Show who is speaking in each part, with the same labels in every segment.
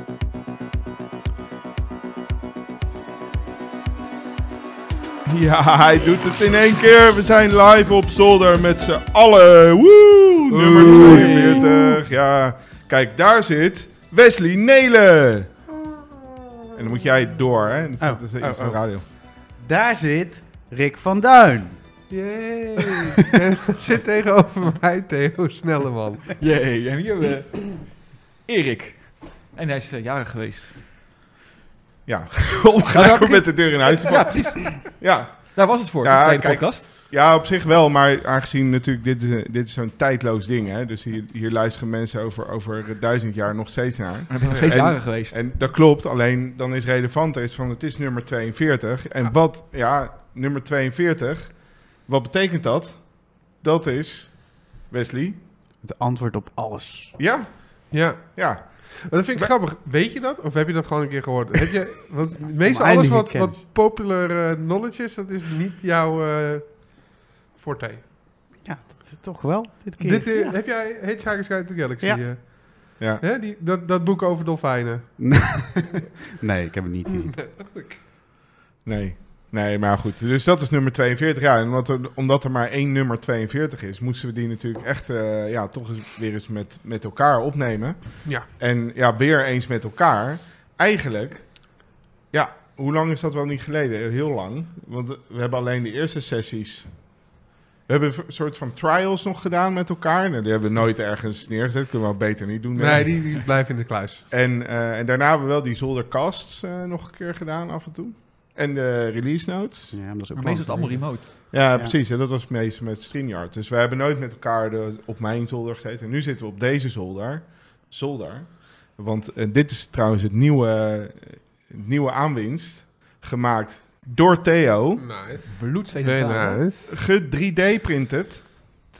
Speaker 1: Ja, hij doet het in één keer. We zijn live op zolder met z'n allen. Woe, nummer 42. Ja, kijk, daar zit Wesley Nelen. En dan moet jij door, hè? Dat is-
Speaker 2: Oh,
Speaker 1: Dat is
Speaker 2: oh,
Speaker 1: iets van
Speaker 2: oh.
Speaker 1: radio.
Speaker 2: Daar zit Rick van Duin.
Speaker 3: Jee. Zit tegenover mij, Theo Snelleman.
Speaker 4: Jee, en hier hebben we Erik. En hij is eh, jarig geweest.
Speaker 1: Ja, om gelijk
Speaker 4: Nou,
Speaker 1: met de deur in huis te
Speaker 4: Ja,
Speaker 1: vallen.
Speaker 4: precies.
Speaker 1: Ja.
Speaker 4: Daar was het voor,
Speaker 1: Ja,
Speaker 4: toch, bij de
Speaker 1: kijk.
Speaker 4: podcast.
Speaker 1: ja, op zich wel. Maar aangezien natuurlijk dit is, een- dit is zo'n tijdloos ding, hè? Dus hier, hier luisteren mensen over, over duizend jaar nog steeds naar.
Speaker 4: Maar ik ben nog steeds
Speaker 1: En-
Speaker 4: jarig geweest.
Speaker 1: En dat klopt, alleen dan is relevant is van het is nummer 42. En wat, ja, nummer 42, wat betekent dat? Dat is, Wesley,
Speaker 2: Het antwoord op alles.
Speaker 1: ja,
Speaker 3: Ja,
Speaker 1: ja.
Speaker 3: maar dat vind ik grappig. Weet je dat? Of heb je dat gewoon een keer gehoord? Heb je, want meestal alles
Speaker 2: Oneindige
Speaker 3: wat,
Speaker 2: kennis.
Speaker 3: wat popular eh, knowledge is, dat is niet jouw eh forte.
Speaker 2: Ja, dat is toch wel dit keer.
Speaker 3: Dit, eh,
Speaker 2: Ja.
Speaker 3: Heb jij Hitchhiker's Guide to the Galaxy?
Speaker 2: Ja.
Speaker 3: eh,
Speaker 1: Ja.
Speaker 3: hè? Die, dat, dat boek over dolfijnen.
Speaker 2: Nee, ik heb het niet gezien.
Speaker 1: Nee, nee, maar goed. Dus dat is nummer 42. Ja, en omdat er, omdat er maar één nummer 42 is, moesten we die natuurlijk echt eh, ja, toch eens weer eens met, met elkaar opnemen.
Speaker 3: Ja.
Speaker 1: En ja, weer eens met elkaar. Eigenlijk, ja, hoe lang is dat wel niet geleden? Eh, Heel lang. Want we hebben alleen de eerste sessies. We hebben een soort van trials nog gedaan met elkaar. Nou, die hebben we nooit ergens neergezet. Kunnen we wel beter niet doen. denk
Speaker 3: Nee,
Speaker 1: ik.
Speaker 3: die, die blijven in de kluis.
Speaker 1: En, eh, en daarna hebben we wel die zoldercasts eh, nog een keer gedaan af en toe. En de release notes.
Speaker 2: Ja, maar dat is ook
Speaker 4: Maar
Speaker 2: wel-
Speaker 4: meestal is het allemaal remote.
Speaker 1: Ja,
Speaker 2: Ja.
Speaker 1: precies. En dat was meestal met StreamYard. Dus we hebben nooit met elkaar de- op mijn zolder gezeten. En nu zitten we op deze zolder. Zolder. Want eh, dit is trouwens het nieuwe, eh, het nieuwe aanwinst. Gemaakt door Theo.
Speaker 3: Nice.
Speaker 4: Bloed, zweet en
Speaker 3: Nee,
Speaker 4: tranen.
Speaker 3: nice.
Speaker 1: Ge 3D-printed.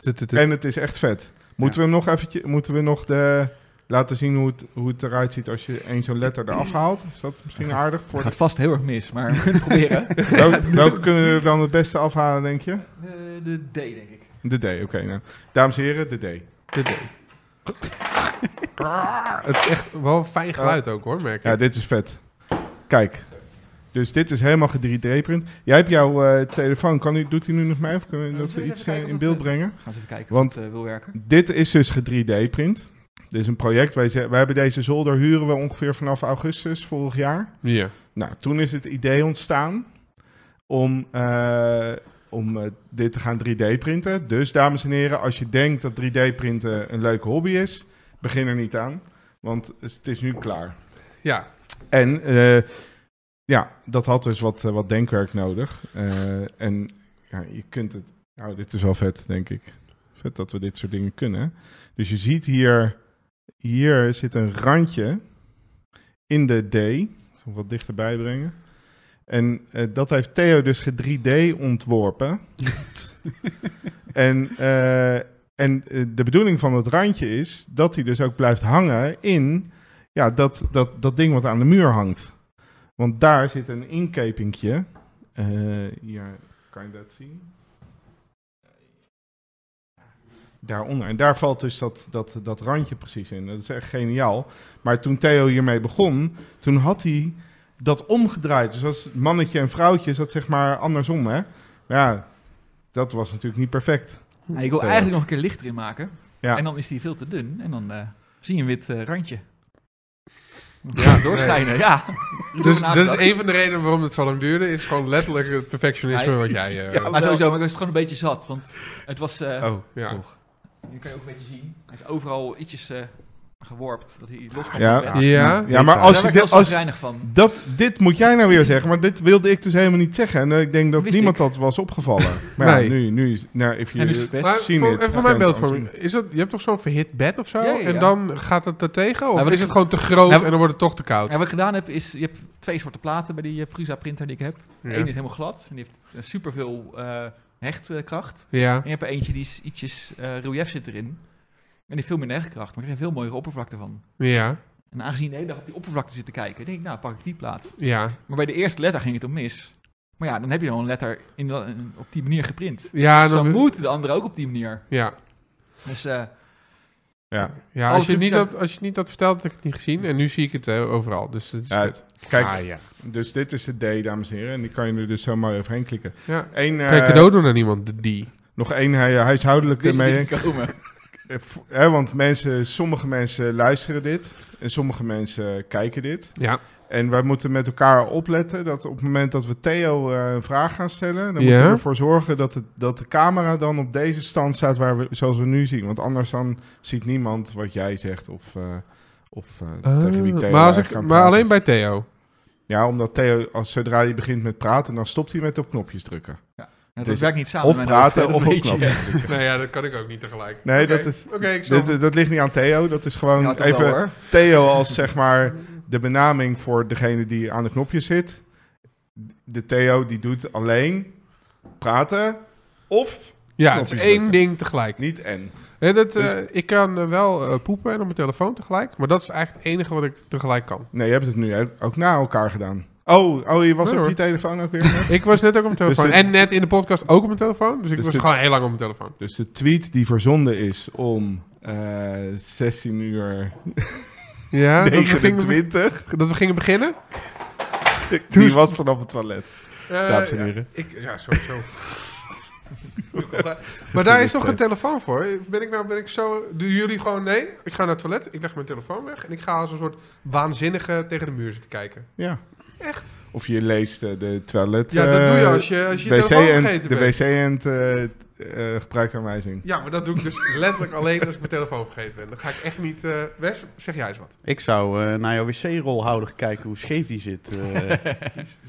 Speaker 3: Tut, tut, tut.
Speaker 1: En het is echt vet. Moeten we hem nog eventjes... Moeten we nog de... Laten zien hoe het, hoe het eruit ziet als je één zo'n letter eraf haalt. Is dat misschien aardig? Voor
Speaker 4: Gaat vast heel erg mis, maar we kunnen het proberen.
Speaker 1: welke, welke kunnen we er dan het beste afhalen, denk je?
Speaker 4: Eh, de D, denk ik.
Speaker 1: De D, oké. nou. Dames en heren, de D.
Speaker 3: Dit deed. Het is echt wel een fijn geluid ook hoor, merk ik.
Speaker 1: Ja, dit is vet. Kijk. Dus dit is helemaal 3D-print. Jij hebt jouw eh, telefoon. Kan die, doet hij nu nog mee? Of kunnen we
Speaker 4: Eh,
Speaker 1: dat we
Speaker 4: zullen we
Speaker 1: iets
Speaker 4: even
Speaker 1: eh,
Speaker 4: kijken
Speaker 1: in
Speaker 4: of
Speaker 1: beeld
Speaker 4: dat, eh,
Speaker 1: brengen?
Speaker 4: Gaan ze even kijken
Speaker 1: Want-
Speaker 4: Want, of het eh, wil werken.
Speaker 1: Dit is dus 3D-print. Dit is een project. Wij, ze- wij hebben deze zolder huren we ongeveer vanaf augustus vorig jaar.
Speaker 3: Ja.
Speaker 1: Nou, toen is het idee ontstaan om, eh, om eh, dit te gaan 3D-printen. Dus dames en heren, als je denkt dat 3D-printen een leuke hobby is, begin er niet aan. Want het is nu klaar.
Speaker 3: Ja,
Speaker 1: En eh, ja, dat had dus wat, eh, wat denkwerk nodig. Eh, en ja, je kunt het. Nou, dit is wel vet, denk ik. Vet dat we dit soort dingen kunnen. Dus je ziet hier. Hier zit een randje in de D. Ik zal hem wat dichterbij brengen. En eh, dat heeft Theo dus ge 3D ontworpen. en eh, en eh, de bedoeling van dat randje is dat hij dus ook blijft hangen in ja, dat, dat, dat ding wat aan de muur hangt. Want daar zit een inkepingje. Eh, hier kan je dat zien. Daaronder. En daar valt dus dat, dat, dat randje precies in. Dat is echt geniaal. Maar toen Theo hiermee begon, toen had hij dat omgedraaid. Dus als mannetje en vrouwtje zat zeg maar andersom, hè? Maar ja, dat was natuurlijk niet perfect.
Speaker 4: Nou, ik wil
Speaker 1: Zo.
Speaker 4: eigenlijk nog een keer lichter in maken.
Speaker 1: Ja.
Speaker 4: En dan is die veel te dun. En dan eh, zie je een wit eh, randje. Ja, doorschijnen, ja.
Speaker 3: Dus
Speaker 4: Zo
Speaker 3: dat is
Speaker 4: nagedacht.
Speaker 3: een van de redenen waarom het zo lang duurde, is gewoon letterlijk het perfectionisme
Speaker 4: Nee.
Speaker 3: wat jij... eh
Speaker 4: Maar sowieso, maar ik was het gewoon een beetje zat. Want het was... eh
Speaker 1: Oh,
Speaker 3: ja.
Speaker 1: toch.
Speaker 4: Je kan je ook een beetje zien. Hij is overal ietsjes eh, geworpt. Dat hij los komt.
Speaker 1: Ja.
Speaker 4: op bed.
Speaker 3: Ja.
Speaker 1: Ja, maar
Speaker 4: Daar
Speaker 1: als
Speaker 4: werd
Speaker 1: je,
Speaker 4: ik heel
Speaker 1: dit- als,
Speaker 4: zagrijnig van.
Speaker 1: Dat, dit moet jij nou weer zeggen, maar dit wilde ik dus helemaal niet zeggen. En eh, ik denk dat
Speaker 4: Wist
Speaker 1: niemand dat was opgevallen. Maar
Speaker 3: Nee.
Speaker 1: ja, nu, nu is, nou, if
Speaker 4: En
Speaker 1: you
Speaker 4: dus het best.
Speaker 3: Maar
Speaker 1: zien
Speaker 3: voor,
Speaker 1: dit,
Speaker 3: en
Speaker 1: dan
Speaker 3: voor mijn
Speaker 1: kan je het
Speaker 3: beeldvorming, is dat, je hebt toch zo'n verhit bed of zo?
Speaker 4: Ja, ja, ja.
Speaker 3: En dan gaat het er tegen? Of
Speaker 4: Nou, wat
Speaker 3: is
Speaker 4: ik-
Speaker 3: het gewoon te groot
Speaker 4: Nou, wat-
Speaker 3: en dan wordt het toch te koud?
Speaker 4: En wat ik gedaan heb, is... Je hebt twee soorten platen bij die eh, Prusa printer die ik heb.
Speaker 3: Ja.
Speaker 4: Eén is helemaal glad. En die heeft eh, superveel eh, hechtkracht.
Speaker 3: ja.
Speaker 4: En je hebt er eentje die is ietsjes... eh, relief zit erin. En die heeft veel minder hechtkracht. Maar ik krijg een veel mooiere oppervlakte van.
Speaker 3: Ja.
Speaker 4: En aangezien de hele dag op die oppervlakte zit te kijken... denk ik, nou, pak ik die plaat.
Speaker 3: Ja.
Speaker 4: Maar bij de eerste letter ging het om mis. Maar ja, dan heb je dan een letter in, dat- in- op die manier geprint.
Speaker 3: Ja,
Speaker 4: Dus dan
Speaker 3: dan-
Speaker 4: moeten de anderen ook op die manier.
Speaker 3: ja.
Speaker 4: Dus eh,
Speaker 1: Ja.
Speaker 3: Ja,
Speaker 4: Alles
Speaker 3: als je,
Speaker 4: doet
Speaker 3: niet
Speaker 4: hij-
Speaker 3: dat, als je niet had verteld, had ik het niet gezien. En nu zie ik het eh, overal. Dus het is
Speaker 1: Ja,
Speaker 3: kut.
Speaker 1: Kijk,
Speaker 3: Ah, ja.
Speaker 1: dus dit is de D, dames en heren. En die kan je er dus zomaar overheen klikken.
Speaker 3: ja.
Speaker 1: Eén, eh,
Speaker 3: Kan je cadeau doen aan iemand, de die.
Speaker 1: nog één eh, huishoudelijke
Speaker 4: Wist je
Speaker 1: mee.
Speaker 4: niet komen.
Speaker 1: Eh, vo- hè, want mensen, sommige mensen luisteren dit en sommige mensen kijken dit.
Speaker 3: Ja.
Speaker 1: En wij moeten met elkaar opletten dat op het moment dat we Theo eh, een vraag gaan stellen, dan moeten
Speaker 3: Ja.
Speaker 1: we ervoor zorgen dat, het, dat de camera dan op deze stand staat waar we, zoals we nu zien. Want anders dan ziet niemand wat jij zegt of, eh, of eh, tegen wie Theo
Speaker 3: Ah, maar als ik,
Speaker 1: eigenlijk aan het
Speaker 3: maar
Speaker 1: praten
Speaker 3: alleen
Speaker 1: is.
Speaker 3: bij Theo.
Speaker 1: Ja, omdat Theo, als, zodra hij begint met praten, dan stopt hij met op knopjes drukken.
Speaker 4: Ja, dat
Speaker 1: Dus
Speaker 4: werkt niet samen.
Speaker 1: Of
Speaker 4: met mijn hoofd,
Speaker 1: praten
Speaker 4: hè,
Speaker 1: of
Speaker 4: dat
Speaker 1: op
Speaker 4: weet je.
Speaker 1: knopjes.
Speaker 3: nee, ja, dat kan ik ook niet tegelijk.
Speaker 1: Nee,
Speaker 3: Oké,
Speaker 1: dat is...
Speaker 3: Oké, ik snap
Speaker 1: Dit, dat ligt niet aan Theo, dat is gewoon
Speaker 4: Ja, toch
Speaker 1: even...
Speaker 4: wel, hoor.
Speaker 1: Theo als zeg maar de benaming voor degene die aan de knopjes zit. De Theo die doet alleen praten of
Speaker 3: Ja, het is
Speaker 1: knopjes
Speaker 3: één
Speaker 1: drukken.
Speaker 3: ding tegelijk.
Speaker 1: niet en.
Speaker 3: Nee, dat, eh,
Speaker 1: Dus-
Speaker 3: ik kan eh, wel eh, poepen en op mijn telefoon tegelijk. Maar dat is eigenlijk het enige wat ik tegelijk kan.
Speaker 1: Nee, je hebt het nu ook na elkaar gedaan. Oh, oh je was
Speaker 3: Nee,
Speaker 1: op
Speaker 3: hoor.
Speaker 1: je telefoon ook weer.
Speaker 3: Ik was net ook op mijn telefoon.
Speaker 1: dit-
Speaker 3: En net in de podcast ook op mijn telefoon. Dus ik
Speaker 1: Dus
Speaker 3: was
Speaker 1: dit-
Speaker 3: gewoon heel lang op mijn telefoon.
Speaker 1: dus de tweet die verzonden is om eh 16 uur
Speaker 3: Ja, dat, we gingen,
Speaker 1: 29,
Speaker 3: dat we gingen beginnen.
Speaker 1: die was vanaf het toilet.
Speaker 3: Eh,
Speaker 1: Dames en
Speaker 3: ja,
Speaker 1: heren.
Speaker 3: Ik, ja, sowieso. maar daar is toch een telefoon voor? Ben ik nou, ben ik zo... Doen jullie gewoon, nee, ik ga naar het toilet, ik leg mijn telefoon weg... en ik ga als een soort waanzinnige tegen de muur zitten kijken.
Speaker 1: Ja.
Speaker 3: Echt?
Speaker 1: Of je leest eh, de toilet.
Speaker 3: Ja, dat doe je
Speaker 1: eh,
Speaker 3: als je als je, je
Speaker 1: wc
Speaker 3: telefoon
Speaker 1: en
Speaker 3: vergeten
Speaker 1: de
Speaker 3: bent.
Speaker 1: wc en eh eh, gebruiksaanwijzing.
Speaker 3: Ja, maar dat doe ik dus letterlijk alleen als ik mijn telefoon vergeten ben. Dan ga ik echt niet... eh Wes, zeg jij eens wat.
Speaker 2: Ik zou eh, naar jouw wc-rolhouder kijken hoe scheef die zit. eh.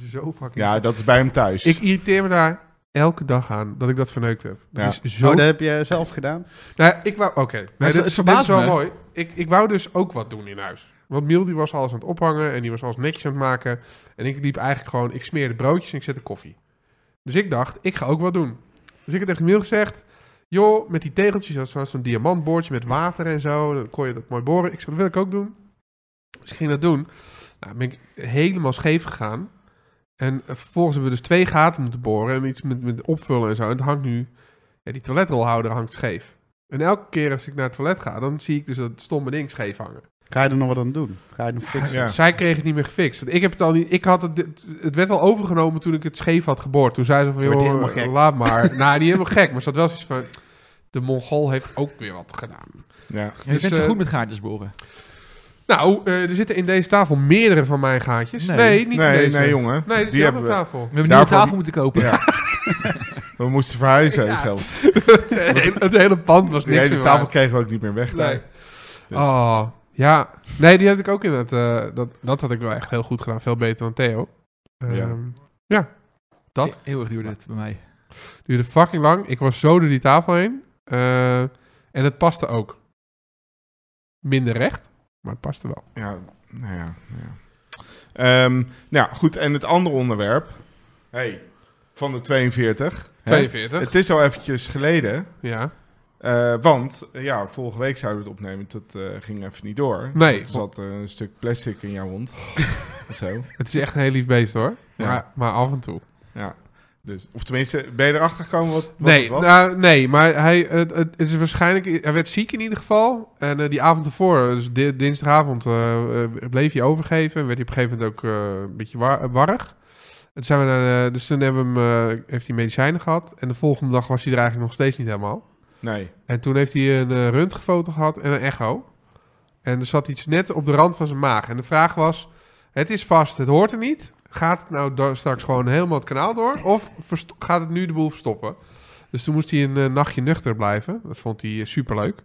Speaker 3: Zo fucking...
Speaker 1: Ja, dat is bij hem thuis.
Speaker 3: Ik irriteer me daar elke dag aan dat ik dat verneukt heb. Dat
Speaker 1: Ja.
Speaker 3: is zo
Speaker 2: Oh, dat heb je zelf gedaan?
Speaker 3: Nou, ik wou... Oké,
Speaker 4: Maar
Speaker 3: nee,
Speaker 4: het-
Speaker 3: dit,
Speaker 4: het
Speaker 3: is- dit is
Speaker 4: verbaast
Speaker 3: wel
Speaker 4: me.
Speaker 3: mooi. Ik, ik wou dus ook wat doen in huis. Want Miel die was alles aan het ophangen en die was alles netjes aan het maken. En ik liep eigenlijk gewoon... Ik smeerde broodjes en ik zette koffie. Dus ik dacht, ik ga ook wat doen. Dus ik heb tegen Miel gezegd... Joh, met die tegeltjes, dat was zo'n diamantboordje met water en zo. Dan kon je dat mooi boren. Ik zei, dat wil ik ook doen. Dus ik ging dat doen. Nou, ben ik helemaal scheef gegaan. En eh, vervolgens hebben we dus twee gaten moeten boren en iets met, met opvullen en zo. En het hangt nu, ja, die toiletrolhouder hangt scheef. En elke keer als ik naar het toilet ga, dan zie ik dus dat stomme ding scheef hangen.
Speaker 2: Ga je er nog wat aan doen? Ga je nog fixen?
Speaker 1: Ja.
Speaker 3: Zij kreeg het niet meer gefixt. Want Ik heb het al niet, ik had het, het werd al overgenomen toen ik het scheef had geboord. Toen zei ze van,
Speaker 2: Toen werd hij
Speaker 3: joh,
Speaker 2: helemaal gek.
Speaker 3: laat maar. nou, niet helemaal gek, maar ze had wel zoiets van, de Mongool heeft ook weer wat gedaan.
Speaker 1: Ja.
Speaker 4: Ja, je
Speaker 3: Dus,
Speaker 4: bent zo
Speaker 3: eh,
Speaker 4: goed met gaatjes boren.
Speaker 3: Nou, eh, er zitten in deze tafel meerdere van mijn gaatjes. Nee,
Speaker 4: Nee.
Speaker 3: niet in
Speaker 1: Nee,
Speaker 3: deze.
Speaker 1: nee, jongen.
Speaker 3: Nee, dat is die andere
Speaker 1: we.
Speaker 3: tafel.
Speaker 4: We hebben een nieuwe
Speaker 1: daarvoor-
Speaker 4: tafel moeten kopen.
Speaker 1: Ja. we moesten verhuizen
Speaker 3: Ja.
Speaker 1: zelfs.
Speaker 3: het hele pand was
Speaker 1: Die
Speaker 3: niks
Speaker 1: hele
Speaker 3: meer
Speaker 1: tafel
Speaker 3: waard.
Speaker 1: kregen we ook niet meer weg. daar.
Speaker 3: Nee.
Speaker 1: Dus.
Speaker 3: Oh, ja. Nee, die had ik ook in het... eh, dat, dat had ik wel echt heel goed gedaan. Veel beter dan Theo. Ehm
Speaker 1: Ja.
Speaker 3: dat?
Speaker 4: Heel erg duurde het bij mij.
Speaker 3: Duurde fucking lang. Ik was zo door die tafel heen. Eh, en het paste ook. Minder recht, maar het paste wel.
Speaker 1: Ja, nou ja. ja. Ehm, nou ja, goed. En het andere onderwerp. hey, van de 42. hè?
Speaker 3: 42,
Speaker 1: Het is al eventjes geleden.
Speaker 3: ja.
Speaker 1: eh, want eh, ja, vorige week zouden we het opnemen. Dat eh, ging even niet door.
Speaker 3: Nee.
Speaker 1: Er zat eh, een stuk plastic in jouw hond. of zo.
Speaker 3: Het is echt een heel lief beest, hoor.
Speaker 1: Ja.
Speaker 3: Maar, maar af en toe.
Speaker 1: Ja. Dus, of tenminste, ben je erachter gekomen wat, wat het
Speaker 3: Nee,
Speaker 1: was?
Speaker 3: nou, nee, maar hij, het, het is waarschijnlijk, hij werd ziek in ieder geval. En eh, die avond ervoor, dus di- dinsdagavond, eh, eh, bleef hij overgeven. En werd hij op een gegeven moment ook eh, een beetje war- eh, warrig. En toen zijn we naar, de- dus toen hebben we hem, eh, heeft hij medicijnen gehad. En de volgende dag was hij er eigenlijk nog steeds niet helemaal.
Speaker 1: Nee.
Speaker 3: En toen heeft hij een eh röntgenfoto gehad en een echo. En er zat iets net op de rand van zijn maag. En de vraag was, het is vast, het hoort er niet. Gaat het nou do- straks gewoon helemaal het kanaal door? Of verst- gaat het nu de boel verstoppen? Dus toen moest hij een eh, nachtje nuchter blijven. Dat vond hij eh, superleuk.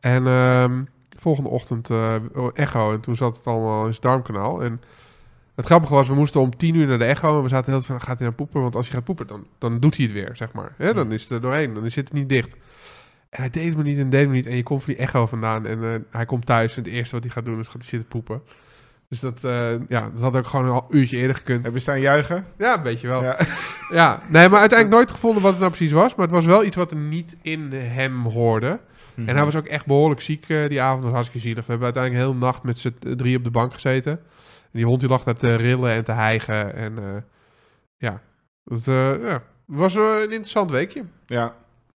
Speaker 3: En ehm, volgende ochtend eh, echo. En toen zat het allemaal in zijn darmkanaal. En het grappige was, we moesten om tien uur naar de echo. En we zaten heel tijd van, gaat hij nou poepen? Want als hij gaat poepen, dan, dan doet hij het weer, zeg maar. Hè, dan is het er doorheen. Dan zit het niet dicht. En hij deed het me niet en deed me niet. En je komt van die echo vandaan. En eh, hij komt thuis en het eerste wat hij gaat doen is gaat hij zitten poepen. Dus dat, eh, ja, dat had ook gewoon een half uurtje eerder gekund.
Speaker 1: Hebben we staan juichen?
Speaker 3: Ja, een beetje wel. Ja.
Speaker 1: Ja.
Speaker 3: nee, maar uiteindelijk nooit gevonden wat het nou precies was. Maar het was wel iets wat er niet in hem hoorde. Mhm.
Speaker 1: Mhm.
Speaker 3: En hij was ook echt behoorlijk ziek eh, die avond. Dat was hartstikke zielig. We hebben uiteindelijk heel nacht met z'n drie op de bank gezeten. En die hond die lag daar te rillen en te hijgen. En eh, ja, het ja. was eh, een interessant weekje.
Speaker 1: Ja,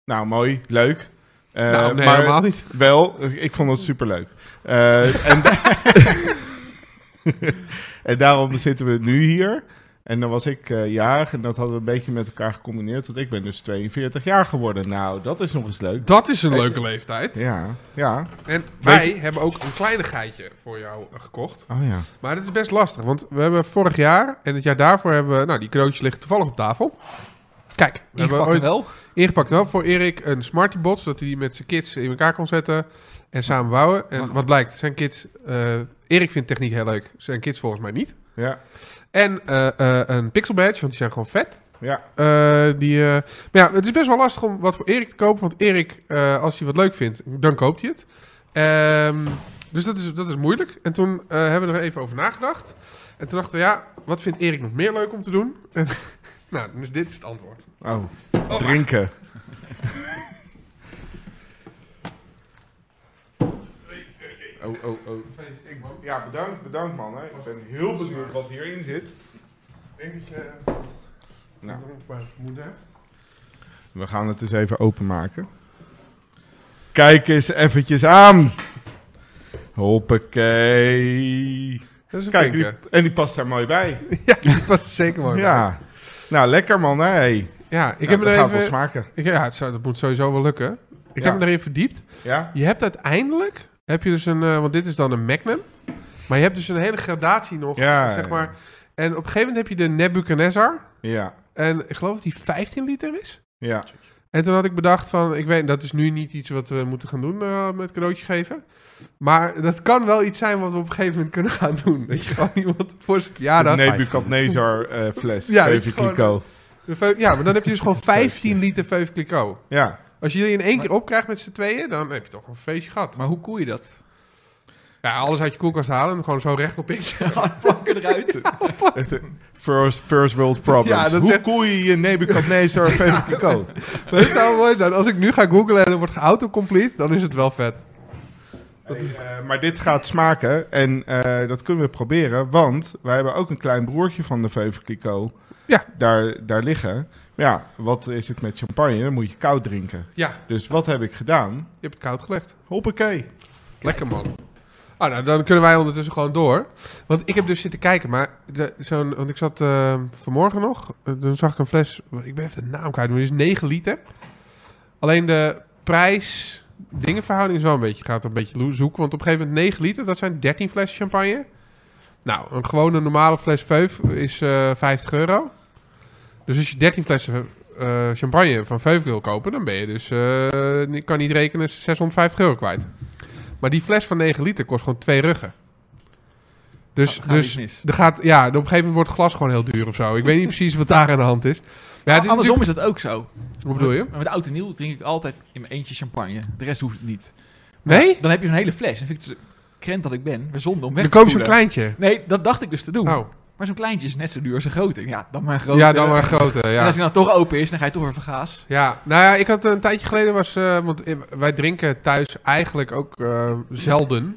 Speaker 1: nou mooi, leuk. Eh,
Speaker 3: nou, nee,
Speaker 1: maar
Speaker 3: helemaal niet.
Speaker 1: wel, ik vond het superleuk. Eh en, en daarom zitten we nu hier. En dan was ik eh, jarig en dat hadden we een beetje met elkaar gecombineerd. Want ik ben dus 42 jaar geworden. Nou, dat is nog eens leuk.
Speaker 3: Dat is een leuke leeftijd.
Speaker 1: Ja, ja.
Speaker 3: En wij hebben ook een kleinigheidje voor jou eh, gekocht.
Speaker 1: Oh ja.
Speaker 3: Maar dat is best lastig, want we hebben vorig jaar en het jaar daarvoor hebben we... Nou, die cadeautjes liggen toevallig op tafel. Kijk, we hebben
Speaker 4: Ingepakt
Speaker 3: ooit
Speaker 4: wel.
Speaker 3: ingepakt wel voor Erik een smartiebot, zodat hij die met zijn kids in elkaar kon zetten en samen bouwen. En wat blijkt, zijn kids... eh, Erik vindt techniek heel leuk, zijn kids volgens mij niet.
Speaker 1: Ja,
Speaker 3: En eh, eh, een pixel badge, want die zijn gewoon vet.
Speaker 1: ja.
Speaker 3: Eh, die, eh, maar ja, het is best wel lastig om wat voor Erik te kopen. Want Erik, eh, als hij wat leuk vindt, dan koopt hij het. Ehm, dus dat is, dat is moeilijk. En toen eh, hebben we er even over nagedacht. En toen dachten we, ja, wat vindt Erik nog meer leuk om te doen? En, nou, dus dit is het antwoord.
Speaker 1: Oh, drinken. Oh, oh, oh. Ja, bedankt, bedankt man. Hè. Ik ben heel benieuwd wat hierin zit.
Speaker 3: Denk dat je
Speaker 1: Nou.
Speaker 3: een vermoeden hebt.
Speaker 1: We gaan het eens even openmaken. Kijk eens eventjes aan. Hoppakee.
Speaker 3: Dat is een
Speaker 1: Kijk,
Speaker 3: Kijk,
Speaker 1: die, en die past daar mooi bij.
Speaker 3: dat was zeker mooi.
Speaker 1: Ja. Nou, lekker man. Hè. Hey.
Speaker 3: ja ik
Speaker 1: Nou,
Speaker 3: heb
Speaker 1: dat
Speaker 3: er
Speaker 1: gaat wel
Speaker 3: even...
Speaker 1: smaken.
Speaker 3: Ik- Ja, het zou- dat moet sowieso wel lukken. Ik
Speaker 1: Ja.
Speaker 3: heb me erin verdiept.
Speaker 1: Ja?
Speaker 3: Je hebt uiteindelijk, heb je dus een, eh, want dit is dan een Magnum, maar je hebt dus een hele gradatie nog,
Speaker 1: Ja,
Speaker 3: zeg
Speaker 1: ja.
Speaker 3: maar. En op een gegeven moment heb je de Nebuchadnezzar,
Speaker 1: Ja.
Speaker 3: en ik geloof dat die 15 liter is.
Speaker 1: Ja.
Speaker 3: En toen had ik bedacht van, ik weet, dat is nu niet iets wat we moeten gaan doen eh, met cadeautjes geven. Maar dat kan wel iets zijn wat we op een gegeven moment kunnen gaan doen. Dat je gewoon iemand voor zijn verjaardag...
Speaker 1: Nebuchadnezzar eh fles.
Speaker 3: Ah, Ja,
Speaker 1: Ja,
Speaker 3: dat is
Speaker 1: even
Speaker 3: gewoon-
Speaker 1: kliko.
Speaker 3: De veu- Ja, maar dan heb je dus gewoon 15 liter Veuve Clicquot.
Speaker 1: Ja.
Speaker 3: Als je die in één keer opkrijgt met z'n tweeën, dan heb je toch een feestje gehad.
Speaker 4: Maar hoe koel je dat?
Speaker 3: Ja, alles uit je koelkast halen en gewoon zo recht op in.
Speaker 4: Alle planken eruit.
Speaker 1: Het, eh, First, first world problems.
Speaker 3: Ja, dat
Speaker 1: Hoe
Speaker 3: zegt-
Speaker 1: koel je je Nebuchadnezzar Veuve Clicquot?
Speaker 3: Maar het zou nou mooi zijn. Als ik nu ga googlen en er wordt geautocomplete, dan is het wel vet.
Speaker 1: Hey, eh, maar dit gaat smaken en eh, dat kunnen we proberen, want wij hebben ook een klein broertje van de Veuve Clicquot
Speaker 3: Ja.
Speaker 1: daar, daar liggen. Maar ja, wat is het met champagne? Dan moet je koud drinken.
Speaker 3: Ja,
Speaker 1: Dus wat heb ik gedaan?
Speaker 3: je hebt het koud gelegd.
Speaker 1: Hoppakee.
Speaker 3: Lekker man. Ah, nou, dan kunnen wij ondertussen gewoon door. Want ik heb dus zitten kijken, maar de, zo'n, want ik zat eh, vanmorgen nog, eh, toen zag ik een fles, ik ben even de naam kwijt, maar die is 9 liter. Alleen de prijs, dingenverhouding is wel een beetje, gaat een beetje lo- zoeken. Want op een gegeven moment 9 liter, dat zijn 13 flessen champagne. Nou, een gewone normale fles Veuf is eh 50 euro. Dus als je 13 flessen eh, champagne van Veuf wil kopen, dan ben je dus, eh, ik kan niet rekenen, 650 euro kwijt. Maar die fles van 9 liter kost gewoon twee ruggen. Dus,
Speaker 4: Gaat- gaat
Speaker 3: dus
Speaker 4: iets mis.
Speaker 3: er gaat, ja, op een gegeven moment wordt glas gewoon heel duur of zo. Ik weet niet precies wat daar aan de hand is. Maar ja, het is
Speaker 4: Nou, Andersom
Speaker 3: natuurlijk-
Speaker 4: is dat ook zo.
Speaker 3: Wat bedoel je?
Speaker 4: Maar Met oud en nieuw drink ik altijd in mijn eentje champagne. De rest hoeft het niet. Maar
Speaker 3: Nee?
Speaker 4: Dan heb je zo'n hele fles. Dan vind ik het zo- krent dat ik ben. weer Zonde om weg
Speaker 3: Dan
Speaker 4: te
Speaker 3: koop je zo'n
Speaker 4: spoelen.
Speaker 3: kleintje.
Speaker 4: Nee, dat dacht ik dus te doen.
Speaker 3: Oh.
Speaker 4: Maar zo'n kleintje is net zo duur als een grote. Ja, dan maar een grote.
Speaker 3: Ja, dan maar een grote.
Speaker 4: eh, En
Speaker 3: Ja.
Speaker 4: als hij dan toch open is, dan ga je toch weer vergaas.
Speaker 3: ja, nou ja, ik had een tijdje geleden was, eh, want i- wij drinken thuis eigenlijk ook eh, zelden.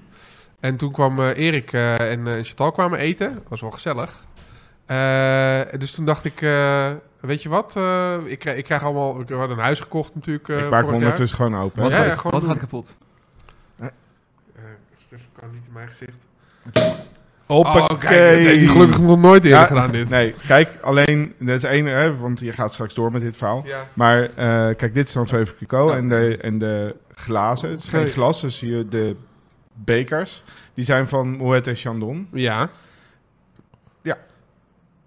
Speaker 3: En toen kwam eh, Erik eh, en eh, Chantal kwamen eten. Dat was wel gezellig. Eh, dus toen dacht ik, eh, weet je wat? eh, ik, krijg, ik krijg allemaal, ik had een huis gekocht natuurlijk. eh,
Speaker 1: ik maak hem
Speaker 3: vorig jaar.
Speaker 1: ondertussen gewoon open.
Speaker 4: Wat,
Speaker 3: Ja,
Speaker 4: gaat,
Speaker 3: ja, gewoon
Speaker 4: wat
Speaker 3: doen.
Speaker 4: gaat kapot?
Speaker 3: Eh, Stef kan niet in mijn gezicht.
Speaker 1: Hoppakee.
Speaker 3: Oh, kijk, dat heeft hij gelukkig nog nooit eerder
Speaker 1: Ja,
Speaker 3: gedaan dit.
Speaker 1: Nee, kijk, alleen, dat is één, hè, want je gaat straks door met dit verhaal.
Speaker 3: Ja.
Speaker 1: Maar eh, kijk, dit is dan Veuve Clicquot
Speaker 3: Ja.
Speaker 1: en, de, en de glazen, het is geen
Speaker 3: Sorry.
Speaker 1: glas, dus hier de bekers, die zijn van Moet en Chandon.
Speaker 3: Ja.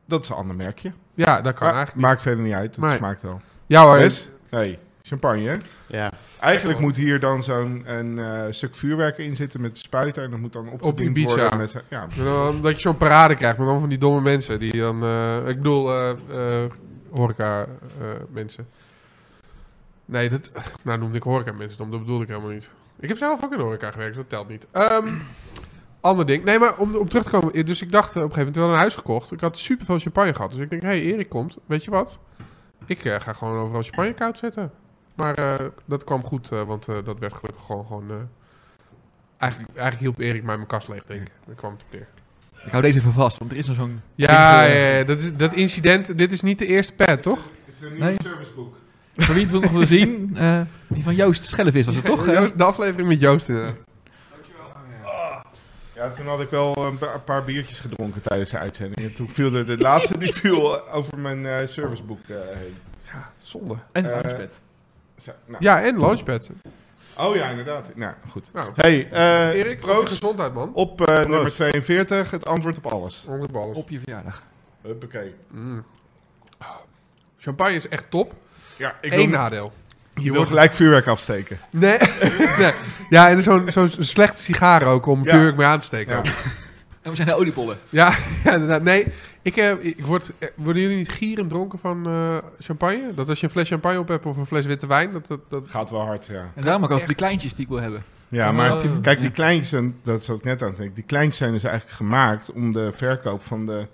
Speaker 1: Dat is een ander merkje.
Speaker 3: ja, dat kan
Speaker 1: Maar-
Speaker 3: eigenlijk.
Speaker 1: Maakt verder niet uit, het
Speaker 3: Nee.
Speaker 1: smaakt wel.
Speaker 3: Ja hoor.
Speaker 1: Wes? Hey, champagne. hè?
Speaker 2: Ja.
Speaker 1: Eigenlijk moet hier dan zo'n een, eh, stuk vuurwerk in zitten met spuiter en dat moet dan opgediend
Speaker 3: Ibiza.
Speaker 1: worden. Met, ja,
Speaker 3: En dan- Dat je zo'n parade krijgt, maar dan van die domme mensen die dan. eh, ik bedoel, eh, eh, horeca eh, mensen. Nee, dat. Nou, noemde ik horeca mensen dom, dat bedoelde ik helemaal niet. Ik heb zelf ook in de horeca gewerkt, dat telt niet. Ehm, ander ding. Nee, maar om op terug te komen. eh, Dus ik dacht eh, op een gegeven moment, we hadden een huis gekocht. Ik had super veel champagne gehad. Dus ik denk, hé, hey, Erik komt. Weet je wat? Ik eh, ga gewoon overal champagne koud zetten. Maar eh, dat kwam goed, eh, want eh, dat werd gelukkig gewoon. gewoon eh, eigenlijk, eigenlijk hielp Erik mij mijn kast leeg, denk ik. Dat kwam het op neer.
Speaker 4: Ik hou deze even vast, want er is nog zo'n...
Speaker 3: eh,
Speaker 4: eh,
Speaker 3: Ja, ja, ja, dat, is, dat incident, dit is niet de eerste pad, toch?
Speaker 1: is een
Speaker 4: nieuwe Nee.
Speaker 1: serviceboek.
Speaker 4: Voor wie het nog wil zien, eh, die van Joost Schellevis was het toch? eh?
Speaker 3: De aflevering met Joost eh. inderdaad.
Speaker 1: Ja, toen had ik wel een, pa- een paar biertjes gedronken tijdens de uitzending. En toen viel de, de laatste die viel over mijn eh, serviceboek eh, heen.
Speaker 3: Ja, zonde.
Speaker 4: En
Speaker 1: Eh,
Speaker 4: Armsbed.
Speaker 1: Zo, nou.
Speaker 3: Ja, en Launchpad.
Speaker 1: Oh ja, inderdaad. Nou, goed.
Speaker 3: Nou,
Speaker 1: Hey, eh
Speaker 3: Erik, proost.
Speaker 1: proost
Speaker 3: gezondheid man.
Speaker 1: op eh, nummer 42. Het antwoord op alles.
Speaker 3: Onder de ballen.
Speaker 4: Op je verjaardag.
Speaker 1: Huppakee.
Speaker 3: Mm. Champagne is echt top.
Speaker 1: Ja, ik
Speaker 3: Eén
Speaker 1: wil,
Speaker 3: nadeel.
Speaker 1: nou, je wil gelijk vuurwerk afsteken.
Speaker 3: Nee. nee. Ja, en zo'n zo'n slechte sigaar ook om
Speaker 1: Ja.
Speaker 3: vuurwerk mee aan te steken.
Speaker 1: Ja.
Speaker 3: Ja,
Speaker 4: En we zijn de oliebollen.
Speaker 3: ja, inderdaad. Nee, ik, eh, ik word, eh, worden jullie niet gierend dronken van eh, champagne? Dat als je een fles champagne op hebt of een fles witte wijn, dat... dat, dat...
Speaker 1: Gaat wel hard, ja.
Speaker 4: En daarom ook altijd die kleintjes die ik wil hebben.
Speaker 1: Ja, maar
Speaker 3: Oh.
Speaker 1: kijk, die kleintjes, en dat zat ik net aan het denken, die kleintjes zijn dus eigenlijk gemaakt om de verkoop van de,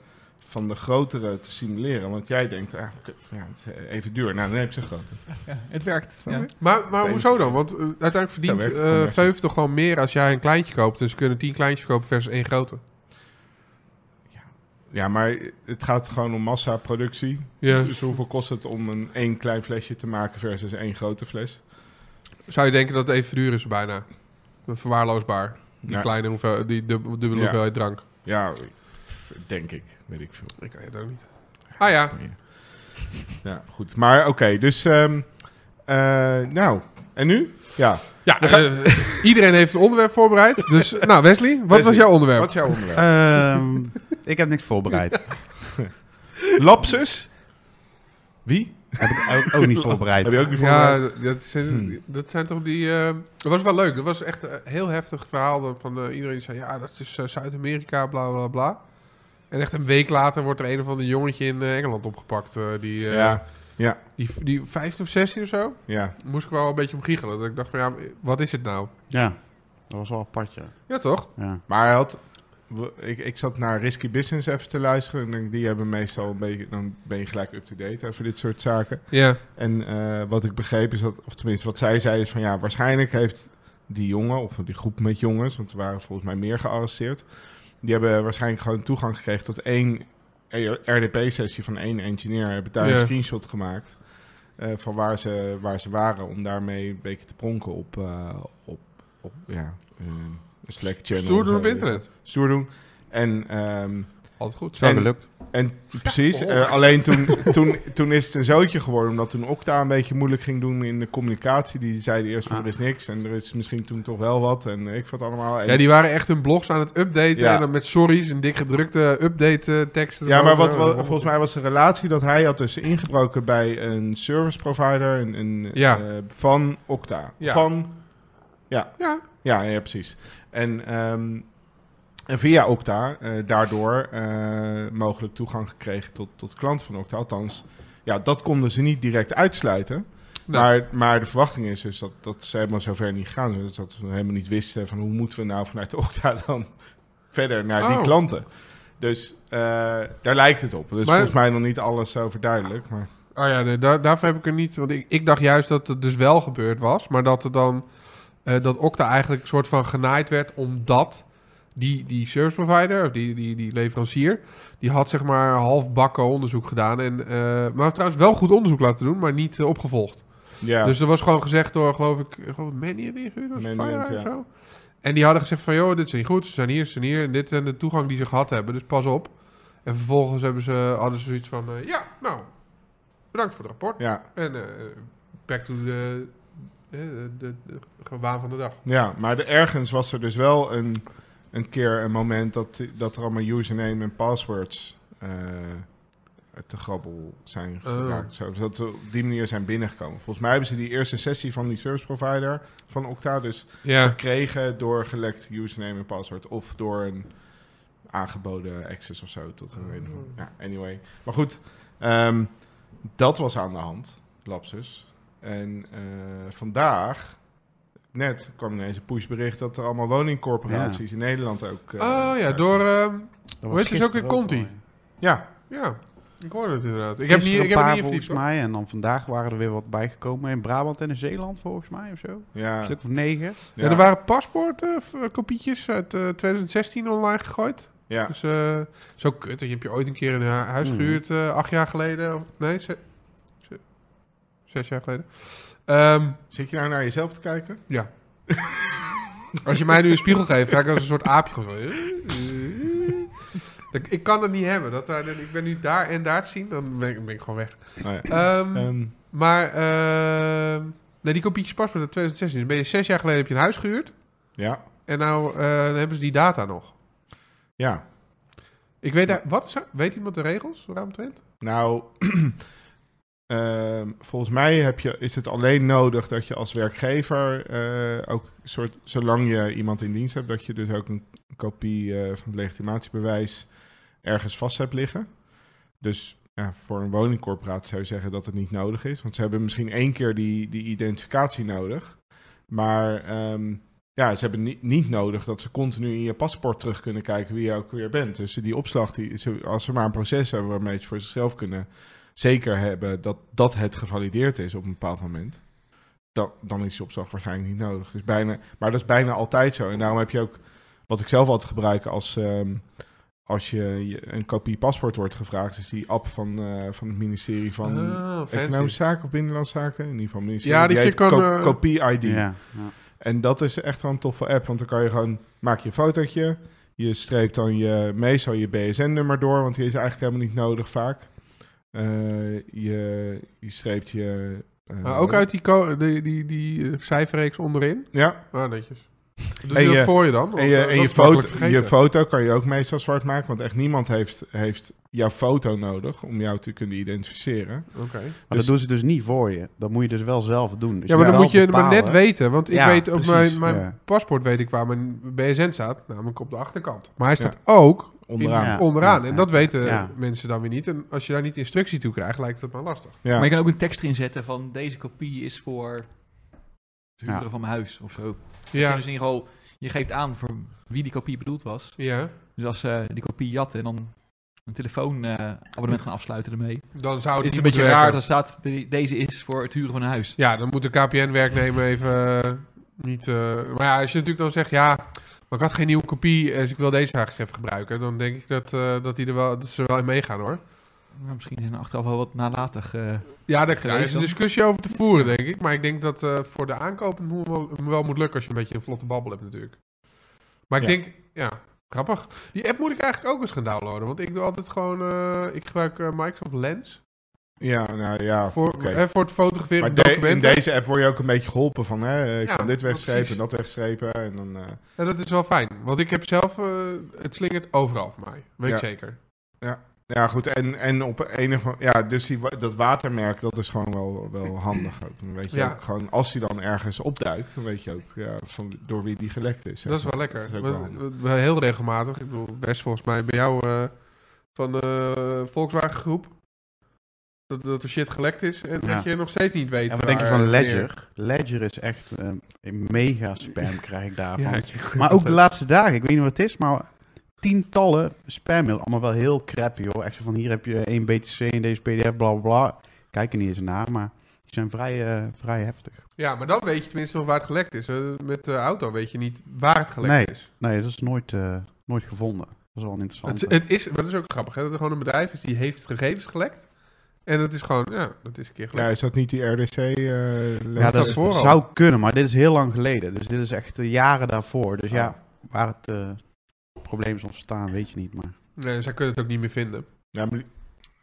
Speaker 1: van de grotere te simuleren. Want jij denkt, ah, kut, ja, het is even duur. Nou, dan heb je zo'n grote.
Speaker 4: Ja, het werkt.
Speaker 1: Snap
Speaker 4: Ja.
Speaker 1: je?
Speaker 3: Maar, maar
Speaker 1: Twee.
Speaker 3: hoezo dan? Want eh, uiteindelijk verdient
Speaker 1: Zo werkt het
Speaker 3: eh,
Speaker 1: gewoon best.
Speaker 3: Veuf toch gewoon meer als jij een kleintje koopt. Dus ze kunnen tien kleintjes kopen versus één grote.
Speaker 1: Ja, maar het gaat gewoon om massaproductie.
Speaker 3: Ja.
Speaker 1: Dus hoeveel kost het om een één klein flesje te maken versus één grote fles?
Speaker 3: Zou je denken dat het even duur is bijna? Verwaarloosbaar. Die
Speaker 1: Ja.
Speaker 3: kleine hoeveel, die dub- dubbele
Speaker 1: Ja.
Speaker 3: hoeveelheid drank.
Speaker 1: Nou, Ja, denk ik. Weet ik veel.
Speaker 3: Ik weet het ook niet. Ah ja,
Speaker 1: Ja, goed. Maar oké, dus... ehm, eh, nou, en nu? Ja.
Speaker 3: Ja, eh, iedereen heeft een onderwerp voorbereid. Dus, nou Wesley, wat was jouw onderwerp?
Speaker 1: Wat is jouw onderwerp?
Speaker 2: Ehm, ik heb niks voorbereid.
Speaker 1: Lapsus? Wie?
Speaker 2: heb ik ook, ook niet voorbereid.
Speaker 1: Heb je ook eh, niet
Speaker 3: ja,
Speaker 1: voorbereid?
Speaker 3: dat zijn,
Speaker 1: Hm.
Speaker 3: dat zijn toch die... eh, dat was wel leuk. Dat was echt een heel heftig verhaal dan van eh, iedereen die zei... Ja, dat is eh, Zuid-Amerika, bla, bla, bla. En echt een week later wordt er een of ander jongetje in eh, Engeland opgepakt. eh, die, eh,
Speaker 1: Ja, ja.
Speaker 3: Die, die 15 of 16 of zo.
Speaker 1: Ja.
Speaker 3: Moest ik wel een beetje om giechelen. Dat ik dacht van, ja, wat is het nou?
Speaker 2: Ja, dat was wel apart, ja.
Speaker 3: Ja, toch?
Speaker 2: ja.
Speaker 1: Maar hij had... we- Ik, ik zat naar Risky Business even te luisteren. En ik denk, die hebben meestal een beetje... Dan ben je gelijk up-to-date over dit soort zaken.
Speaker 3: Ja.
Speaker 1: En eh, wat ik begreep is dat, of tenminste wat zij zei, is van ja, waarschijnlijk heeft die jongen, of die groep met jongens, want er waren volgens mij meer gearresteerd, die hebben waarschijnlijk gewoon toegang gekregen tot één RDP-sessie van één engineer, hebben daar
Speaker 3: Ja.
Speaker 1: een screenshot gemaakt eh, van waar ze, waar ze waren, om daarmee een beetje te pronken op, eh, op, op ja, eh, een Slack-channel.
Speaker 3: Stoer doen op
Speaker 1: Zo.
Speaker 3: internet.
Speaker 1: Stoer doen. En ehm,
Speaker 3: Altijd goed.
Speaker 1: En-
Speaker 2: gelukt.
Speaker 1: en precies, eh,
Speaker 3: behoorlijk.
Speaker 1: alleen toen, toen, toen is het een zootje geworden, omdat toen Okta een beetje moeilijk ging doen in de communicatie. Die zeiden eerst van
Speaker 2: Ah.
Speaker 1: er is niks en er is misschien toen toch wel wat en ik wat allemaal. En-
Speaker 3: Ja, die waren echt hun blogs aan het updaten.
Speaker 1: Ja.
Speaker 3: En dan met sorry's en dik gedrukte update eh, teksten. Oh.
Speaker 1: Ja, maar
Speaker 3: erboven.
Speaker 1: wat, wel- volgens mij was de relatie dat hij had dus ingebroken bij een service provider een, een,
Speaker 3: Ja.
Speaker 1: eh, van Okta.
Speaker 3: Ja.
Speaker 1: Van
Speaker 3: Ja,
Speaker 1: Ja, ja precies. En, ehm, en via Okta eh, daardoor eh, mogelijk toegang gekregen tot, tot klanten van Okta. Althans, ja, dat konden ze niet direct uitsluiten.
Speaker 3: Nee.
Speaker 1: Maar, maar de verwachting is dus dat, dat ze helemaal zover niet gaan. Dus dat we helemaal niet wisten van hoe moeten we nou vanuit Okta dan verder naar die
Speaker 3: Oh.
Speaker 1: klanten. Dus eh, daar lijkt het op. Dus
Speaker 3: Maar-
Speaker 1: volgens mij nog niet alles over duidelijk. Maar
Speaker 3: Oh ja, nee, daar, daarvoor heb ik er niet. Want ik, ik dacht juist dat het dus wel gebeurd was. Maar dat er dan. eh, dat Okta eigenlijk een soort van genaaid werd. Omdat die, die service provider, of die, die, die leverancier. die had zeg maar halfbakken onderzoek gedaan. En, eh, maar trouwens wel goed onderzoek laten doen, maar niet eh, opgevolgd.
Speaker 1: ja,
Speaker 3: Dus er was gewoon gezegd door, geloof ik. ik geloof Manny die ingehuurd was,
Speaker 1: Mandiant,
Speaker 3: Fireye of
Speaker 1: ja.
Speaker 3: zo. En die hadden gezegd van, joh, dit is niet goed. Ze zijn hier, ze zijn hier. En dit en de toegang die ze gehad hebben. Dus pas op. En vervolgens hebben ze, hadden ze zoiets van, eh, ja, nou, bedankt voor het rapport.
Speaker 1: ja,
Speaker 3: En eh, back to de, eh, de, de, de waan van de dag.
Speaker 1: Ja, maar de, ergens was er dus wel een, een keer een moment dat, dat er allemaal username en passwords eh, te grabbel zijn
Speaker 3: Oh.
Speaker 1: geraakt. Zo, dat ze op die manier zijn binnengekomen. Volgens mij hebben ze die eerste sessie van die service provider van Okta dus
Speaker 3: Ja,
Speaker 1: gekregen door gelekt username en password. Of door een aangeboden access of zo. Tot een reden
Speaker 3: Oh.
Speaker 1: van- ja, anyway. Maar goed, ehm, dat was aan de hand, lapsus. En eh, vandaag, net, kwam ineens een pushbericht dat er allemaal woningcorporaties in Nederland ook... eh,
Speaker 3: oh ja,
Speaker 1: zijn.
Speaker 3: door... ehm,
Speaker 2: Dat
Speaker 3: Hoe heet die ook weer? Conti?
Speaker 1: Ja,
Speaker 3: ja, ik hoorde het inderdaad.
Speaker 2: Ik
Speaker 3: Ik heb, niet,
Speaker 2: een
Speaker 3: ik heb
Speaker 2: paar
Speaker 3: het niet
Speaker 2: volgens
Speaker 3: verdiept. hoor.
Speaker 2: mij. En dan vandaag waren er weer wat bijgekomen. In Brabant en in Zeeland volgens mij of zo.
Speaker 1: ja,
Speaker 2: Een stuk of negen.
Speaker 3: Ja, er
Speaker 1: ja,
Speaker 3: waren paspoortkopietjes uit eh, 2016 online gegooid.
Speaker 1: ja.
Speaker 3: Dus eh, zo kut. Je hebt je ooit een keer een hu- huis
Speaker 2: Mhm.
Speaker 3: gehuurd, eh, acht jaar geleden. Of, nee, ze, ze- zes jaar geleden. Ehm,
Speaker 1: Zit je nou naar jezelf te kijken?
Speaker 3: als je mij nu een spiegel geeft, ga ik als een soort aapje gewoon zo. Ik- Ik kan het niet hebben. Dat daar, ik ben nu daar en daar te zien, dan ben ik, ben ik gewoon weg.
Speaker 1: Nou ja.
Speaker 3: Ehm,
Speaker 1: Ehm,
Speaker 3: maar, ehm, nee, die kopietjes paspoort uit 2016. Dus ben je zes jaar geleden heb je een huis gehuurd.
Speaker 1: ja.
Speaker 3: En nou eh, dan hebben ze die data nog.
Speaker 1: ja,
Speaker 3: Ik weet daar, wat is er- Weet iemand de regels, Raam Twent?
Speaker 1: nou, ehm, volgens mij heb je, is het alleen nodig dat je als werkgever eh, ook een soort, zolang je iemand in dienst hebt, dat je dus ook een kopie eh, van het legitimatiebewijs ergens vast hebt liggen. Dus ja, voor een woningcorporatie zou je zeggen dat het niet nodig is, want ze hebben misschien één keer die, die identificatie nodig, maar ehm, ja, ze hebben niet, niet nodig dat ze continu in je paspoort terug kunnen kijken wie je ook weer bent. Dus die opslag, die, ze- als ze maar een proces hebben waarmee ze voor zichzelf kunnen zeker hebben dat, dat het gevalideerd is op een bepaald moment, dan, dan is die opslag waarschijnlijk niet nodig. Dus bijna, maar dat is bijna altijd zo. En daarom heb je ook, wat ik zelf altijd gebruik als, ehm, als je, je een kopie paspoort wordt gevraagd, is die app van, eh, van het ministerie van...
Speaker 3: Ah, fancy.
Speaker 1: Economische zaken of Binnenlandse Zaken, in ieder geval ministerie.
Speaker 3: Ja, die
Speaker 1: heet
Speaker 3: je kan,
Speaker 1: Ko-
Speaker 3: eh,
Speaker 1: Kopie-ID.
Speaker 2: Ja.
Speaker 1: En dat is echt wel een toffe app, want dan kan je gewoon, maak je een fotootje, je streept dan je, meestal je BSN-nummer door, want die is eigenlijk helemaal niet nodig vaak. Eh, je, je streept je... eh,
Speaker 3: Maar ook uit die, ko- die, die, die eh, cijferreeks onderin.
Speaker 1: Ja,
Speaker 3: Ah, netjes. Doe
Speaker 1: En
Speaker 3: je
Speaker 1: je-
Speaker 3: dat voor je dan? Want,
Speaker 1: en je,
Speaker 3: eh,
Speaker 1: en
Speaker 3: dat
Speaker 1: je,
Speaker 3: is makkelijk
Speaker 1: foto,
Speaker 3: vergeten.
Speaker 1: je foto kan je ook meestal zwart maken, want echt niemand heeft, heeft jouw foto nodig om jou te kunnen identificeren.
Speaker 3: Oké.
Speaker 2: Maar
Speaker 1: Dus-
Speaker 2: dat doen ze dus niet voor je. Dat moet je dus wel zelf doen. Dus je
Speaker 3: Ja, maar dan
Speaker 2: wel
Speaker 3: moet je het maar net
Speaker 2: bepalen-
Speaker 3: weten. Want ik
Speaker 2: Ja,
Speaker 3: weet op
Speaker 2: precies,
Speaker 3: mijn, mijn
Speaker 2: ja.
Speaker 3: paspoort weet ik waar mijn BSN staat. Namelijk op de achterkant. Maar hij staat ook onderaan.
Speaker 1: Onderaan.
Speaker 2: Ja.
Speaker 3: onderaan. En dat
Speaker 2: ja,
Speaker 3: weten
Speaker 2: ja.
Speaker 3: mensen dan weer niet. En als je daar niet instructie toe krijgt, lijkt het maar lastig.
Speaker 1: Ja.
Speaker 4: Maar je kan ook een tekst erin zetten van deze kopie is voor het huren
Speaker 2: Ja.
Speaker 4: van mijn huis of zo.
Speaker 3: Ja.
Speaker 4: Dus in ieder geval, je geeft aan voor wie die kopie bedoeld was.
Speaker 3: ja.
Speaker 4: Dus als ze die kopie jatten en dan een telefoonabonnement gaan afsluiten ermee.
Speaker 3: Dan zou
Speaker 4: is het een
Speaker 3: het
Speaker 4: beetje
Speaker 3: niet moeten
Speaker 4: raar
Speaker 3: werken.
Speaker 4: dat staat de- deze is voor het huren van een huis.
Speaker 3: Ja, dan moet de KPN-werknemer even eh, niet... eh, maar ja, als je natuurlijk dan zegt, ja, maar ik had geen nieuwe kopie, eh, dus ik wil deze eigenlijk even gebruiken. Dan denk ik dat, eh, dat, die er wel, dat ze er wel in meegaan, hoor.
Speaker 4: Nou, misschien zijn er achteraf wel wat nalatig. eh,
Speaker 3: Ja, daar daar
Speaker 4: Geweest
Speaker 3: is een
Speaker 4: dan?
Speaker 3: discussie over te voeren, denk ik. Maar ik denk dat eh, voor de aankoop het moet wel, hem wel moet lukken als je een beetje een vlotte babbel hebt natuurlijk. Maar ik
Speaker 1: Ja.
Speaker 3: denk, ja, grappig. Die app moet ik eigenlijk ook eens gaan downloaden. Want ik doe altijd gewoon, eh, ik gebruik eh, Microsoft Lens
Speaker 1: ja, nou ja.
Speaker 3: voor,
Speaker 1: oké.
Speaker 3: eh, voor het fotograferen
Speaker 1: Maar
Speaker 3: van
Speaker 1: de- in
Speaker 3: documenten.
Speaker 1: deze app word je ook een beetje geholpen van, hè, ik
Speaker 3: Ja,
Speaker 1: kan dit wegstrepen
Speaker 3: precies.
Speaker 1: en dat wegstrepen. En dan, eh,
Speaker 3: En dat is wel fijn. Want ik heb zelf, eh, het slingert overal voor mij. Weet
Speaker 1: Ja.
Speaker 3: ik zeker.
Speaker 1: ja, goed. En, en op enige ja, dus die, wa- dat watermerk, dat is gewoon wel, wel handig ook. Dan weet je
Speaker 3: Ja.
Speaker 1: ook gewoon, als die dan ergens opduikt, dan weet je ook ja, van, door wie die gelekt is. zeg
Speaker 3: Dat is wel
Speaker 1: maar.
Speaker 3: lekker.
Speaker 1: is ook wel
Speaker 3: Want-
Speaker 1: handig.
Speaker 3: want we- heel regelmatig. Ik bedoel, best volgens mij bij jou eh, van de Volkswagen Groep. Dat, dat er shit gelekt is en
Speaker 2: Ja.
Speaker 3: dat je nog steeds niet weet.
Speaker 2: En wat denk je
Speaker 3: waar
Speaker 2: van
Speaker 3: het neer-
Speaker 2: Ledger? Ledger is echt eh, een mega spam krijg ik daarvan.
Speaker 3: Ja, ik-
Speaker 2: Maar ook de laatste dagen, ik weet niet wat het is, maar tientallen spammail. Allemaal wel heel crappy hoor. Echt zo van hier heb je één BTC in deze PDF, bla bla bla. Kijk er niet eens naar, maar die zijn vrij, eh, vrij heftig.
Speaker 3: Ja, maar dan weet je tenminste nog waar het gelekt is. Eh, Met de auto weet je niet waar het gelekt
Speaker 2: Nee.
Speaker 3: is.
Speaker 2: Nee, dat is nooit, eh, nooit gevonden. Dat is wel een
Speaker 3: Het,
Speaker 2: interessante.
Speaker 3: het is. Maar dat is ook grappig. Hè? Dat er gewoon een bedrijf is die heeft gegevens gelekt. En dat is gewoon, ja, dat is een keer
Speaker 1: Ja,
Speaker 3: gelekt.
Speaker 1: is dat niet die RDC? eh,
Speaker 2: ja,
Speaker 1: leeftijd?
Speaker 2: dat
Speaker 3: daarvoor al.
Speaker 2: zou kunnen, maar dit is heel lang geleden. Dus dit is echt eh, jaren daarvoor. Dus ja, waar het eh, probleem is ontstaan, weet je niet. Maar
Speaker 3: Nee, zij kunnen het ook niet meer vinden.
Speaker 1: Ja, maar die-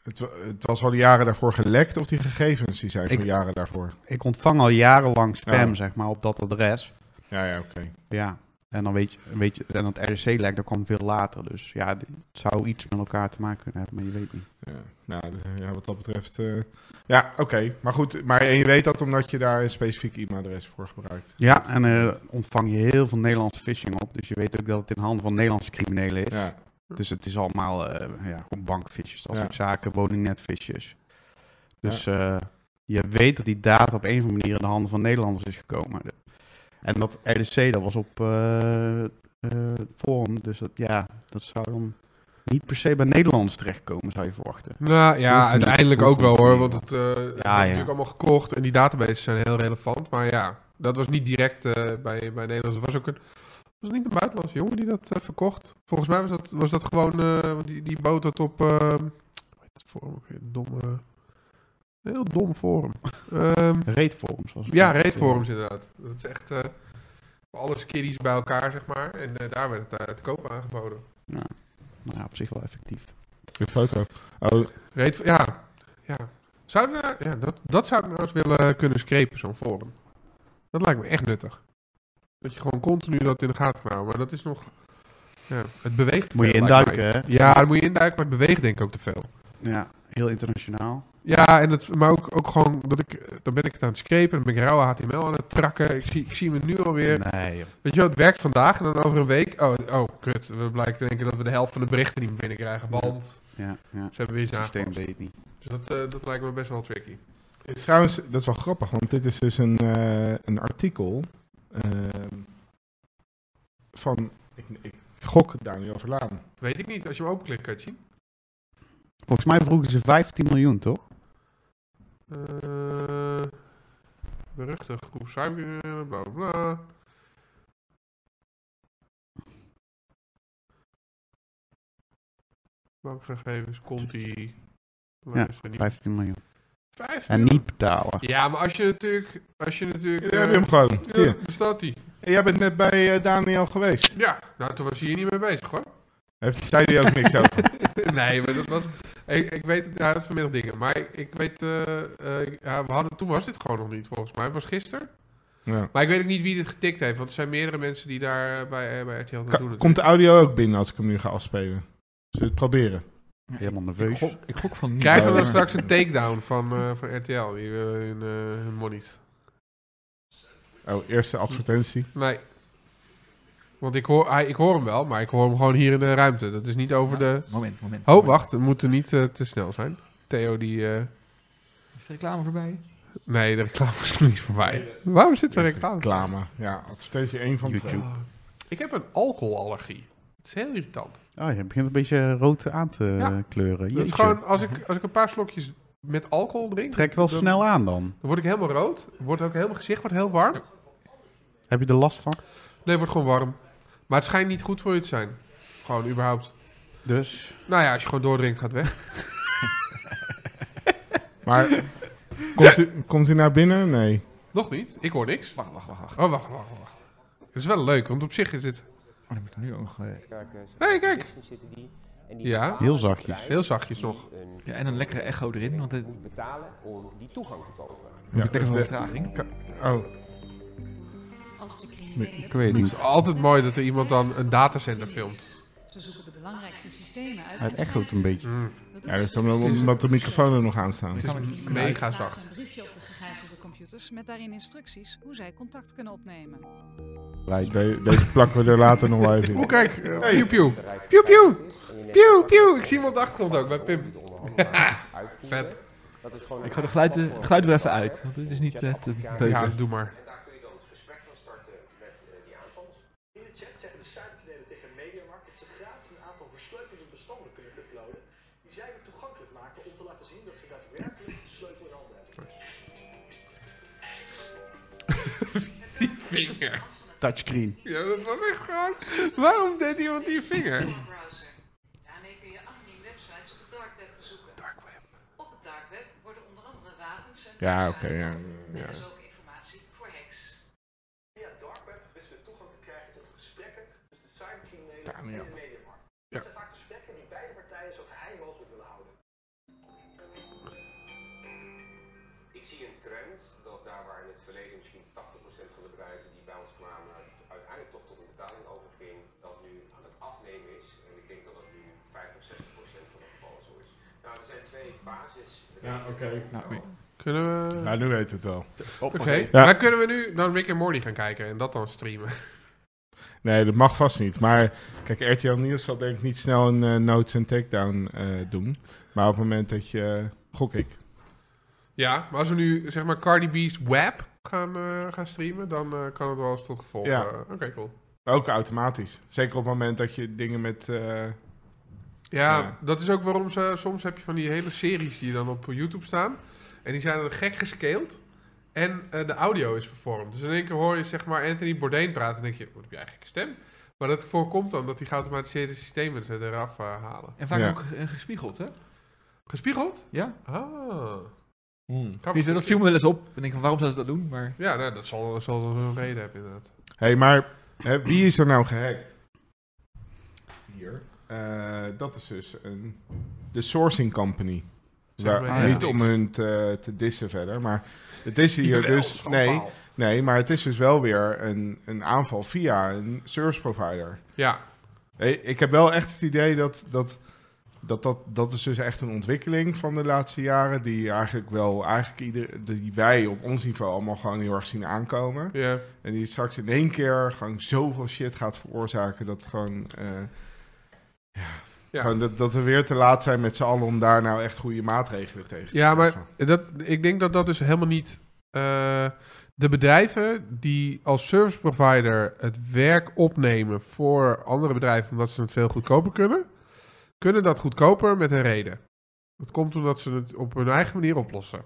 Speaker 1: het, wa- het was al die jaren daarvoor gelekt of die gegevens die zijn
Speaker 2: Ik-
Speaker 1: van jaren daarvoor?
Speaker 2: ik ontvang al jarenlang spam,
Speaker 1: Ja.
Speaker 2: zeg maar, op dat adres.
Speaker 1: Ja, ja, oké.
Speaker 2: Ja, en dan weet je, weet je en dat RDC-lek, dat kwam veel later. Dus ja, d- het zou iets met elkaar te maken kunnen hebben, maar je weet niet.
Speaker 1: Ja, nou, d- ja, wat dat betreft. eh, ja, oké. Maar goed, maar en je weet dat omdat je daar een specifiek e-mailadres voor gebruikt.
Speaker 2: Ja, en eh, ontvang je heel veel Nederlandse phishing op. Dus je weet ook dat het in handen van Nederlandse criminelen is.
Speaker 1: Ja,
Speaker 2: Dus het is allemaal eh ja, gewoon bankfishes, dat
Speaker 1: Ja.
Speaker 2: soort zaken, woningnetfishes. Dus eh, je weet dat die data op een of andere manier in de handen van Nederlanders is gekomen. En dat RDC, dat was op eh eh, forum. Dus dat, ja, dat zou dan niet per se bij Nederlanders terechtkomen, zou je verwachten.
Speaker 3: Nou ja,
Speaker 2: Hoeft niet.
Speaker 3: uiteindelijk
Speaker 2: Hoeft
Speaker 3: ook wel
Speaker 2: niet.
Speaker 3: hoor. Want het, eh, het wordt
Speaker 2: ja.
Speaker 3: natuurlijk allemaal gekocht en die databases zijn heel relevant. Maar ja, dat was niet direct eh, bij, bij Nederlands. Er was ook een. Was het niet een buitenlandse jongen die dat eh, verkocht? Volgens mij was dat, was ehm, dat gewoon. eh, want die, die bood dat op. eh, hoe heet het voor? Domme. Een heel dom forum. Ehm,
Speaker 2: Reetforums was het.
Speaker 3: ja, raidforums inderdaad. Dat is echt eh, alles kiddies bij elkaar, zeg maar. En eh, daar werd het eh, te koop aangeboden.
Speaker 2: Ja. Nou ja, op zich wel effectief.
Speaker 1: De foto. Oh,
Speaker 3: Raid, ja, ja. Zouden daar, ja dat, dat zouden we nou eens willen kunnen screpen, zo'n forum. Dat lijkt me echt nuttig. Dat je gewoon continu dat in de gaten kan houden. Maar dat is nog... Ja, het beweegt te
Speaker 2: Moet je
Speaker 3: veel, lijkt mij.
Speaker 2: induiken, hè?
Speaker 3: Ja, daar moet je induiken, maar het beweegt denk ik ook te veel.
Speaker 2: Ja, heel internationaal.
Speaker 3: Ja, en het, maar ook, ook gewoon dat ik, dan ben ik het aan het scrapen, dan ben ik rauwe HTML aan het prakken. Ik zie, ik zie me nu alweer.
Speaker 2: Nee, joh.
Speaker 3: Weet je wel, het werkt vandaag en dan over een week. Oh, oh kut. We blijken te denken dat we de helft van de berichten niet meer binnenkrijgen. Want
Speaker 2: Ja, ja.
Speaker 3: ze hebben weer iets
Speaker 2: Het systeem
Speaker 3: aangepast.
Speaker 2: deed het niet.
Speaker 3: Dus dat, eh, dat lijkt me best wel tricky.
Speaker 1: dit is trouwens, dat is wel grappig, want dit is dus een, eh, een artikel ehm, van, ik, ik gok Daniel Verlaan.
Speaker 3: Weet ik niet. Als je hem openklikt, kan je het zien.
Speaker 2: Volgens mij vroegen ze 15 miljoen, toch?
Speaker 3: Eh beruchtig. Groep cyber, eh, bla bla bla. Bankgegevens, conti.
Speaker 2: Ja,
Speaker 3: Luister niet.
Speaker 2: 15 miljoen.
Speaker 3: Vijf
Speaker 2: En
Speaker 3: miljoen.
Speaker 2: niet betalen.
Speaker 3: Ja, maar als je natuurlijk... Als je
Speaker 1: Ja,
Speaker 3: natuurlijk... eh,
Speaker 1: heb je hem gewoon.
Speaker 3: ja,
Speaker 1: Hier.
Speaker 3: bestaat die.
Speaker 1: En Jij bent net bij eh, Daniel geweest.
Speaker 3: Ja, nou toen was hij hier niet mee bezig hoor.
Speaker 1: Heeft, zei hij ook niks over?
Speaker 3: nee, maar dat was... Ik, ik weet het, hij had vanmiddag dingen. Maar ik, ik weet... eh, eh, ja, we hadden, toen was dit gewoon nog niet volgens mij. Het was gisteren.
Speaker 1: Ja.
Speaker 3: Maar ik weet ook niet wie dit getikt heeft. Want er zijn meerdere mensen die daar eh, bij, eh, bij RTL
Speaker 1: Ka-
Speaker 3: naar doen.
Speaker 1: Komt de audio ook binnen als ik hem nu ga afspelen? Zullen we het proberen?
Speaker 2: Helemaal
Speaker 4: Ik
Speaker 2: nerveus.
Speaker 4: gok, ik gok van niet.
Speaker 3: Krijgen we
Speaker 1: Ja.
Speaker 3: dan straks een takedown van, eh, van RTL? Die we hun, eh hun monies.
Speaker 1: Oh, eerste advertentie.
Speaker 3: Nee. Want ik hoor, hij- ik hoor hem wel, maar ik hoor hem gewoon hier in de ruimte. Dat is niet over de...
Speaker 4: Moment, moment.
Speaker 3: Oh,
Speaker 4: moment.
Speaker 3: wacht. We moeten niet eh, te snel zijn. Theo die... eh,
Speaker 4: Is de reclame voorbij?
Speaker 3: Nee, de reclame is nog niet voorbij. Waarom zit er
Speaker 1: Eerste
Speaker 3: reclame?
Speaker 1: reclame. Ja, advertentie 1 van
Speaker 2: YouTube.
Speaker 1: YouTube.
Speaker 3: Ah. Ik heb een alcoholallergie. Het is heel irritant.
Speaker 2: Oh, je begint een beetje rood aan te
Speaker 3: eh,
Speaker 2: eh,
Speaker 3: Ja.
Speaker 2: kleuren.
Speaker 3: Dat is
Speaker 2: Jeetje.
Speaker 3: gewoon, als ik, als ik een paar slokjes met alcohol drink,
Speaker 2: Trekt wel
Speaker 3: dan-
Speaker 2: snel aan dan.
Speaker 3: dan word ik helemaal rood. Wordt ook heel mijn gezicht wordt heel warm.
Speaker 2: Heb je er last van?
Speaker 3: Nee, het wordt gewoon warm. Maar het schijnt niet goed voor je te zijn. Gewoon überhaupt.
Speaker 2: Dus.
Speaker 3: Nou ja, als je gewoon doordrinkt, gaat het weg.
Speaker 1: Maar komt u, komt u naar binnen? Nee.
Speaker 3: Nog niet. Ik hoor niks.
Speaker 4: Wacht, wacht, wacht. wacht.
Speaker 3: Oh, wacht, wacht, wacht. Het is wel leuk, want op zich is het
Speaker 4: Oh, dan moet ik nu ook nog... eh,
Speaker 5: Kerken, zo
Speaker 3: Hey, kijk.
Speaker 5: componisten Zitten die, en die
Speaker 3: Ja.
Speaker 5: betalen
Speaker 2: Heel zachtjes.
Speaker 5: een
Speaker 3: heel zachtjes nog.
Speaker 5: prijs die een
Speaker 4: ja, en een lekkere echo erin, want het
Speaker 5: moet betalen om die toegang te kopen.
Speaker 4: moet ik lekker veel
Speaker 1: de-
Speaker 4: vertraging.
Speaker 1: ka- Oh,
Speaker 2: Ik weet
Speaker 3: Het
Speaker 2: niet.
Speaker 3: is altijd mooi dat er iemand dan een datacenter filmt.
Speaker 6: Ze zoeken de belangrijkste systemen uit.
Speaker 2: Het echoot een beetje.
Speaker 3: Hmm.
Speaker 1: ja, dat is dan wel omdat de microfoon er nog aan staan.
Speaker 3: Het
Speaker 4: Gaan we
Speaker 3: is
Speaker 4: niet
Speaker 3: mega
Speaker 6: Plaatsen
Speaker 3: zacht.
Speaker 6: een briefje op de gegijzelde computers met daarin instructies hoe zij contact kunnen opnemen.
Speaker 1: De- deze plakken we er later nog wel even
Speaker 3: Oeh,
Speaker 1: in.
Speaker 3: kijk. eh, Piu, piu. Piu, piu. Piu, piu. Ik zie hem op de achtergrond ook bij Pim. Vet.
Speaker 5: Dat is gewoon
Speaker 4: Ik ga de geluiden, geluiden er even uit, want dit is niet eh, te
Speaker 3: Ja,
Speaker 4: beuken.
Speaker 3: doe maar.
Speaker 7: En daar kun je dan het gesprek van starten met eh, die aanvallers. In de chat zeggen de cyberkneden tegen Mediamarkt dat ze gratis een aantal versleutelde bestanden kunnen uploaden. Die zij weer toegankelijk maken om te laten zien dat ze daadwerkelijk de sleutel in handen hebben.
Speaker 3: Die vinger.
Speaker 2: Touchscreen.
Speaker 3: Ja, dat was echt gewoon... Waarom deed iemand die vinger?
Speaker 6: Browser. Daarmee kun je anoniem websites op het dark web bezoeken. Op het dark web worden onder andere wapens en
Speaker 3: Ah,
Speaker 1: Ja,
Speaker 6: drugs
Speaker 1: oké. ja.
Speaker 6: uitgevonden. Er is ook informatie voor hacks.
Speaker 7: Via dark web wisten we toegang te krijgen tot de gesprekken tussen de cybercriminelen
Speaker 1: Daniel.
Speaker 7: en de Mediamarkt.
Speaker 3: Ja.
Speaker 7: Dat zijn vaak gesprekken die beide partijen zo geheim mogelijk willen houden.
Speaker 8: Ik zie een trend dat daar waar in het verleden misschien 80% van de bedrijven die bij ons kwamen uiteindelijk toch tot een betaling overging, dat nu aan het afnemen is. En ik denk dat dat nu 50, 60% van de gevallen zo is. Nou, er zijn twee basis.
Speaker 4: Nou,
Speaker 3: Kunnen we...
Speaker 1: Nou, nu weet het wel.
Speaker 3: Oké.
Speaker 1: Ja.
Speaker 3: Maar kunnen we nu dan Rick en Morty gaan kijken en dat dan streamen?
Speaker 1: Nee, dat mag vast niet. Maar kijk, RTL Nieuws zal denk ik niet snel een eh, notes en takedown eh, doen. Maar op het moment dat je... eh, gok ik.
Speaker 3: Ja, maar als we nu zeg maar Cardi B's WAP gaan, eh, gaan streamen, dan eh, kan het wel eens tot gevolg.
Speaker 1: Ja.
Speaker 3: eh, Oké, cool.
Speaker 1: Maar ook automatisch. Zeker op het moment dat je dingen met... eh,
Speaker 3: Ja,
Speaker 1: Ja.
Speaker 3: dat is ook waarom ze, soms heb je van die hele series die dan op YouTube staan. En die zijn dan gek gescaled. En eh, de audio is vervormd. Dus in één keer hoor je zeg maar Anthony Bourdain praten. En denk je, wat heb jij gekke stem? Maar dat voorkomt dan dat die geautomatiseerde systemen ze eraf eh, halen.
Speaker 4: En vaak
Speaker 1: Ja.
Speaker 4: ook eh, gespiegeld, hè?
Speaker 3: Gespiegeld?
Speaker 4: Ja?
Speaker 3: Ah.
Speaker 1: Hmm.
Speaker 4: Tenminste, dat viel me wel eens op. En ik van, waarom zou ze dat doen? Maar
Speaker 3: Ja, nou, dat zal, dat zal wel een reden hebben inderdaad.
Speaker 1: hey, maar hè, wie is er nou gehackt? Hier. Eh, dat is dus een, de sourcing company.
Speaker 3: Zeg
Speaker 1: Waar-
Speaker 3: maar, ja.
Speaker 1: Niet om hun te, te dissen verder, maar het is hier dus... Nee, nee, maar het is dus wel weer een, een aanval via een service provider.
Speaker 3: Ja,
Speaker 1: Hey, ik heb wel echt het idee dat dat, dat, dat dat is dus echt een ontwikkeling van de laatste jaren. Die eigenlijk wel, eigenlijk ieder, die wij op ons niveau allemaal gewoon heel erg zien aankomen.
Speaker 3: ja.
Speaker 1: En die straks in één keer gewoon zoveel shit gaat veroorzaken dat gewoon. eh,
Speaker 3: Ja.
Speaker 1: Gewoon dat, dat we weer te laat zijn met z'n allen om daar nou echt goede maatregelen tegen te
Speaker 3: ja maar
Speaker 1: treffen.
Speaker 3: dat, ik denk dat dat dus helemaal niet... eh, de bedrijven die als service provider het werk opnemen voor andere bedrijven omdat ze het veel goedkoper kunnen, kunnen dat goedkoper met een reden. Dat komt omdat ze het op hun eigen manier oplossen.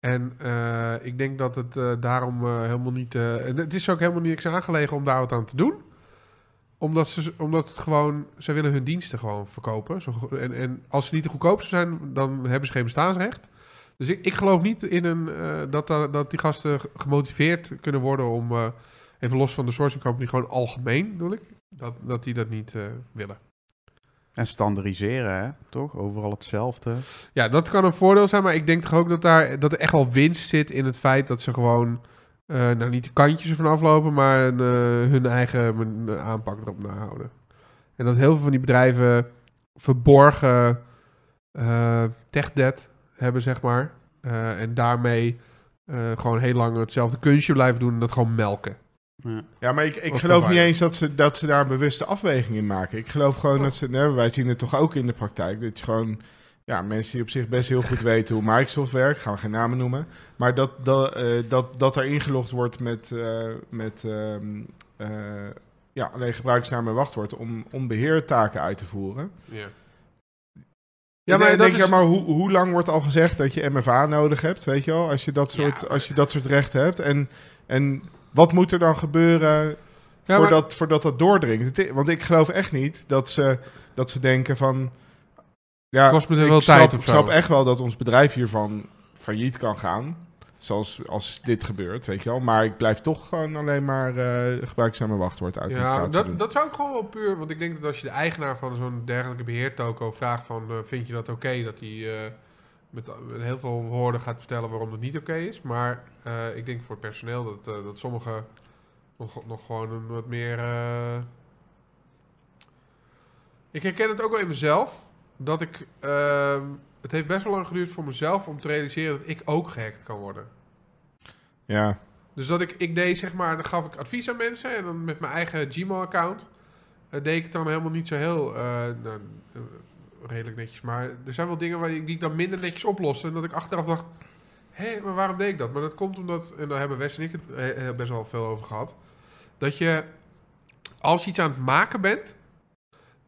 Speaker 3: En eh, ik denk dat het eh, daarom eh, helemaal niet. eh, en het is ook helemaal niks aangelegen om daar wat aan te doen omdat ze omdat het gewoon, ze willen hun diensten gewoon verkopen. Zo, go- en, en als ze niet de goedkoopste zijn, dan hebben ze geen bestaansrecht. Dus ik, ik geloof niet in een, eh, dat, da- dat die gasten ge- gemotiveerd kunnen worden om, eh, even los van de sourcing company, gewoon algemeen, bedoel ik, dat, dat die dat niet eh, willen.
Speaker 2: En standaardiseren, hè? toch? Overal hetzelfde.
Speaker 3: Ja, dat kan een voordeel zijn, maar ik denk toch ook dat, daar, dat er echt wel winst zit in het feit dat ze gewoon, eh, nou niet de kantjes ervan aflopen, maar een, eh, hun eigen men- aanpak erop nahouden. En dat heel veel van die bedrijven verborgen eh tech debt hebben, zeg maar. Eh, en daarmee eh, gewoon heel lang hetzelfde kunstje blijven doen en dat gewoon melken.
Speaker 1: Ja, maar ik, ik
Speaker 3: Als
Speaker 1: geloof niet
Speaker 3: provider.
Speaker 1: eens dat ze, dat ze daar een bewuste afweging in maken. Ik geloof gewoon dat ze... nee, wij zien het toch ook in de praktijk. Dat je gewoon... Ja, mensen die op zich best heel goed weten hoe Microsoft werkt. Gaan we geen namen noemen. Maar dat, dat, eh, dat, dat er ingelogd wordt met... eh, met ehm, eh, ja, alleen gebruikersnaam en wachtwoord om, om beheertaken uit te voeren.
Speaker 3: Ja,
Speaker 1: Ja, maar, denk
Speaker 3: maar dat
Speaker 1: je,
Speaker 3: is-
Speaker 1: maar hoe, hoe lang wordt al gezegd dat je MFA nodig hebt, weet je wel? Als je dat soort,
Speaker 3: Ja.
Speaker 1: als je dat soort rechten hebt. En, en wat moet er dan gebeuren
Speaker 3: maar-
Speaker 1: voordat, voordat dat doordringt? Het i- Want ik geloof echt niet dat ze, dat ze denken van... Ja,
Speaker 3: Kost me er
Speaker 1: ik
Speaker 3: wel
Speaker 1: snap,
Speaker 3: tijd of
Speaker 1: Ik
Speaker 3: zo.
Speaker 1: snap echt wel dat ons bedrijf hiervan failliet kan gaan. Zoals als dit gebeurt, weet je wel. Maar ik blijf toch gewoon alleen maar eh gebruikzame wachtwoord uit.
Speaker 3: ja dat, dat zou ik gewoon wel puur... Want ik denk dat als je de eigenaar van zo'n dergelijke beheertoko vraagt van... eh, vind je dat oké dat hij eh, met, met heel veel woorden gaat vertellen waarom dat niet oké is. Maar eh, ik denk voor het personeel dat, eh, dat sommigen nog, nog gewoon een wat meer... eh, Ik herken het ook wel in mezelf. Dat ik... ehm, het heeft best wel lang geduurd voor mezelf om te realiseren dat ik ook gehackt kan worden.
Speaker 1: Ja,
Speaker 3: Dus dat ik, ik deed zeg maar, dan gaf ik advies aan mensen en dan met mijn eigen Gmail-account eh, deed ik het dan helemaal niet zo heel, eh, nou, eh, redelijk netjes. Maar er zijn wel dingen waar ik, die ik dan minder netjes oplossen en dat ik achteraf dacht, hé, maar waarom deed ik dat? Maar dat komt omdat, en daar hebben Wes en ik het eh, eh, best wel veel over gehad, dat je als je iets aan het maken bent,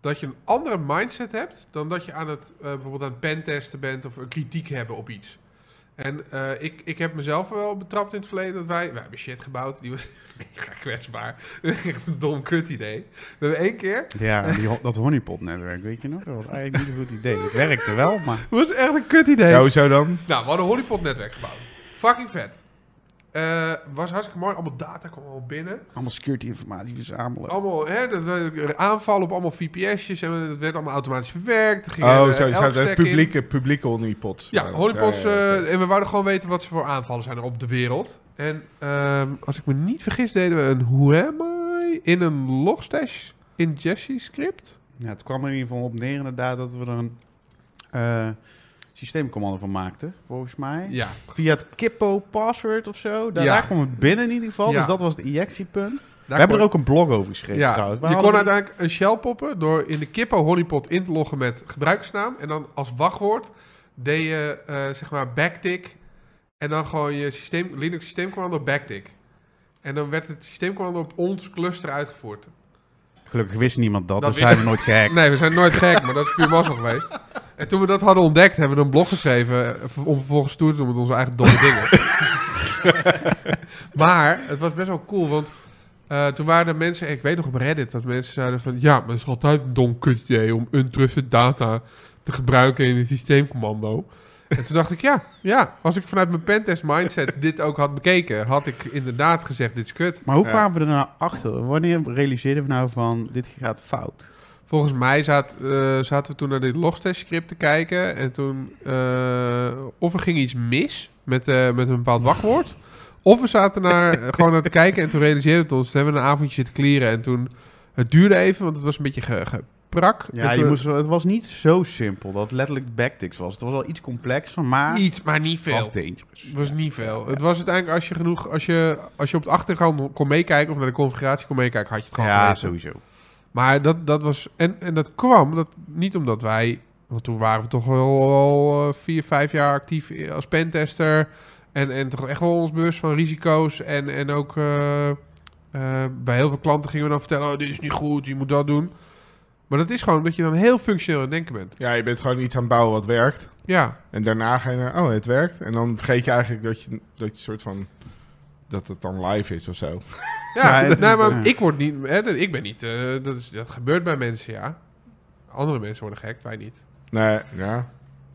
Speaker 3: dat je een andere mindset hebt dan dat je aan het, eh, bijvoorbeeld aan het pentesten bent of een kritiek hebben op iets. En eh, ik, ik heb mezelf wel betrapt in het verleden dat wij... Wij hebben shit gebouwd, die was mega kwetsbaar. Echt een dom kut idee. We hebben één keer...
Speaker 2: Ja, die, ho- dat honeypot-netwerk, weet je nog? Dat was eigenlijk niet een goed idee. Het werkte wel, maar...
Speaker 3: Het was echt een kut idee.
Speaker 1: ja hoezo dan?
Speaker 3: Nou, we hadden een Hollypot-netwerk gebouwd. Fucking vet. Eh, was hartstikke mooi. Allemaal data kwam allemaal binnen.
Speaker 2: Allemaal security-informatie verzamelen.
Speaker 3: Allemaal hè, dat- dat- aanvallen op allemaal VPS'jes. En het werd allemaal automatisch verwerkt. Er ging
Speaker 1: Oh,
Speaker 3: een, eh,
Speaker 1: zo, zo, de
Speaker 3: elk stack in.
Speaker 1: publieke, publieke honeypots.
Speaker 3: Ja, honeypots.
Speaker 1: Ja, ja, ja, oké.
Speaker 3: eh, en we wouden gewoon weten wat ze voor aanvallen zijn er op de wereld. En ehm, als ik me niet vergis, deden we een Who am I in een logstash ingestie script.
Speaker 2: Ja, het kwam er in ieder geval op neer inderdaad dat we er een eh, systeemcommando van maakten, volgens mij.
Speaker 3: Ja.
Speaker 2: Via het kippo-password of zo. Daar,
Speaker 3: Ja.
Speaker 2: daar kwam het binnen in ieder geval.
Speaker 3: Ja.
Speaker 2: Dus dat was het injectiepunt. we hebben er ook een blog over geschreven
Speaker 3: ja,
Speaker 2: trouwens. We
Speaker 3: je kon
Speaker 2: hadden-
Speaker 3: uiteindelijk een shell poppen door in de kippo honeypot in te loggen met gebruikersnaam. En dan als wachtwoord deed je eh, zeg maar backtick. En dan gewoon je systeem, Linux systeemcommando backtick. En dan werd het systeemcommando op ons cluster uitgevoerd.
Speaker 2: Gelukkig wist niemand dat,
Speaker 3: Dat
Speaker 2: dus
Speaker 3: wist-
Speaker 2: zijn we nooit gehackt.
Speaker 3: Nee, we zijn nooit gek, maar dat is puur mazzel geweest. En toen we dat hadden ontdekt, hebben we een blog geschreven eh, om vervolgens toe te doen met onze eigen domme dingen. maar het was best wel cool, want eh, toen waren er mensen, ik weet nog op Reddit, dat mensen zeiden van... Ja, maar het is altijd een dom kut idee om untrusted data te gebruiken in een systeemcommando. En toen dacht ik, ja, ja, als ik vanuit mijn pentest mindset dit ook had bekeken, had ik inderdaad gezegd, dit is kut.
Speaker 2: Maar hoe
Speaker 1: Ja.
Speaker 2: kwamen we er nou achter? Wanneer realiseerden we nou van dit gaat fout?
Speaker 3: Volgens mij zat, eh, zaten we toen naar dit logtest script te kijken en toen, eh, of er ging iets mis met, eh, met een bepaald wachtwoord, of we zaten naar, gewoon naar te kijken en toen realiseerden we het ons. Toen hebben we een avondje zitten clearen en toen, het duurde even, want het was een beetje ge- geprak.
Speaker 2: Ja,
Speaker 3: En
Speaker 2: je
Speaker 3: toen-
Speaker 2: moest, wel- het was niet zo simpel dat het letterlijk backticks was. Het was wel iets complexer, maar
Speaker 3: Iets, maar niet
Speaker 2: het was
Speaker 3: veel.
Speaker 2: dangerous.
Speaker 3: Het was niet veel. Het was uiteindelijk als je genoeg, als je, als je op de achtergrond kon meekijken of naar de configuratie kon meekijken, had je het gewoon
Speaker 2: Ja,
Speaker 3: gelezen.
Speaker 2: sowieso.
Speaker 3: Maar dat, dat was, en, en dat kwam dat, niet omdat wij, want toen waren we toch wel, wel eh, vier, vijf jaar actief i- als pentester. En, en toch echt wel ons bewust van risico's. En, en ook eh, eh, bij heel veel klanten gingen we dan vertellen, oh, dit is niet goed, je moet dat doen. Maar dat is gewoon omdat je dan heel functioneel aan het denken bent.
Speaker 1: Ja, je bent gewoon iets aan het bouwen wat werkt.
Speaker 3: Ja,
Speaker 1: En daarna ga je naar, oh, het werkt. En dan vergeet je eigenlijk dat je, dat je soort van, dat het dan live is of zo.
Speaker 3: Ja,
Speaker 2: Ja, het
Speaker 3: nou,
Speaker 2: is,
Speaker 3: maar
Speaker 2: eh,
Speaker 3: ik word niet. Hè, dat- ik ben niet. eh, dat, is, dat gebeurt bij mensen, ja. Andere mensen worden gek, wij niet.
Speaker 1: Nee, ja.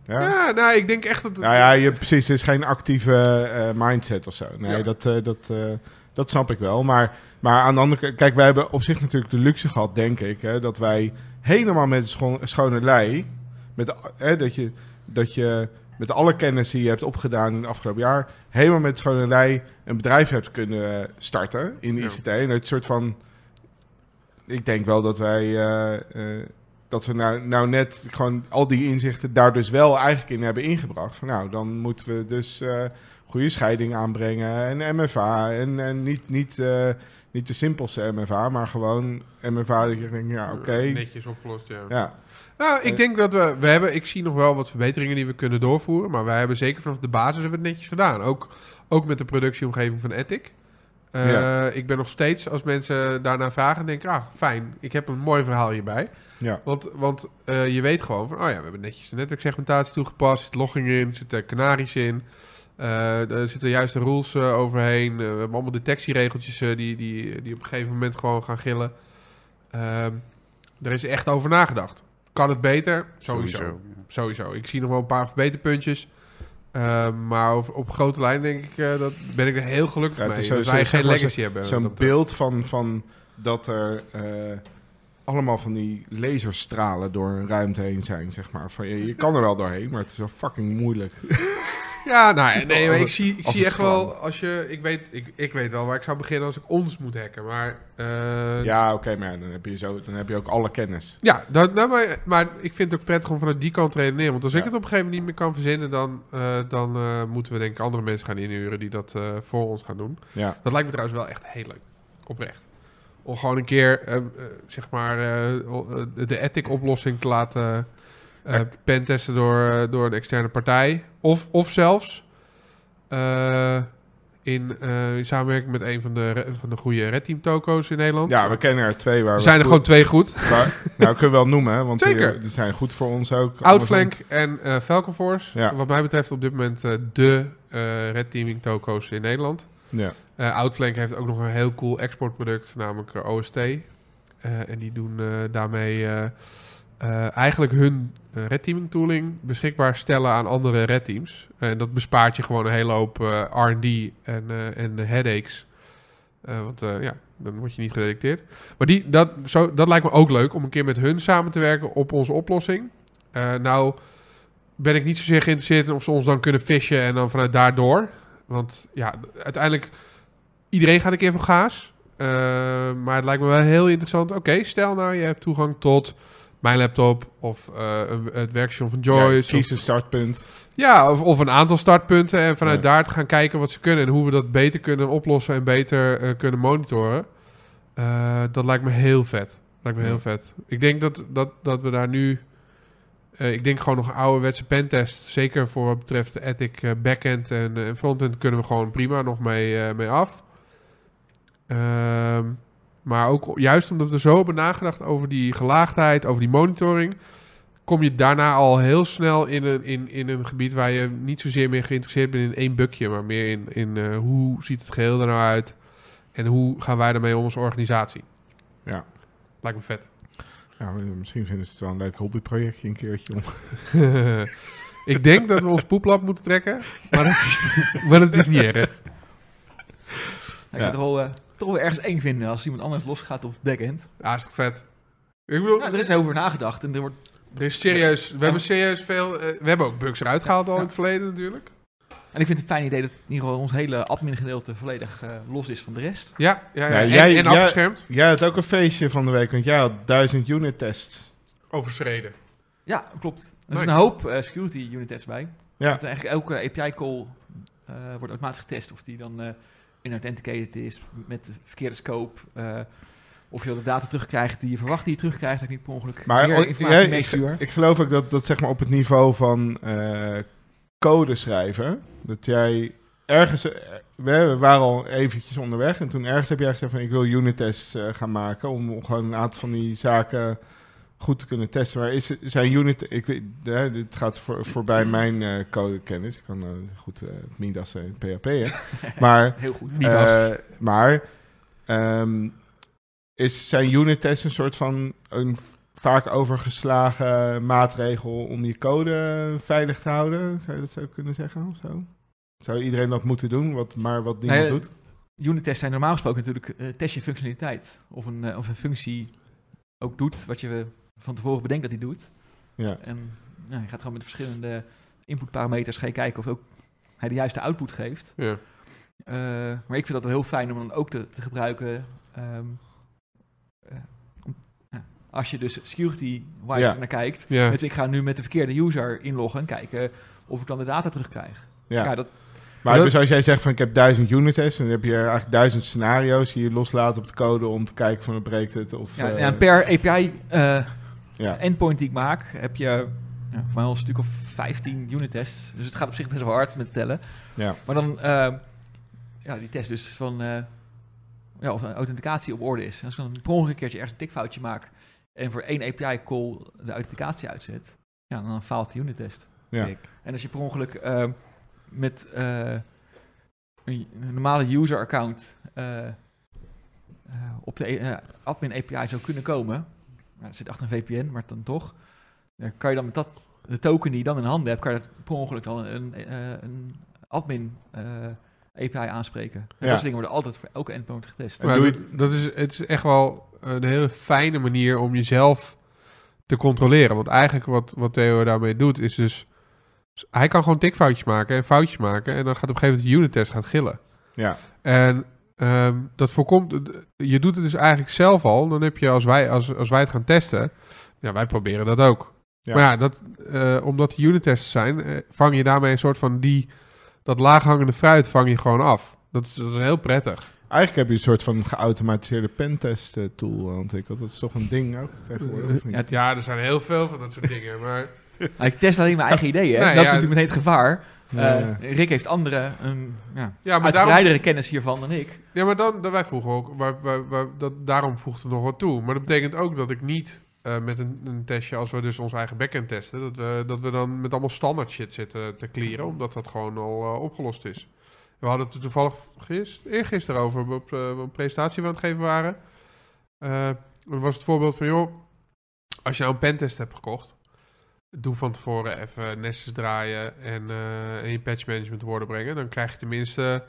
Speaker 1: Ja.
Speaker 3: Ja, nou, ik denk echt dat.
Speaker 1: Nou ja, je, precies. Het is geen actieve eh, mindset of zo. Nee,
Speaker 3: Ja.
Speaker 1: dat, eh, dat, eh, dat snap ik wel. Maar, maar aan de andere kant, kijk, wij hebben op zich natuurlijk de luxe gehad, denk ik, hè, dat wij helemaal met een scho- schone lei, met, de- hè, dat, je, dat je met alle kennis die je hebt opgedaan in het afgelopen jaar, helemaal met schone lei een bedrijf hebt kunnen eh, starten in de
Speaker 3: Ja.
Speaker 1: ICT. En het soort van, ik denk wel dat wij. eh, eh, dat we nou, nou net gewoon al die inzichten daar dus wel eigenlijk in hebben ingebracht. Van, nou, dan moeten we dus eh, goede scheiding aanbrengen en MFA. En, en niet, niet, eh, niet de simpelste MFA, maar gewoon MFA dat je denkt, ja, oké.
Speaker 3: Netjes opgelost, ja.
Speaker 1: Ja,
Speaker 3: Nou,
Speaker 1: Eh.
Speaker 3: ik denk dat we, we hebben, ik zie nog wel wat verbeteringen die we kunnen doorvoeren, maar wij hebben zeker vanaf de basis hebben we het netjes gedaan. Ook, ook met de productieomgeving van Ethic. Eh,
Speaker 1: Ja.
Speaker 3: Ik ben nog steeds, als mensen daarna vragen, denk ik, ah, fijn, ik heb een mooi verhaal hierbij.
Speaker 1: ja.
Speaker 3: Want, want eh, je weet gewoon van, oh ja, we hebben netjes de netwerksegmentatie toegepast, zit logging in, zit er kanaries in, eh, er zitten juiste rules eh, overheen, eh, we hebben allemaal detectieregeltjes eh, die, die, die op een gegeven moment gewoon gaan gillen. Ehm er is echt over nagedacht. Kan het beter? Sowieso. Sowieso.
Speaker 2: ja.
Speaker 3: Ik zie nog wel een paar verbeterpuntjes. Ehm, maar op, op grote lijn denk ik, eh, dat ben ik er heel gelukkig
Speaker 1: Ja, het
Speaker 3: mee.
Speaker 1: is zo-
Speaker 3: dat
Speaker 1: zo-
Speaker 3: wij
Speaker 1: zeg
Speaker 3: geen
Speaker 1: maar zo-
Speaker 3: legacy hebben. wat
Speaker 1: Zo'n
Speaker 3: dat eh, betreft.
Speaker 1: beeld van, van dat er eh, allemaal van die laserstralen door een ruimte heen zijn, zeg maar. Van, je, je kan er wel doorheen, maar het is wel fucking moeilijk.
Speaker 3: Ja, nou, ja, nee, maar ik
Speaker 1: Als
Speaker 3: zie, ik
Speaker 1: als
Speaker 3: zie
Speaker 1: een
Speaker 3: echt wel, als je, ik weet, ik, ik weet wel waar ik zou beginnen als ik ons moet hacken, maar, eh, ja,
Speaker 1: Ja, oké, maar ja, dan, heb je zo, dan heb je ook alle kennis.
Speaker 3: dat, nou, maar, maar ik vind het ook prettig om vanuit die kant te redeneren, want als ik
Speaker 1: Ja.
Speaker 3: het op een gegeven moment niet meer kan verzinnen, dan, eh, dan eh, moeten we denk ik andere mensen gaan inhuren die dat eh, voor ons gaan doen.
Speaker 1: Ja,
Speaker 3: Dat lijkt me trouwens wel echt heel leuk, oprecht. Om gewoon een keer, eh, eh, zeg maar, eh, o- eh, de ethic-oplossing te laten eh,
Speaker 1: Ja.
Speaker 3: pentesten door, eh, door een externe partij. Of, of zelfs eh, in, eh, in samenwerking met een van de, re- van de goede Red Team toko's in Nederland.
Speaker 1: ja we kennen er twee waar
Speaker 3: er
Speaker 1: we
Speaker 3: zijn er
Speaker 1: goed-
Speaker 3: gewoon twee goed.
Speaker 1: Maar, nou, kunnen we wel noemen, hè, want
Speaker 3: Zeker.
Speaker 1: Die, die zijn goed voor ons ook.
Speaker 3: Outflank en eh, Falcon Force.
Speaker 1: Ja.
Speaker 3: Wat mij betreft op dit moment eh, de eh, Red Teaming toko's in Nederland.
Speaker 1: Ja.
Speaker 3: Eh, Outflank heeft ook nog een heel cool exportproduct, namelijk eh, OST. Eh, en die doen eh, daarmee eh, eh, eigenlijk hun eh, red teaming tooling beschikbaar stellen aan andere red teams. En dat bespaart je gewoon een hele hoop eh, R&D en, eh, en headaches. Eh, want eh, ja, dan word je niet gedetecteerd. Maar die, dat, zo, dat lijkt me ook leuk om een keer met hun samen te werken op onze oplossing. Eh, nou ben ik niet zozeer geïnteresseerd in of ze ons dan kunnen fishen en dan vanuit daardoor. Want ja, uiteindelijk iedereen gaat een keer voor gaas. Eh, maar het lijkt me wel heel interessant. Oké, stel nou, je hebt toegang tot mijn laptop of eh, een- het werkstation van
Speaker 1: Ja,
Speaker 3: Joyce. of-
Speaker 1: kies een startpunt.
Speaker 3: ja, of, of een aantal startpunten en vanuit
Speaker 1: Ja.
Speaker 3: daar te gaan kijken wat ze kunnen en hoe we dat beter kunnen oplossen en beter eh, kunnen monitoren. Eh, dat lijkt me heel vet. Lijkt me
Speaker 1: Ja.
Speaker 3: heel vet. Ik denk dat, dat, dat we daar nu. eh, ik denk gewoon nog een ouderwetse pentest. Zeker voor wat betreft de ethic eh, backend en eh, frontend kunnen we gewoon prima nog mee, eh, mee af. Ehm, maar ook juist omdat we zo hebben nagedacht over die gelaagdheid, over die monitoring kom je daarna al heel snel in een, in, in een gebied waar je niet zozeer meer geïnteresseerd bent in één bukje, maar meer in, in eh, hoe ziet het geheel er nou uit en hoe gaan wij daarmee om als organisatie.
Speaker 1: Ja.
Speaker 3: Lijkt me vet.
Speaker 1: Ja, misschien vinden ze het wel een leuk hobbyprojectje een keertje. om-
Speaker 3: Ik denk dat we ons poeplap moeten trekken, maar dat is, maar dat is niet erg.
Speaker 4: Ik zou het wel, eh, toch wel ergens eng vinden als iemand anders losgaat op het backend.
Speaker 3: Hartstikke Ah, vet. Ik bedoel,
Speaker 4: Ja, er is over nagedacht en er wordt
Speaker 3: er is serieus, we hebben serieus veel... eh, we hebben ook bugs eruit gehaald al in het verleden natuurlijk.
Speaker 4: En ik vind het een fijn idee dat in ieder geval ons hele admin-gedeelte volledig eh, los is van de rest.
Speaker 3: Ja, ja, ja.
Speaker 1: Nou,
Speaker 3: en,
Speaker 1: jij-
Speaker 3: en
Speaker 1: jij-
Speaker 3: afgeschermd.
Speaker 1: Jij had ook een feestje van de week, want jij had duizend unit tests.
Speaker 3: Overschreden.
Speaker 4: Ja, klopt. Er
Speaker 3: Nice.
Speaker 4: is een hoop eh, security unit tests bij.
Speaker 1: Ja.
Speaker 4: Want eigenlijk elke API-call eh, wordt automatisch getest of die dan eh inauthenticated is met de verkeerde scope. eh, of je de data terugkrijgt die je verwacht die je terugkrijgt. Dat ik niet per ongeluk
Speaker 1: Maar
Speaker 4: meer
Speaker 1: ik-
Speaker 4: informatie
Speaker 1: ik-
Speaker 4: meestuur.
Speaker 1: Ik geloof ook dat, dat zeg maar op het niveau van eh, code schrijven, dat jij ergens, eh, we we waren al eventjes onderweg en toen ergens heb jij gezegd van ik wil unit tests eh, gaan maken om gewoon een aantal van die zaken goed te kunnen testen. Maar is, zijn unit, ik weet, eh, dit gaat voor, voorbij mijn eh codekennis, ik kan eh, goed eh, Midas en PHP hè, maar
Speaker 4: Heel goed.
Speaker 1: eh, maar ehm, is zijn unit tests een soort van een vaak overgeslagen maatregel om je code veilig te houden? Zou je dat zo kunnen zeggen of zo? Zou iedereen dat moeten doen, wat, maar wat niemand
Speaker 4: Nee,
Speaker 1: doet?
Speaker 4: Unit tests zijn normaal gesproken natuurlijk eh, test je functionaliteit. Of een, eh, of een functie ook doet wat je van tevoren bedenkt dat hij doet.
Speaker 1: Ja.
Speaker 4: En nou, je gaat gewoon met verschillende inputparameters ga je kijken of ook hij de juiste output geeft.
Speaker 3: Ja.
Speaker 4: Eh, maar ik vind dat wel heel fijn om dan ook te, te gebruiken. ehm, eh, om- ja, als je dus security-wise
Speaker 1: Ja.
Speaker 4: naar kijkt.
Speaker 3: Ja.
Speaker 4: Met, ik ga nu met de verkeerde user inloggen en kijken of ik dan de data terugkrijg.
Speaker 1: Ja.
Speaker 4: Ja, dat,
Speaker 1: maar
Speaker 3: dat-
Speaker 1: dus als jij zegt van ik heb duizend unit tests, dan heb je eigenlijk duizend scenario's die je loslaat op de code om te kijken van breekt het of...
Speaker 4: ja,
Speaker 1: eh,
Speaker 4: en per API eh,
Speaker 1: ja.
Speaker 4: endpoint die ik maak, heb je ja, voor mij al een stuk of 15 unit tests. Dus het gaat op zich best wel hard met tellen.
Speaker 1: Ja.
Speaker 4: Maar dan, eh, ja, die test dus van, eh, ja, of een authenticatie op orde is. Als ik dan per ongeluk een keertje ergens een tikfoutje maak en voor één API-call de authenticatie uitzet, ja, dan faalt de unit test.
Speaker 1: Ja.
Speaker 2: Kijk.
Speaker 4: En als je per ongeluk eh, met eh, een een normale user-account eh, eh, op de eh, admin API zou kunnen komen, nou, dat zit achter een VPN, maar dan toch, dan kan je dan met dat, de token die je dan in handen hebt, kan je dat per ongeluk dan een, eh, een admin eh, API aanspreken. En
Speaker 1: Ja.
Speaker 4: dat soort dingen worden altijd voor elke endpoint getest.
Speaker 1: En
Speaker 3: Maar
Speaker 1: doe
Speaker 3: dat, dat is, het is echt wel eh, een hele fijne manier om jezelf te controleren. Want eigenlijk wat, wat Theo daarmee doet, is dus... Hij kan gewoon tikfoutjes maken en foutjes maken. En dan gaat op een gegeven moment de unit-test gaan gillen.
Speaker 1: Ja.
Speaker 3: En ehm, dat voorkomt... Je doet het dus eigenlijk zelf al. Dan heb je, als wij, als, als wij het gaan testen... Ja, wij proberen dat ook.
Speaker 1: Ja.
Speaker 3: Maar ja, dat, eh, omdat de unit-tests zijn... eh, vang je daarmee een soort van die... Dat laaghangende fruit vang je gewoon af. Dat is, dat is heel prettig.
Speaker 1: Eigenlijk heb je een soort van geautomatiseerde pentest eh, tool ontwikkeld. Dat is toch een ding ook tegenwoordig? of niet?
Speaker 4: Ja,
Speaker 3: Ja, er zijn heel veel van dat soort dingen. Maar
Speaker 4: Nou, ik test alleen mijn eigen ideeën. hè.
Speaker 3: Nee,
Speaker 4: dat
Speaker 3: ja.
Speaker 4: is natuurlijk meteen het gevaar.
Speaker 1: Ja.
Speaker 4: Eh, Rick heeft andere, een ja,
Speaker 3: Ja, maar
Speaker 4: uitgebreidere
Speaker 3: daarom,
Speaker 4: kennis hiervan dan ik.
Speaker 3: ja, maar dan, dan wij vroegen ook, wij, wij- wij- dat, daarom voegt het nog wat toe. Maar dat betekent ook dat ik niet eh, met een, een testje, als we dus ons eigen backend testen, dat we, dat we dan met allemaal standaard shit zitten te clearen, omdat dat gewoon al eh, opgelost is. We hadden het er toevallig gisteren, eergisteren over, op eh, een presentatie we aan het geven waren. Eh, dan was het voorbeeld van, joh, als je nou een pentest hebt gekocht, doe van tevoren even nestjes draaien en, eh, en je patch management op orde brengen. Dan krijg je tenminste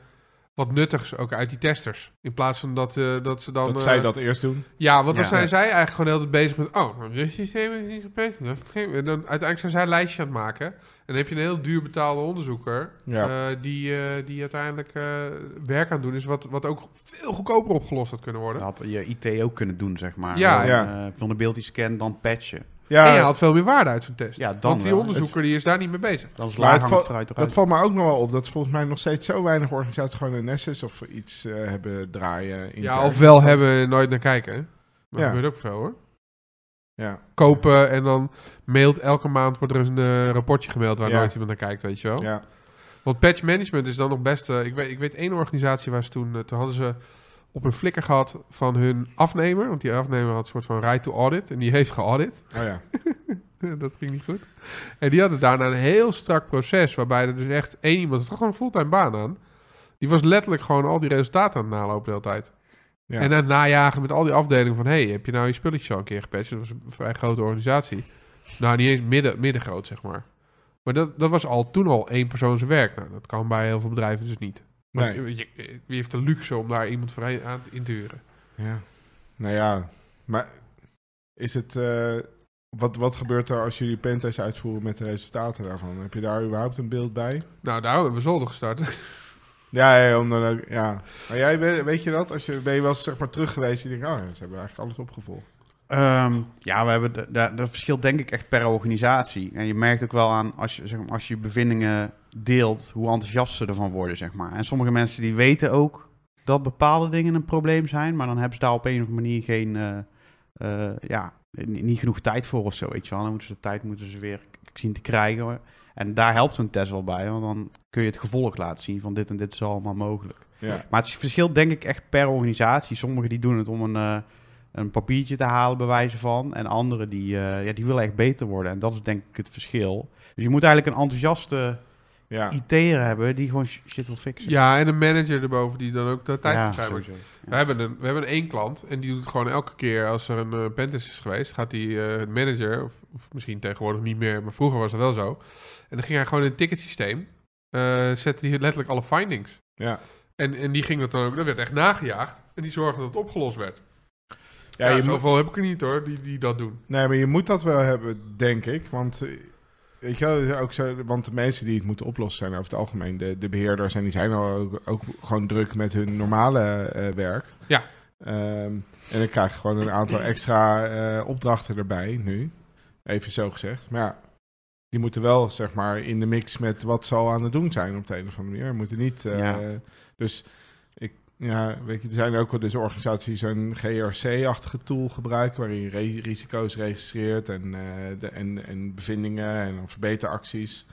Speaker 3: wat nuttigs ook uit die testers. In plaats van dat, eh, dat ze dan...
Speaker 1: dat
Speaker 3: eh,
Speaker 1: zij dat eerst doen.
Speaker 3: Ja, want dan
Speaker 2: Ja.
Speaker 3: zijn zij eigenlijk gewoon heel de tijd bezig met... Oh, maar dit systeem is niet gepatcht. dat is geen- En dan uiteindelijk zijn zij een lijstje aan het maken. En dan heb je een heel duur betaalde onderzoeker...
Speaker 1: Ja.
Speaker 3: eh, die, eh, die uiteindelijk eh, werk aan het doen is... Wat, wat ook veel goedkoper opgelost had kunnen worden.
Speaker 2: Dat had je IT ook kunnen doen, zeg maar.
Speaker 3: Ja.
Speaker 2: Gewoon,
Speaker 1: Ja.
Speaker 2: eh, van de beeld die scan, dan patchen.
Speaker 3: En
Speaker 1: Ja,
Speaker 3: je haalt veel meer waarde uit zo'n test.
Speaker 2: Ja, dan
Speaker 3: want die
Speaker 2: wel.
Speaker 3: onderzoeker die is daar niet mee bezig.
Speaker 2: Dan is
Speaker 1: Maar het
Speaker 2: laaghangend
Speaker 1: va-
Speaker 2: fruit
Speaker 1: dat
Speaker 2: eruit.
Speaker 1: valt me ook nog wel op. Dat volgens mij nog steeds zo weinig organisaties gewoon een Nessus of iets eh, hebben draaien. intern.
Speaker 3: Ja, of wel hebben en nooit naar kijken. hè.
Speaker 1: Ja.
Speaker 3: Maar dat gebeurt ook veel hoor.
Speaker 1: Ja,
Speaker 3: Kopen en dan mailt elke maand wordt er een eh, rapportje gemaild waar
Speaker 1: Ja.
Speaker 3: nooit iemand naar kijkt, weet je wel.
Speaker 1: ja,
Speaker 3: Want patch management is dan nog best. eh, ik, weet, ik weet één organisatie waar ze toen. eh, toen hadden ze op een flikker gehad van hun afnemer. Want die afnemer had een soort van right to audit. En die heeft geaudit.
Speaker 1: oh ja.
Speaker 3: dat ging niet goed. En die hadden daarna een heel strak proces. Waarbij er dus echt één iemand. Het had gewoon een fulltime baan aan. Die was letterlijk gewoon al die resultaten aan het nalopen de hele tijd.
Speaker 1: Ja.
Speaker 3: En aan het najagen met al die afdelingen van... hey, heb je nou je spulletjes al een keer gepatcht? Dat was een vrij grote organisatie. Nou, niet eens midden, middengroot, zeg maar. Maar dat, dat was al toen al één persoon zijn werk. Nou, dat kan bij heel veel bedrijven dus niet. Want
Speaker 1: Nee.
Speaker 3: je- je- wie heeft de luxe om daar iemand voor heen- aan te- in te huren?
Speaker 1: Ja. Nou ja, maar is het... eh, wat, wat gebeurt er als jullie pentest uitvoeren met de resultaten daarvan? Heb je daar überhaupt een beeld bij?
Speaker 3: Nou, daar hebben we zolder gestart.
Speaker 1: Ja, ja, om dan ook, ja. Maar jij, weet, weet je dat? Als je, ben je wel eens zeg maar, terug geweest en je denkt, oh ja, ze hebben eigenlijk alles opgevolgd.
Speaker 2: Ehm, ja, we hebben de- da- dat verschilt denk ik echt per organisatie. En je merkt ook wel aan, als je, zeg maar, als je bevindingen deelt, hoe enthousiast ze ervan worden, zeg maar. En sommige mensen die weten ook dat bepaalde dingen een probleem zijn, maar dan hebben ze daar op een of andere manier geen, eh, eh, ja, ni- niet genoeg tijd voor of zo, weet je wel. Dan moeten ze de tijd moeten ze weer k- zien te krijgen. En daar helpt zo'n test wel bij, want dan kun je het gevolg laten zien van dit en dit is allemaal mogelijk.
Speaker 1: Ja.
Speaker 2: Maar het is- verschilt denk ik echt per organisatie. Sommigen die doen het om een, eh, een papiertje te halen, bij wijze van. En anderen die, eh, ja, die willen echt beter worden. En dat is denk ik het verschil. Dus je moet eigenlijk een enthousiaste
Speaker 1: Ja.
Speaker 2: IT'er hebben die gewoon sh- shit wil fixen.
Speaker 3: Ja, en een manager erboven die dan ook de tijd
Speaker 2: Ja,
Speaker 3: ja, wordt.
Speaker 2: sowieso.
Speaker 3: We hebben, een, we hebben één klant en die doet het gewoon elke keer als er een eh pentest is geweest. Gaat die eh, manager, of, of misschien tegenwoordig niet meer, maar vroeger was dat wel zo. En dan ging hij gewoon in het ticketsysteem, eh zette hij letterlijk alle findings.
Speaker 1: Ja.
Speaker 3: En, en die ging dat dan ook, dat werd echt nagejaagd. En die zorgde dat het opgelost werd.
Speaker 1: Ja,
Speaker 3: Ja,
Speaker 1: je moet,
Speaker 3: zoveel heb ik er niet hoor, die, die dat doen.
Speaker 1: nee, maar je moet dat wel hebben, denk ik. Want, eh, weet je wel, ook zo, want de mensen die het moeten oplossen zijn over het algemeen de, de beheerders. En die zijn al ook, ook gewoon druk met hun normale eh, werk.
Speaker 3: Ja.
Speaker 1: Ehm, en dan krijg je gewoon een aantal extra eh, opdrachten erbij nu. Even zo gezegd. Maar ja, die moeten wel zeg maar in de mix met wat ze al aan het doen zijn op de een of andere manier. Moeten niet. eh,
Speaker 2: Ja.
Speaker 1: Dus ik, ja, weet je, er zijn ook wel dus organisaties die zo'n GRC-achtige tool gebruiken waarin je re- risico's registreert en, eh, de, en, en bevindingen en dan verbeteracties.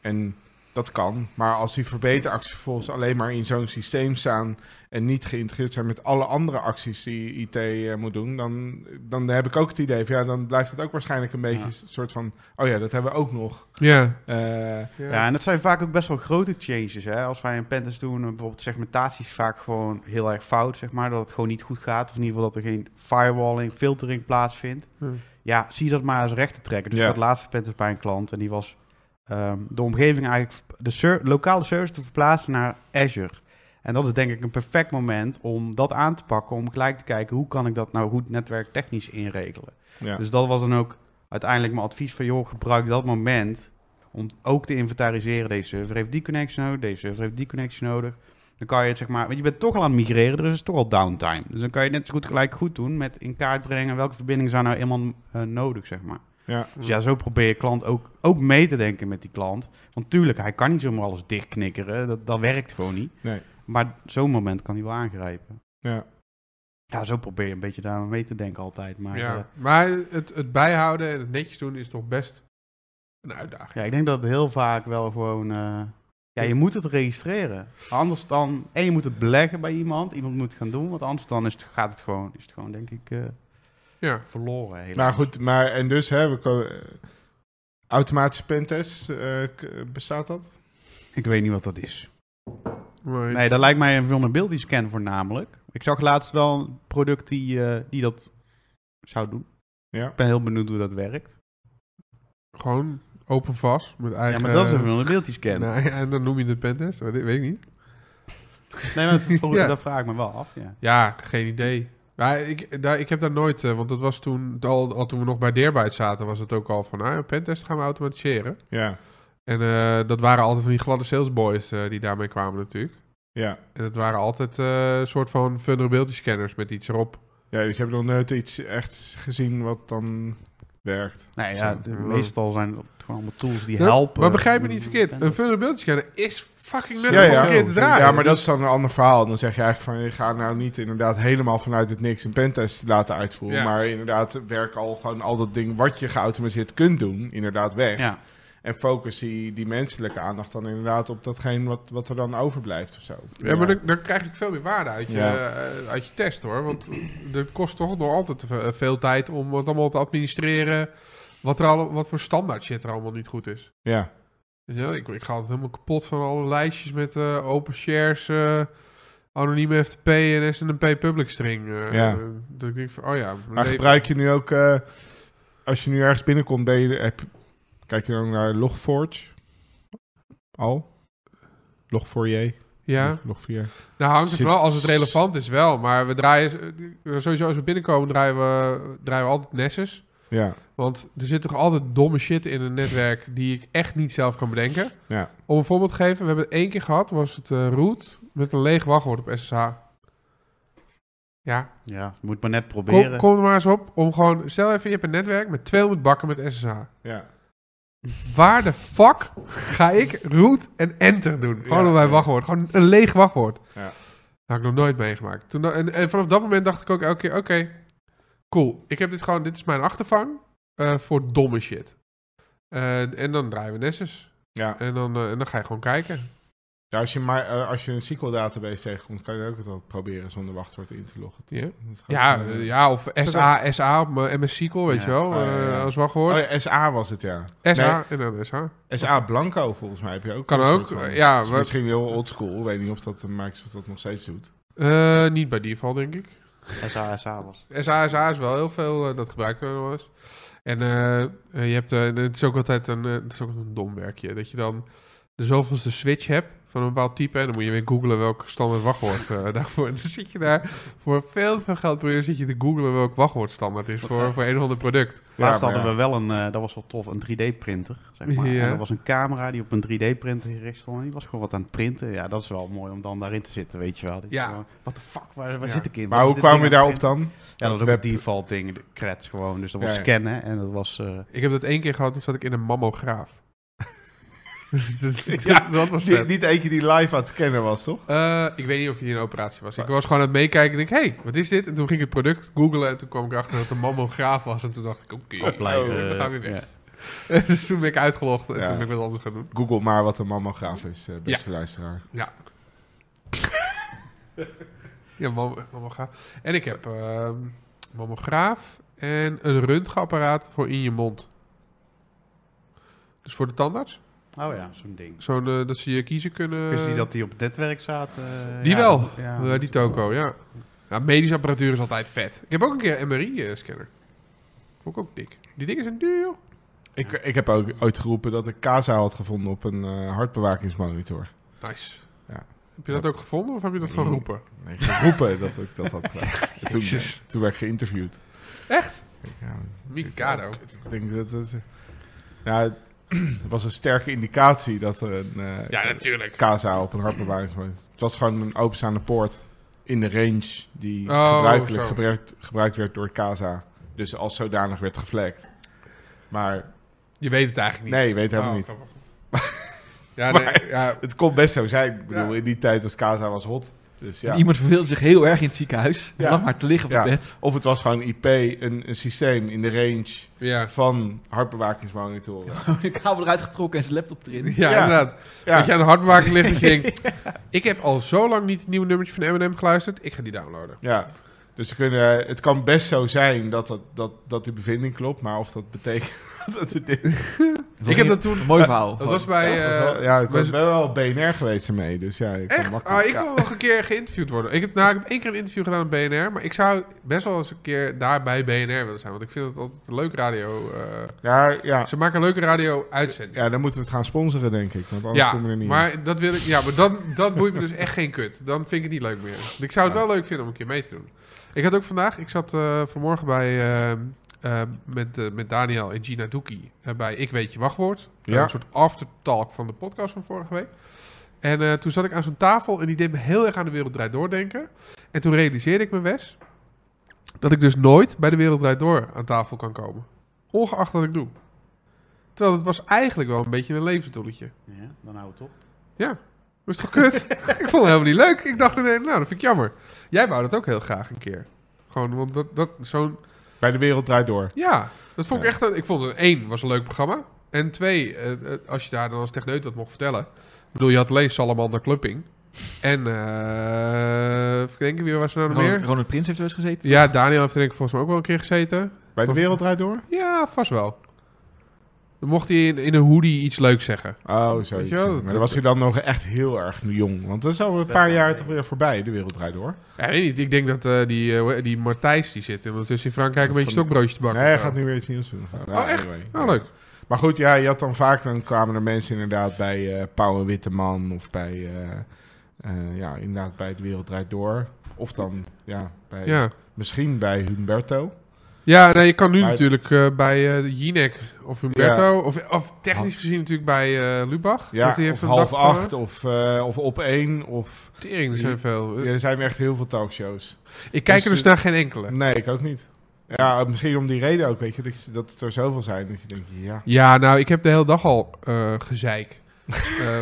Speaker 1: En dat kan, maar als die verbeteracties vervolgens alleen maar in zo'n systeem staan en niet geïntegreerd zijn met alle andere acties die IT eh, moet doen, dan, dan heb ik ook het idee van ja, dan blijft het ook waarschijnlijk een beetje
Speaker 2: Ja.
Speaker 1: een soort van, oh ja, dat hebben we ook nog.
Speaker 3: Ja.
Speaker 1: Eh,
Speaker 2: Ja, en dat zijn vaak ook best wel grote changes. Hè? Als wij een pentest doen, eh, bijvoorbeeld segmentatie is vaak gewoon heel erg fout, zeg maar. Dat het gewoon niet goed gaat. Of in ieder geval dat er geen firewalling, filtering plaatsvindt.
Speaker 3: Hmm.
Speaker 2: Ja, zie dat maar als recht te trekken. Dus
Speaker 1: Ja.
Speaker 2: ik had laatste pentest bij een klant en die was ehm, de omgeving eigenlijk, de ser- lokale service te verplaatsen naar Azure. En dat is denk ik een perfect moment om dat aan te pakken. Om gelijk te kijken, hoe kan ik dat nou goed netwerktechnisch inregelen?
Speaker 1: ja.
Speaker 2: Dus dat was dan ook uiteindelijk mijn advies van... joh, gebruik dat moment om ook te inventariseren. Deze server heeft die connectie nodig, deze server heeft die connectie nodig. Dan kan je het zeg maar... Want je bent toch al aan het migreren, dus het is toch al downtime. Dus dan kan je het net zo goed gelijk goed doen met in kaart brengen... welke verbindingen zijn nou eenmaal eh, nodig, zeg maar.
Speaker 1: Ja.
Speaker 2: Dus ja, zo probeer je klant ook, ook mee te denken met die klant. Want tuurlijk, hij kan niet zomaar alles dichtknikkeren. Dat, dat werkt gewoon niet.
Speaker 1: Nee.
Speaker 2: Maar zo'n moment kan hij wel aangrijpen.
Speaker 1: Ja.
Speaker 2: Ja, zo probeer je een beetje daar mee te denken altijd. Maar eh,
Speaker 3: ja. Maar het, het bijhouden en het netjes doen is toch best een uitdaging.
Speaker 2: Ja, ik denk dat het heel vaak wel gewoon. eh, ja, je moet het registreren. Anders dan. En je moet het beleggen bij iemand. Iemand moet het gaan doen. Want anders dan is het, gaat het gewoon, is het gewoon denk ik, eh,
Speaker 3: Ja.
Speaker 2: verloren. helemaal.
Speaker 1: Maar goed, maar en dus hè, we komen, eh, automatische pentest, eh, k- bestaat dat?
Speaker 2: Ik weet niet wat dat is.
Speaker 3: Maar-
Speaker 2: Nee, dat lijkt mij een vulnerability scan voornamelijk. Ik zag laatst wel een product die, eh, die dat zou doen.
Speaker 1: Ja.
Speaker 2: Ik ben heel benieuwd hoe dat werkt.
Speaker 3: Gewoon open vast met
Speaker 2: ja,
Speaker 3: eigen...
Speaker 2: maar dat is een vulnerability scan.
Speaker 3: Nou ja, en dan noem je het pentest, weet weet ik niet.
Speaker 2: Nee, maar dat,
Speaker 3: Ja.
Speaker 2: dat vraag ik me wel af. Ja.
Speaker 3: Ja, geen idee. Maar ik, daar, ik heb daar nooit, eh, want dat was toen, al, al toen we nog bij Deerbyte zaten, was het ook al van, nou ja, pentest gaan we automatiseren.
Speaker 1: Ja,
Speaker 3: En eh, dat waren altijd van die gladde salesboys eh, die daarmee kwamen natuurlijk.
Speaker 1: ja.
Speaker 3: En het waren altijd eh, een soort van vulnerability scanners met iets erop.
Speaker 1: Ja, dus je hebt nog nooit iets echt gezien wat dan werkt.
Speaker 2: Nee, ja, de-
Speaker 3: Ja.
Speaker 2: meestal zijn het gewoon allemaal tools die
Speaker 3: Ja,
Speaker 2: helpen. Mm,
Speaker 3: Maar begrijp me niet verkeerd, een
Speaker 2: Pentest.
Speaker 3: vulnerability scanner is fucking net
Speaker 1: Ja,
Speaker 3: om
Speaker 1: ja.
Speaker 3: verkeerd te draaien.
Speaker 1: ja, maar dat
Speaker 3: Dus-
Speaker 1: is dan een ander verhaal. Dan zeg je eigenlijk van, je gaat nou niet inderdaad helemaal vanuit het niks een pentest laten uitvoeren.
Speaker 3: Ja.
Speaker 1: Maar inderdaad, werk al gewoon al dat ding wat je geautomatiseerd kunt doen, inderdaad weg.
Speaker 2: Ja.
Speaker 1: En focus die, die menselijke aandacht dan inderdaad op datgene wat, wat er dan overblijft of zo.
Speaker 3: Ja, maar dan, dan krijg ik veel meer waarde uit je,
Speaker 1: Ja.
Speaker 3: eh, uit je test hoor. Want dat kost toch nog altijd te ve- eh, veel tijd om het allemaal te administreren. Wat, er al, wat voor standaard shit er allemaal niet goed is.
Speaker 1: Ja,
Speaker 3: Weet je wel, ik, ik ga altijd helemaal kapot van alle lijstjes met eh, open shares, eh anonieme FTP en SNMP public string. eh,
Speaker 1: Ja.
Speaker 3: eh, dat ik denk van, oh ja.
Speaker 1: maar
Speaker 3: nee,
Speaker 1: gebruik je nu ook, eh, als je nu ergens binnenkomt, ben je, heb, Kijk je dan naar Logforge? Al? Logfourier?
Speaker 3: Ja,
Speaker 1: Logfourier.
Speaker 3: nou hangt het
Speaker 1: Zit-
Speaker 3: vooral als het relevant is wel. Maar we draaien, eh, sowieso als we binnenkomen draaien we, draaien we altijd Nessus.
Speaker 1: Ja,
Speaker 3: Want er zit toch altijd domme shit in een netwerk die ik echt niet zelf kan bedenken.
Speaker 1: ja.
Speaker 3: Om een voorbeeld te geven, we hebben het één keer gehad, was het eh root met een leeg wachtwoord op SSH. Ja,
Speaker 2: Ja, moet maar net proberen.
Speaker 3: kom, kom er maar eens op om gewoon, stel even je hebt een netwerk met 200 bakken met SSH.
Speaker 1: ja.
Speaker 3: Waar de fuck ga ik root en enter doen? Gewoon
Speaker 1: Ja,
Speaker 3: op mijn
Speaker 1: ja.
Speaker 3: wachtwoord, gewoon een leeg wachtwoord.
Speaker 1: Ja.
Speaker 3: Dat had ik nog nooit meegemaakt. Toen, da- en, en vanaf dat moment dacht ik ook elke keer, oké, cool. Ik heb dit gewoon, dit is mijn achtervang eh, voor domme shit. Eh, en dan draaien we Nessus.
Speaker 1: Ja.
Speaker 3: En dan, eh, en dan ga je gewoon kijken.
Speaker 1: Ja, als, je maar, eh, als je een SQL-database tegenkomt, kan je ook altijd proberen zonder wachtwoord in te loggen. toch?
Speaker 3: Ja.
Speaker 1: Dat is gewoon,
Speaker 3: Ja,
Speaker 1: eh,
Speaker 3: eh, ja of
Speaker 1: is
Speaker 3: SA, SA op mijn MS SQL, weet
Speaker 2: Ja.
Speaker 3: je wel,
Speaker 1: Oh, ja, ja, ja.
Speaker 3: eh, als wachtwoord.
Speaker 1: Oh ja, SA was het, ja.
Speaker 3: SA en dan SA.
Speaker 1: SA Blanco, volgens mij, heb je ook.
Speaker 3: Kan
Speaker 1: een
Speaker 3: ook,
Speaker 1: soort van-
Speaker 3: eh, ja,
Speaker 1: Is
Speaker 3: maar-
Speaker 1: misschien heel oldschool. Ik weet niet of dat eh, Microsoft dat nog steeds doet.
Speaker 3: Eh, niet bij default, denk ik.
Speaker 2: SASA was.
Speaker 3: SA, SA is wel heel veel, eh, dat gebruikt worden wel eens. En eh, eh, je hebt, eh, het is ook altijd een, eh, het is ook altijd een dom werkje, dat je dan de zoveelste switch hebt van een bepaald type. En dan moet je weer googlen welk standaard wachtwoord eh, daarvoor. En dan zit je daar voor veel te veel geld per uur zit je te googlen welk wachtwoord standaard is voor, voor een of ander product.
Speaker 2: Laatst
Speaker 1: maar
Speaker 2: hadden we wel een, eh, dat was wel tof, een 3D-printer. Zeg maar.
Speaker 3: Ja.
Speaker 2: En er was een camera die op een 3D-printer gericht stond. En die was gewoon wat aan het printen. Ja, dat is wel mooi om dan daarin te zitten, weet je wel.
Speaker 3: Ja.
Speaker 2: Wat de fuck, waar, waar
Speaker 3: Ja.
Speaker 2: zit ik in?
Speaker 1: Maar
Speaker 2: Wat
Speaker 1: hoe
Speaker 2: is dit
Speaker 1: kwam je
Speaker 2: ding aan
Speaker 1: daarop
Speaker 2: het
Speaker 1: dan?
Speaker 2: printen? Ja, dat was ook
Speaker 1: Web-
Speaker 2: een default ding, de creds gewoon. Dus dat was
Speaker 1: Ja, ja.
Speaker 2: scannen en dat was... eh,
Speaker 3: Ik heb dat één keer gehad, toen zat ik in een mammograaf.
Speaker 1: Ja,
Speaker 3: dat was
Speaker 1: Niet,
Speaker 3: vet.
Speaker 1: niet eentje die live aan het scannen was, toch?
Speaker 3: Eh, ik weet niet of hier een operatie was. Ik was gewoon aan het meekijken en denk, hé, hey, wat is dit? En toen ging ik het product googlen en toen kwam ik achter dat het een mammograaf was. En toen dacht ik, oké, oh,
Speaker 2: blijven,
Speaker 3: we gaan weer
Speaker 2: eh,
Speaker 3: weg.
Speaker 2: ja.
Speaker 3: dus toen ben ik uitgelogd en
Speaker 1: Ja.
Speaker 3: toen ben ik wat anders gaan doen.
Speaker 1: Google maar wat een mammograaf is, eh, beste luisteraar.
Speaker 3: Ja, mam- mammograaf. En ik heb ehm mammograaf en een röntgenapparaat voor in je mond. Dus voor de tandarts.
Speaker 2: Oh ja, zo'n ding.
Speaker 3: Zo'n, eh, dat ze je kiezen kunnen.
Speaker 2: Dus die dat die op het netwerk zaten. eh,
Speaker 3: eh, Die
Speaker 2: ja,
Speaker 3: wel.
Speaker 2: dat- ja.
Speaker 3: Eh, die toko, ja. ja. Medische apparatuur is altijd vet. Ik heb ook een keer een MRI-scanner. eh, Vond ik ook dik. Die dingen zijn duur.
Speaker 1: Ik, ik heb ook ooit geroepen dat ik Casa had gevonden op een eh, hartbewakingsmonitor.
Speaker 3: Nice.
Speaker 1: Ja.
Speaker 3: Heb je dat ook gevonden of heb je dat gewoon
Speaker 1: Nee.
Speaker 3: geroepen?
Speaker 1: Nee, geroepen dat ik dat had gedaan. En Toen,
Speaker 3: Jezus.
Speaker 1: toen werd ik geïnterviewd.
Speaker 3: Echt?
Speaker 1: Ik, ja,
Speaker 3: Mikado.
Speaker 1: ik denk dat het... eh, Nou, het was een sterke indicatie dat er een eh,
Speaker 3: Ja, natuurlijk.
Speaker 1: Casa op een hartbewakingsmonitor... Het was gewoon een openstaande poort in de range die
Speaker 3: Oh,
Speaker 1: gebruikelijk
Speaker 3: zo.
Speaker 1: gebruikt, gebruikt werd door Casa. Dus als zodanig werd geflagd. Maar
Speaker 3: Je weet het eigenlijk niet.
Speaker 1: nee, weet helemaal
Speaker 3: Oh,
Speaker 1: niet.
Speaker 3: grappig. Ja, nee,
Speaker 1: Maar-
Speaker 3: ja,
Speaker 1: Het kon best zo zijn. Ik bedoel,
Speaker 3: Ja.
Speaker 1: in die tijd was Casa was hot. Dus ja.
Speaker 4: Iemand verveelde zich heel erg in het ziekenhuis.
Speaker 1: Ja.
Speaker 4: Lag maar te liggen op
Speaker 1: Ja.
Speaker 4: het bed.
Speaker 1: Of het was gewoon IP, een, een systeem in de range
Speaker 3: ja.
Speaker 1: van hartbewakingsmonitoren. Ja,
Speaker 4: Gewoon de kabel eruit getrokken en zijn laptop erin.
Speaker 3: Ja,
Speaker 1: Ja.
Speaker 3: inderdaad.
Speaker 1: ja.
Speaker 3: Dat je aan de hardmaker ligt dat je denkt... Ik heb al zo lang niet het nieuwe nummertje van M&M geluisterd. Ik ga die downloaden.
Speaker 1: Dus ze kunnen, het kan best zo zijn dat, dat, dat, dat die bevinding klopt, maar of dat betekent... dat het dit-
Speaker 3: Ik heb dat toen... eh,
Speaker 4: Een mooi verhaal.
Speaker 3: Dat was bij...
Speaker 1: ja, dat
Speaker 3: eh,
Speaker 1: was wel- ja, ik
Speaker 3: bij
Speaker 1: ben wel BNR geweest ermee, dus ja. ik kan
Speaker 3: Echt?
Speaker 1: makkelijk-
Speaker 3: Ah, ik
Speaker 1: ja.
Speaker 3: wil nog een keer geïnterviewd worden. Ik heb, nou, ik heb één keer een interview gedaan op BNR, maar ik zou best wel eens een keer daar bij BNR willen zijn. Want ik vind het altijd een leuk radio. eh,
Speaker 1: Ja, ja.
Speaker 3: ze maken een leuke radio-uitzending.
Speaker 1: ja, dan moeten we het gaan sponsoren, denk ik, want anders
Speaker 3: Ja,
Speaker 1: komen we er niet in.
Speaker 3: maar dat wil ik. Ja, maar dan, dat boeit me dus echt geen kut. Dan vind ik het niet leuk meer. Want Ik zou het
Speaker 1: Ja.
Speaker 3: wel leuk vinden om een keer mee te doen. Ik had ook vandaag, ik zat eh, vanmorgen bij eh, eh, met, eh, met Daniel en Gina Doekie eh, bij Ik Weet Je Wachtwoord.
Speaker 1: Ja.
Speaker 3: Een soort aftertalk van de podcast van vorige week. En eh, toen zat ik aan zo'n tafel en die deed me heel erg aan de Wereld Draait Door denken. En toen realiseerde ik me, Wes, dat ik dus nooit bij de Wereld Draait Door aan tafel kan komen. Ongeacht wat ik doe. Terwijl het was eigenlijk wel een beetje een levensdoeletje.
Speaker 2: Ja, dan houdt het op.
Speaker 3: Dat is toch kut? ik vond het helemaal niet leuk. Ik dacht ineens, nou, dat vind ik jammer. Jij wou dat ook heel graag een keer. Gewoon, want dat, dat zo'n...
Speaker 1: Bij De Wereld Draait Door.
Speaker 3: Ja, dat vond ik
Speaker 1: Ja.
Speaker 3: echt... een- Ik vond het één, was een leuk programma. En twee, eh, eh, als je daar dan als techneut wat mocht vertellen. Ik bedoel, je had alleen Salamander Clupping. En, eh... even denken, wie was er nou nog
Speaker 4: Ronald,
Speaker 3: meer?
Speaker 4: Ronald Prins heeft er eens gezeten.
Speaker 3: Ja, Daniel heeft er denk ik volgens mij ook wel een keer gezeten.
Speaker 1: Bij De
Speaker 3: Of-
Speaker 1: Wereld Draait Door?
Speaker 3: Ja, vast wel. Dan mocht hij in, in een hoodie iets leuks zeggen.
Speaker 1: Oh, zo.
Speaker 3: Weet je wel,
Speaker 1: maar
Speaker 3: dat-
Speaker 1: dan was hij dan nog echt heel erg jong. Want dat is al een
Speaker 2: Best
Speaker 1: paar
Speaker 2: wel
Speaker 1: jaar
Speaker 2: een
Speaker 1: toch weer voorbij, de wereld draait door.
Speaker 3: Ja, ik weet niet. Ik denk dat eh, die, eh, hoe heet- die Martijs die zit ondertussen in Frankrijk een
Speaker 1: Van-
Speaker 3: beetje stokbroodje te bakken.
Speaker 1: nee, hij
Speaker 3: of zo.
Speaker 1: gaat nu weer iets nieuws doen. Nou,
Speaker 3: Oh, echt?
Speaker 1: anyway.
Speaker 3: Oh, leuk.
Speaker 1: Maar goed, ja, je had dan vaak, dan kwamen er mensen inderdaad bij eh Pauw Witteman of bij, eh, eh, ja, inderdaad bij Het Wereld Draait Door. Of dan, ja, bij,
Speaker 3: Ja,
Speaker 1: misschien bij Humberto.
Speaker 3: ja nee, je kan nu
Speaker 1: Maar-
Speaker 3: natuurlijk eh, bij eh Jinek of Humberto, of, of technisch gezien natuurlijk bij eh Lubach.
Speaker 1: Ja,
Speaker 3: want die heeft
Speaker 1: of
Speaker 3: een
Speaker 1: half
Speaker 3: dagprogramma.
Speaker 1: acht of, eh, of op één. Of,
Speaker 3: Tering, er zijn veel.
Speaker 1: ja,
Speaker 3: Eh,
Speaker 1: er zijn echt heel veel talkshows.
Speaker 3: Ik kijk
Speaker 1: Dus,
Speaker 3: er dus
Speaker 1: eh,
Speaker 3: naar geen enkele.
Speaker 1: Nee, ik ook niet. Ja, misschien om die reden ook, weet je, dat, je- dat er zoveel zijn. Dat je denkt, ja,
Speaker 3: Ja, nou, ik heb de hele dag al eh, gezeik. Eh,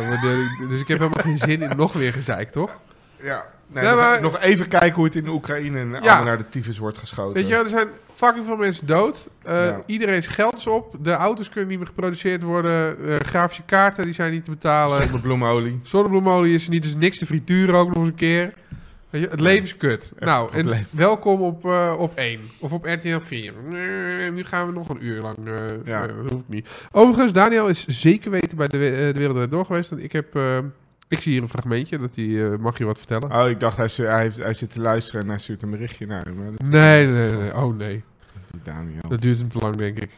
Speaker 3: maar de- dus ik heb helemaal geen zin in nog weer gezeik, toch?
Speaker 1: Ja, nee,
Speaker 3: Ja,
Speaker 1: nog-
Speaker 3: maar-
Speaker 1: nog even kijken hoe het in de Oekraïne en allemaal naar de tyfus wordt geschoten.
Speaker 3: Weet je, wel, er zijn fucking veel mensen dood. Eh
Speaker 1: Ja.
Speaker 3: Iedereen's geld is op. De auto's kunnen niet meer geproduceerd worden. Eh, grafische kaarten die zijn niet te betalen.
Speaker 1: Zonder bloemolie.
Speaker 3: Zonnebloemolie is er niet, dus niks te frituren ook nog eens een keer. Weet je, het leven is kut.
Speaker 1: een
Speaker 3: nou, en
Speaker 1: probleem.
Speaker 3: welkom op, eh, op 1 of op RTL 4. Nee, nu gaan we nog een uur lang. eh
Speaker 1: Ja.
Speaker 3: eh, hoeft niet. Overigens, Daniel is zeker weten bij de, we- eh, de Wereld Draait Door geweest. Want ik, heb, eh, ik zie hier een fragmentje, dat die, eh, mag je wat vertellen?
Speaker 1: Oh, ik dacht, hij, stu- hij, heeft- hij zit te luisteren en hij stuurt een berichtje naar hem. Maar dat
Speaker 3: nee, nee, nee, nee. Oh nee,
Speaker 1: is niet Daniel.
Speaker 3: dat duurt hem te lang, denk ik.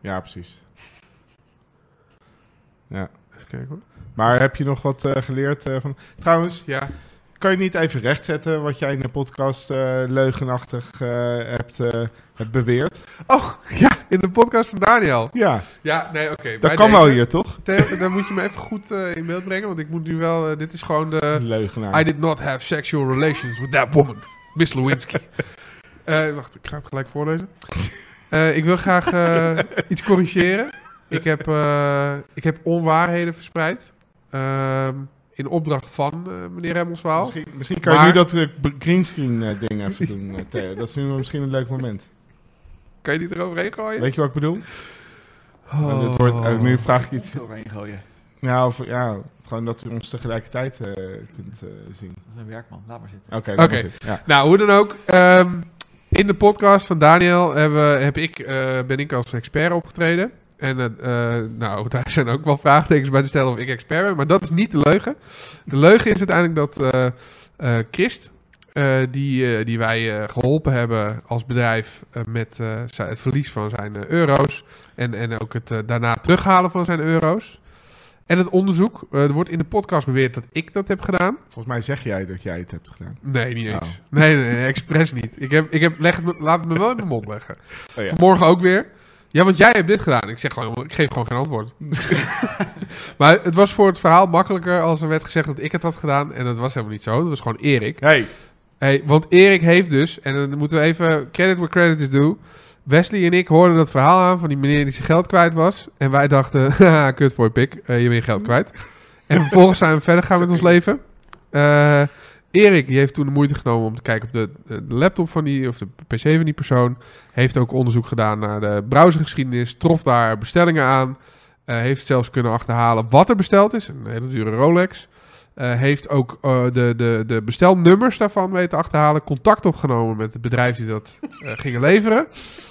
Speaker 1: Ja, precies.
Speaker 3: Even kijken hoor.
Speaker 1: Maar heb je nog wat eh, geleerd eh, van... Trouwens,
Speaker 3: Ja,
Speaker 1: kan je niet even rechtzetten wat jij in de podcast eh, leugenachtig eh, hebt, eh, hebt beweerd?
Speaker 3: Oh, in de podcast van Daniel.
Speaker 1: Ja,
Speaker 3: Ja, nee, oké.
Speaker 1: dat
Speaker 3: bij
Speaker 1: kan wel
Speaker 3: deze.
Speaker 1: hier, toch?
Speaker 3: Theo, Dan moet je me even goed eh, in beeld brengen, want ik moet nu wel... eh, dit is gewoon de... I
Speaker 1: Leugenaar.
Speaker 3: did not have sexual relations with that woman, Miss Lewinsky. Eh, wacht, ik ga het gelijk voorlezen. Eh, ik wil graag eh, iets corrigeren. Ik heb, eh, ik heb onwaarheden verspreid. Ehm, in opdracht van eh, meneer Remmelswaal.
Speaker 1: Misschien, misschien kan je
Speaker 3: Oh. Maar-
Speaker 1: nu dat eh, b- greenscreen eh, ding even doen, eh, Theo. Dat is nu misschien een leuk moment.
Speaker 3: Kan je die eroverheen gooien?
Speaker 1: Weet je wat ik bedoel?
Speaker 3: Oh.
Speaker 1: En dit wordt, eh, nu vraag ik iets.
Speaker 4: Overheen gooien.
Speaker 1: Nou, of, ja, gewoon dat u ons tegelijkertijd eh, kunt eh, zien.
Speaker 4: Dat is een werkman, laat maar zitten.
Speaker 1: Oké, laat
Speaker 3: Oké.
Speaker 1: maar zitten. ja.
Speaker 3: Nou, hoe dan ook. ehm, in de podcast van Daniel hebben, heb ik, eh, ben ik als expert opgetreden. En eh, eh, nou, daar zijn ook wel vraagtekens bij te stellen of ik expert ben. Maar dat is niet de leugen. De leugen is uiteindelijk dat eh, eh, Christ, eh, die, eh, die wij eh, geholpen hebben als bedrijf eh, met eh, zi- het verlies van zijn eh, euro's. En, en ook het eh, daarna terughalen van zijn euro's. En het onderzoek. eh, er wordt in de podcast beweerd dat ik dat heb gedaan.
Speaker 1: Volgens mij zeg jij dat jij het hebt gedaan.
Speaker 3: Nee, niet eens.
Speaker 1: Oh.
Speaker 3: Nee, nee, nee, expres niet. Ik heb, ik heb, leg het me- laat het me wel in mijn mond leggen.
Speaker 1: Oh, ja.
Speaker 3: Vanmorgen ook weer. Ja, want jij hebt dit gedaan. Ik, zeg gewoon, ik geef gewoon geen antwoord. maar het was voor het verhaal makkelijker als er werd gezegd dat ik het had gedaan. En dat was helemaal niet zo. Dat was gewoon Erik.
Speaker 1: Hey,
Speaker 3: Hey, want Erik heeft dus, en dan moeten we even credit where credit is due. Wesley en ik hoorden dat verhaal aan van die meneer die zijn geld kwijt was. En wij dachten, haha, kut voor je pik, eh, je bent je geld kwijt. En vervolgens zijn we verder gaan met ons leven. Eh, Erik die heeft toen de moeite genomen om te kijken op de, de laptop van die, of de pc van die persoon. Heeft ook onderzoek gedaan naar de browsergeschiedenis, trof daar bestellingen aan. Eh, heeft zelfs kunnen achterhalen wat er besteld is, een hele dure Rolex. Eh, heeft ook eh, de, de, de bestelnummers daarvan weten achterhalen. Contact opgenomen met het bedrijf die dat eh, gingen leveren.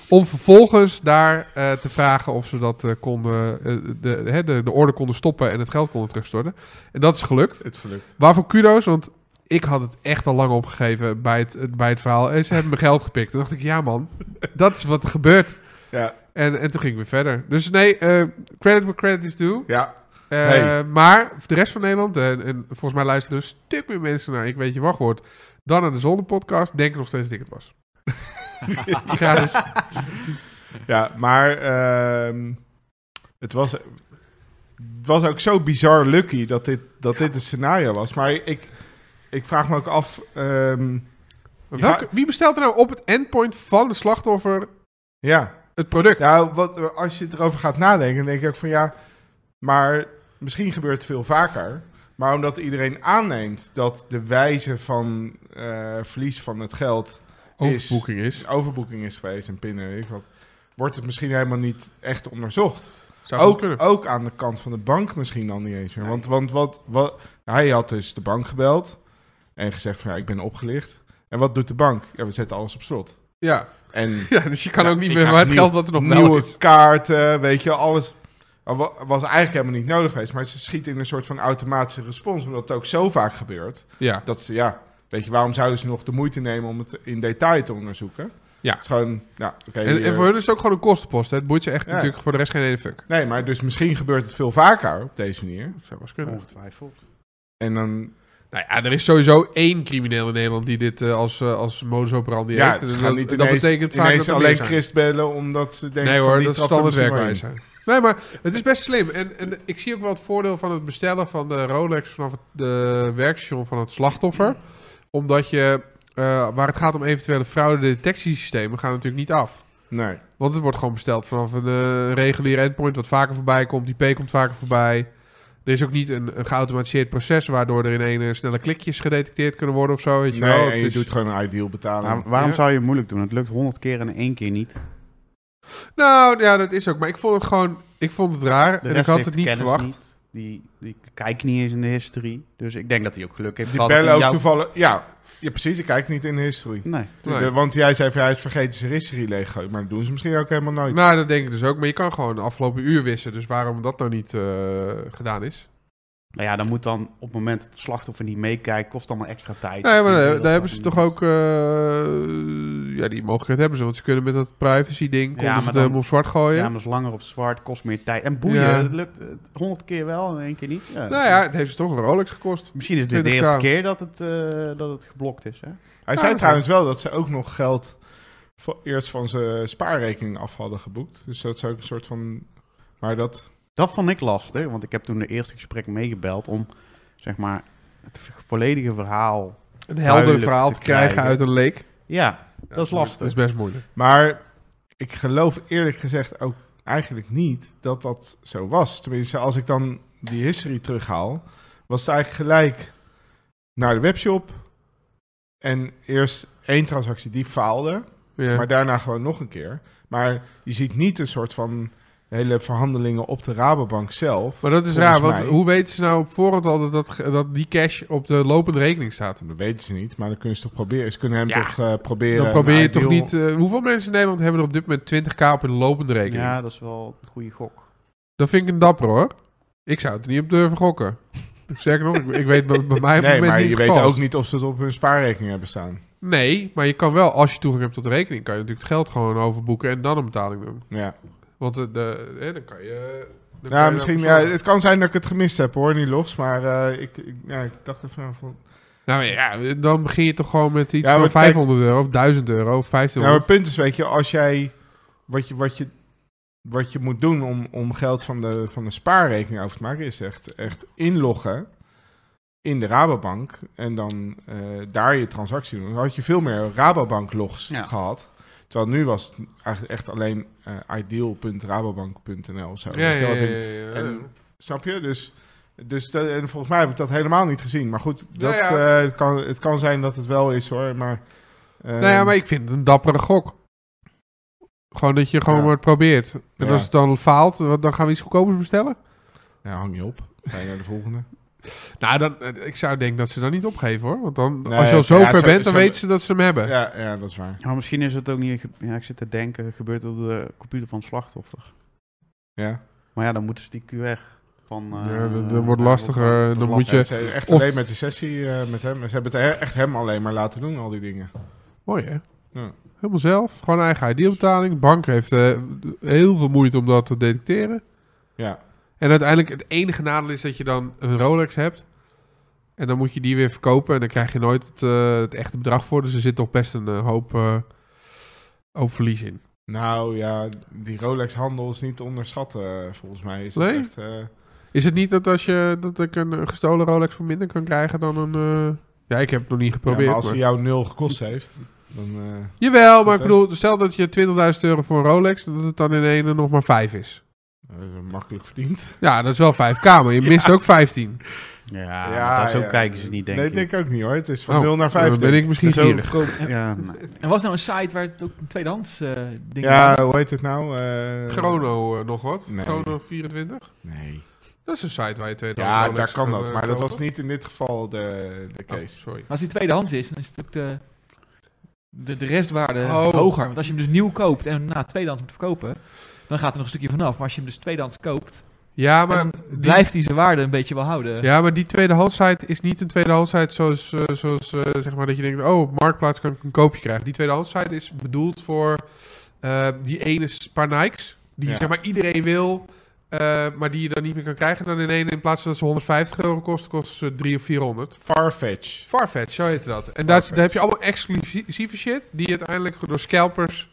Speaker 3: Om vervolgens daar eh, te vragen of ze dat eh, konden, eh, de, hè, de, de order konden stoppen en het geld konden terugstorten. En dat is gelukt.
Speaker 1: het is gelukt.
Speaker 3: Waarvoor kudo's, want ik had het echt al lang opgegeven bij het, het- bij het verhaal. En ze hebben mijn geld gepikt. Toen dacht ik, ja man, dat is wat er gebeurt.
Speaker 1: Ja,
Speaker 3: En, en toen ging ik weer verder. Dus nee, eh, credit where credit is due.
Speaker 1: ja.
Speaker 3: Eh,
Speaker 1: Hey.
Speaker 3: Maar de rest van Nederland, eh, en, en volgens mij luisteren er een stuk meer mensen naar Ik Weet Je Wachtwoord, dan naar de Zonnepodcast, denken nog steeds dat ik het was. Gratis.
Speaker 1: ja maar ehm, het, was, het was ook zo bizar lucky dat dit, dat dit een scenario was. Maar ik, ik vraag me ook af... ehm,
Speaker 3: Welke, wie bestelt er nou op het endpoint van de slachtoffer
Speaker 1: ja,
Speaker 3: het product?
Speaker 1: Nou, wat, als je het erover gaat nadenken, dan denk ik ook van ja, maar misschien gebeurt het veel vaker. Maar omdat iedereen aanneemt dat de wijze van eh, verlies van het geld
Speaker 3: Overboeking is.
Speaker 1: een overboeking is geweest en pinnen, weet ik wat, wordt het misschien helemaal niet echt onderzocht.
Speaker 3: Zou ook kunnen.
Speaker 1: Ook, ook aan de kant van de bank misschien dan niet eens meer. Want, want wat, wat, hij had dus de bank gebeld en gezegd van ja, ik ben opgelicht. En wat doet de bank? Ja, we zetten alles op slot.
Speaker 3: Ja.
Speaker 1: En
Speaker 3: ja, dus je kan
Speaker 1: Ja,
Speaker 3: ook niet
Speaker 1: ik
Speaker 3: meer
Speaker 1: ga
Speaker 3: maar het
Speaker 1: nieuw-
Speaker 3: geld wat er nog wel
Speaker 1: nieuwe
Speaker 3: is.
Speaker 1: kaarten, weet je, alles. Wa- Was eigenlijk helemaal niet nodig geweest. Maar ze schieten in een soort van automatische respons. Omdat het ook zo vaak gebeurt.
Speaker 3: Ja.
Speaker 1: Dat ze, ja, weet je, waarom zouden ze nog de moeite nemen om het in detail te onderzoeken?
Speaker 3: Ja.
Speaker 1: Het is gewoon, nou, oké.
Speaker 3: En, en
Speaker 1: hier-
Speaker 3: voor hun is het ook gewoon een kostenpost. Hè? Het boeit je echt
Speaker 1: Ja.
Speaker 3: natuurlijk voor de rest geen ene fuck.
Speaker 1: Nee, maar dus misschien gebeurt het veel vaker op deze manier.
Speaker 3: Dat zou wel eens kunnen.
Speaker 2: Ongetwijfeld.
Speaker 1: En dan,
Speaker 3: Oh. Nou ja, er is sowieso één crimineel in Nederland die dit eh, als, eh, als modus operandi
Speaker 1: ja,
Speaker 3: heeft.
Speaker 1: het
Speaker 3: En
Speaker 1: gaat
Speaker 3: dat-
Speaker 1: niet
Speaker 3: dat
Speaker 1: ineens,
Speaker 3: betekent vaak
Speaker 1: ineens
Speaker 3: dat er meer
Speaker 1: alleen
Speaker 3: zijn.
Speaker 1: Christ bellen omdat ze denken...
Speaker 3: Nee
Speaker 1: van,
Speaker 3: hoor,
Speaker 1: die
Speaker 3: dat is
Speaker 1: trapt er
Speaker 3: standaard
Speaker 1: misschien wel
Speaker 3: werkwijze. Nee, maar het is best slim. En, en ik zie ook wel het voordeel van het bestellen van de Rolex vanaf het de werkstation van het slachtoffer. Omdat je, eh, waar het gaat om eventuele fraude detectiesystemen, gaan natuurlijk niet af.
Speaker 1: in. Nee.
Speaker 3: Want het wordt gewoon besteld vanaf een eh, reguliere endpoint wat vaker voorbij komt. Die P komt vaker voorbij. Er is ook niet een, een geautomatiseerd proces waardoor er in een eh, snelle klikjes gedetecteerd kunnen worden of zo. Weet je
Speaker 1: Nee,
Speaker 3: wel.
Speaker 1: en
Speaker 3: Het
Speaker 1: je
Speaker 3: is- Nou,
Speaker 1: doet gewoon een ideal betalen.
Speaker 2: Maar waarom
Speaker 3: Ja.
Speaker 2: zou je het moeilijk doen? Het lukt honderd keer en in één keer niet.
Speaker 3: Nou ja, dat is ook. Maar ik vond het gewoon, ik vond het raar.
Speaker 2: De
Speaker 3: en ik
Speaker 2: rest
Speaker 3: had
Speaker 2: heeft
Speaker 3: het niet
Speaker 2: kennis
Speaker 3: verwacht.
Speaker 2: niet. Die, die kijkt niet eens in de history. Dus ik denk dat hij ook geluk heeft
Speaker 1: die
Speaker 2: gehad dat
Speaker 1: bellen ook
Speaker 2: hij jou-
Speaker 1: toevallig... Ja, ja, precies. Ik kijk niet in de history.
Speaker 2: Nee.
Speaker 3: Nee.
Speaker 1: De- want jij zei van, hij is vergeten zijn history leeggooien. Maar dat doen ze misschien ook helemaal nooit.
Speaker 3: Nou, dat denk ik dus ook. Maar je kan gewoon de afgelopen uur wissen. Dus waarom dat nou niet eh, gedaan is.
Speaker 2: Nou ja, dan moet dan op het moment dat het slachtoffer niet meekijkt, kost allemaal extra tijd.
Speaker 3: Nee, maar
Speaker 2: Ik
Speaker 3: daar,
Speaker 2: wil dat
Speaker 3: daar hebben
Speaker 2: dan
Speaker 3: ze
Speaker 2: niet.
Speaker 3: toch ook... eh, ja, die mogelijkheid hebben ze. Want ze kunnen met dat privacy ding... konden
Speaker 2: maar
Speaker 3: ze het
Speaker 2: dan-
Speaker 3: helemaal zwart gooien.
Speaker 2: Ja, maar is langer op zwart, kost meer tijd. En boeien,
Speaker 3: oh Ja.
Speaker 2: het lukt honderd keer wel en één keer niet. Ja.
Speaker 3: Nou ja, het heeft ze toch een Rolex gekost.
Speaker 2: Misschien is dit de
Speaker 3: 20K.
Speaker 2: eerste keer dat het, eh, dat het geblokt is. Hè?
Speaker 1: Hij zei
Speaker 3: Ah,
Speaker 1: trouwens wel dat ze ook nog geld voor, eerst van zijn spaarrekening af hadden geboekt. Dus dat is ook een soort van... Maar dat...
Speaker 2: Dat vond ik lastig, want ik heb toen de eerste gesprek meegebeld om zeg maar, het volledige verhaal.
Speaker 3: Een helder
Speaker 2: Duidelijk
Speaker 3: verhaal
Speaker 2: te
Speaker 3: te krijgen,
Speaker 2: krijgen.
Speaker 3: uit een leek.
Speaker 2: Ja, dat is lastig.
Speaker 3: Dat is best moeilijk.
Speaker 1: Maar ik geloof eerlijk gezegd ook eigenlijk niet dat dat zo was. Tenminste, als ik dan die history terughaal, was het eigenlijk gelijk naar de webshop. En eerst één transactie, die faalde.
Speaker 3: Ja.
Speaker 1: Maar daarna gewoon nog een keer. Maar je ziet niet een soort van hele verhandelingen op de Rabobank zelf.
Speaker 3: Maar dat is
Speaker 1: Volgens
Speaker 3: raar, want
Speaker 1: mij-
Speaker 3: hoe weten ze nou op voorhand al dat, dat, dat die cash op de lopende rekening staat?
Speaker 1: Dat weten ze niet, maar dan kunnen ze toch proberen. Ze kunnen hem
Speaker 3: Ja.
Speaker 1: toch eh, proberen.
Speaker 3: Dan probeer je
Speaker 1: een
Speaker 3: toch
Speaker 1: ideal-
Speaker 3: niet... eh, hoeveel mensen in Nederland hebben er op dit moment 20k op hun lopende rekening?
Speaker 2: Ja, dat is wel een goede gok.
Speaker 3: Dat vind ik een dapper hoor. Ik zou het er niet op durven gokken. Zeker nog, ik, ik weet bij, bij mij op het
Speaker 1: Nee,
Speaker 3: moment
Speaker 1: maar
Speaker 3: niet
Speaker 1: je
Speaker 3: het
Speaker 1: weet
Speaker 3: geval is.
Speaker 1: ook niet of ze het op hun spaarrekening hebben staan.
Speaker 3: Nee, maar je kan wel, als je toegang hebt tot de rekening, kan je natuurlijk het geld gewoon overboeken en dan een betaling doen.
Speaker 1: Ja.
Speaker 3: Want de, de, hè, dan kan je... dan kan je
Speaker 1: Nou, misschien, ja,
Speaker 3: daarvoor zorgen.
Speaker 1: het kan zijn dat ik het gemist heb hoor, niet los. Maar eh, ik, ik, ja, ik dacht even van.
Speaker 3: Nou ja, dan begin je toch gewoon met iets
Speaker 1: Ja,
Speaker 3: van
Speaker 1: maar kijk-
Speaker 3: 500 euro of 1000 euro
Speaker 1: Nou, maar
Speaker 3: of 1500.
Speaker 1: het punt is, weet je, als jij. Wat je, wat je, wat je moet doen om, om geld van de, van de spaarrekening over te maken, is echt, echt inloggen in de Rabobank. En dan eh, daar je transactie doen. Dan had je veel meer Rabobank-logs
Speaker 2: Ja.
Speaker 1: gehad. Terwijl nu was het eigenlijk echt alleen eh, ideal.rabobank.nl. of Zo.
Speaker 3: ja,
Speaker 1: Weet je
Speaker 3: ja,
Speaker 1: wat
Speaker 3: ja,
Speaker 1: in-
Speaker 3: ja, ja.
Speaker 1: En, snap je? Dus, dus dat- en volgens mij heb ik dat helemaal niet gezien. Maar goed, dat,
Speaker 3: Nou ja.
Speaker 1: eh, het, kan, het kan zijn dat het wel is hoor. Maar, eh,
Speaker 3: nou ja, maar ik vind het een dappere gok. Gewoon dat je gewoon
Speaker 1: Ja.
Speaker 3: maar het probeert. En
Speaker 1: Ja.
Speaker 3: als het dan faalt, wat- dan gaan we iets goedkopers bestellen?
Speaker 1: ja, hang je op. Ga je naar de volgende.
Speaker 3: Nou, dan, eh, ik zou denken dat ze dan niet opgeven hoor. Want dan,
Speaker 1: Nee,
Speaker 3: als je al zo
Speaker 1: ja, het
Speaker 3: ver
Speaker 1: zou-
Speaker 3: bent, dan
Speaker 1: zou-
Speaker 3: weten ze dat ze hem hebben.
Speaker 1: Ja, ja, dat is waar.
Speaker 2: Maar misschien is het ook niet. ge- Ja, ik zit te denken, gebeurt het op de computer van het slachtoffer.
Speaker 1: Ja.
Speaker 2: Maar ja, dan moeten ze die QR van. eh,
Speaker 3: Ja, dat- dat wordt
Speaker 2: ja,
Speaker 3: lastiger.
Speaker 2: dat is
Speaker 3: Dan moet
Speaker 2: lastig.
Speaker 3: je-
Speaker 1: Ze hebben echt
Speaker 3: Eh, Of-
Speaker 1: alleen met de sessie eh, met hem. Ze hebben het he- echt hem alleen maar laten doen, al die dingen.
Speaker 3: Mooi hè?
Speaker 1: Ja.
Speaker 3: Helemaal zelf. Gewoon eigen ID-betaling. De bank heeft eh, heel veel moeite om dat te detecteren.
Speaker 1: Ja.
Speaker 3: En uiteindelijk het enige nadeel is dat je dan een Rolex hebt. En dan moet je die weer verkopen. En dan krijg je nooit het, eh, het echte bedrag voor. Dus er zit toch best een eh, hoop, eh, hoop verlies in.
Speaker 1: Nou ja, die Rolex-handel is niet te onderschatten, eh, volgens mij. Is dat
Speaker 3: Nee?
Speaker 1: echt, eh,
Speaker 3: Is het niet dat als je dat ik een eh, gestolen Rolex voor minder kan krijgen dan een. eh, Ja, ik heb het nog niet
Speaker 1: ja,
Speaker 3: geprobeerd.
Speaker 1: maar als
Speaker 3: maar-
Speaker 1: hij jou nul gekost heeft, dan... eh,
Speaker 3: Jawel, maar ik
Speaker 1: hè?
Speaker 3: bedoel, stel dat je 20.000 euro voor een Rolex. en dat het dan in ene nog maar 5 is.
Speaker 1: dat is makkelijk verdiend.
Speaker 3: Ja, dat is wel 5k, maar je mist ook 15.
Speaker 1: Eh.
Speaker 2: Ja, maar zo
Speaker 1: ja.
Speaker 2: kijken ze niet, denk
Speaker 1: nee,
Speaker 2: ik.
Speaker 1: denk ik ook niet hoor. Het is van
Speaker 3: Oh,
Speaker 1: 0 naar
Speaker 3: dan
Speaker 1: 15.
Speaker 3: ben ik misschien
Speaker 2: Zo
Speaker 3: gierig.
Speaker 2: verkoop- Ja, nee.
Speaker 4: En was nou een site waar het ook een tweedehands eh ding
Speaker 1: Ja, hoe heet het nou? Eh,
Speaker 3: Chrono eh, nog wat?
Speaker 1: Nee.
Speaker 3: Chrono 24?
Speaker 1: Nee,
Speaker 3: Dat is een site waar je tweede
Speaker 1: ja, daar kan dat. Maar dat was niet in dit geval de,
Speaker 3: Oh.
Speaker 1: de case.
Speaker 3: eh, sorry.
Speaker 4: Maar als die tweedehands is, dan is natuurlijk de, de, de restwaarde
Speaker 3: Oh.
Speaker 4: hoger. Want als je hem dus nieuw koopt en na tweedehands moet verkopen, dan gaat er nog een stukje vanaf. Maar als je hem dus tweedehands koopt,
Speaker 3: Ja, maar,
Speaker 4: En
Speaker 3: die,
Speaker 4: Blijft hij zijn waarde een beetje wel houden?
Speaker 3: ja, maar die tweedehandsite is niet een tweedehandsite zoals, eh, zoals eh, zeg maar dat je denkt, oh, op Marktplaats kan ik een koopje krijgen. Die tweedehandsite is bedoeld voor eh, die ene s- paar Nikes, die
Speaker 1: Ja.
Speaker 3: zeg maar iedereen wil, eh, maar die je dan niet meer kan krijgen. Dan in één, in plaats van dat ze 150 euro kost, kost ze 300 of 400.
Speaker 1: Farfetch.
Speaker 3: Farfetch, zo heette dat. En daar,
Speaker 1: Farfetch.
Speaker 3: daar heb je allemaal exclusieve shit die uiteindelijk door scalpers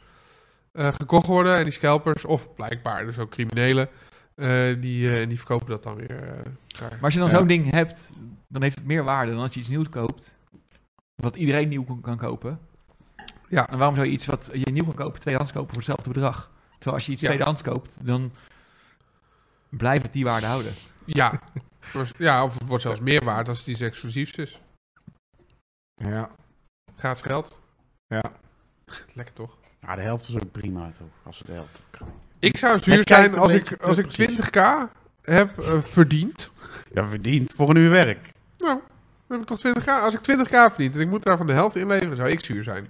Speaker 3: eh, gekocht worden. En die scalpers, of blijkbaar dus ook criminelen, eh, die, eh, en die verkopen dat dan weer. eh, graag.
Speaker 4: Maar als je dan
Speaker 1: Ja.
Speaker 4: zo'n ding hebt, dan heeft het meer waarde dan als je iets nieuws koopt. Wat iedereen nieuw kan, kan kopen.
Speaker 3: Ja.
Speaker 4: En waarom zou je iets wat je nieuw kan kopen, tweedehands kopen voor hetzelfde bedrag? Terwijl als je iets
Speaker 3: Ja.
Speaker 4: tweedehands koopt, dan blijft het die waarde houden.
Speaker 3: ja. Maar- ja, of het wordt zelfs meer waard als het iets exclusiefs is.
Speaker 1: Ja.
Speaker 3: Gratis geld.
Speaker 1: Ja.
Speaker 3: Lekker toch?
Speaker 2: Ja, de helft is ook prima, toch? Als we de helft krijgen.
Speaker 3: Ik zou
Speaker 2: Hij
Speaker 3: zuur
Speaker 2: kijkt
Speaker 3: zijn
Speaker 2: een
Speaker 3: als
Speaker 2: beetje
Speaker 3: ik,
Speaker 2: te
Speaker 3: als ik
Speaker 2: precies.
Speaker 3: 20k heb eh, verdiend.
Speaker 2: Ja, verdiend voor een uur werk.
Speaker 3: Nou, dan heb ik toch 20k. Als ik 20k heb verdiend en ik moet daarvan de helft inleveren, zou ik zuur zijn.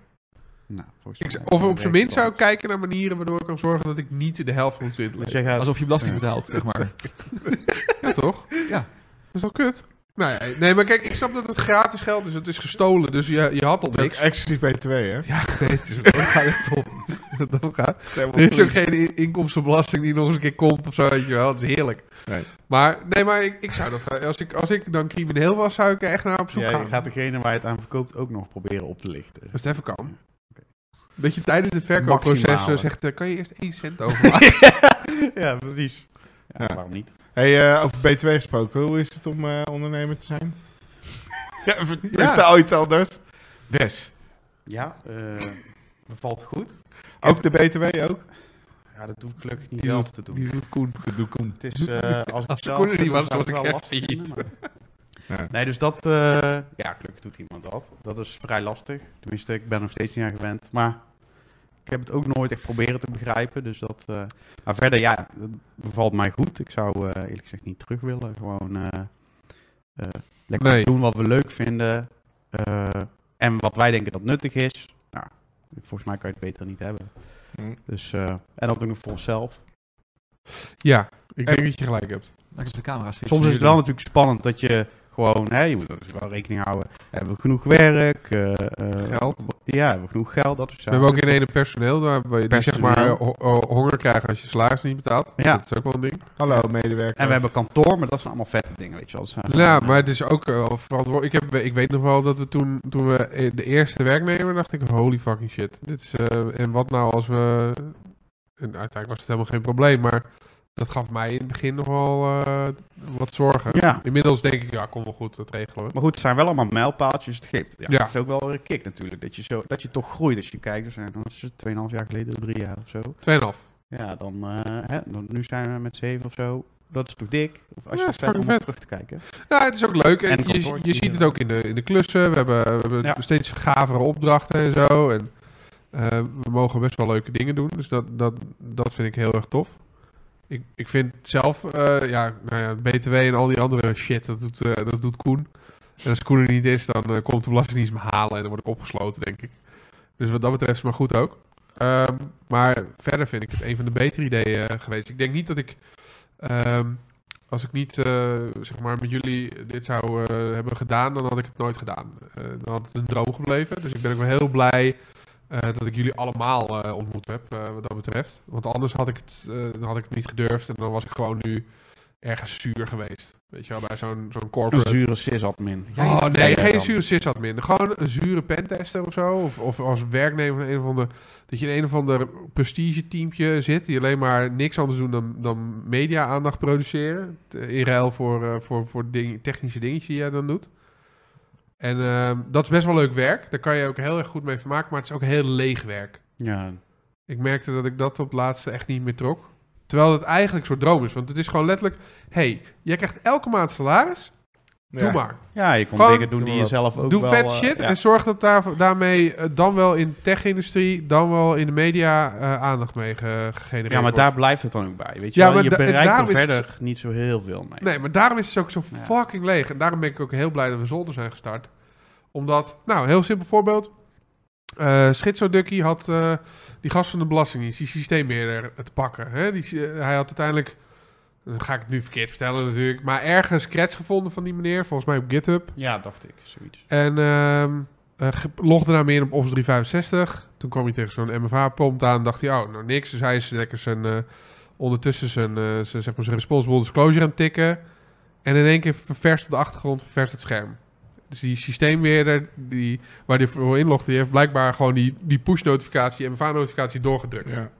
Speaker 2: Nou, volgens
Speaker 3: Ik
Speaker 2: mij-
Speaker 3: zou- of op zijn minst zou ik
Speaker 2: Als
Speaker 3: kijken naar manieren waardoor ik kan zorgen dat ik niet de helft moet winnen.
Speaker 2: jij gaat-
Speaker 4: Alsof je belasting betaalt, zeg maar.
Speaker 3: Ja, toch?
Speaker 4: Ja.
Speaker 3: Dat is toch kut? Nou ja, nee, maar kijk, ik snap dat het gratis geld is. Het is gestolen, dus je, je had al
Speaker 1: Dat is
Speaker 3: niks.
Speaker 1: ook exclusief B2, hè?
Speaker 3: Ja, nee, het is, dat gaat echt op. Dat gaat. Er is ook geen in- inkomstenbelasting die nog eens een keer komt of zo, weet je wel. Het is heerlijk.
Speaker 1: Nee.
Speaker 3: Maar, nee, maar ik, ik zou dat... Als ik, als ik dan crimineel was, zou ik er echt naar op zoek
Speaker 2: Ja, je
Speaker 3: gaan.
Speaker 2: gaat degene waar je het aan verkoopt ook nog proberen op te lichten.
Speaker 3: Als het even kan. Dat je tijdens het verkoopproces
Speaker 2: Maximale.
Speaker 3: zo zegt, eh, kan je eerst 1 cent overmaken?
Speaker 2: ja, precies. Ja,
Speaker 1: Ja.
Speaker 2: Waarom niet?
Speaker 1: Hey, eh, over B2 gesproken, hoe is het om eh, ondernemer te zijn? ja, ver-
Speaker 3: Ja.
Speaker 1: vertel iets anders. Wes,
Speaker 2: Ja, eh, bevalt goed.
Speaker 1: ook de BTW ook?
Speaker 2: Ja, dat hoef ik gelukkig niet
Speaker 3: Die
Speaker 2: zelf te doen.
Speaker 3: Die doet Koen.
Speaker 1: Dat doe ik om.
Speaker 2: Het is, eh, als ik
Speaker 3: Als
Speaker 2: zelf
Speaker 3: Koen er niet
Speaker 2: doe,
Speaker 3: was,
Speaker 2: zou
Speaker 3: was
Speaker 2: het
Speaker 3: ik
Speaker 2: wel
Speaker 3: echt
Speaker 2: lastig
Speaker 3: niet.
Speaker 2: vinden, maar-
Speaker 1: Ja.
Speaker 2: Nee, dus dat... eh, ja, gelukkig doet iemand dat. Dat is vrij lastig. Tenminste, ik ben er nog steeds niet aan gewend. Maar ik heb het ook nooit echt proberen te begrijpen. Dus dat... eh, maar verder, ja, het bevalt mij goed. Ik zou eh, eerlijk gezegd niet terug willen. Gewoon eh, eh, lekker
Speaker 3: Nee.
Speaker 2: doen wat we leuk vinden. eh, en wat wij denken dat nuttig is. Nou, volgens mij kan je het beter niet hebben.
Speaker 1: Hm.
Speaker 2: Dus, eh, en dat ook nog voor onszelf.
Speaker 3: Ja, ik denk
Speaker 1: En-
Speaker 3: dat je gelijk hebt.
Speaker 4: Laat ik op de camera switchen.
Speaker 2: Soms is het wel natuurlijk spannend dat je gewoon, hè, je moet er wel rekening houden. Hebben we genoeg werk? eh, eh,
Speaker 3: Geld.
Speaker 2: Ja, hebben we genoeg geld? Dat is
Speaker 3: We hebben ook in ene personeel waar we die zeg
Speaker 2: Personeel.
Speaker 3: maar ho- ho- honger krijgen als je salaris niet betaalt.
Speaker 2: Ja.
Speaker 3: Dat is ook wel een ding.
Speaker 1: Hallo, medewerkers.
Speaker 2: En we hebben kantoor, maar dat zijn allemaal vette dingen, weet je wel. Dat zijn-
Speaker 3: Ja, maar het is ook eh, wel verantwoordelijk. Ik, heb, ik weet nog wel dat we toen, toen we eh, de eerste werknemer dacht ik, holy fucking shit. Dit is, eh, en wat nou als we... En uiteindelijk was het helemaal geen probleem, maar dat gaf mij in het begin nog wel eh, wat zorgen.
Speaker 2: Ja.
Speaker 3: Inmiddels denk ik, ja, kom wel goed, dat regelen we.
Speaker 2: Maar goed, het zijn wel allemaal mijlpaaltjes. dus Het geeft. Ja,
Speaker 3: Ja.
Speaker 2: Het is ook wel weer een kick natuurlijk. Dat je, zo, dat je toch groeit als je kijkt. Dus, eh, dat is het 2,5 jaar geleden, 3 jaar of zo.
Speaker 3: Tweeënhalf.
Speaker 2: Ja, dan, eh, hè, dan nu zijn we met 7 of zo. Dat is toch dik? Of als
Speaker 3: Ja,
Speaker 2: je het
Speaker 3: is fucking
Speaker 2: vet om
Speaker 3: vet.
Speaker 2: op terug te kijken.
Speaker 3: Ja, het is ook leuk. En,
Speaker 2: En
Speaker 3: je, je
Speaker 2: kantoortje.
Speaker 3: ziet het ook in de, in de klussen. We hebben, we hebben
Speaker 2: Ja.
Speaker 3: steeds gavere opdrachten en zo. En eh, we mogen best wel leuke dingen doen. Dus dat, dat, dat vind ik heel erg tof. Ik, ik vind zelf, eh, ja, nou ja, BTW en al die andere shit, dat doet, eh, dat doet Koen. En als Koen er niet is, dan eh, komt de Belastingdienst me halen en dan word ik opgesloten, denk ik. Dus wat dat betreft is het maar goed ook. Ehm, maar verder vind ik het een van de betere ideeën eh, geweest. Ik denk niet dat ik ehm, als ik niet eh, zeg maar met jullie dit zou eh, hebben gedaan, dan had ik het nooit gedaan. Eh, dan had het een droom gebleven. Dus ik ben ook wel heel blij eh, dat ik jullie allemaal eh, ontmoet heb, eh, wat dat betreft. Want anders had ik, het, eh, dan had ik het niet gedurfd en dan was ik gewoon nu ergens zuur geweest. Weet je wel, bij zo'n zo'n
Speaker 2: Een
Speaker 3: corporate.
Speaker 2: zure sysadmin.
Speaker 3: Oh nee,
Speaker 2: Ja, ja,
Speaker 3: geen
Speaker 2: dan.
Speaker 3: zure sysadmin. Gewoon een zure pentester of zo. Of, of als werknemer van een of ander. Dat je in een of ander prestige teampje zit. Die alleen maar niks anders doen dan, dan media-aandacht produceren. T- In ruil voor, eh, voor, voor ding, technische dingetjes die jij dan doet. En ehm, dat is best wel leuk werk. Daar kan je ook heel erg goed mee vermaken. Maar het is ook heel leeg werk.
Speaker 2: Ja,
Speaker 3: Ik merkte dat ik dat op het laatste echt niet meer trok. Terwijl het eigenlijk een soort droom is. Want het is gewoon letterlijk... hey, jij krijgt elke maand salaris. Doe maar.
Speaker 2: Ja, je kon
Speaker 3: Gewoon-
Speaker 2: dingen doen die
Speaker 1: Doe
Speaker 2: je
Speaker 1: wat.
Speaker 2: zelf ook
Speaker 3: Doe
Speaker 2: wel...
Speaker 3: vet
Speaker 2: eh,
Speaker 3: shit dus-
Speaker 2: ja.
Speaker 3: en zorg dat daar, daarmee eh, dan wel in de tech-industrie, dan wel in de media eh, aandacht mee ge- gegenereerd
Speaker 2: Ja, maar
Speaker 3: wordt.
Speaker 2: daar blijft het dan ook bij. Weet je,
Speaker 3: Ja,
Speaker 2: wel?
Speaker 3: maar
Speaker 2: je
Speaker 3: da- en
Speaker 2: bereikt er
Speaker 3: daarom is het
Speaker 2: verder niet zo heel veel mee.
Speaker 3: Nee, maar daarom is het ook zo
Speaker 2: Ja.
Speaker 3: fucking leeg. En daarom ben ik ook heel blij dat we zolder zijn gestart. Omdat, nou, een heel simpel voorbeeld. Eh Schizo Ducky had eh, die gast van de Belastingdienst, die systeembeheerder, te pakken. Hè? Die, eh, hij had eh, uiteindelijk Dan ga ik het nu verkeerd vertellen natuurlijk. Maar ergens creds gevonden van die meneer. Volgens mij op GitHub.
Speaker 2: Ja, dacht ik. Zoiets.
Speaker 3: En ehm eh, ge- logde daarmee in op Office 365. Toen kwam hij tegen zo'n MFA-prompt aan. Dacht hij, oh, nou niks. Dus hij is lekker zijn, eh, ondertussen zijn, eh, zijn, zeg maar zijn responsible disclosure aan het tikken. En in één keer ververst op de achtergrond, ververst het scherm. Dus die systeemweerder die, waar hij voor inlogde, die heeft blijkbaar gewoon die, die push-notificatie, MFA-notificatie doorgedrukt.
Speaker 1: Ja.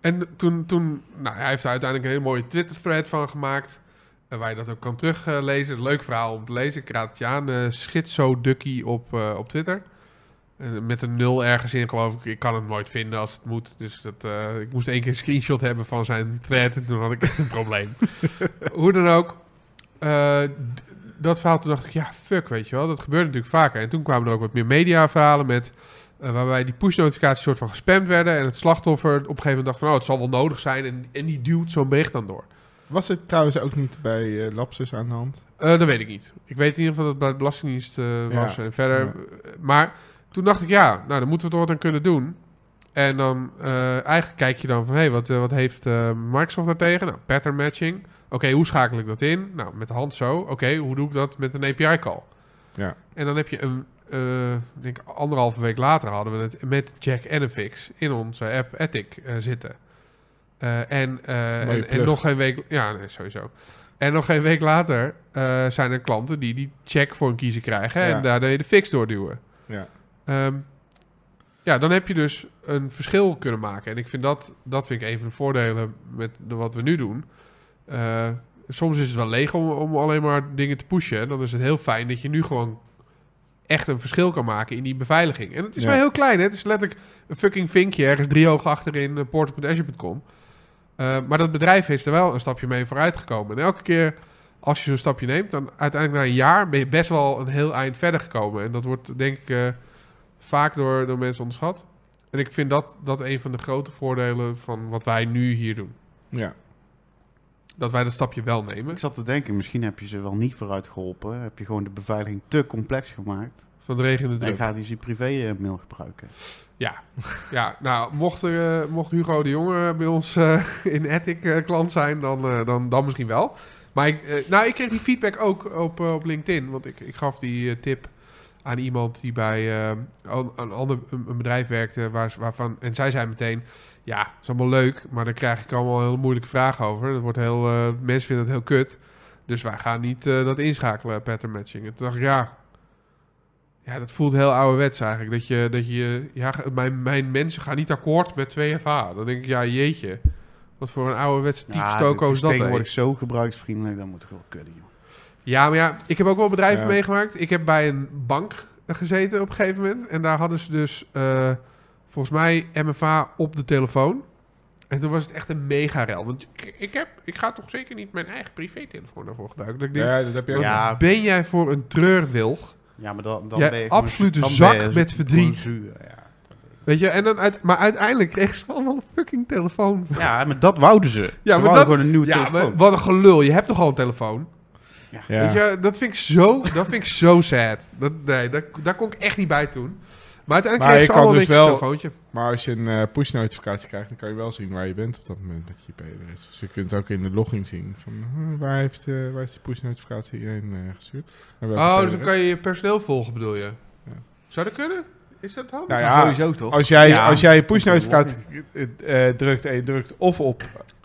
Speaker 3: En toen, toen nou, hij heeft daar uiteindelijk een hele mooie Twitter-thread van gemaakt. eh, waar je dat ook kan teruglezen. Leuk verhaal om te lezen. Ik raad het je aan. eh Schizo Ducky op, eh, op Twitter. En met een nul ergens in, geloof ik. Ik kan het nooit vinden als het moet. Dus dat, eh, ik moest één keer een screenshot hebben van zijn thread. En toen had ik echt een probleem. Hoe dan ook. eh, d- dat verhaal, toen dacht ik, ja, fuck, weet je wel. Dat gebeurt natuurlijk vaker. En toen kwamen er ook wat meer mediaverhalen met... eh, waarbij die push-notificaties soort van gespamd werden. En het slachtoffer op een gegeven moment dacht van... Oh, het zal wel nodig zijn. En, en die duwt zo'n bericht dan door.
Speaker 1: Was het trouwens ook niet bij eh, Lapsus aan de hand?
Speaker 3: Eh, dat weet ik niet. Ik weet in ieder geval dat het bij de Belastingdienst eh, was
Speaker 1: Ja.
Speaker 3: en verder.
Speaker 1: Ja.
Speaker 3: eh, Maar toen dacht ik, ja, nou, dan moeten we toch wat aan kunnen doen. En dan eh, eigenlijk kijk je dan van, hé, hey, wat, eh, wat heeft eh, Microsoft daartegen? Nou, pattern matching. Oké, hoe schakel ik dat in? Nou, met de hand zo. Oké, hoe doe ik dat met een API-call?
Speaker 1: Ja.
Speaker 3: En dan heb je een, eh, ik denk anderhalve week later hadden we het met Jack en een fix in onze app Ethic eh, zitten. Eh, en, eh,
Speaker 1: Mooie
Speaker 3: en, en
Speaker 1: plug.
Speaker 3: nog geen week, ja, nee, sowieso. En nog geen week later eh, zijn er klanten die die check voor een kiezer krijgen
Speaker 1: Ja.
Speaker 3: en daarmee de fix doorduwen.
Speaker 1: Ja.
Speaker 3: Ehm, ja, dan heb je dus een verschil kunnen maken. En ik vind dat, dat vind ik een van de voordelen met de- wat we nu doen. Eh, soms is het wel leeg om, om alleen maar dingen te pushen. En dan is het heel fijn dat je nu gewoon echt een verschil kan maken in die beveiliging. En het is
Speaker 1: Ja.
Speaker 3: maar heel klein. Hè? Het is letterlijk een fucking vinkje ergens drie ogen achterin eh, portal.azure.com. Eh, maar dat bedrijf is er wel een stapje mee vooruit gekomen. En elke keer als je zo'n stapje neemt, dan uiteindelijk na een jaar ben je best wel een heel eind verder gekomen. En dat wordt denk ik eh, vaak door, door mensen onderschat. En ik vind dat, dat een van de grote voordelen van wat wij nu hier doen.
Speaker 1: Ja.
Speaker 3: Dat wij dat stapje wel nemen.
Speaker 2: Ik zat te denken, misschien heb je ze wel niet vooruit geholpen. Heb je gewoon de beveiliging te complex gemaakt.
Speaker 3: Van de regen in de
Speaker 2: En
Speaker 3: druk.
Speaker 2: gaat hij zijn privé-mail gebruiken.
Speaker 3: Ja. ja, nou, mocht, er, eh, mocht Hugo de Jonge bij ons eh, in Attic eh, klant zijn, dan, eh, dan, dan misschien wel. Maar ik, eh, nou, ik kreeg die feedback ook op, eh, op LinkedIn. Want ik, ik gaf die eh, tip aan iemand die bij eh, een, een ander een, een bedrijf werkte. Waar, ze- waarvan, en zij zei meteen, ja, dat is allemaal leuk, maar daar krijg ik allemaal heel moeilijke vragen over. Dat wordt heel, eh, mensen vinden het heel kut. Dus wij gaan niet eh, dat inschakelen, pattern matching. En toen dacht ik, ja, ja, dat voelt heel ouderwets eigenlijk. Dat je, dat je ja, mijn, mijn mensen gaan niet akkoord met 2FA. Dan denk ik, ja, jeetje. Wat voor een ouderwetse
Speaker 2: dit
Speaker 3: typstoko is dat? hè?
Speaker 2: tegenwoordig zo gebruiksvriendelijk, dat moet het wel kunnen, joh.
Speaker 3: Ja, maar ja, ik heb ook wel bedrijven
Speaker 1: Ja.
Speaker 3: meegemaakt. Ik heb bij een bank gezeten op een gegeven moment. En daar hadden ze dus eh, volgens mij MFA op de telefoon. En toen was het echt een mega rel. Want ik, ik, heb, ik ga toch zeker niet mijn eigen privételefoon daarvoor gebruiken. Dat ik denk,
Speaker 1: ja, dat heb je ook.
Speaker 2: Ja.
Speaker 3: wat ben jij voor een treurwilg?
Speaker 2: Ja, maar dan, dan
Speaker 3: Ja,
Speaker 2: ben je...
Speaker 3: absolute
Speaker 2: dan
Speaker 3: zak
Speaker 2: ben je
Speaker 3: met verdriet.
Speaker 2: zuur, ja.
Speaker 3: Weet je, en dan uit, maar uiteindelijk kregen ze allemaal een fucking telefoon.
Speaker 2: ja, maar dat wouden ze. ze
Speaker 3: maar
Speaker 2: wouden
Speaker 3: dat-
Speaker 2: gewoon een nieuwe
Speaker 3: Ja,
Speaker 2: telefoon.
Speaker 3: maar wat een gelul. Je hebt toch al een telefoon?
Speaker 1: Ja.
Speaker 3: Weet je, dat vind ik zo, dat vind ik zo sad. Dat, nee, dat, daar kon ik echt niet bij toen. Maar uiteindelijk
Speaker 1: Maar
Speaker 3: kregen
Speaker 1: je
Speaker 3: ze
Speaker 1: kan
Speaker 3: allemaal
Speaker 1: dus
Speaker 3: netjes een
Speaker 1: wel-
Speaker 3: telefoontje.
Speaker 1: Maar als je een eh, push-notificatie krijgt, dan kan je wel zien waar je bent op dat moment met je IP-adres. Dus je kunt ook in de logging zien van hm, waar, heeft, eh, waar is die push-notificatie heen eh, gestuurd. Naar welke
Speaker 3: Oh, dus dan
Speaker 1: IP-adres.
Speaker 3: kan je je personeel volgen, bedoel je? Zou dat kunnen? Is dat handig?
Speaker 1: Nou
Speaker 4: Ja,
Speaker 1: ja,
Speaker 4: sowieso toch?
Speaker 1: Als jij,
Speaker 2: Ja.
Speaker 1: als jij een push-notificatie eh, eh, drukt en je drukt of op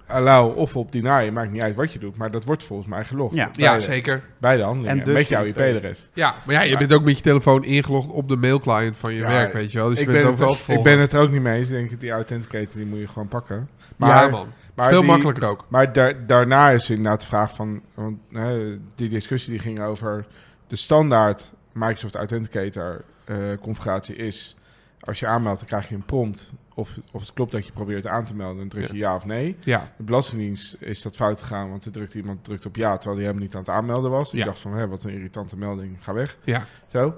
Speaker 1: allow of op deny, maakt niet uit wat je doet, maar dat wordt volgens mij gelogd.
Speaker 2: Ja.
Speaker 3: ja,
Speaker 1: Beide-
Speaker 3: zeker.
Speaker 1: Beide handelingen,
Speaker 2: En dus
Speaker 1: met jouw
Speaker 2: je meteen.
Speaker 1: IP-adres.
Speaker 3: Ja, maar ja, je
Speaker 1: Ja.
Speaker 3: bent ook met je telefoon ingelogd op de mailclient van je
Speaker 1: Ja,
Speaker 3: werk, weet je wel. Dus je
Speaker 1: ik,
Speaker 3: bent
Speaker 1: ben
Speaker 3: ook wel
Speaker 1: het, ik ben het er ook niet mee eens. Ik denk, die authenticator die moet je gewoon pakken. Maar,
Speaker 3: ja, man.
Speaker 1: maar
Speaker 3: Veel
Speaker 1: die-
Speaker 3: makkelijker ook.
Speaker 1: Maar daar- daarna is inderdaad de vraag van... Want, hè, die discussie die ging over de standaard Microsoft Authenticator eh, configuratie is... Als je aanmeldt, dan krijg je een prompt. Of, of het klopt dat je probeert aan te melden, dan druk je ja of nee.
Speaker 3: Ja,
Speaker 1: De Belastingdienst is dat fout gegaan, want er drukt iemand drukt op ja, terwijl hij helemaal niet aan het aanmelden was. Die
Speaker 3: Ja.
Speaker 1: dacht van, hè, wat een irritante melding, ga weg.
Speaker 3: ja.
Speaker 1: Zo.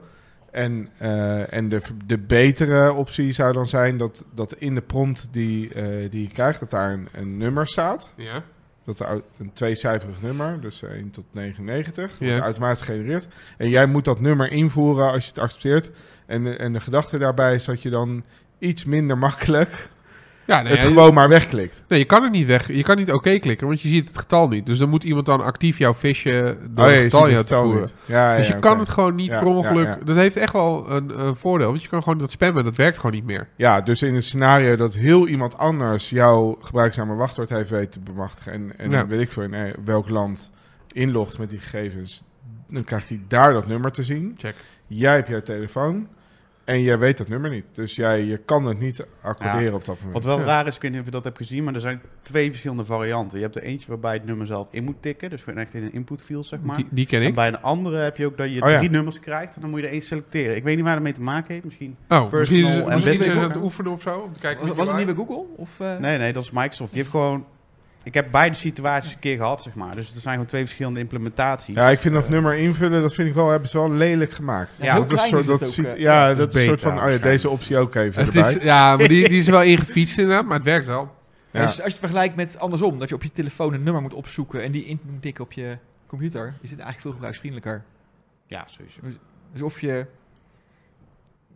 Speaker 1: En, eh, en de, de betere optie zou dan zijn dat, dat in de prompt die, eh, die je krijgt, dat daar een, een nummer staat.
Speaker 3: Ja,
Speaker 1: Dat er au- een tweecijferig nummer, dus 1 tot 99, wordt
Speaker 3: Ja.
Speaker 1: automatisch gegenereerd. En jij moet dat nummer invoeren als je het accepteert. En, de- en de gedachte daarbij is dat je dan iets minder makkelijk
Speaker 3: Ja, nee,
Speaker 1: het
Speaker 3: ja,
Speaker 1: gewoon maar wegklikt.
Speaker 3: nee, je kan het niet weg. Je kan niet oké klikken, want je ziet het getal niet. Dus dan moet iemand dan actief jouw visje door
Speaker 1: Oh, ja,
Speaker 3: het
Speaker 1: je
Speaker 3: getal
Speaker 1: ziet
Speaker 3: in
Speaker 1: het
Speaker 3: jou te
Speaker 1: getal
Speaker 3: voeren.
Speaker 1: niet. Ja, ja,
Speaker 3: Dus je
Speaker 1: ja,
Speaker 3: kan
Speaker 1: oké.
Speaker 3: het gewoon niet
Speaker 1: Ja,
Speaker 3: per ongeluk.
Speaker 1: ja, ja.
Speaker 3: Dat heeft echt wel een eh, voordeel. Want je kan gewoon dat spammen, dat werkt gewoon niet meer.
Speaker 1: Ja, dus in een scenario dat heel iemand anders jouw gebruikzame wachtwoord heeft weten te bemachtigen. En, en
Speaker 3: Ja.
Speaker 1: weet ik veel in eh, welk land inlogt met die gegevens. Dan krijgt hij daar dat nummer te zien.
Speaker 3: Check.
Speaker 1: Jij hebt jouw telefoon en jij weet dat nummer niet. Dus jij je kan het niet accorderen op dat moment.
Speaker 2: Wat wel raar is, ik weet niet of je dat hebt gezien, maar er zijn twee verschillende varianten. Je hebt er eentje waarbij je het nummer zelf in moet tikken, dus gewoon echt in een input field, zeg maar.
Speaker 3: Die, die ken
Speaker 2: En
Speaker 3: ik.
Speaker 2: bij een andere heb je ook dat je
Speaker 1: Oh, ja.
Speaker 2: drie nummers krijgt en dan moet je er één selecteren. Ik weet niet waar dat mee te maken heeft, misschien.
Speaker 3: Oh, misschien is
Speaker 2: personal
Speaker 3: het,
Speaker 2: en
Speaker 3: misschien is
Speaker 2: business
Speaker 3: het aan
Speaker 2: ook,
Speaker 3: het
Speaker 2: hè?
Speaker 3: oefenen of zo. Om te kijken
Speaker 4: Was,
Speaker 3: wie
Speaker 4: was het niet bij
Speaker 3: erbij-
Speaker 4: Google? Of, eh,
Speaker 2: Nee, nee, dat is Microsoft. Die heeft gewoon... Ik heb beide situaties een keer gehad, zeg maar. Dus er zijn gewoon twee verschillende implementaties.
Speaker 1: Ja, ik vind dat nummer invullen, dat vind ik wel, hebben ze wel lelijk gemaakt.
Speaker 4: Ja, heel
Speaker 1: dat
Speaker 4: klein
Speaker 1: soort,
Speaker 4: is het
Speaker 1: dat
Speaker 4: ook,
Speaker 1: ziet,
Speaker 4: eh.
Speaker 1: ja,
Speaker 2: Dat
Speaker 1: dat,
Speaker 2: is
Speaker 1: is een soort
Speaker 2: beta
Speaker 1: van, oh ja, deze optie ook even
Speaker 3: Het
Speaker 1: erbij.
Speaker 3: is, ja, maar die, die is wel ingefietst inderdaad, maar het werkt wel.
Speaker 1: Ja.
Speaker 4: Als, je- als je het vergelijkt met andersom, dat je op je telefoon een nummer moet opzoeken en die in moet tikken op je computer, is dit eigenlijk veel gebruiksvriendelijker.
Speaker 2: Ja, sowieso.
Speaker 4: Dus of je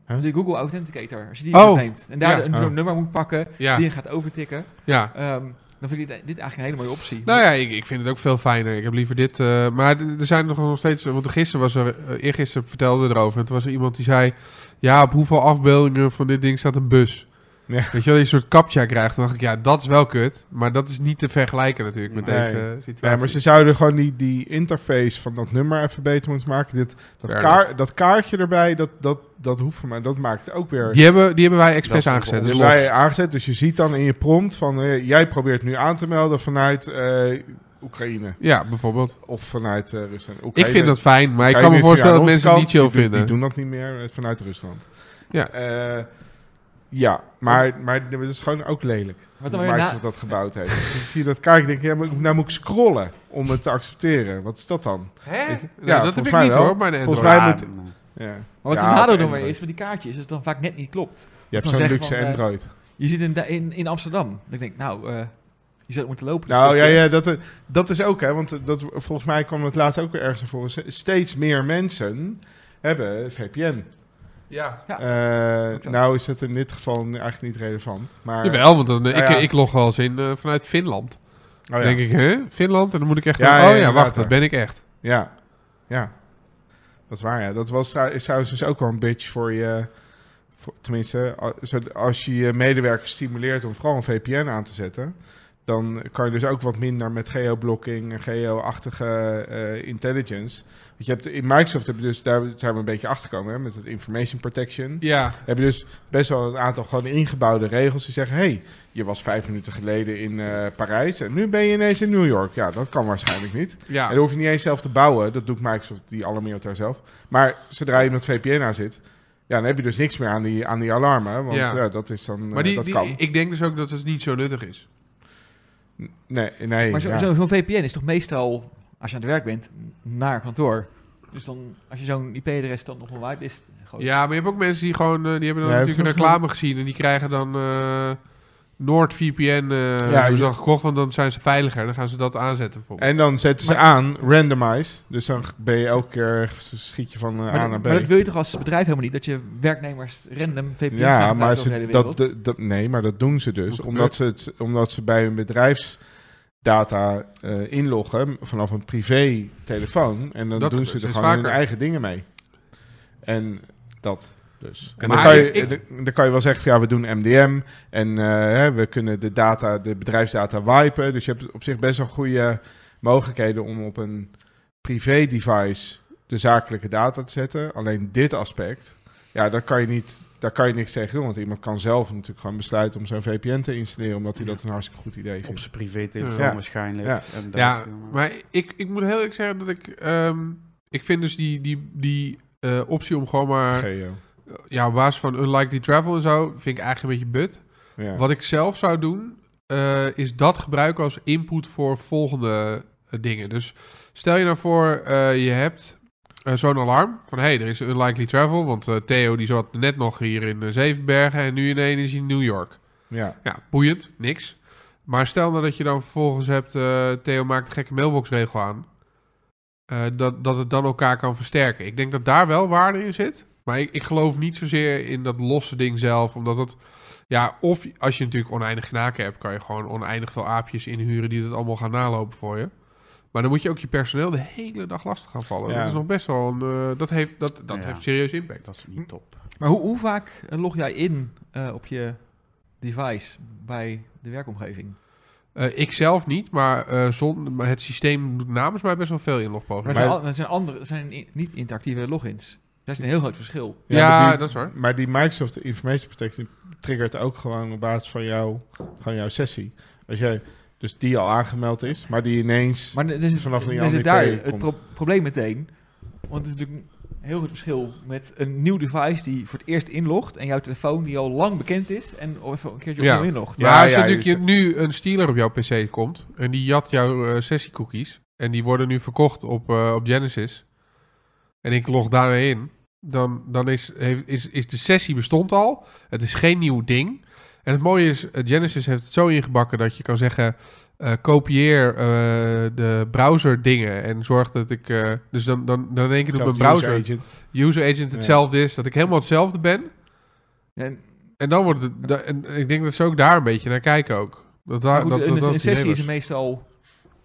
Speaker 1: Huh?
Speaker 4: de Google Authenticator, als je die
Speaker 3: Oh,
Speaker 4: neemt en daar
Speaker 3: ja.
Speaker 4: een zo'n
Speaker 1: Oh.
Speaker 4: nummer moet pakken,
Speaker 3: Ja,
Speaker 4: die je gaat overtikken,
Speaker 3: ja.
Speaker 4: ehm, dan vind ik dit, dit eigenlijk een hele mooie optie.
Speaker 3: Nou ja, ik, ik vind het ook veel fijner. Ik heb liever dit. eh, maar d- er zijn nog nog steeds. Want gisteren was er. eh, eergisteren vertelde erover. En toen was er iemand die zei. Ja, op hoeveel afbeeldingen van dit ding staat een bus?
Speaker 1: Ja.
Speaker 3: Weet je wel, die soort captcha krijgt. Dan dacht ik, ja, dat is wel kut. Maar dat is niet te vergelijken natuurlijk met
Speaker 1: Nee.
Speaker 3: deze eh, situatie.
Speaker 1: Ja, maar ze zouden gewoon die, die interface van dat nummer even beter moeten maken. Dit, dat,
Speaker 3: Fair
Speaker 1: kaar-
Speaker 3: enough.
Speaker 1: dat kaartje erbij, dat, dat, dat hoeft voor mij. Dat maakt ook weer...
Speaker 3: Die hebben, die hebben wij
Speaker 2: Dat
Speaker 3: expres
Speaker 2: is
Speaker 3: aangezet.
Speaker 1: Dus
Speaker 3: Dus
Speaker 1: wij
Speaker 3: los.
Speaker 1: aangezet, dus je ziet dan in je prompt van eh, jij probeert nu aan te melden vanuit eh, Oekraïne
Speaker 3: Ja, bijvoorbeeld.
Speaker 1: of vanuit eh, Rusland.
Speaker 3: ik vind dat fijn, maar ik
Speaker 1: Oekraïne
Speaker 3: kan me
Speaker 1: is nu
Speaker 3: voorstellen
Speaker 1: aan
Speaker 3: dat
Speaker 1: onze
Speaker 3: mensen
Speaker 1: kant,
Speaker 3: het niet chill
Speaker 1: die doen-
Speaker 3: vinden.
Speaker 1: Die doen dat niet meer eh, vanuit Rusland.
Speaker 3: Ja.
Speaker 1: Eh, ja, maar, maar dat is gewoon ook lelijk.
Speaker 4: Wat dan
Speaker 1: hoe
Speaker 4: weer na-
Speaker 1: Microsoft dat gebouwd heeft. Dus ik zie dat kaartje, denk ik, ja, maar ik- nou moet ik scrollen om het te accepteren. Wat is dat dan?
Speaker 3: Hè?
Speaker 1: Ik-
Speaker 3: Nou,
Speaker 1: ja,
Speaker 3: dat heb
Speaker 1: volgens
Speaker 3: ik
Speaker 1: mij
Speaker 3: niet
Speaker 1: wel.
Speaker 3: hoor, bij de
Speaker 1: Volgens
Speaker 3: Android.
Speaker 1: mij
Speaker 2: Ja,
Speaker 1: moet-
Speaker 2: nee.
Speaker 1: Ja.
Speaker 4: Maar wat
Speaker 1: Ja,
Speaker 4: de nadeel
Speaker 1: op
Speaker 4: dan weer
Speaker 1: Android.
Speaker 4: is van die kaartjes, is dat dan vaak net niet klopt.
Speaker 1: Je hebt
Speaker 4: dan
Speaker 1: zo'n
Speaker 4: zeggen
Speaker 1: luxe
Speaker 4: van, eh,
Speaker 1: Android.
Speaker 4: Je zit in, da- in, in Amsterdam. Dan denk ik, nou, eh, je zou moeten lopen. dus
Speaker 1: Nou
Speaker 4: dat
Speaker 1: ja,
Speaker 4: je-
Speaker 1: ja dat, dat is ook, hè, want eh, dat, volgens mij kwam het laatst ook weer ergens naar voren. S- Steeds meer mensen hebben VPN.
Speaker 3: Ja.
Speaker 4: Ja.
Speaker 1: Eh,
Speaker 4: Ook zo.
Speaker 1: nou is het in dit geval eigenlijk niet relevant. Maar,
Speaker 3: Jawel, want dan, eh,
Speaker 1: Ja,
Speaker 3: ik,
Speaker 1: ja.
Speaker 3: ik log wel eens in eh, vanuit Finland.
Speaker 1: Oh ja.
Speaker 3: denk ik, hè? Finland? En dan moet ik echt.
Speaker 1: Ja,
Speaker 3: denken,
Speaker 1: ja,
Speaker 3: oh ja,
Speaker 1: inderdaad,
Speaker 3: wacht, dat
Speaker 1: ja.
Speaker 3: ben ik echt.
Speaker 1: Ja, ja. Dat is waar, ja. Dat was, trou- is trouwens dus ook wel een bitch voor je... Voor, tenminste, a- zo- als je je medewerkers stimuleert om vooral een VPN aan te zetten... dan kan je dus ook wat minder met geoblocking en geo-achtige eh, intelligence. Want je hebt, in Microsoft heb je dus, daar zijn we een beetje achtergekomen hè, met het information protection...
Speaker 3: Ja.
Speaker 1: Heb je dus best wel een aantal gewoon ingebouwde regels die zeggen... hey, je was vijf minuten geleden in eh, Parijs en nu ben je ineens in New York. Ja, dat kan waarschijnlijk niet.
Speaker 3: Ja.
Speaker 1: En dan hoef je niet eens zelf te bouwen. Dat doet Microsoft, die alarmeert daar zelf. Maar zodra je met VPN aan zit, ja, dan heb je dus niks meer aan die, aan die alarmen. Want
Speaker 3: Ja.
Speaker 1: ja, dat is dan.
Speaker 3: Maar
Speaker 1: eh,
Speaker 3: die,
Speaker 1: dat
Speaker 3: die,
Speaker 1: kan.
Speaker 3: ik denk dus ook dat het niet zo nuttig is.
Speaker 1: Nee, nee.
Speaker 4: Maar zo-
Speaker 1: ja.
Speaker 4: zo- zo'n VPN is toch meestal, als je aan het werk bent, naar kantoor. Dus dan, als je zo'n IP-adres dan op een whitelist gooit.
Speaker 3: Ja, maar je hebt ook mensen die gewoon. eh, die hebben dan
Speaker 1: Oh. Ja,
Speaker 3: natuurlijk
Speaker 1: heeft-
Speaker 3: reclame gezien. En die krijgen dan. eh NoordVPN eh hebben
Speaker 1: je-
Speaker 3: ze dan gekocht, want dan zijn ze veiliger. Dan gaan ze dat aanzetten bijvoorbeeld.
Speaker 1: En dan zetten ze aan randomize. Dus dan ben je elke keer schiet je van eh,
Speaker 4: Maar,
Speaker 1: A
Speaker 4: dat-
Speaker 1: naar B.
Speaker 4: maar dat wil je toch als bedrijf helemaal niet? Dat je werknemers random VPN's gaan
Speaker 1: ja,
Speaker 4: gebruiken
Speaker 1: maar
Speaker 4: over
Speaker 1: ze,
Speaker 4: de hele
Speaker 1: dat,
Speaker 4: wereld?
Speaker 1: dat, dat- nee, maar dat doen ze dus.
Speaker 3: Hoe
Speaker 1: Omdat ze, het, omdat ze bij hun bedrijfsdata eh, inloggen vanaf een privé telefoon. En dan
Speaker 3: Dat
Speaker 1: doen
Speaker 3: gebeurt
Speaker 1: ze er
Speaker 3: steeds
Speaker 1: gewoon hun
Speaker 3: vaker.
Speaker 1: eigen dingen mee. En dat dus. En
Speaker 3: Maar
Speaker 1: dan, kan je,
Speaker 3: ik- ik-
Speaker 1: dan- dan kan je wel zeggen van ja, we doen MDM. En eh, hè, we kunnen de data, de bedrijfsdata wipen. Dus je hebt op zich best wel goede mogelijkheden om op een privé device de zakelijke data te zetten. Alleen dit aspect ja, daar kan je niet. Daar kan je niks tegen doen, want iemand kan zelf natuurlijk gewoon besluiten om zo'n VPN te installeren, omdat hij dat een hartstikke goed idee
Speaker 2: Op
Speaker 1: vindt.
Speaker 2: zijn privé-telefoon
Speaker 1: Ja.
Speaker 2: waarschijnlijk.
Speaker 1: Ja.
Speaker 2: En dat-
Speaker 3: Ja, maar ik, ik moet heel eerlijk zeggen dat ik. ehm, ik vind dus die, die, die eh, optie om gewoon maar.
Speaker 1: Geo.
Speaker 3: Ja, op basis van unlikely travel en zo. Vind ik eigenlijk een beetje but.
Speaker 1: Ja.
Speaker 3: Wat ik zelf zou doen, eh, is dat gebruiken als input voor volgende eh, dingen. Dus stel je nou voor, eh, je hebt eh, zo'n alarm van... hé, hey, er is een unlikely travel, want eh, Theo die zat net nog hier in eh, Zevenbergen... en nu ineens is hij in New York.
Speaker 1: ja.
Speaker 3: Ja, boeiend, niks. Maar stel nou dat je dan vervolgens hebt... eh, Theo maakt een gekke mailboxregel aan... eh, dat, dat het dan elkaar kan versterken. Ik denk dat daar wel waarde in zit. Maar ik, ik geloof niet zozeer in dat losse ding zelf, omdat dat... Ja, of als je natuurlijk oneindig knaken hebt, kan je gewoon oneindig veel aapjes inhuren die dat allemaal gaan nalopen voor je. Maar dan moet je ook je personeel de hele dag lastig gaan vallen.
Speaker 1: Ja.
Speaker 3: Dat is nog best wel een. eh, dat heeft, dat, dat
Speaker 2: Ja.
Speaker 3: heeft serieus impact.
Speaker 2: Dat is niet top.
Speaker 4: Maar hoe, hoe vaak eh, log jij in eh, op je device bij de werkomgeving?
Speaker 3: Eh, ik zelf niet, maar, eh, zon, maar het systeem doet namens mij best wel veel
Speaker 4: Maar
Speaker 3: inlogpogingen.
Speaker 4: er zijn, al- er zijn andere, er zijn in- niet interactieve logins. Dat is een heel groot verschil.
Speaker 3: Ja,
Speaker 1: maar die-
Speaker 3: dat is waar.
Speaker 1: Maar die Microsoft Information Protection triggert ook gewoon op basis van, jou, van jouw sessie. Als jij dus die al aangemeld is, maar die ineens...
Speaker 4: Maar er
Speaker 1: Vanaf
Speaker 4: is, Vanaf
Speaker 1: die
Speaker 4: Dus er zit
Speaker 1: andere
Speaker 4: daar
Speaker 1: IPv
Speaker 4: het
Speaker 1: komt.
Speaker 4: pro- probleem meteen. Want het is natuurlijk een heel groot verschil met een nieuw device die voor het eerst inlogt en jouw telefoon die al lang bekend is en even een keertje
Speaker 3: Ja.
Speaker 4: opnieuw inlogt.
Speaker 1: Ja,
Speaker 3: maar als
Speaker 1: ja, dus-
Speaker 3: er natuurlijk
Speaker 1: je
Speaker 3: je- nu een stealer op jouw PC komt en die jat jouw eh, sessiecookies en die worden nu verkocht op, eh, op Genesis en ik log daarmee in, dan, dan is, heeft, is, is de sessie bestond al. Het is geen nieuw ding. En het mooie is, eh, Genesis heeft het zo ingebakken dat je kan zeggen, eh, kopieer eh, de browser dingen en zorg dat ik... eh, dus dan, dan, dan in één keer doet mijn
Speaker 1: zelfs
Speaker 3: browser,
Speaker 1: user
Speaker 3: user
Speaker 1: agent.
Speaker 3: agent, hetzelfde is, dat ik helemaal hetzelfde ben.
Speaker 4: En
Speaker 3: En dan wordt het. da- en ik denk dat ze ook daar een beetje naar kijken ook. Dat daar,
Speaker 4: Maar goed,
Speaker 3: dat,
Speaker 4: een-
Speaker 3: dat, dat
Speaker 4: een
Speaker 3: het
Speaker 4: sessie
Speaker 3: idee
Speaker 4: is
Speaker 3: was.
Speaker 4: meestal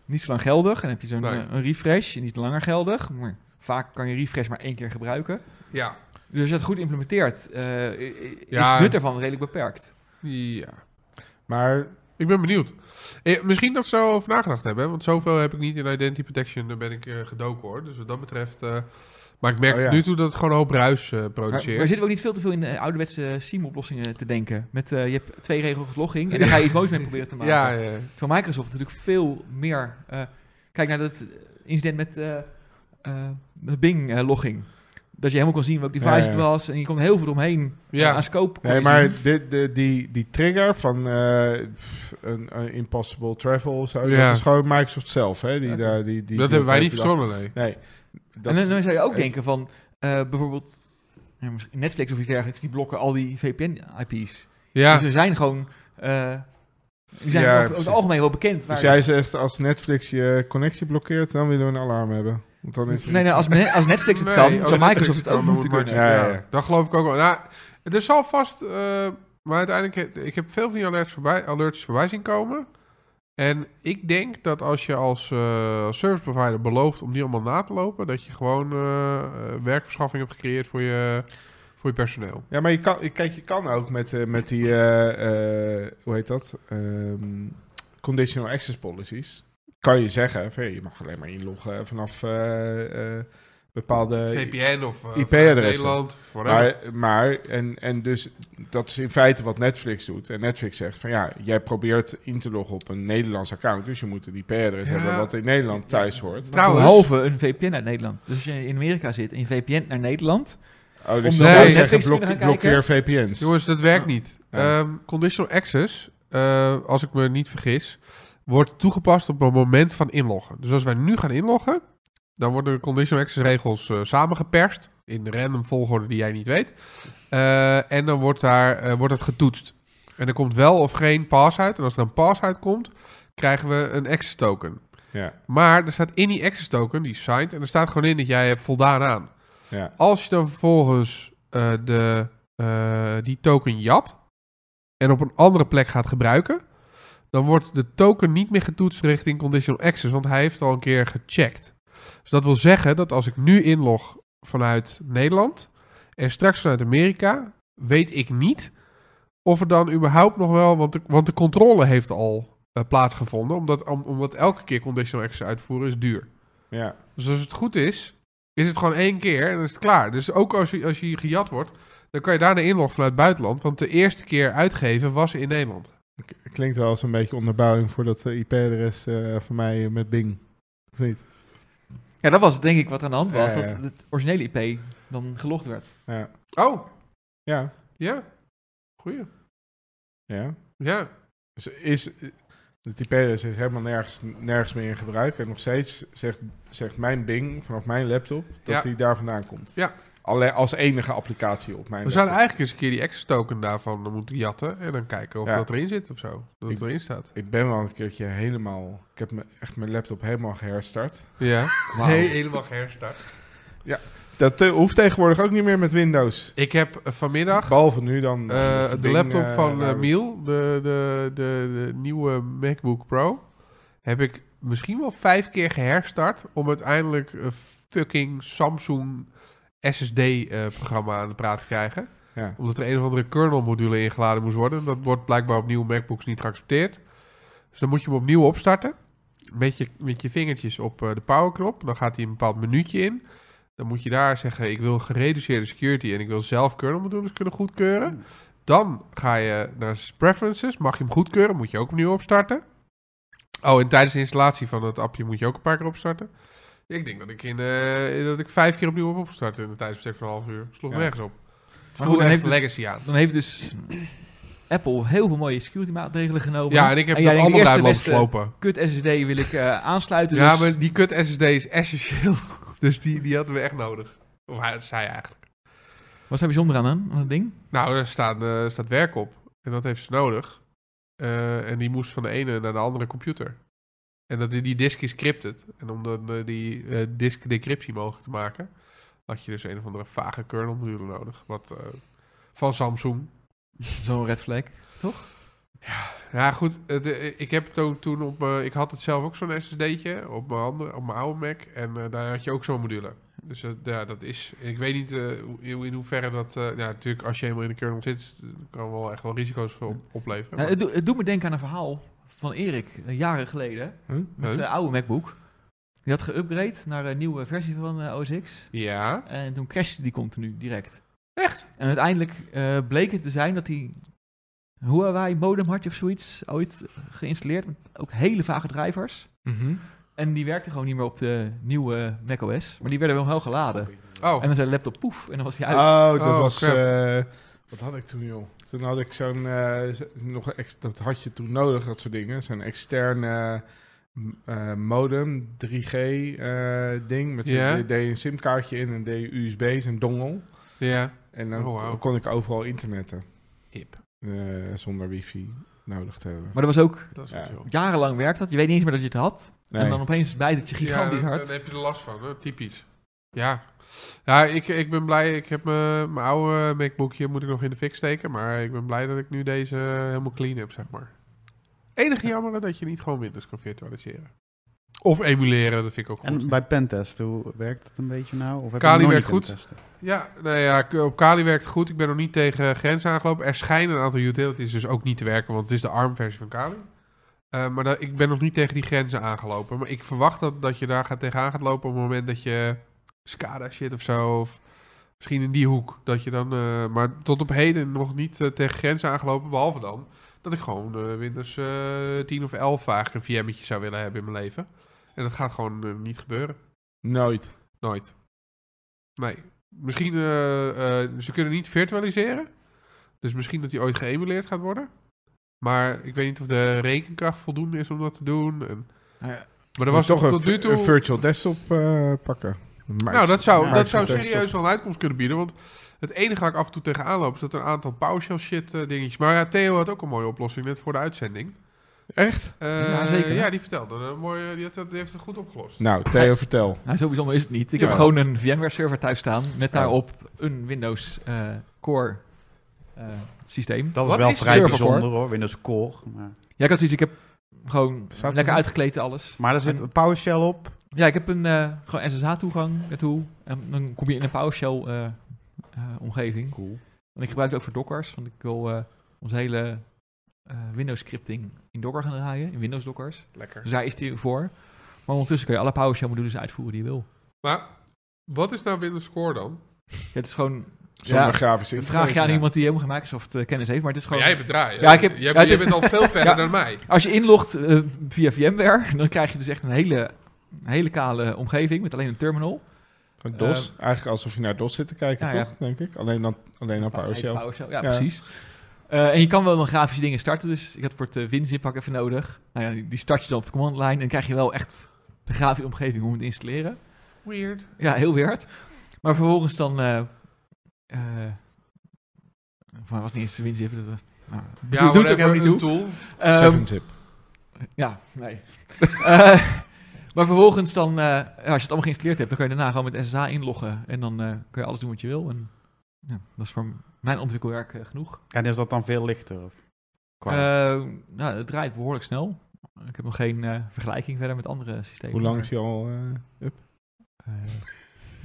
Speaker 4: niet zo lang geldig. En dan heb je zo'n
Speaker 3: Nee.
Speaker 4: eh, een refresh, niet langer geldig. Maar vaak kan je refresh maar één keer gebruiken.
Speaker 3: Ja.
Speaker 4: Dus als je dat goed implementeert, eh, i- i-
Speaker 3: Ja.
Speaker 4: is het nut ervan redelijk beperkt.
Speaker 3: ja.
Speaker 1: Maar
Speaker 3: Ik ben benieuwd. Eh, misschien dat ze er over nagedacht hebben. hè, Want zoveel heb ik niet in Identity Protection eh, ben ik eh, gedoken hoor. Dus wat dat betreft. eh, maar ik merk
Speaker 1: Oh,
Speaker 3: tot
Speaker 1: ja.
Speaker 3: nu toe dat het gewoon een hoop ruis eh,
Speaker 4: Maar, maar
Speaker 3: produceert.
Speaker 4: zitten we ook niet veel te veel in eh, ouderwetse SIEM-oplossingen te denken. Met, eh, je hebt twee regels logging en daar ga je iets moois mee proberen te maken.
Speaker 3: ja, ja.
Speaker 4: Terwijl Microsoft natuurlijk veel meer... eh, kijk naar dat incident met eh, eh, de Bing-logging. dat je helemaal kon zien welk device
Speaker 1: Ja, ja.
Speaker 4: het was. En je kon heel veel omheen
Speaker 3: Ja.
Speaker 4: aan scope. kon
Speaker 1: Nee,
Speaker 4: je
Speaker 1: maar
Speaker 4: zien.
Speaker 1: dit, de, die, die trigger van eh, pff, een, een impossible travel of zo,
Speaker 3: Ja.
Speaker 1: dat is gewoon Microsoft zelf. Hè? Die,
Speaker 4: Oké.
Speaker 1: daar, die, die,
Speaker 3: dat
Speaker 1: die
Speaker 3: hebben wij niet
Speaker 1: dat hebben
Speaker 3: verzonnen, nee.
Speaker 1: bedacht. Nee. Dat
Speaker 4: en dan,
Speaker 1: is-
Speaker 4: dan zou je ook
Speaker 1: eh,
Speaker 4: denken van eh, bijvoorbeeld ja, misschien Netflix of iets dergelijks, die blokken al die VPN-IP's.
Speaker 3: Ja,
Speaker 4: Dus er zijn gewoon. eh, die zijn
Speaker 1: Ja,
Speaker 4: ook over
Speaker 1: precies.
Speaker 4: het algemeen wel bekend.
Speaker 1: dus
Speaker 4: waar-
Speaker 1: jij zegt, als Netflix je connectie blokkeert, dan willen we een alarm hebben. Want dan is het
Speaker 4: nee, nee, als, me- als Netflix het
Speaker 3: Nee,
Speaker 4: kan,
Speaker 3: oh,
Speaker 4: zou
Speaker 3: Netflix
Speaker 4: Microft het
Speaker 3: kan,
Speaker 4: ook
Speaker 3: dan
Speaker 4: moeten
Speaker 3: moet
Speaker 4: kunnen.
Speaker 1: Ja,
Speaker 3: Ja,
Speaker 1: ja, ja.
Speaker 3: dat geloof ik ook wel. Nou, er zal vast... eh, maar uiteindelijk... eh, Ik heb veel van die alerts voorbij, alerts voorbij zien komen. En ik denk dat als je als eh, als service provider belooft om die allemaal na te lopen... dat je gewoon eh, eh, werkverschaffing hebt gecreëerd voor je, voor je personeel.
Speaker 1: Ja, maar je kan, je- kijk, je kan ook met, eh, met die, eh, eh, hoe heet dat? Ehm, conditional access policies. Kan je zeggen, van, hey, je mag alleen maar inloggen vanaf eh, eh, bepaalde
Speaker 3: VPN of eh,
Speaker 1: IP vanuit adressen.
Speaker 3: Nederland.
Speaker 1: Maar, maar en, en dus dat is in feite wat Netflix doet. En Netflix zegt van ja, jij probeert in te loggen op een Nederlands account. Dus je moet een IP-adres
Speaker 3: Ja.
Speaker 1: hebben wat in Nederland thuis hoort.
Speaker 4: Nou,
Speaker 3: trouwens...
Speaker 4: Behalve een VPN uit Nederland. Dus als je in Amerika zit en je VPN naar Nederland.
Speaker 1: Oh, dus
Speaker 4: Om
Speaker 1: dan
Speaker 3: de-
Speaker 1: zou je
Speaker 3: Nee.
Speaker 1: zeggen
Speaker 4: Netflix kunnen
Speaker 1: blok-
Speaker 4: gaan
Speaker 1: blokkeer VPN's.
Speaker 3: Jongens, dat werkt niet.
Speaker 1: Ja.
Speaker 3: Ehm, conditional access, eh, als ik me niet vergis, wordt toegepast op het moment van inloggen. Dus als wij nu gaan inloggen, dan worden de conditional access regels eh, samengeperst in random volgorde die jij niet weet. Eh, en dan wordt, daar, eh, wordt het getoetst. En er komt wel of geen pass uit. En als er een pass uit komt, krijgen we een access token.
Speaker 1: Ja.
Speaker 3: Maar er staat in die access token, die is signed, en er staat gewoon in dat jij hebt voldaan aan.
Speaker 1: Ja.
Speaker 3: Als je dan vervolgens eh, de, eh, die token jat en op een andere plek gaat gebruiken, dan wordt de token niet meer getoetst richting conditional access, want hij heeft al een keer gecheckt. Dus dat wil zeggen dat als ik nu inlog vanuit Nederland en straks vanuit Amerika, weet ik niet of er dan überhaupt nog wel, want de, want de controle heeft al eh, plaatsgevonden, omdat, om- omdat elke keer conditional access uitvoeren is duur.
Speaker 1: Ja.
Speaker 3: Dus als het goed is, is het gewoon één keer en dan is het klaar. Dus ook als je, als je gejat wordt, dan kan je daarna inloggen vanuit het buitenland. Want de eerste keer uitgeven was in Nederland.
Speaker 1: K- Klinkt wel als een beetje onderbouwing voor dat eh, IP-adres eh, van mij eh, met Bing. Of niet?
Speaker 4: Ja, dat was denk ik wat er aan de hand was.
Speaker 1: Ja, ja.
Speaker 4: Dat het originele IP dan gelogd werd.
Speaker 1: Ja.
Speaker 3: Oh,
Speaker 1: Ja.
Speaker 3: ja. Goeie.
Speaker 1: ja.
Speaker 3: Ja.
Speaker 1: Dus is, het IP-adres is helemaal nergens, nergens meer in gebruik. En nog steeds zegt, zegt mijn Bing vanaf mijn laptop dat
Speaker 3: Ja.
Speaker 1: die daar vandaan komt.
Speaker 3: Ja.
Speaker 1: Alleen als enige applicatie op mijn
Speaker 3: We zouden
Speaker 1: laptop.
Speaker 3: eigenlijk eens een keer die access token daarvan moeten jatten. En dan kijken of
Speaker 1: Ja.
Speaker 3: dat erin zit of zo. Dat het
Speaker 1: Ik-
Speaker 3: erin staat.
Speaker 1: Ik ben wel een keertje helemaal... Ik heb me, echt mijn laptop helemaal geherstart.
Speaker 3: Ja.
Speaker 4: Wauw.
Speaker 3: helemaal herstart.
Speaker 1: Dat eh, hoeft tegenwoordig ook niet meer met Windows.
Speaker 3: Ik heb eh, vanmiddag
Speaker 1: Behalve nu dan.
Speaker 3: eh,
Speaker 1: dat
Speaker 3: de
Speaker 1: ding,
Speaker 3: laptop
Speaker 1: eh,
Speaker 3: van eh,
Speaker 1: nou,
Speaker 3: Miel, de, de, de, de nieuwe MacBook Pro, heb ik misschien wel vijf keer geherstart om uiteindelijk een fucking Samsung SSD-programma eh, aan de praat te krijgen.
Speaker 1: Ja.
Speaker 3: Omdat er een of andere kernel-module ingeladen moest worden. Dat wordt blijkbaar op nieuwe MacBooks niet geaccepteerd. Dus dan moet je hem opnieuw opstarten. Met je, met je vingertjes op eh, de powerknop. Dan gaat hij een bepaald menuutje in. Dan moet je daar zeggen, ik wil gereduceerde security en ik wil zelf kernelmodules kunnen goedkeuren. Dan ga je naar preferences, mag je hem goedkeuren, moet je ook opnieuw opstarten. Oh, en tijdens de installatie van het appje moet je ook een paar keer opstarten. Ik denk dat ik, in, eh, dat ik vijf keer opnieuw heb opgestart in een tijdsbestek van een half uur. Sloeg
Speaker 1: Ja.
Speaker 3: nergens op. Het
Speaker 4: Maar
Speaker 3: voelde
Speaker 4: goed, dan
Speaker 3: echt
Speaker 4: heeft dus-
Speaker 3: legacy aan.
Speaker 4: Dan heeft dus Apple heel veel mooie security maatregelen genomen.
Speaker 3: Ja, en ik heb
Speaker 4: jij
Speaker 3: dat
Speaker 4: denkt, Ah,
Speaker 3: allemaal
Speaker 4: de
Speaker 3: uit
Speaker 4: eerste
Speaker 3: lopen
Speaker 4: beste
Speaker 3: slopen.
Speaker 4: Kut SSD wil ik eh, aansluiten.
Speaker 3: Ja,
Speaker 4: dus-
Speaker 3: maar die kut SSD is essentieel. Dus die, die hadden we echt nodig. Of hij, zij eigenlijk.
Speaker 4: Wat is daar bijzonder aan, aan dat ding?
Speaker 3: Nou, daar staat, eh, staat werk op. En dat heeft ze nodig. Eh, en die moest van de ene naar de andere computer. En dat, die disk is crypted. En om dan eh, die eh, disk decryptie mogelijk te maken, had je dus een of andere vage kernel module nodig. Wat, eh, van Samsung.
Speaker 4: Zo'n red flag.
Speaker 3: Ja, goed. eh, de- ik heb het ook toen op mijn- Ik had het zelf ook zo'n SSD'tje op mijn, andere, op mijn oude Mac. En eh, daar had je ook zo'n module. Dus eh, ja, dat is. Ik weet niet eh, hoe- hoe- in hoeverre dat. eh, ja, natuurlijk, als je helemaal in de kernel zit, eh, kan wel echt wel risico's voor op- opleveren.
Speaker 4: Nou,
Speaker 3: Maar-
Speaker 4: het, doet- het doet me denken aan een verhaal van Erik, eh, jaren geleden,
Speaker 1: Huh?
Speaker 4: met
Speaker 3: Huh?
Speaker 4: zijn oude MacBook. Die had geüpgrade naar een nieuwe versie van eh, OS X.
Speaker 3: ja.
Speaker 4: En toen crashte die continu direct.
Speaker 3: Echt?
Speaker 4: En uiteindelijk eh, bleek het te zijn dat hij een Huawei modem had je of zoiets ooit geïnstalleerd. Met ook hele vage drivers.
Speaker 1: Mhm.
Speaker 4: En die werkte gewoon niet meer op de nieuwe macOS. Maar die werden wel heel geladen.
Speaker 3: Oh,
Speaker 4: En dan zijn laptop poef en dan was hij uit.
Speaker 1: Oh, dat
Speaker 3: Oh,
Speaker 1: was.
Speaker 3: crap.
Speaker 1: eh, wat had ik toen, joh? Toen had ik zo'n. eh, z- nog een ex- dat had je toen nodig, dat soort dingen. Zo'n externe m- eh, modem, 3G-ding. met zo'n
Speaker 3: Ja.
Speaker 1: deed je een simkaartje in en deed je USB, zo'n dongel.
Speaker 3: ja.
Speaker 1: En dan
Speaker 3: Oh, wauw.
Speaker 1: kon ik overal internetten.
Speaker 3: Hip.
Speaker 1: Eh, zonder wifi nodig te hebben.
Speaker 4: Maar dat was ook,
Speaker 3: Dat is
Speaker 1: Ja.
Speaker 3: wat, joh.
Speaker 4: jarenlang werkt dat. Je weet niet eens meer dat je het had.
Speaker 1: Nee.
Speaker 4: En dan opeens bijt het je gigantisch
Speaker 3: ja, dan,
Speaker 4: hard.
Speaker 3: dan heb je er last van, hè? typisch. Ja, ja ik, ik ben blij. Ik heb mijn, mijn oude MacBookje moet ik nog in de fik steken. Maar ik ben blij dat ik nu deze helemaal clean heb, zeg maar. Enige jammer dat je niet gewoon Windows kan virtualiseren. Of emuleren, dat vind ik ook goed.
Speaker 2: En bij pentest, hoe werkt het een beetje nou? Of heb
Speaker 3: Kali
Speaker 2: je nog
Speaker 3: werkt
Speaker 2: niet
Speaker 3: goed.
Speaker 2: pentesten?
Speaker 3: Ja, nou ja, k- op Kali werkt het goed. Ik ben nog niet tegen grenzen aangelopen. Er schijnen een aantal utilities dus ook niet te werken, want het is de ARM-versie van Kali. Eh, maar da- ik ben nog niet tegen die grenzen aangelopen. Maar ik verwacht dat, dat je daar gaat tegenaan gaat lopen op het moment dat je SCADA shit of zo. Of misschien in die hoek. Dat je dan, eh, maar tot op heden nog niet eh, tegen grenzen aangelopen. Behalve dan dat ik gewoon eh, Windows eh, 10 of 11 vaak een VM'tje zou willen hebben in mijn leven. En dat gaat gewoon eh, niet gebeuren.
Speaker 1: Nooit.
Speaker 3: Nooit. Nee. Misschien, eh, eh, ze kunnen niet virtualiseren. Dus misschien dat die ooit geëmuleerd gaat worden. Maar ik weet niet of de rekenkracht voldoende is om dat te doen. En,
Speaker 4: Nou ja.
Speaker 3: maar er was
Speaker 1: toch
Speaker 3: toch
Speaker 1: een,
Speaker 3: tot nu
Speaker 1: vi-
Speaker 3: toe...
Speaker 1: een virtual desktop eh, pakken.
Speaker 3: nou, dat zou,
Speaker 1: Ja,
Speaker 3: dat zou
Speaker 1: Microsoft
Speaker 3: serieus wel een uitkomst kunnen bieden. Want het enige waar ik af en toe tegenaan loop... is dat er een aantal PowerShell shit eh, dingetjes... Maar ja, Theo had ook een mooie oplossing net voor de uitzending.
Speaker 1: Echt?
Speaker 3: Eh,
Speaker 4: Ja, zeker, hè?
Speaker 3: Ja, die vertelde. Een mooie, die, had, dat- die heeft het goed opgelost.
Speaker 1: Nou, Theo, vertel.
Speaker 4: Nou, zo bijzonder is het niet. Ik
Speaker 3: Ja.
Speaker 4: heb gewoon een VMware-server thuis staan. Met
Speaker 1: Ja.
Speaker 4: daarop een Windows eh, Core eh, systeem.
Speaker 2: Dat is
Speaker 3: Wat
Speaker 2: wel
Speaker 3: is
Speaker 2: vrij
Speaker 4: server
Speaker 2: bijzonder hoor, Windows Core. Maar,
Speaker 4: Ja, ik had zoiets. Ik heb gewoon
Speaker 1: Staat er
Speaker 4: lekker
Speaker 1: nog?
Speaker 4: uitgekleed en alles.
Speaker 2: maar er zit een PowerShell op.
Speaker 4: Ja, ik heb een eh, gewoon SSH-toegang naartoe. En dan kom je in een PowerShell-omgeving.
Speaker 2: Cool.
Speaker 4: en ik gebruik het ook voor Dockers. Want ik wil eh, onze hele Windows-scripting in Docker gaan draaien. In Windows-Dockers.
Speaker 3: Lekker.
Speaker 4: Dus daar is die voor. Maar ondertussen kun je alle PowerShell modules uitvoeren die je wil.
Speaker 3: Maar wat is nou Windows Core dan?
Speaker 4: Ja, het is gewoon
Speaker 1: Zonder
Speaker 4: Ja,
Speaker 1: grafische
Speaker 4: een vraagje aan
Speaker 1: interface.
Speaker 4: iemand die helemaal geen Microsoft eh, kennis heeft. Maar het is
Speaker 3: Maar
Speaker 4: gewoon,
Speaker 3: jij bent draaien.
Speaker 4: Ja, ik heb-
Speaker 3: jij,
Speaker 4: ja, het
Speaker 3: jij
Speaker 4: is-
Speaker 3: bent al veel verder
Speaker 4: Ja.
Speaker 3: dan mij.
Speaker 4: als je inlogt eh, via VMware, dan krijg je dus echt een hele, een hele kale omgeving met alleen een terminal.
Speaker 1: Een DOS. Eigenlijk alsof je naar DOS zit te kijken,
Speaker 4: Ehm, nou Ja, Oh, ja.
Speaker 1: toch? Denk ik. Alleen dan alleen dan
Speaker 4: Ja,
Speaker 1: PowerShell.
Speaker 4: PowerShell, ja,
Speaker 1: Ja.
Speaker 4: precies. Eh, en je kan wel dan grafische dingen starten. Dus ik had voor het eh, WinZip-pak even nodig. Nou ja, die- die start je dan op de command line en dan krijg je wel echt de grafische omgeving om het te installeren.
Speaker 3: Weird.
Speaker 4: Ja, heel weird. Maar vervolgens dan... eh eh voor mij was het niet eens WinZip. Dat, dat- nou, doet Ehm, ook helemaal niet toe.
Speaker 3: Tool.
Speaker 4: Ehm,
Speaker 1: 7-zip.
Speaker 4: Ja, nee. Eh, Maar vervolgens dan, eh, ja, als je het allemaal geïnstalleerd hebt, dan kan je daarna gewoon met SSH inloggen. En dan eh, kun je alles doen wat je wil. En ja, dat is voor mijn ontwikkelwerk eh, genoeg.
Speaker 2: En is dat dan veel lichter? Of? Qua-
Speaker 4: Eh, nou, het draait behoorlijk snel. Ik heb nog geen eh, vergelijking verder met andere systemen.
Speaker 1: Hoe lang
Speaker 4: maar,
Speaker 1: is hij al eh, up?
Speaker 4: eh,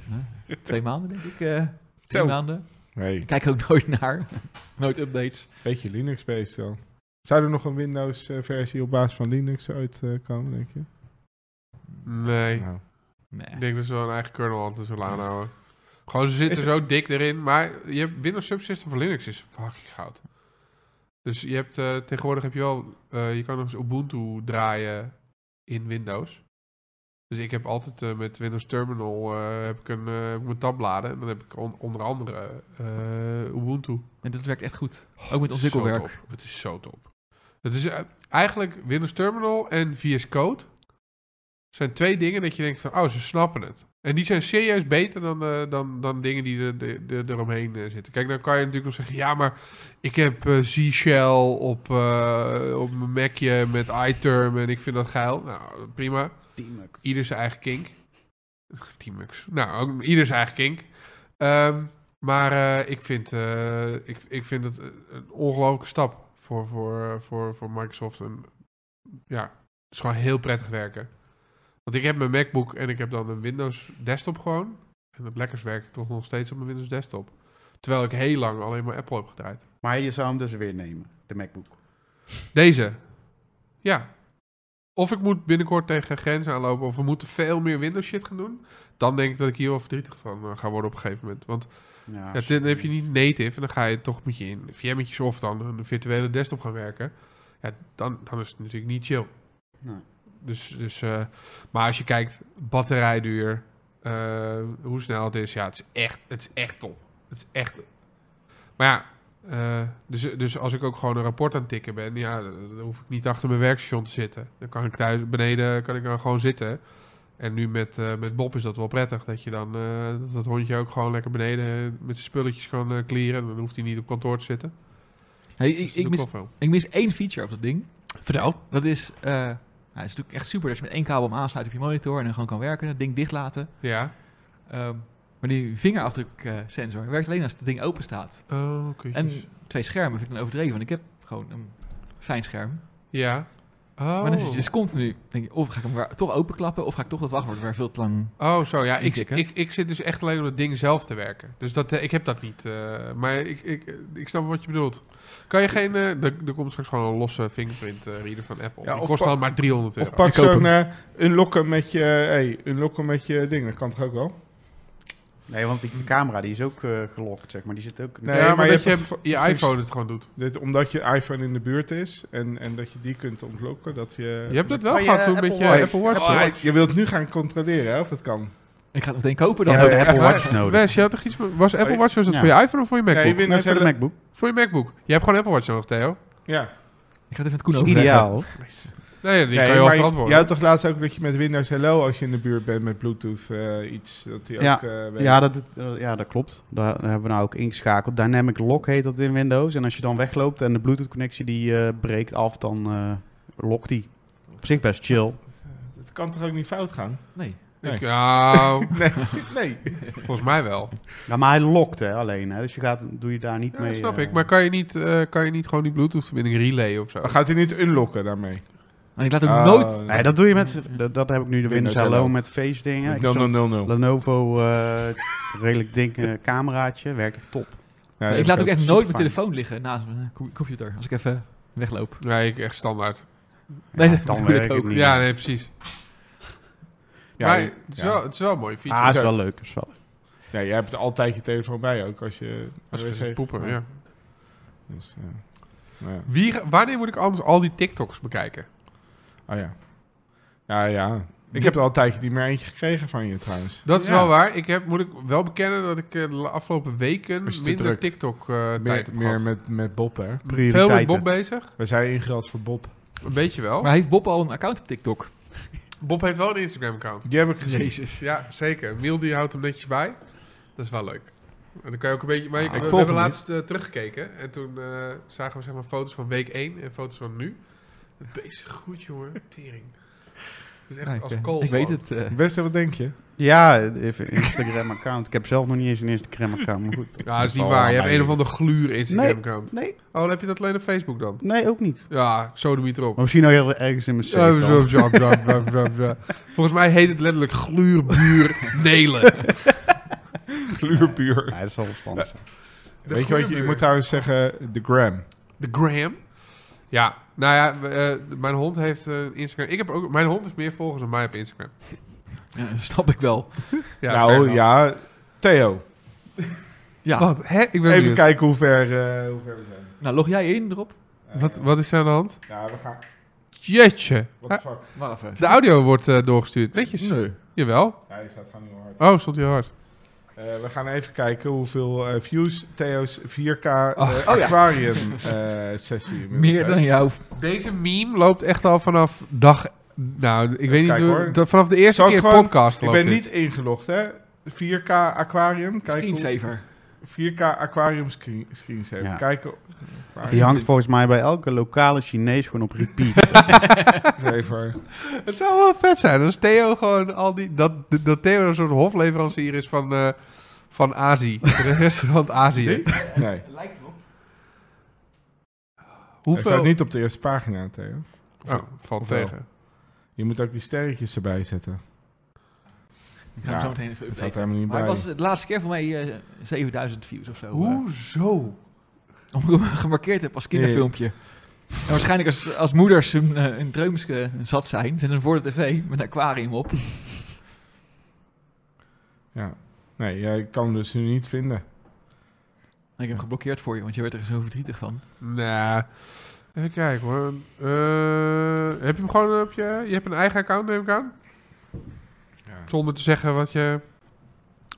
Speaker 4: nou, twee maanden, denk ik. eh twee
Speaker 1: Zo.
Speaker 4: maanden.
Speaker 1: Nee,
Speaker 4: Ik kijk er ook nooit naar. nooit updates.
Speaker 1: beetje Linux-based wel. Zou er nog een Windows-versie op basis van Linux uitkomen, denk je?
Speaker 3: Nee.
Speaker 1: Nou,
Speaker 3: Ik
Speaker 4: Nee.
Speaker 3: denk dat ze wel een eigen kernel altijd zullen aanhouden. Gewoon, ze zitten
Speaker 1: Is
Speaker 3: zo dik erin. Maar je hebt Windows Subsystem voor Linux is fucking goud. Dus je hebt, eh, tegenwoordig heb je wel... eh, je kan nog eens Ubuntu draaien in Windows. Dus ik heb altijd eh, met Windows Terminal eh, heb ik een, eh, heb ik mijn tabbladen. En dan heb ik on- onder andere eh, Ubuntu.
Speaker 4: En dat werkt echt goed. Ook met
Speaker 3: Het is zo
Speaker 4: ontwikkelwerk.
Speaker 3: top. Het is zo top. Het is eh, eigenlijk Windows Terminal en VS Code zijn twee dingen dat je denkt van, oh, ze snappen het. En die zijn serieus beter dan, eh, dan, dan dingen die er- de, de, eromheen eh, zitten. Kijk, dan kan je natuurlijk nog zeggen, ja, maar ik heb eh C-Shell op, eh, op mijn Macje met iTerm en ik vind dat geil. Nou, prima. Ieder zijn eigen kink. Teamux. Nou, ook ieder zijn eigen kink. Ehm, maar eh, ik, vind, eh, ik, ik vind het een ongelooflijke stap voor, voor, eh, voor, voor Microsoft. En, ja, het is gewoon heel prettig werken. Want ik heb mijn MacBook en ik heb dan een Windows desktop gewoon. En het lekkers werkt toch nog steeds op mijn Windows desktop. Terwijl ik heel lang alleen maar Apple heb gedraaid.
Speaker 2: Maar je zou hem dus weer nemen, de MacBook.
Speaker 3: Deze. Ja. Of ik moet binnenkort tegen grenzen aanlopen. Of we moeten veel meer Windows shit gaan doen. Dan denk ik dat ik hier wel verdrietig van eh, ga worden op een gegeven moment. Want
Speaker 2: Ja,
Speaker 3: ja, dan heb je niet native. En dan ga je toch met je in VM'tjes of dan een virtuele desktop gaan werken. Ja, dan, dan is het natuurlijk niet chill.
Speaker 2: Nee.
Speaker 3: Dus, dus, eh, maar als je kijkt, batterijduur, eh, hoe snel het is. Ja, het is echt, het is echt top. Het is echt... Maar ja, eh, dus, dus als ik ook gewoon een rapport aan het tikken ben, ja, dan dan hoef ik niet achter mijn werkstation te zitten. Dan kan ik thuis beneden kan ik dan gewoon zitten. En nu met, eh, met Bob is dat wel prettig. Dat je dan eh, dat, dat hondje ook gewoon lekker beneden eh, met zijn spulletjes kan eh clearen. Dan hoeft hij niet op kantoor te zitten.
Speaker 4: Hey,
Speaker 3: Dus
Speaker 4: ik,
Speaker 3: dat doe
Speaker 4: ik, mis,
Speaker 3: wel veel.
Speaker 4: ik mis één feature op dat ding.
Speaker 3: Vertel.
Speaker 4: Dat is, eh, nou, het is natuurlijk echt super dat je met één kabel hem aansluit op je monitor en dan gewoon kan werken. Dat ding dicht laten.
Speaker 3: Ja.
Speaker 4: Ehm, maar die vingerafdruksensor werkt alleen als het ding open staat.
Speaker 3: Oh,
Speaker 4: En
Speaker 3: kutjes.
Speaker 4: twee schermen vind ik dan overdreven, want ik heb gewoon een fijn scherm.
Speaker 3: Ja. Oh.
Speaker 4: Maar dan zit je dus continu, denk je, of ga ik hem weer toch openklappen, of ga ik toch dat wachtwoord weer veel te lang...
Speaker 3: Oh, zo ja. Ik,
Speaker 4: intikken.
Speaker 3: ik, ik zit dus echt alleen om het ding zelf te werken. Dus dat, eh, ik heb dat niet. eh, maar ik, ik, ik snap wat je bedoelt. Kan je geen. eh, er, er komt straks gewoon een losse fingerprint eh, reader van Apple.
Speaker 1: Ja,
Speaker 3: Die
Speaker 1: of
Speaker 3: kost
Speaker 1: pa-
Speaker 3: dan maar 300 euro.
Speaker 1: Of pak
Speaker 4: Ik koop
Speaker 1: zo'n eh unlocken met je, eh, hey, unlocken met je ding. Dat kan toch ook wel?
Speaker 2: Nee, want die camera die is ook eh gelokt, zeg maar. Die zit ook...
Speaker 1: Nee,
Speaker 3: ja, maar,
Speaker 1: maar je
Speaker 3: dat je,
Speaker 1: hebt toch-
Speaker 3: je iPhone het gewoon doet.
Speaker 1: Dit, omdat je iPhone in de buurt is en, en dat je die kunt ontlokken. Dat je,
Speaker 3: Je hebt dat wel
Speaker 2: Maar je
Speaker 3: gehad toen
Speaker 2: Apple
Speaker 3: met je
Speaker 2: Watch.
Speaker 3: Apple Watch.
Speaker 1: Oh, hij- je wilt nu gaan controleren hè, of het kan.
Speaker 4: Ik ga het meteen kopen
Speaker 2: Je
Speaker 4: dan.
Speaker 2: hebt
Speaker 4: ook.
Speaker 2: een Apple Watch
Speaker 3: Wes,
Speaker 2: nodig.
Speaker 3: je had toch iets met- was Apple
Speaker 1: Oh,
Speaker 3: Watch was dat
Speaker 2: ja.
Speaker 3: voor je iPhone of voor je MacBook?
Speaker 1: Nee, Windows
Speaker 2: Nee, voor de
Speaker 1: hele-
Speaker 2: MacBook.
Speaker 3: Voor je MacBook. Je hebt gewoon Apple Watch nodig, Theo.
Speaker 1: Ja.
Speaker 4: Ik ga het even met Koen
Speaker 2: Dat is
Speaker 4: overleggen.
Speaker 2: ideaal.
Speaker 3: Nee, die
Speaker 1: Nee,
Speaker 3: kan je wel
Speaker 1: maar
Speaker 3: verantwoorden.
Speaker 1: Je had toch laatst ook dat je met Windows Hello, als je in de buurt bent met Bluetooth eh, iets, dat die
Speaker 2: Ja.
Speaker 1: ook eh, weet.
Speaker 2: Ja dat, doet- eh, ja, dat klopt. Daar hebben we nou ook ingeschakeld. Dynamic Lock heet dat in Windows. En als je dan wegloopt en de Bluetooth-connectie die eh, breekt af, dan eh lokt die. Op zich best chill.
Speaker 1: Het kan toch ook niet fout gaan?
Speaker 4: Nee.
Speaker 3: Ik- nou,
Speaker 1: Nee.
Speaker 3: volgens mij wel.
Speaker 2: Ja, maar hij lokt hè, alleen. Hè. Dus je gaat, doe je daar niet
Speaker 3: Ja,
Speaker 2: mee.
Speaker 3: dat snap
Speaker 2: eh,
Speaker 3: ik. Maar kan je niet, eh, kan je niet gewoon die Bluetooth-verbinding relayen of zo?
Speaker 1: Maar gaat hij niet unlocken daarmee?
Speaker 4: En ik laat ook
Speaker 1: Ah,
Speaker 4: nooit...
Speaker 2: Oh, Nee, dat doe je met. Dat, dat heb ik nu de Windows,
Speaker 1: Windows
Speaker 2: Hello
Speaker 1: Hello.
Speaker 2: met face dingen. Ik heb
Speaker 1: No, no,
Speaker 2: zo'n
Speaker 1: no, no.
Speaker 2: Lenovo eh, redelijk ding eh, cameraatje. Werkt echt top.
Speaker 1: Ja,
Speaker 4: ik laat ook echt nooit mijn
Speaker 2: superfijn.
Speaker 4: telefoon liggen naast mijn co- computer, als ik even wegloop.
Speaker 3: Nee, ik echt standaard.
Speaker 4: Nee,
Speaker 2: Ja,
Speaker 4: dat
Speaker 2: dan
Speaker 4: bedoel ik
Speaker 2: werkt het
Speaker 4: ook.
Speaker 2: niet.
Speaker 3: Ja, nee, precies.
Speaker 1: Ja,
Speaker 3: maar
Speaker 1: ja.
Speaker 3: het, is wel, het is wel een mooie feature.
Speaker 2: ah, is wel leuk. Is wel leuk.
Speaker 1: Ja, jij hebt altijd je telefoon bij ook als je...
Speaker 3: Als je
Speaker 1: wc
Speaker 3: zegt poepen, ja.
Speaker 1: Dus, ja. Nou ja.
Speaker 3: Wie, ga- wanneer moet ik anders al die TikToks bekijken?
Speaker 1: Oh ja. Nou ja. Ik heb er al een tijdje niet meer eentje gekregen van je trouwens.
Speaker 3: Dat is
Speaker 2: Ja.
Speaker 3: wel waar. Ik heb, moet ik wel bekennen dat ik eh, de afgelopen weken
Speaker 1: Was je te
Speaker 3: minder
Speaker 1: druk?
Speaker 3: TikTok-tijd
Speaker 1: Meer,
Speaker 3: heb
Speaker 1: meer
Speaker 3: gehad.
Speaker 1: met, met Bob, hè?
Speaker 3: Veel
Speaker 2: Prioriteiten.
Speaker 3: met Bob bezig.
Speaker 1: We zijn ingerad voor Bob.
Speaker 3: Een beetje wel.
Speaker 4: Maar heeft Bob al een account op TikTok?
Speaker 3: Bob heeft wel een Instagram-account.
Speaker 1: Die heb ik gezien.
Speaker 4: Jezus.
Speaker 3: Ja, zeker. Miel die houdt hem netjes bij. Dat is wel leuk. En dan kan je ook een beetje... Maar ik,
Speaker 4: Ah,
Speaker 1: ik
Speaker 3: we, we
Speaker 1: volg
Speaker 3: hebben
Speaker 1: hem
Speaker 3: laatst eh, teruggekeken. En toen eh, zagen we zeg maar, foto's van week 1 en foto's van nu. Het beest groeit, jongen. Tering. Het is echt
Speaker 4: Nou, ik,
Speaker 3: als
Speaker 4: eh,
Speaker 3: kool.
Speaker 4: ik weet het. eh,
Speaker 1: Beste, wat denk je?
Speaker 2: Ja, even Instagram-account. Ik heb zelf nog niet eens een Instagram-account, maar goed.
Speaker 3: Ja, dat is niet waar. Je hebt een of andere gluur Instagram-account.
Speaker 2: Nee,
Speaker 3: Oh, dan heb je dat alleen op Facebook dan?
Speaker 2: nee, ook niet.
Speaker 3: Ja, sodemiet erop.
Speaker 2: Maar misschien nog heel ergens in mijn
Speaker 3: Ja,
Speaker 2: safe
Speaker 3: zo,
Speaker 2: dan.
Speaker 3: zo, zo, zo, zo, zo. Volgens mij heet het letterlijk gluurbuur Nelen.
Speaker 1: Gluurbuur.
Speaker 2: Ja, dat zal verstandig zijn.
Speaker 3: De
Speaker 1: Weet je wat je, je
Speaker 3: gluurbuur.
Speaker 1: moet trouwens zeggen? De gram.
Speaker 3: De Graham. Ja, nou ja, we, eh, mijn hond heeft eh, Instagram. Ik heb ook, mijn hond heeft meer volgers dan mij op Instagram.
Speaker 4: ja, dat snap ik wel.
Speaker 3: Ja, fair
Speaker 1: nou
Speaker 3: enough.
Speaker 1: ja, Theo.
Speaker 4: Ja.
Speaker 3: Wat? Hè? Ik ben
Speaker 1: Even
Speaker 3: benieuwd.
Speaker 1: kijken hoe ver, eh, hoe ver we zijn.
Speaker 4: Nou, log jij in erop?
Speaker 1: Eh,
Speaker 3: Wat, wat is er aan de hand?
Speaker 1: Ja, we gaan...
Speaker 3: Jeetje.
Speaker 1: What the fuck?
Speaker 4: Maar even.
Speaker 3: De audio wordt eh, doorgestuurd. Netjes.
Speaker 4: Nee.
Speaker 3: Jawel.
Speaker 1: Ja, je staat gewoon niet meer hard.
Speaker 3: Oh, stond heel hard.
Speaker 1: Eh, we gaan even kijken hoeveel eh, views Theo's 4K eh,
Speaker 4: oh ja.
Speaker 1: aquarium eh, sessie inmiddels
Speaker 4: Meer
Speaker 1: heeft.
Speaker 4: dan jou.
Speaker 3: Deze meme loopt echt al vanaf dag... Nou, ik weet niet
Speaker 1: kijken,
Speaker 3: hoe...
Speaker 1: hoor.
Speaker 3: da- vanaf de eerste
Speaker 1: Zal ik
Speaker 3: keer
Speaker 1: gewoon-
Speaker 3: podcast
Speaker 1: Ik
Speaker 3: loopt
Speaker 1: ben
Speaker 3: dit.
Speaker 1: niet ingelogd, hè? 4K aquarium. Kijk hoe-
Speaker 4: Screensaver.
Speaker 1: 4K aquarium screen, screensaver.
Speaker 2: Ja.
Speaker 1: Kijken.
Speaker 2: Die hangt volgens mij bij elke lokale Chinees gewoon op repeat.
Speaker 1: Saver.
Speaker 3: Het zou wel vet zijn als Theo gewoon al die... Dat, dat Theo een soort hofleverancier is van, eh, van Azië. De restaurant Azië.
Speaker 1: Nee.
Speaker 4: Lijkt erop.
Speaker 1: Hij staat
Speaker 3: Hoeveel...
Speaker 1: niet op de eerste pagina, Theo.
Speaker 3: Oh, valt
Speaker 1: Hoeveel?
Speaker 3: tegen.
Speaker 1: Je moet ook die sterretjes erbij zetten.
Speaker 4: Ik
Speaker 1: Ja,
Speaker 4: ga hem zo meteen even
Speaker 1: Dat
Speaker 4: updaten.
Speaker 1: staat helemaal niet
Speaker 4: Maar
Speaker 1: bij.
Speaker 4: het was de laatste keer voor mij eh, 7000 views of zo. eh,
Speaker 3: Hoezo?
Speaker 4: omdat ik hem gemarkeerd heb als kinderfilmpje. En waarschijnlijk als, als moeders hun, eh, hun dreumske zat zijn, zetten ze voor de tv met een aquarium op.
Speaker 1: Ja. Nee, jij kan hem dus nu niet vinden.
Speaker 4: En ik heb hem geblokkeerd voor je, want je werd er zo verdrietig van.
Speaker 3: Nou, even kijken hoor. Eh, heb je hem gewoon op je... Je hebt een eigen account, neem ik aan?
Speaker 1: Ja.
Speaker 3: Zonder te zeggen wat je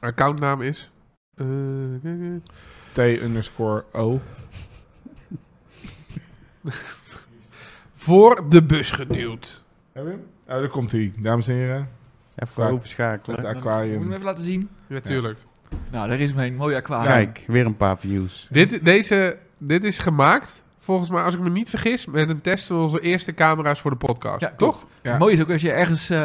Speaker 3: accountnaam is. Eh, kijk, eh.
Speaker 1: T underscore O.
Speaker 3: voor de bus geduwd.
Speaker 1: Heb je hem? Oh, daar komt hij. Dames en heren.
Speaker 2: Even
Speaker 1: Het
Speaker 2: overschakelen.
Speaker 4: Moet ik hem
Speaker 1: aquarium.
Speaker 4: even laten zien?
Speaker 3: Natuurlijk.
Speaker 4: Nou, daar is mijn mooie aquarium.
Speaker 2: Kijk, weer een paar views.
Speaker 3: Dit, deze, dit is gemaakt, volgens mij, als ik me niet vergis, met een test van onze eerste camera's voor de podcast.
Speaker 4: Ja,
Speaker 3: toch?
Speaker 1: Ja.
Speaker 4: Het mooie is ook als je ergens eh,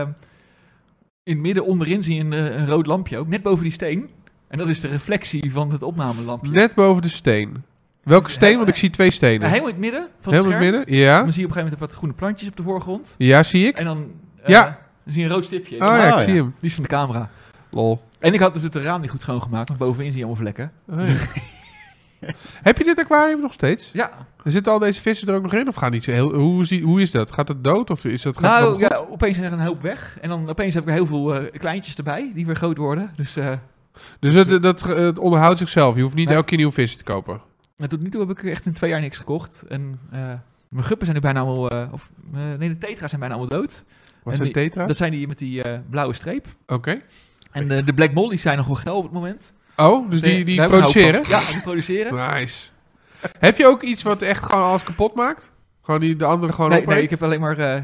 Speaker 4: in het midden onderin zie je een, eh, een rood lampje, ook net boven die steen. En dat is de reflectie van het opnamelampje.
Speaker 3: Net boven de steen. Welke steen? Want ik zie twee
Speaker 4: Nou,
Speaker 3: stenen.
Speaker 4: helemaal in het midden van het
Speaker 3: Helemaal in
Speaker 4: scherm.
Speaker 3: het midden? Ja.
Speaker 4: Dan zie je op een gegeven moment wat groene plantjes op de voorgrond.
Speaker 3: Ja, zie ik.
Speaker 4: En dan, eh,
Speaker 3: Ja.
Speaker 4: dan zie je een rood stipje.
Speaker 3: Oh ja,
Speaker 2: Oh,
Speaker 3: ik zie
Speaker 2: ja.
Speaker 3: hem.
Speaker 4: Die is van de camera.
Speaker 3: Lol.
Speaker 4: En ik had dus het raam niet goed schoongemaakt, want bovenin zie je allemaal vlekken.
Speaker 3: Oh, ja. Heb je dit aquarium nog steeds?
Speaker 4: Ja,
Speaker 3: Er Zitten al deze vissen er ook nog in? Of gaan die zo heel, hoe, zie, hoe is dat? Gaat het dood? Of is dat, gaat het
Speaker 4: nou,
Speaker 3: nog goed?
Speaker 4: ja, opeens zijn er een hoop weg. En dan opeens heb ik heel veel eh, kleintjes erbij, die weer groot worden. Dus eh,
Speaker 3: Dus het, dat, het onderhoudt zichzelf. Je hoeft niet
Speaker 4: Nee.
Speaker 3: elke keer nieuwe vissen te kopen.
Speaker 4: Maar tot nu toe heb ik echt in twee jaar niks gekocht. En eh, mijn guppen zijn nu bijna allemaal... eh, of, eh, nee, de tetra's zijn bijna allemaal dood.
Speaker 3: Wat
Speaker 4: En
Speaker 3: zijn
Speaker 4: die-
Speaker 3: tetra?
Speaker 4: Dat zijn die met die eh, blauwe streep.
Speaker 3: Oké.
Speaker 4: En eh, de, de black mollies zijn nogal geil op het moment.
Speaker 3: Oh, dus die, die
Speaker 4: Daar heb ik een hoop
Speaker 3: produceren?
Speaker 4: van. nou Ja, die produceren.
Speaker 3: Nice. Heb je ook iets wat echt gewoon alles kapot maakt? Gewoon die de andere gewoon
Speaker 4: Nee,
Speaker 3: opeet?
Speaker 4: nee, ik heb alleen maar eh,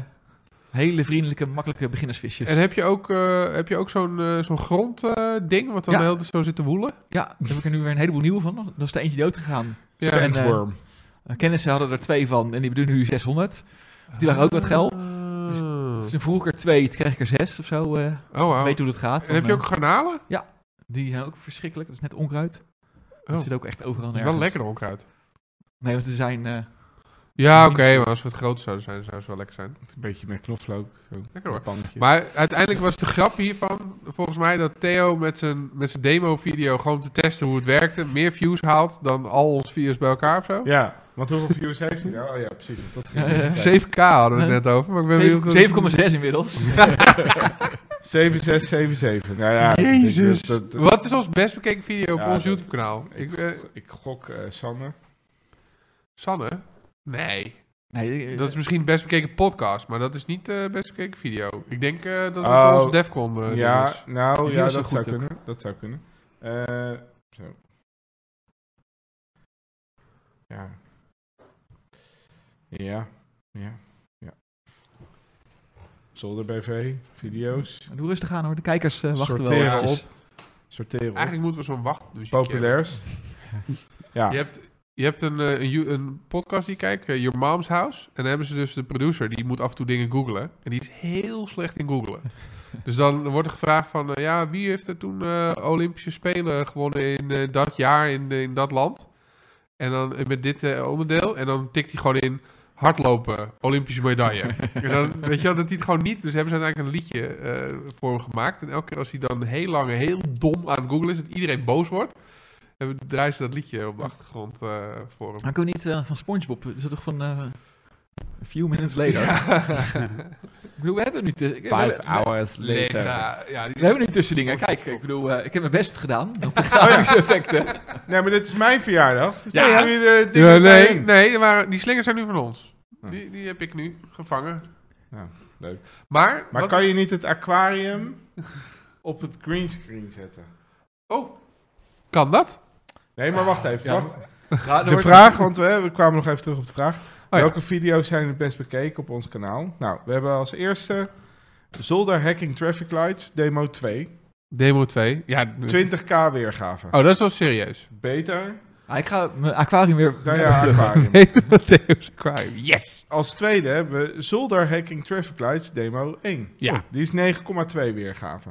Speaker 4: hele vriendelijke, makkelijke beginnersvisjes.
Speaker 3: En heb je ook, eh, heb je ook zo'n eh, zo'n grondding wat dan
Speaker 4: Ja.
Speaker 3: de hele tijd zo zit te woelen?
Speaker 4: Ja, daar heb ik er nu weer een heleboel nieuwe van. Dan is er eentje dood gegaan.
Speaker 3: Ja.
Speaker 4: En, eh,
Speaker 1: Sandworm.
Speaker 4: kennissen hadden er twee van en die bedoelen nu 600. Die waren ook wat geil. Dus
Speaker 3: Ah.
Speaker 4: toen vroeg ik er twee, toen kreeg ik er zes of zo. eh
Speaker 3: Oh, wauw.
Speaker 4: Weet hoe dat gaat.
Speaker 3: En heb
Speaker 4: Dan,
Speaker 3: je ook garnalen?
Speaker 4: eh, die zijn ook verschrikkelijk. Dat is net onkruid.
Speaker 3: Oh,
Speaker 4: Dat zit ook echt overal
Speaker 3: dat is
Speaker 4: nergens.
Speaker 3: wel lekker onkruid.
Speaker 4: Nee, want er zijn... eh,
Speaker 3: Ja, oké,
Speaker 4: Niet zo.
Speaker 3: maar als we het groot zouden zijn, zou het wel lekker zijn.
Speaker 1: Een beetje met knoflook. Zo.
Speaker 3: Lekker hoor.
Speaker 1: Een pandje.
Speaker 3: Maar uiteindelijk was de grap hiervan, volgens mij, dat Theo met zijn, met zijn demo-video gewoon om te testen hoe het werkte, meer views haalt dan al ons views bij elkaar of zo.
Speaker 1: Ja, want hoeveel views heeft hij? nou? Oh ja, precies. want Dat ging
Speaker 4: Ja, ja.
Speaker 1: niet.
Speaker 3: 7k hadden we het net over, maar ik ben benieuwd hoe-
Speaker 4: 7,6 inmiddels.
Speaker 1: 7677. Nou ja,
Speaker 3: Jezus.
Speaker 1: ik- dat- dat-
Speaker 3: Wat is ons best bekeken video op
Speaker 1: Ja,
Speaker 3: ons
Speaker 1: dat-
Speaker 3: YouTube kanaal? Ik, eh,
Speaker 1: ik gok eh, Sanne.
Speaker 3: Sanne? Nee.
Speaker 4: Nee, eh,
Speaker 3: Dat is misschien best bekeken podcast, maar dat is niet de best bekeken video. Ik denk eh, dat het
Speaker 1: Oh.
Speaker 3: onze Defcon eh, ding
Speaker 1: ja,
Speaker 3: is.
Speaker 1: nou
Speaker 4: Die
Speaker 1: ja,
Speaker 4: is zo
Speaker 1: dat
Speaker 4: goed
Speaker 1: zou,
Speaker 4: ook.
Speaker 1: kunnen, dat zou kunnen. Eh, zo. Ja. Ja. Ja. Ja. Zolder BV, video's.
Speaker 4: doe rustig aan hoor. De kijkers eh, wachten wel
Speaker 1: Sorteren
Speaker 4: eventjes.
Speaker 1: Sorteren. op.
Speaker 3: dus Eigenlijk moeten we zo'n wacht.
Speaker 1: Populairst. Ja.
Speaker 3: Je hebt, je Je hebt een, eh, een, you- een podcast die ik kijk, eh, Your Mom's House. En dan hebben ze dus de producer, die moet af en toe dingen googlen. En die is heel slecht in googlen. dus dan wordt er gevraagd van, eh, ja, wie heeft er toen eh, Olympische Spelen gewonnen in eh, dat jaar in, eh, in dat land? En dan eh, met dit eh, onderdeel. En dan tikt hij gewoon in hardlopen, Olympische medaille. en dan weet je wel, dat hij het gewoon niet... Dus hebben ze uiteindelijk een liedje eh, voor hem gemaakt. En elke keer als hij dan heel lang heel dom aan het googlen is, dat iedereen boos wordt... En draaien ze dat liedje op de achtergrond eh, voor hem.
Speaker 4: Maar kunnen we niet eh, van SpongeBob? Is dat toch van eh A Few Minutes Later? ik bedoel, we hebben nu... Te, we,
Speaker 9: Five
Speaker 4: hebben,
Speaker 9: hours later.
Speaker 3: Ja, ja, die-
Speaker 4: we hebben nu tussen dingen. Kijk, ik bedoel, eh, ik heb mijn best gedaan op de grafische effecten.
Speaker 1: Nee, maar dit is mijn verjaardag. Dus
Speaker 4: Ja,
Speaker 1: ja,
Speaker 4: ja.
Speaker 3: Ja, nee, nee maar die slingers zijn nu van ons. Die, die heb ik nu gevangen.
Speaker 1: Ja, leuk.
Speaker 3: Maar,
Speaker 1: Maar
Speaker 3: wat-
Speaker 1: kan je niet het aquarium op het greenscreen zetten?
Speaker 3: oh, kan dat?
Speaker 1: Nee, maar wacht even.
Speaker 4: Ja,
Speaker 1: wacht.
Speaker 4: Ja, er
Speaker 1: De
Speaker 4: wordt-
Speaker 1: vraag, want we, we kwamen nog even terug op de vraag.
Speaker 3: Oh ja.
Speaker 1: Welke video's zijn het best bekeken op ons kanaal? Nou, we hebben als eerste Zolder Hacking Traffic Lights Demo 2.
Speaker 3: Demo 2. Ja, d-
Speaker 1: 20k weergave.
Speaker 3: Oh, dat is wel serieus.
Speaker 1: Beter
Speaker 4: Ah, ik ga mijn aquarium weer...
Speaker 1: dan je aquarium.
Speaker 3: Deus Aquarium. Yes!
Speaker 1: Als tweede hebben we Zolder Hacking Traffic Lights Demo 1.
Speaker 3: Ja.
Speaker 1: Die is 9,2 weergave.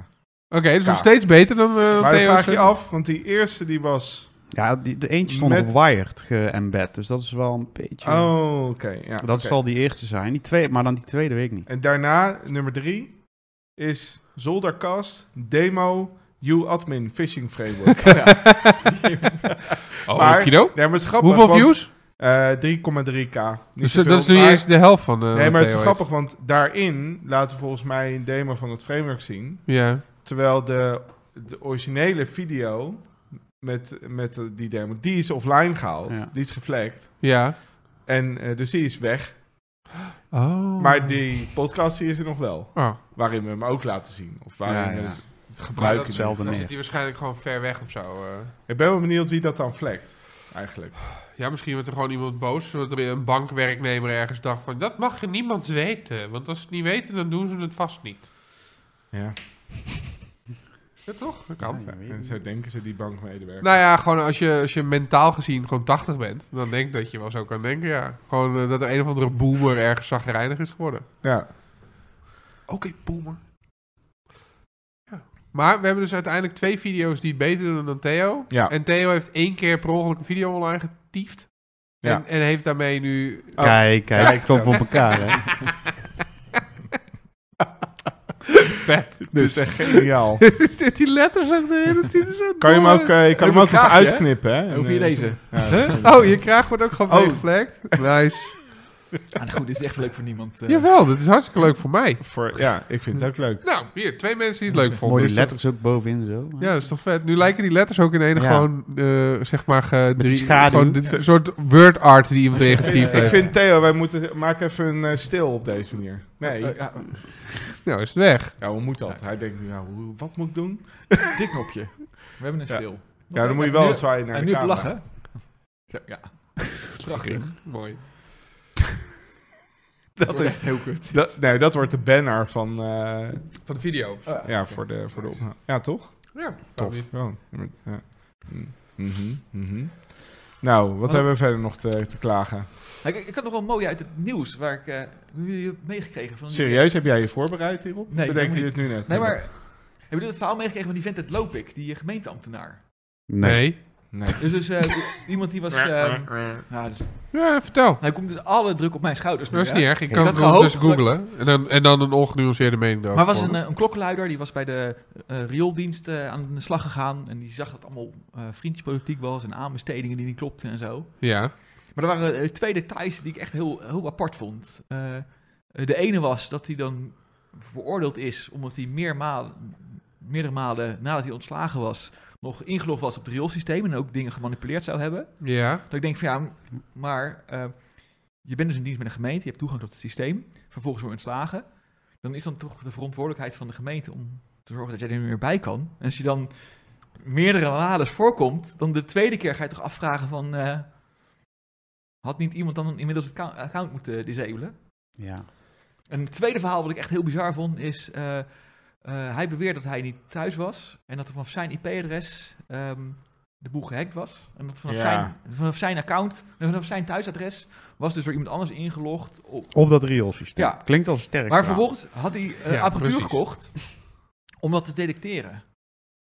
Speaker 3: Oké, dus nog
Speaker 1: Ja.
Speaker 3: steeds beter dan eh
Speaker 1: Maar dan
Speaker 3: Theo's,
Speaker 1: vraag je
Speaker 3: eh,
Speaker 1: af, want die eerste die was...
Speaker 2: Ja, die, de eentje stond
Speaker 1: Met-
Speaker 2: op Wired geëmbed, dus dat is wel een beetje...
Speaker 1: Oh, oké. ja,
Speaker 2: dat
Speaker 1: oké.
Speaker 2: zal die eerste zijn, die twee, maar dan die tweede weet ik niet.
Speaker 1: En daarna, nummer drie, is Zoldercast Demo U-Admin Phishing Framework.
Speaker 3: Oh,
Speaker 1: maar-
Speaker 3: Kido?
Speaker 1: nee, maar het is grappig,
Speaker 3: Hoeveel
Speaker 1: want,
Speaker 3: views?
Speaker 1: eh, 3,3k. Niet
Speaker 3: Dus, eh,
Speaker 1: zoveel,
Speaker 3: dat is nu
Speaker 1: maar-
Speaker 3: eens de helft van. eh
Speaker 1: Nee,
Speaker 3: wat
Speaker 1: maar het is
Speaker 3: Theo
Speaker 1: grappig, want daarin laten we volgens mij een demo van het framework zien.
Speaker 3: heeft. Ja.
Speaker 1: Terwijl de, de originele video met, met de- die demo, die is offline gehaald.
Speaker 2: Ja.
Speaker 1: Die is geflagd.
Speaker 3: Ja.
Speaker 1: En eh, dus die is weg.
Speaker 3: Oh.
Speaker 1: Maar die podcast die is er nog wel.
Speaker 3: Oh.
Speaker 1: Waarin we hem ook laten zien. Of
Speaker 2: Ja,
Speaker 1: waarin we
Speaker 2: ja.
Speaker 1: het
Speaker 3: Maar
Speaker 1: gebruiken.
Speaker 3: dat,
Speaker 1: doen.
Speaker 2: hetzelfde
Speaker 3: dan
Speaker 2: neer.
Speaker 3: zit die waarschijnlijk gewoon ver weg of zo. eh.
Speaker 1: Ik ben wel benieuwd wie dat dan flekt. Eigenlijk.
Speaker 3: Ja, misschien werd er gewoon iemand boos. Zodat er een bankwerknemer ergens dacht van... dat mag niemand weten. Want als ze het niet weten, dan doen ze het vast niet.
Speaker 1: Ja.
Speaker 3: Ja, toch? Dat kan.
Speaker 2: Ja,
Speaker 1: En zo denken ze die bankmedewerker.
Speaker 3: Nou ja, gewoon als je, als je mentaal gezien gewoon 80 bent... dan denk ik dat je wel zo kan denken, ja. Gewoon eh, dat er een of andere boomer ergens zagrijnig is geworden.
Speaker 1: Ja.
Speaker 3: Oké, boomer. Ja. Maar we hebben dus uiteindelijk twee video's die het beter doen dan Theo.
Speaker 1: Ja.
Speaker 3: En Theo heeft één keer per ongeluk een video online getiefd.
Speaker 1: Ja.
Speaker 3: En, en heeft daarmee nu...
Speaker 1: Oh.
Speaker 2: Kijk, kijk,
Speaker 1: Kijk
Speaker 2: het komt
Speaker 1: zo.
Speaker 2: voor elkaar, hè.
Speaker 3: Oh,
Speaker 1: Dus echt geniaal.
Speaker 3: Zit die letters ook erin? Dat is zo
Speaker 1: Kan je hem
Speaker 3: dom,
Speaker 1: ook, eh, je kan hem ook
Speaker 4: Heb ik een
Speaker 1: nog
Speaker 4: graagje, hè?
Speaker 1: uitknippen, hè? En,
Speaker 4: Hoe vind je
Speaker 1: eh,
Speaker 4: deze?
Speaker 1: ja,
Speaker 3: Huh? Oh, je kraag wordt ook gewoon
Speaker 1: Oh.
Speaker 3: meegevlekt. Nice.
Speaker 4: Ah, goed, dit is echt leuk voor niemand. eh.
Speaker 3: Jawel, dat is hartstikke leuk voor mij.
Speaker 1: Voor, ja, ik vind het ook leuk.
Speaker 3: Nou, hier, twee mensen die het leuk vonden.
Speaker 2: Mooie
Speaker 3: Dus
Speaker 2: letters ook bovenin zo.
Speaker 3: dat- Ja, dat is toch vet. Nu lijken die letters ook in ene
Speaker 2: Ja.
Speaker 3: gewoon, eh, zeg maar, ge-
Speaker 2: die
Speaker 3: drie-
Speaker 2: schaduw.
Speaker 3: gewoon dit soort word art die eh, iemand erin
Speaker 1: Ik,
Speaker 3: getiefd
Speaker 1: ik
Speaker 3: heeft.
Speaker 1: vind Theo, wij moeten maken even een eh, stil op deze manier. Nee.
Speaker 4: Eh, ja,
Speaker 3: Nou, is het weg.
Speaker 1: Ja, hoe moet dat? Hij denkt nu, ja, hoe, wat moet ik doen?
Speaker 4: dit knopje. We hebben een stil.
Speaker 1: Ja, dan moet je wel eens zwaaien naar de
Speaker 4: En nu even
Speaker 1: camera.
Speaker 4: lachen. Zo, Ja. Prachtig.
Speaker 3: Mooi.
Speaker 1: Dat is,
Speaker 4: Heel kut.
Speaker 1: dat, nee, dat wordt de banner van, eh,
Speaker 3: Van de video.
Speaker 1: ja, voor de, voor de opname. Ja, toch?
Speaker 3: Ja, Nou, tof. Mm-hmm,
Speaker 1: Tof. Ja. Ja. Mhm, mhm. Nou, wat hebben we verder nog te, te klagen?
Speaker 4: Kijk, Nou, ik, ik had nog wel mooi uit het nieuws waar ik eh, jullie heb meegekregen. Van die-
Speaker 1: Serieus, heb jij je voorbereid hierop?
Speaker 4: Nee,
Speaker 1: Bedenk je
Speaker 4: helemaal
Speaker 1: dit nu net?
Speaker 4: Nee, maar hebben jullie het verhaal meegekregen van die vent uit Lopik, die eh, gemeenteambtenaar?
Speaker 3: Nee.
Speaker 1: Nee.
Speaker 4: Dus, dus eh, i- iemand die was... ehm, nou, dus-
Speaker 3: Ja, vertel.
Speaker 4: nou, komt dus alle druk op mijn schouders nu,
Speaker 3: Dat is
Speaker 4: hè?
Speaker 3: niet erg. Ik kan
Speaker 4: had
Speaker 3: het wel dus
Speaker 4: gehoopt dat-
Speaker 3: googlen. En dan, en dan een ongenuanceerde mening over.
Speaker 4: Maar was een, eh, een klokkenluider, die was bij de eh riooldienst eh, aan de slag gegaan. En die zag dat allemaal eh vriendjespolitiek was en aanbestedingen die niet klopten en zo.
Speaker 3: Ja.
Speaker 4: Maar er waren eh, twee details die ik echt heel, heel apart vond. Eh, eh, de ene was dat hij dan veroordeeld is omdat hij meermalen, meerdere malen nadat hij ontslagen was, nog ingelogd was op het rioolsysteem en ook dingen gemanipuleerd zou hebben.
Speaker 3: Ja.
Speaker 4: Dat ik denk van ja, m- maar eh, je bent dus in dienst met een gemeente, je hebt toegang tot het systeem, vervolgens wordt je ontslagen. Dan is dan toch de verantwoordelijkheid van de gemeente om te zorgen dat jij er niet meer bij kan. En als je dan meerdere malen voorkomt, dan de tweede keer ga je toch afvragen van... eh, had niet iemand dan inmiddels het account- account moeten disabelen?
Speaker 2: Ja.
Speaker 4: En het tweede verhaal wat ik echt heel bizar vond is... eh, eh, hij beweert dat hij niet thuis was en dat er van zijn IP-adres ehm, de boel gehackt was. En dat vanaf,
Speaker 1: Ja.
Speaker 4: zijn, vanaf zijn account, vanaf zijn thuisadres, was dus door iemand anders ingelogd. Op,
Speaker 2: Op dat rioolsysteem.
Speaker 4: Ja.
Speaker 2: Klinkt als een sterk.
Speaker 4: maar
Speaker 2: verhaal.
Speaker 4: vervolgens had hij eh,
Speaker 3: Ja,
Speaker 4: apparatuur
Speaker 3: precies.
Speaker 4: gekocht om dat te detecteren.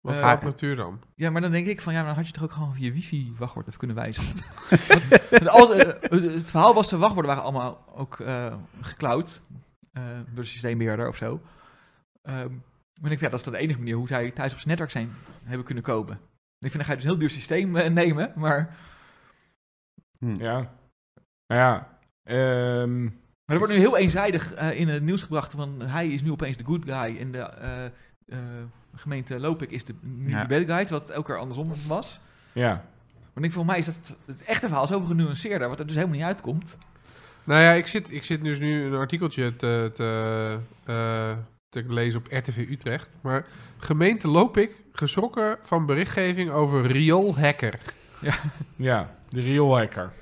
Speaker 3: Wat
Speaker 4: Eh,
Speaker 3: voor apparatuur dan?
Speaker 4: Ja, maar dan denk ik van, ja, maar dan had je toch ook gewoon je wifi-wachtwoord even kunnen wijzigen. Want- want als, eh, het het verhaal was, de wachtwoorden waren allemaal ook eh geklauwd. eh, door de systeembeheerder of zo. Ehm maar ik vind, ja, dat is dan de enige manier hoe zij thuis op zijn netwerk zijn hebben kunnen komen. Ik vind, dan ga je dus een heel duur systeem eh, nemen, maar...
Speaker 2: Hm.
Speaker 1: Ja. Nou ja. ehm,
Speaker 4: Maar er wordt nu heel eenzijdig eh, in het nieuws gebracht, want hij is nu opeens de good guy en de eh, eh, gemeente Lopik is de, nu
Speaker 2: Ja.
Speaker 4: de bad guy, wat elke keer andersom was.
Speaker 1: ja.
Speaker 4: Maar ik denk, volgens mij is dat het echte verhaal zo genuanceerder, wat er dus helemaal niet uitkomt.
Speaker 3: Nou ja, ik zit, ik zit dus nu een artikeltje te, te, eh, te lezen op RTV Utrecht. Maar gemeente Lopik, geschrokken van berichtgeving over rioolhacker.
Speaker 1: Ja. De rioolhacker.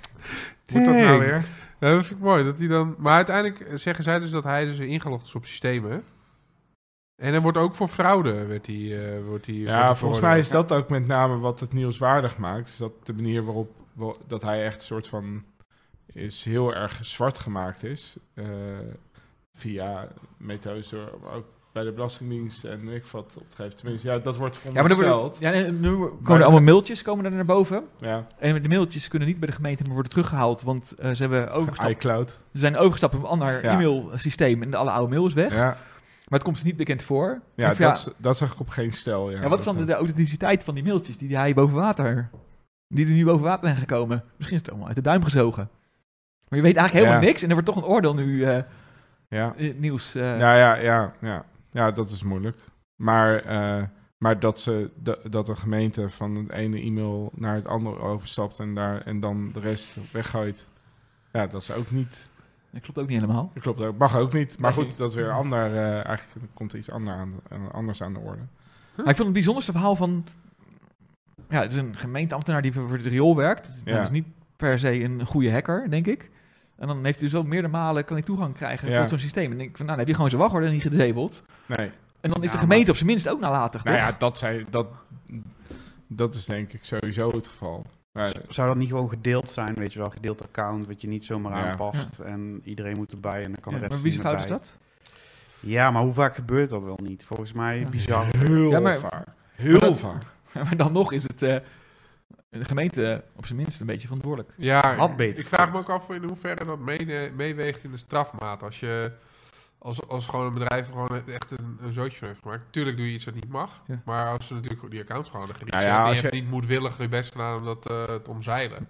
Speaker 1: Moet dat nou
Speaker 3: Dang.
Speaker 1: weer?
Speaker 3: Ja, dat vind ik mooi. Dat hij dan... Maar uiteindelijk zeggen zij dus dat hij dus ingelogd is op systemen. En hij wordt ook voor fraude, werd hij... eh, wordt hij wordt
Speaker 1: Ja,
Speaker 3: hij
Speaker 1: volgens mij is dat ook met name wat het nieuwswaardig maakt. Is dat de manier waarop wa- dat hij echt een soort van is heel erg zwart gemaakt is. eh, via methodes door ook bij de Belastingdienst en weet ik wat op te geven. Tenminste, ja, dat wordt verondersteld.
Speaker 4: ja, nee, nu komen
Speaker 1: Maar-
Speaker 4: er allemaal mailtjes komen er naar boven.
Speaker 1: Ja,
Speaker 4: En de mailtjes kunnen niet bij de gemeente meer worden teruggehaald, want eh, ze, hebben overgestapt,
Speaker 1: iCloud.
Speaker 4: ze zijn overgestapt op een ander
Speaker 1: Ja.
Speaker 4: e-mailsysteem en alle oude mail is weg.
Speaker 1: Ja,
Speaker 4: Maar het komt ze niet bekend voor.
Speaker 1: ja,
Speaker 4: Ik vind,
Speaker 1: dat, dat zag ik op geen stel. Ja,
Speaker 4: Ja, wat is
Speaker 1: Dat,
Speaker 4: dan
Speaker 1: eh,
Speaker 4: de authenticiteit van die mailtjes die hij boven water, die er nu boven water zijn gekomen? Misschien is het allemaal uit de duim gezogen. Maar je weet eigenlijk helemaal
Speaker 1: Ja.
Speaker 4: niks en er wordt toch een oordeel nu eh,
Speaker 1: Ja.
Speaker 4: in het nieuws. eh.
Speaker 1: Ja, ja, ja, ja. Ja, dat is moeilijk. Maar, eh, maar dat, ze, da- dat de gemeente van het ene e-mail naar het andere overstapt en, daar, en dan de rest weggooit. Ja, dat is ook niet.
Speaker 4: Dat klopt ook niet helemaal.
Speaker 1: Dat klopt ook. Mag ook niet. Maar
Speaker 4: Nee.
Speaker 1: goed, dat is weer ander. eh, eigenlijk komt er iets ander aan, aan- anders aan de orde.
Speaker 4: Maar ik vond het bijzonderste verhaal van... Ja, het is een gemeenteambtenaar die voor voor het riool werkt.
Speaker 1: Ja.
Speaker 4: Dat is niet per se een goede hacker, denk ik. En dan heeft hij dus wel meerdere malen kan hij toegang krijgen
Speaker 1: Ja.
Speaker 4: tot zo'n systeem. En dan denk ik van, nou, dan heb je gewoon zijn wachtwoorden niet gedezabeld.
Speaker 1: Nee.
Speaker 4: En dan is
Speaker 1: Ja,
Speaker 4: de gemeente op zijn minst ook nalatig,
Speaker 1: Nou
Speaker 4: toch?
Speaker 1: ja, dat, zij, dat, dat is denk ik sowieso het geval. Maar,
Speaker 2: Z- Zou dat niet gewoon gedeeld zijn, weet je wel, gedeeld account, wat je niet zomaar
Speaker 1: Ja.
Speaker 2: aanpast en iedereen moet erbij en dan kan de rest
Speaker 4: maar wie
Speaker 2: er
Speaker 4: zijn
Speaker 2: niet
Speaker 4: fout is
Speaker 2: meer
Speaker 4: dat?
Speaker 2: bij. Ja, maar hoe vaak gebeurt dat wel niet? Volgens mij
Speaker 4: Ja.
Speaker 2: bizar.
Speaker 1: heel
Speaker 4: Ja, maar-
Speaker 1: vaak.
Speaker 4: maar
Speaker 1: Heel
Speaker 4: dat-
Speaker 1: vaak.
Speaker 4: maar dan nog is het eh, de gemeente op zijn minst een beetje verantwoordelijk.
Speaker 3: Ja,
Speaker 2: Had beter
Speaker 3: ik vraag me ook af in hoeverre dat mee- eh, meeweegt in de strafmaat. Als je als, als gewoon een bedrijf er gewoon echt een, een zootje van heeft gemaakt. Tuurlijk doe je iets wat niet mag.
Speaker 4: Ja.
Speaker 3: Maar als ze natuurlijk die accounts gewoon gericht
Speaker 1: Nou ja,
Speaker 3: zetten en je,
Speaker 1: als
Speaker 3: hebt niet moedwillig je best gedaan om dat eh, te omzeilen.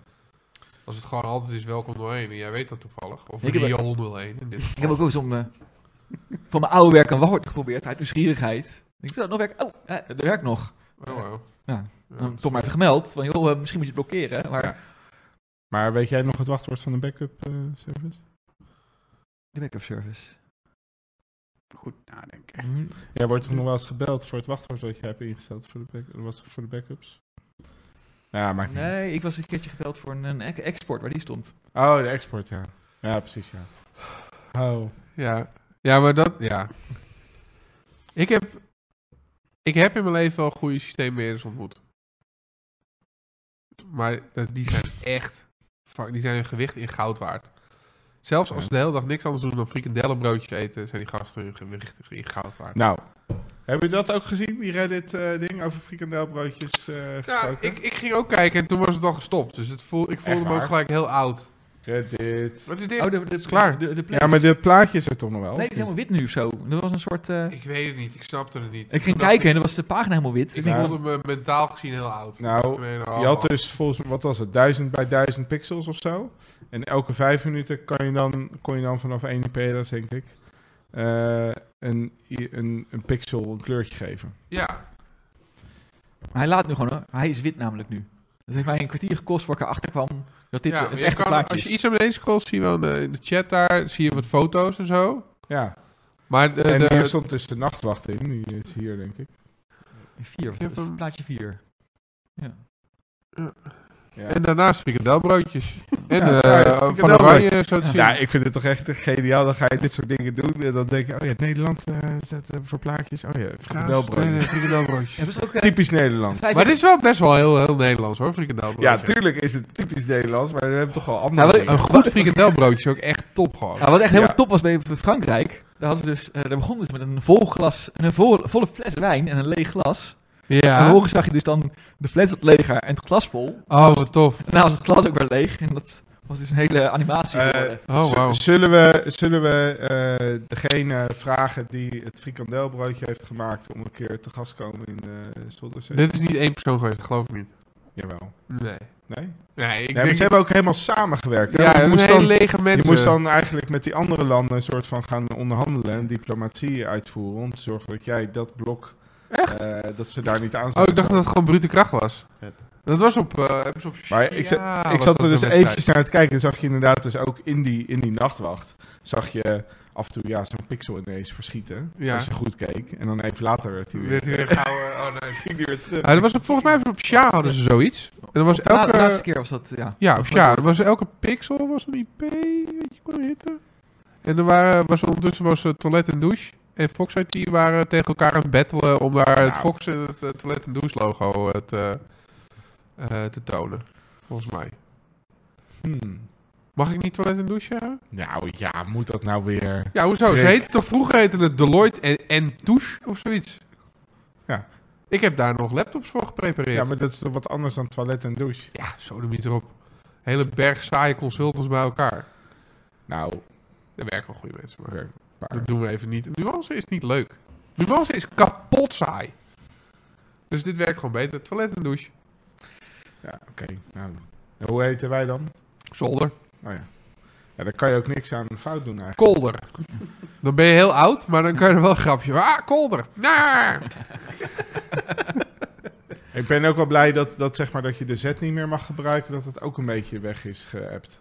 Speaker 3: Als het gewoon altijd is welkom doorheen en jij weet dat toevallig. Of
Speaker 4: Ik heb-
Speaker 3: Rio 01 in dit
Speaker 4: Ik heb ook wel eens om eh, van mijn oude werk een wachtwoord geprobeerd uit nieuwsgierigheid. Ik wil dat nog werken. Oh, eh, dat werkt nog.
Speaker 3: Oh, wow.
Speaker 4: Ja, Nou,
Speaker 3: dat
Speaker 4: Dan
Speaker 3: is-
Speaker 4: toch maar even gemeld. Van joh, eh, misschien moet je het blokkeren. Maar
Speaker 1: Ja. Maar weet jij nog het wachtwoord van de backup eh, service?
Speaker 4: de backup service.
Speaker 2: Goed nadenken.
Speaker 1: Ja, wordt er nog wel eens gebeld voor het wachtwoord wat je hebt ingesteld voor de, back was het voor de backups? Nou Ja, maakt niet.
Speaker 4: Nee, ik was een keertje gebeld voor een, een ex- export waar die stond.
Speaker 1: Oh, de export, ja. Ja, precies, ja. Oh.
Speaker 3: Ja, ja maar dat, ja. Ik heb, ik heb in mijn leven wel goede systeembeheerders ontmoet. Maar dat- die zijn echt, fuck, die zijn hun gewicht in goud waard. Zelfs als ze de hele dag niks anders doen dan frikandellenbroodjes eten, zijn die gasten hun gewicht in goud waard.
Speaker 1: Nou. Hebben jullie dat ook gezien, die Reddit-ding over frikandelbroodjes eh
Speaker 3: Ja,
Speaker 1: gesproken?
Speaker 3: ik, ik ging ook kijken en toen was het al gestopt. Dus het voel, ik voelde
Speaker 1: Echt
Speaker 3: me ook
Speaker 1: waar?
Speaker 3: gelijk heel oud.
Speaker 1: Reddit.
Speaker 3: Wat is dit?
Speaker 4: Oh, de, de,
Speaker 3: klaar.
Speaker 4: De, de plaats.
Speaker 1: Ja, maar dit plaatje is er toch nog wel?
Speaker 4: Nee,
Speaker 1: of
Speaker 4: die is helemaal
Speaker 1: niet?
Speaker 4: wit nu of zo. Er was een soort... eh,
Speaker 3: Ik weet het niet, ik snapte het niet.
Speaker 4: ik ging
Speaker 3: Toen dacht
Speaker 4: kijken en dan was de pagina helemaal wit. Ik
Speaker 3: Ik, ik
Speaker 4: denk,
Speaker 1: Ja.
Speaker 3: voelde me mentaal gezien heel oud.
Speaker 1: Nou,
Speaker 3: Toen dacht ik, oh,
Speaker 1: Je had dus volgens mij, wat was het, 1000 bij 1000 pixels of zo. En elke vijf minuten kan je dan, kon je dan vanaf één IP, dat is denk ik, eh, een, een, een pixel een kleurtje geven.
Speaker 3: Ja,
Speaker 4: Hij laat nu gewoon... hoor. Hij is wit namelijk nu. Dat heeft mij een kwartier gekost voor ik erachter kwam dat dit
Speaker 3: ja,
Speaker 4: echt
Speaker 3: maar
Speaker 4: het
Speaker 3: je
Speaker 4: echte
Speaker 3: kan-
Speaker 4: plaatje
Speaker 3: Als je
Speaker 4: is.
Speaker 3: iets naar beneden scrolt, zie je wel in de, in de chat daar, zie je wat foto's en zo.
Speaker 1: Ja,
Speaker 3: Maar de,
Speaker 1: en
Speaker 3: Eh, de-
Speaker 1: hier stond dus de nachtwacht in. Die is hier, denk ik.
Speaker 4: Vier,
Speaker 3: heb hem-
Speaker 4: plaatje vier. Ja.
Speaker 3: Ja.
Speaker 4: Ik
Speaker 1: Ja.
Speaker 3: En daarnaast frikandelbroodjes. En
Speaker 1: Ja,
Speaker 3: eh,
Speaker 1: ja,
Speaker 3: van oranje zo te zien.
Speaker 1: Ja, ik vind het toch echt geniaal. Dan ga je dit soort dingen doen. En dan denk je, oh ja, Nederland eh zet eh, voor plaatjes. Oh ja,
Speaker 3: Kaas, nee, nee,
Speaker 1: frikandelbrood.
Speaker 3: frikandelbroodjes.
Speaker 4: Hebben ze ook... eh,
Speaker 1: Typisch Nederlands.
Speaker 4: vijf-
Speaker 3: Maar dit is wel best wel heel, heel Nederlands hoor, frikandelbroodjes.
Speaker 1: Ja, tuurlijk is het typisch Nederlands, maar we hebben toch wel
Speaker 4: Nou,
Speaker 1: andere
Speaker 4: wat ik-
Speaker 1: dingen.
Speaker 3: Een goed frikandelbroodje is ook echt top gewoon.
Speaker 4: Nou, wat echt helemaal
Speaker 1: Ja.
Speaker 4: top was bij Frankrijk, daar, hadden ze dus, eh, daar begonnen ze met een vol glas, een vol, volle fles wijn en een leeg glas. En
Speaker 3: Ja.
Speaker 4: vervolgens zag je dus dan de fles wat leger en het glas vol. En
Speaker 3: Oh, wat tof.
Speaker 4: daarna was het glas ook weer leeg en dat was dus een hele animatie
Speaker 1: Eh,
Speaker 4: geworden.
Speaker 3: Oh,
Speaker 1: Z-
Speaker 3: wauw.
Speaker 1: Zullen we, zullen we eh, degene vragen die het frikandelbroodje heeft gemaakt om een keer te gast komen in eh Stolderzee?
Speaker 3: Dit is niet één persoon geweest, dat geloof ik niet.
Speaker 1: Jawel.
Speaker 3: Nee.
Speaker 1: Nee? nee
Speaker 3: Nee, ik
Speaker 1: maar
Speaker 3: denk...
Speaker 1: ze hebben ook helemaal samengewerkt. hè?
Speaker 3: ja,
Speaker 1: Want je,
Speaker 3: een
Speaker 1: moest
Speaker 3: hele
Speaker 1: dan,
Speaker 3: lege mensen.
Speaker 1: je moest dan eigenlijk met die andere landen een soort van gaan onderhandelen en diplomatie uitvoeren om te zorgen dat jij dat blok,
Speaker 3: Echt?
Speaker 1: eh, dat ze daar niet aan
Speaker 3: Oh,
Speaker 1: zouden
Speaker 3: ik dacht dat
Speaker 1: komen.
Speaker 3: het gewoon brute kracht was.
Speaker 2: Vet.
Speaker 3: Dat was op... eh, hebben ze op
Speaker 1: Maar ik, zat-
Speaker 3: China
Speaker 1: ik
Speaker 3: was
Speaker 1: zat er
Speaker 3: dat
Speaker 1: dus
Speaker 3: een wedstrijd.
Speaker 1: eventjes naar het kijken. Dan zag je inderdaad dus ook in die, in die nachtwacht... zag je af en toe ja, zo'n pixel ineens verschieten.
Speaker 3: Ja.
Speaker 1: Als je goed keek. En dan even later werd hij weer,
Speaker 3: Werd weer gauw, eh, oh nee.
Speaker 1: ging die weer terug.
Speaker 3: Ah, dat was, volgens mij was het op Sja hadden ze zoiets. En dan was
Speaker 4: De la- de laatste
Speaker 3: elke...
Speaker 4: keer was dat, ja.
Speaker 3: Ja, op Sja. Er was elke pixel was een IP. Weet je, kon je hitten. En er waren, was ondertussen was eh, toilet en douche. En Fox IT waren tegen elkaar aan het battelen om daar het
Speaker 1: Nou.
Speaker 3: Fox en het eh, toilet en douche logo eh, te, eh, te tonen. Volgens mij.
Speaker 1: Hmm.
Speaker 3: Mag ik niet toilet en douche zeggen?
Speaker 1: Nou ja, moet dat nou weer...
Speaker 3: Ja, hoezo? Ze
Speaker 1: Rick.
Speaker 3: heette toch vroeger heette het Deloitte en, en Touche of zoiets?
Speaker 1: Ja.
Speaker 3: Ik heb daar nog laptops voor geprepareerd.
Speaker 1: Ja, maar dat is toch wat anders dan toilet en douche.
Speaker 3: Ja, zo niet erop. Hele berg saaie consultants bij elkaar.
Speaker 1: Nou,
Speaker 3: Daar werken wel goede mensen, maar
Speaker 1: Werken
Speaker 3: dat doen we even niet. Nuance is niet leuk. Nuance is kapot saai. Dus dit werkt gewoon beter. Toilet en douche.
Speaker 1: ja, oké. nou. En Hoe heten wij dan?
Speaker 3: Zolder.
Speaker 1: Oh ja. ja. Daar kan je ook niks aan fout doen eigenlijk.
Speaker 3: Kolder. Dan ben je heel oud, maar dan kan je er wel een grapje. van. Ah, kolder. Nah.
Speaker 1: Ik ben ook wel blij dat, dat, zeg maar, dat je de Z niet meer mag gebruiken. Dat het ook een beetje weg is geappt.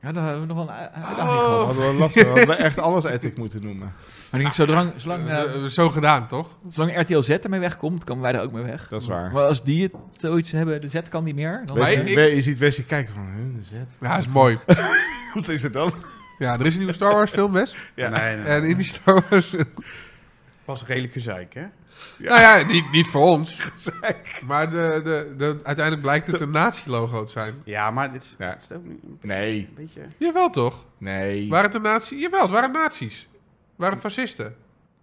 Speaker 4: Ja, daar hebben we nog wel een u- uitdaging
Speaker 1: Dat
Speaker 4: gehad.
Speaker 1: hadden we lastig. We hadden echt alles ethic moeten noemen.
Speaker 4: Maar ik denk, zolang, zolang, eh,
Speaker 3: Eh, Zo gedaan, toch?
Speaker 4: zolang RTL Z ermee wegkomt, komen wij er ook mee weg.
Speaker 1: Dat is waar.
Speaker 4: Maar als die het zoiets hebben, de Z kan niet meer, dan...
Speaker 3: Maar
Speaker 1: Wesley-
Speaker 3: ik-
Speaker 1: We- je ziet Wesley kijken van, huh, de zet.
Speaker 3: Ja, is mooi.
Speaker 1: Wat is het dan?
Speaker 3: Ja, er is een nieuwe Star Wars film, best.
Speaker 1: Ja.
Speaker 2: Nee, nee.
Speaker 3: En in die Star Wars...
Speaker 2: was redelijk gezeik, hè?
Speaker 3: Nou ja, niet, niet voor ons. Maar de, de, de, uiteindelijk blijkt het een nazi-logo te zijn.
Speaker 2: Ja, maar dit is,
Speaker 1: Ja.
Speaker 2: het is ook een
Speaker 1: Nee,
Speaker 2: beetje...
Speaker 3: Jawel, toch?
Speaker 1: nee.
Speaker 3: Waren het een nazi? Jawel, het waren nazi's. Het waren fascisten.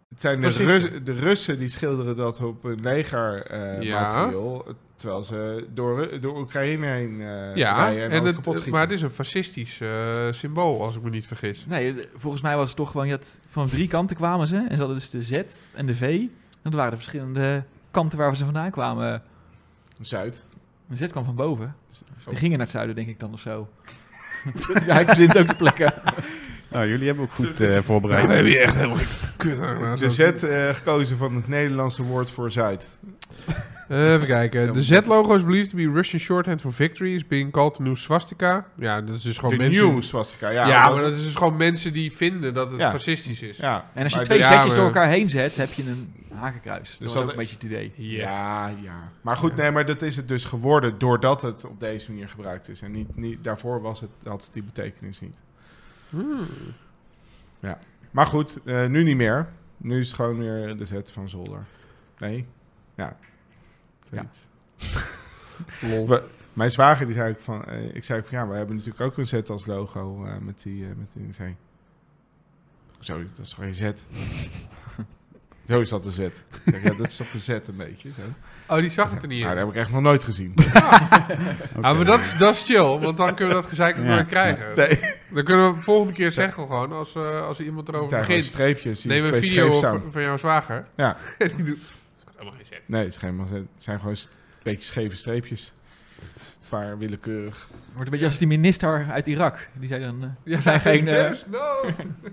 Speaker 1: het zijn de,
Speaker 3: Fascisten.
Speaker 1: Rus- de Russen die schilderen dat op een
Speaker 3: Ja.
Speaker 1: legermateriaal. terwijl ze door, Ru- door Oekraïne heen eh,
Speaker 3: Ja,
Speaker 1: rijden en,
Speaker 3: en
Speaker 1: het,
Speaker 3: het,
Speaker 1: kapot schieten.
Speaker 3: maar het is een fascistisch eh, symbool, als ik me niet vergis.
Speaker 4: Nee, de- volgens mij was het toch gewoon, je had, van drie kanten kwamen ze. En ze hadden dus de Z en de V. En dat waren de verschillende kanten waar ze vandaan kwamen.
Speaker 1: Zuid.
Speaker 4: De Z kwam van boven.
Speaker 1: Oh.
Speaker 4: Die gingen naar het zuiden, denk ik dan, of zo. ja, ik verzint ook de plekken.
Speaker 2: Nou, jullie hebben ook goed
Speaker 3: Ja, we
Speaker 2: voorbereid.
Speaker 3: hebben hier echt helemaal kut aan. Nou,
Speaker 1: De Z
Speaker 3: zo-
Speaker 1: eh, gekozen van het Nederlandse woord voor Zuid.
Speaker 3: Even kijken. De Z-logo is believed to be Russian shorthand for victory. Is being called the new swastika. Ja, dat is dus
Speaker 1: De
Speaker 3: gewoon mensen...
Speaker 1: nieuws was ik. Ja,
Speaker 3: Ja,
Speaker 1: ja,
Speaker 3: maar dat is dus gewoon mensen die vinden dat het
Speaker 1: Ja.
Speaker 3: fascistisch is.
Speaker 1: ja.
Speaker 4: En als je
Speaker 1: Maar
Speaker 4: twee
Speaker 3: de- ja,
Speaker 4: setjes door
Speaker 3: maar-
Speaker 4: elkaar heen zet, heb je een
Speaker 1: Dus
Speaker 4: hakenkruis. dat
Speaker 1: dat-
Speaker 4: was ook een beetje het idee.
Speaker 1: Ja, ja. Maar goed, nee, maar dat is het dus geworden doordat het op deze manier gebruikt is. En niet, niet, daarvoor was het, had het die betekenis niet. Ja. Maar goed, eh, nu niet meer. Nu is het gewoon weer de zet van Zolder. Nee? Ja. Zoiets. We- mijn zwager die zei ook van, eh, ik zei ook van ja, we hebben natuurlijk ook een zet als logo eh, met die, eh, met die, ik zei, zo, dat is toch geen zet? zo is dat een zet. Ik zeg, ja, dat is toch een zet een beetje. Zo.
Speaker 3: Oh, die zag het er niet in.
Speaker 1: Nou, dat heb ik echt nog nooit gezien.
Speaker 3: Ah, maar dat is, dat is chill, want dan kunnen we dat gezeik ook
Speaker 2: Ja.
Speaker 3: nooit krijgen.
Speaker 1: Nee.
Speaker 3: Dan kunnen we volgende keer zeggen gewoon, als, eh, als er iemand
Speaker 1: Het
Speaker 3: erover
Speaker 1: zijn gewoon
Speaker 3: begint,
Speaker 1: streepjes. die
Speaker 3: neem een
Speaker 1: bij
Speaker 3: video
Speaker 1: scheef
Speaker 3: van,
Speaker 1: staan.
Speaker 3: van jouw zwager.
Speaker 1: Ja.
Speaker 3: En die doet... Helemaal geen zet.
Speaker 1: Nee, het is geen mazzel. Het zijn gewoon st- een beetje scheve streepjes. Een paar willekeurig.
Speaker 4: Wordt een beetje als die minister uit Irak. Die zei dan, eh,
Speaker 3: Ja,
Speaker 4: er zijn geen... eh,
Speaker 3: Yes, no!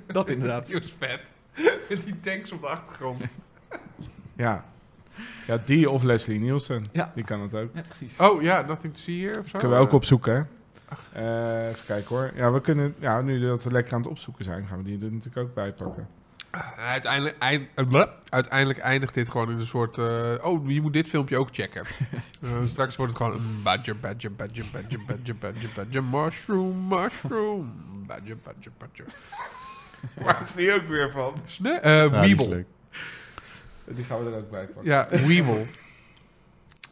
Speaker 4: dat inderdaad.
Speaker 3: Die was vet. Met die tanks op de achtergrond.
Speaker 1: Ja. Ja, die of Leslie Nielsen.
Speaker 4: Ja.
Speaker 1: Die kan het ook.
Speaker 4: Ja, precies.
Speaker 3: Oh ja, nothing to see here of zo?
Speaker 1: Kunnen we ook opzoeken, hè? Eh, even kijken hoor. Ja, we kunnen, ja, nu dat we lekker aan het opzoeken zijn, gaan we die er natuurlijk ook bij pakken.
Speaker 3: En Ah, uiteindelijk, eind- eh, bleh, uiteindelijk eindigt dit gewoon in een soort... eh, oh, je moet dit filmpje ook checken. Eh, straks wordt het gewoon... een Badger, badger, badger, badger, badger, badger, badger, mushroom, mushroom. Badger, badger, badger.
Speaker 1: Waar is die ook weer van?
Speaker 3: Sne- eh,
Speaker 2: Ja, die is
Speaker 3: Weeble.
Speaker 2: leuk.
Speaker 1: Die gaan we er ook bij pakken.
Speaker 3: Ja, Weevil.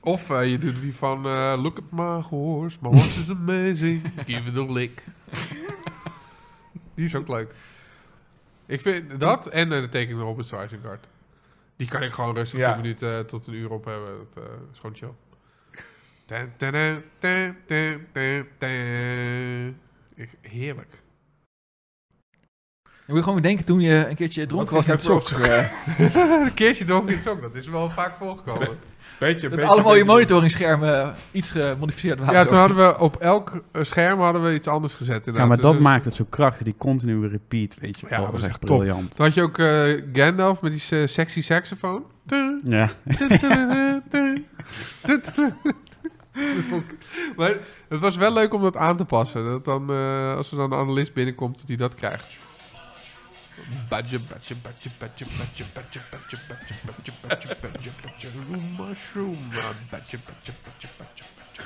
Speaker 3: Of eh, je doet die van eh, Look at my horse, my horse is amazing, give it a lick. die is ook leuk. Ik vind dat en eh, de tekening van Robert Isengard. Die kan ik gewoon rustig
Speaker 1: Ja.
Speaker 3: 10 minuten eh, tot een uur op hebben. Dat eh, is gewoon chill. Tan, tan, tan, tan, tan, tan, tan. Ik- Heerlijk.
Speaker 4: Je moet gewoon bedenken toen je een keertje dronken was in het sok.
Speaker 3: Een keertje doof in het ook, dat is wel vaak voorgekomen.
Speaker 1: Beetje,
Speaker 4: Dat
Speaker 1: beetje,
Speaker 4: alle mooie
Speaker 1: beetje-
Speaker 4: monitoringsschermen iets gemodificeerd waren.
Speaker 3: Ja, toen hadden we op elk eh, scherm hadden we iets anders
Speaker 2: Ja,
Speaker 3: gezet. inderdaad.
Speaker 2: maar
Speaker 3: Dus
Speaker 2: dat
Speaker 3: het-
Speaker 2: maakt het zo krachtig, die continue repeat, weet je
Speaker 3: Ja,
Speaker 2: wel. dat
Speaker 3: dat
Speaker 2: is
Speaker 3: is
Speaker 2: echt
Speaker 3: top.
Speaker 2: briljant.
Speaker 3: Toen had je ook eh, Gandalf met die se- sexy saxofoon.
Speaker 2: Ja.
Speaker 3: Dat vond ik- maar het was wel leuk om dat aan te passen. Dat dan, eh, als er dan een analist binnenkomt, dat hij dat krijgt. Badje, badje, badje, badje, badje, badje, badje, badje, badje, badje, badje, badje, mushroom, ah, badje, badje, badje, badje, badje,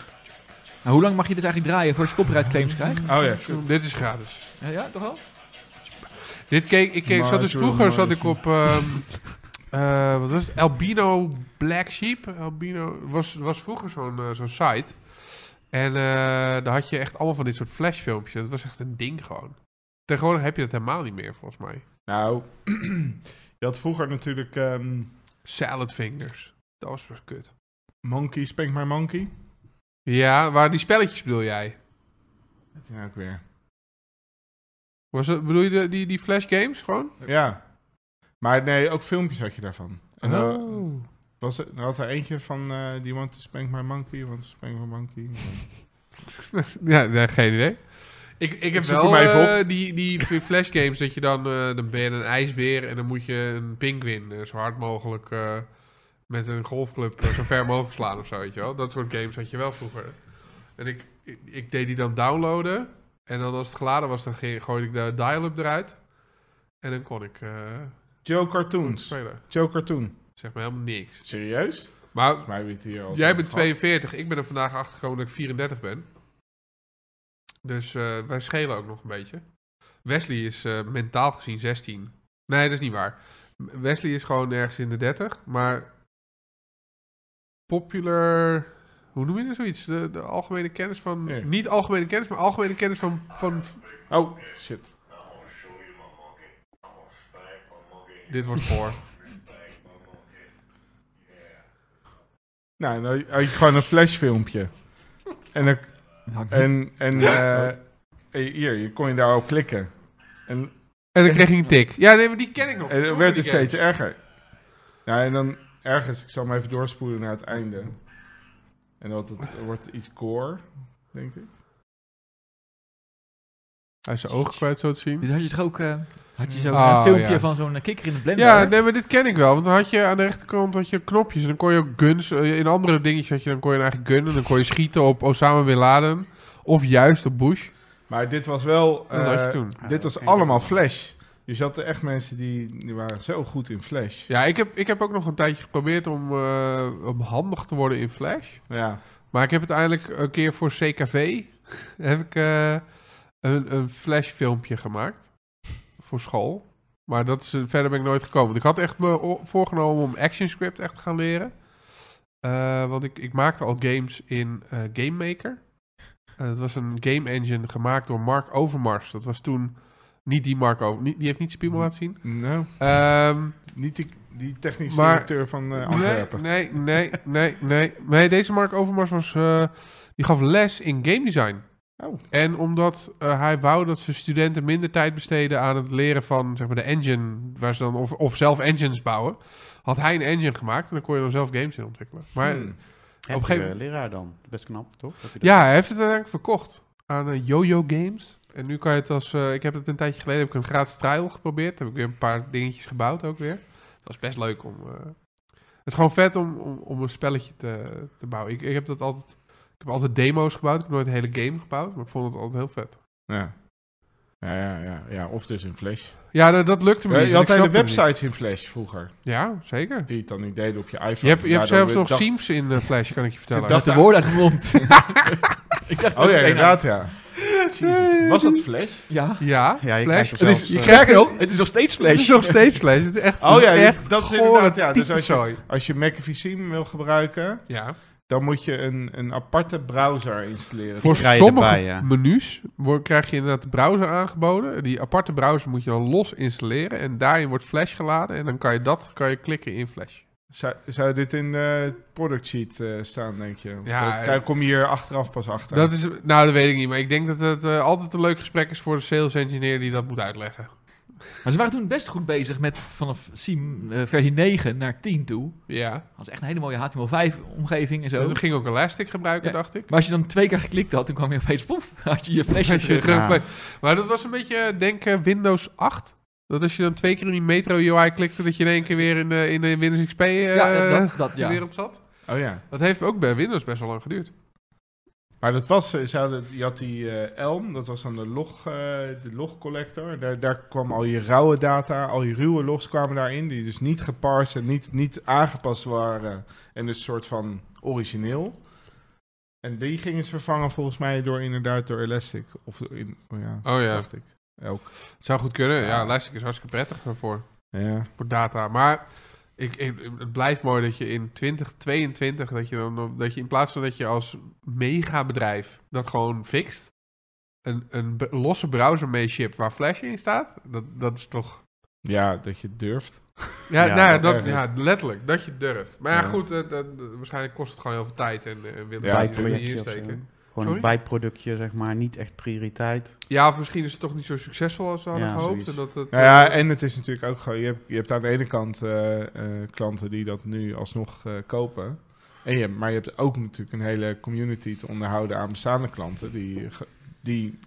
Speaker 4: Nou, hoe lang mag je dit eigenlijk draaien voordat je copyright claims krijgt?
Speaker 1: Oh ja,
Speaker 3: badje. Dit is gratis.
Speaker 4: Ja, ja toch wel?
Speaker 3: Dit keek, ik keek, zat dus
Speaker 1: Mushroom,
Speaker 3: vroeger zat ik
Speaker 1: mushroom.
Speaker 3: op, ehm, eh, wat was het, Albino Black Sheep. Albino, was, was vroeger zo'n eh, zo'n site. En eh, daar had je echt allemaal van dit soort flashfilmpjes. Dat was echt een ding gewoon. Tegenwoordig heb je dat helemaal niet meer, volgens mij.
Speaker 1: Nou, je had vroeger natuurlijk ehm,
Speaker 3: Salad Fingers. Dat was wel kut.
Speaker 1: Monkey, Spank My Monkey.
Speaker 3: Ja, waar die spelletjes bedoel jij?
Speaker 1: Dat is nou ook weer.
Speaker 3: Was het, bedoel je de, die, die flash games gewoon?
Speaker 1: Ja. Maar nee, ook filmpjes had je daarvan. En dan-
Speaker 3: Oh.
Speaker 1: was er, er had er eentje van, eh, die want to spank my monkey, want to spank my monkey.
Speaker 3: Ja, nee, geen idee. Ik, ik heb
Speaker 1: zoek
Speaker 3: wel
Speaker 1: hem even
Speaker 3: eh, die, die flash games dat je dan, eh, dan ben je een ijsbeer en dan moet je een pinguïn eh, zo hard mogelijk eh, met een golfclub eh, zo ver mogelijk slaan of zo, weet je wel. Dat soort games had je wel vroeger. En ik, ik, ik deed die dan downloaden en dan als het geladen was, dan ging, gooide ik de dial-up eruit en dan kon ik eh,
Speaker 1: Joe Cartoons.
Speaker 3: spelen.
Speaker 1: Joe Cartoon.
Speaker 3: Zeg maar helemaal niks.
Speaker 1: Serieus?
Speaker 3: Maar
Speaker 1: Volgens mij weet hier al.
Speaker 3: Jij bent 42, ik ben er vandaag achter gekomen dat ik 34 ben. Dus eh, wij schelen ook nog een beetje. Wesley is eh, mentaal gezien 16. Nee, dat is niet waar. Wesley is gewoon ergens in de 30, maar popular. Hoe noem je dat zoiets? De, de algemene kennis van.
Speaker 1: Ja.
Speaker 3: Niet algemene kennis, maar algemene kennis van. van
Speaker 1: Oh, shit.
Speaker 3: dit wordt voor.
Speaker 1: Nou, dan had je gewoon een flashfilmpje. En, dan-
Speaker 4: Nou,
Speaker 1: en, en eh, hier, je kon je daarop klikken. En,
Speaker 3: en dan kreeg hij een tik. Ja, nee, maar die ken ik nog.
Speaker 1: en het
Speaker 3: Vroeger
Speaker 1: werd
Speaker 3: die
Speaker 1: het
Speaker 3: games.
Speaker 1: steeds erger. Nou, en dan ergens, ik zal hem even doorspoelen naar het einde. En dat het, er wordt iets gore, denk ik.
Speaker 3: Hij is zijn ogen kwijt, zo te zien.
Speaker 4: Dit had je toch ook... eh, had je zo'n
Speaker 3: Ah,
Speaker 4: eh, filmpje
Speaker 3: ja.
Speaker 4: van zo'n eh, kikker in de blender?
Speaker 3: Ja, nee, maar dit ken ik wel. Want dan had je aan de rechterkant had je knopjes. En dan kon je ook guns. eh, In andere dingetjes had je dan kon je een eigen gun. En dan kon je schieten op Osama Bin Laden. Of juist op Bush.
Speaker 1: Maar dit was wel.
Speaker 3: Dat had je
Speaker 1: eh,
Speaker 3: toen.
Speaker 1: Dit was allemaal Flash. Dus je had er echt mensen die, die waren zo goed in Flash.
Speaker 3: Ja, ik heb, ik heb ook nog een tijdje geprobeerd om, eh, om handig te worden in Flash.
Speaker 1: Ja.
Speaker 3: Maar ik heb uiteindelijk een keer voor CKV heb ik, eh, een, een flashfilmpje gemaakt. Voor school. Maar dat is, verder ben ik nooit gekomen. Want ik had echt me o- voorgenomen om ActionScript echt te gaan leren. Eh, want ik, ik maakte al games in eh, Game Maker. Eh, dat was een game engine gemaakt door Mark Overmars. Dat was toen niet die Mark Over... niet- die heeft niet Spiemel laten zien.
Speaker 1: Nou,
Speaker 3: Ehm
Speaker 1: niet die, die technisch
Speaker 3: Maar-
Speaker 1: directeur van eh, Antwerpen.
Speaker 3: Nee, nee, nee, nee, nee. Deze Mark Overmars was, eh, die gaf les in game design.
Speaker 1: Oh.
Speaker 3: En omdat eh, hij wou dat zijn studenten minder tijd besteden aan het leren van zeg maar, de engine, waar ze dan, of, of zelf engines bouwen, had hij een engine gemaakt en dan kon je dan zelf games in ontwikkelen. Maar
Speaker 1: Hmm.
Speaker 3: een gegeven moment-
Speaker 2: leraar dan. Best knap, toch? Dat je dat-
Speaker 3: ja, hij heeft het uiteindelijk verkocht aan eh, Yo-Yo Games. En nu kan je het als... eh, ik heb het een tijdje geleden heb ik een gratis trial geprobeerd. Heb ik weer een paar dingetjes gebouwd ook weer. Het was best leuk om... eh, het is gewoon vet om, om, om een spelletje te, te bouwen. Ik, ik heb dat altijd... Ik heb altijd demo's gebouwd. Ik heb nooit een hele game gebouwd. Maar ik vond het altijd heel vet.
Speaker 1: Ja. Ja, ja, ja, ja, of dus in Flash.
Speaker 3: Ja, dat, dat lukte me
Speaker 1: Ja,
Speaker 3: niet.
Speaker 1: je
Speaker 3: en
Speaker 1: had
Speaker 3: ik
Speaker 1: hele
Speaker 3: snapte hem
Speaker 1: websites in Flash vroeger.
Speaker 3: niet. Ja, zeker.
Speaker 1: Die het dan niet deden op je iPhone.
Speaker 3: Je hebt, je
Speaker 1: Daardoor
Speaker 3: hebt zelfs nog
Speaker 1: dacht-
Speaker 3: Siems in eh, Flash, kan ik je vertellen.
Speaker 1: dacht-
Speaker 4: Met de woorden uit de mond. ik dacht
Speaker 1: Oh ja,
Speaker 4: meteen aan-
Speaker 1: inderdaad, ja. Jezus. Was dat Flash?
Speaker 4: Ja.
Speaker 3: Ja,
Speaker 2: Ja, je
Speaker 3: Flash.
Speaker 2: krijgt er
Speaker 4: Het is,
Speaker 2: zelfs, eh,
Speaker 4: sterker nog, het is nog steeds
Speaker 3: Het
Speaker 4: Flash.
Speaker 3: is nog steeds Flash. Het is echt,
Speaker 1: Oh ja,
Speaker 3: echt
Speaker 1: dat is
Speaker 3: gore
Speaker 1: inderdaad, ja. Dus als je,
Speaker 3: tyfuszooi.
Speaker 1: als je McAfee Sim wil gebruiken,
Speaker 3: Ja.
Speaker 1: dan moet je een, een aparte browser installeren.
Speaker 3: Voor
Speaker 2: krijg je
Speaker 3: sommige
Speaker 2: erbij, ja.
Speaker 3: menus word, krijg je inderdaad de browser aangeboden. Die aparte browser moet je dan los installeren. En daarin wordt Flash geladen. En dan kan je dat kan je klikken in Flash.
Speaker 1: Zou, zou dit in de product sheet eh, staan, denk je? Of
Speaker 3: Ja, eh,
Speaker 1: dat- kijk, kom je hier achteraf pas achter?
Speaker 3: Dat is, nou, dat weet ik niet. Maar ik denk dat het eh, altijd een leuk gesprek is voor de sales engineer die dat moet uitleggen.
Speaker 4: Maar ze waren toen best goed bezig met vanaf Siem, eh, versie 9 naar 10 toe.
Speaker 3: Ja.
Speaker 4: Dat was echt een hele mooie HTML5-omgeving en zo.
Speaker 3: Dat ging ook Elastic gebruiken,
Speaker 4: Ja.
Speaker 3: dacht ik.
Speaker 4: Maar als je dan twee keer geklikt had, dan kwam je opeens, poef, had je je flesje
Speaker 3: Als je
Speaker 4: terug.
Speaker 3: terug-
Speaker 2: Ja.
Speaker 3: Maar dat was een beetje, denk eh, Windows 8. Dat als je dan twee keer in die Metro UI klikte, dat je in één keer weer in de, in de Windows XP eh,
Speaker 4: ja, dat, dat, ja.
Speaker 3: wereld zat.
Speaker 1: Oh ja.
Speaker 3: Dat heeft ook bij Windows best wel lang geduurd.
Speaker 1: Maar dat was, eh, ze hadden, je had die eh, Elm, dat was dan de log, eh, de log collector. Daar, daar kwam al je rauwe data, al je ruwe logs kwamen daarin, die dus niet geparst en niet, niet aangepast waren. En dus soort van origineel. En die gingen ze vervangen volgens mij door inderdaad door Elastic. Of door in, oh ja,
Speaker 3: Oh ja,
Speaker 1: dacht ik. Elk.
Speaker 3: het zou goed kunnen. Ja,
Speaker 1: Ja.
Speaker 3: Elastic is hartstikke prettig daarvoor.
Speaker 1: Ja.
Speaker 3: Voor data. Maar ik, ik- het blijft mooi dat je in 2022, dat je, dan, dat je in plaats van dat je als megabedrijf dat gewoon fixt, een, een b- losse browser meeshipt waar Flash in staat. Dat, dat is toch...
Speaker 1: ja, dat je het durft.
Speaker 3: Ja,
Speaker 2: Ja,
Speaker 3: nou, ja,
Speaker 1: dat
Speaker 3: dat,
Speaker 1: ergens.
Speaker 3: ja, letterlijk. Dat je durft. Maar ja,
Speaker 1: Ja.
Speaker 3: goed, eh, dat, dat- waarschijnlijk kost het gewoon heel veel tijd en eh, wil
Speaker 1: Ja,
Speaker 3: je
Speaker 1: het
Speaker 3: er
Speaker 1: projectje
Speaker 3: niet in
Speaker 2: of zo.
Speaker 3: steken.
Speaker 2: Gewoon
Speaker 3: Sorry?
Speaker 2: een bijproductje, zeg maar. Niet echt prioriteit.
Speaker 3: Ja, of misschien is het toch niet zo succesvol als ze hadden
Speaker 2: Ja,
Speaker 3: gehoopt.
Speaker 2: zoiets.
Speaker 3: En dat het,
Speaker 1: Nou ja,
Speaker 3: eh,
Speaker 1: en het is natuurlijk ook gewoon, je hebt, je hebt aan de ene kant eh, eh, klanten die dat nu alsnog eh, kopen. En je, hebt- maar je hebt ook natuurlijk een hele community te onderhouden aan bestaande klanten die, ge- die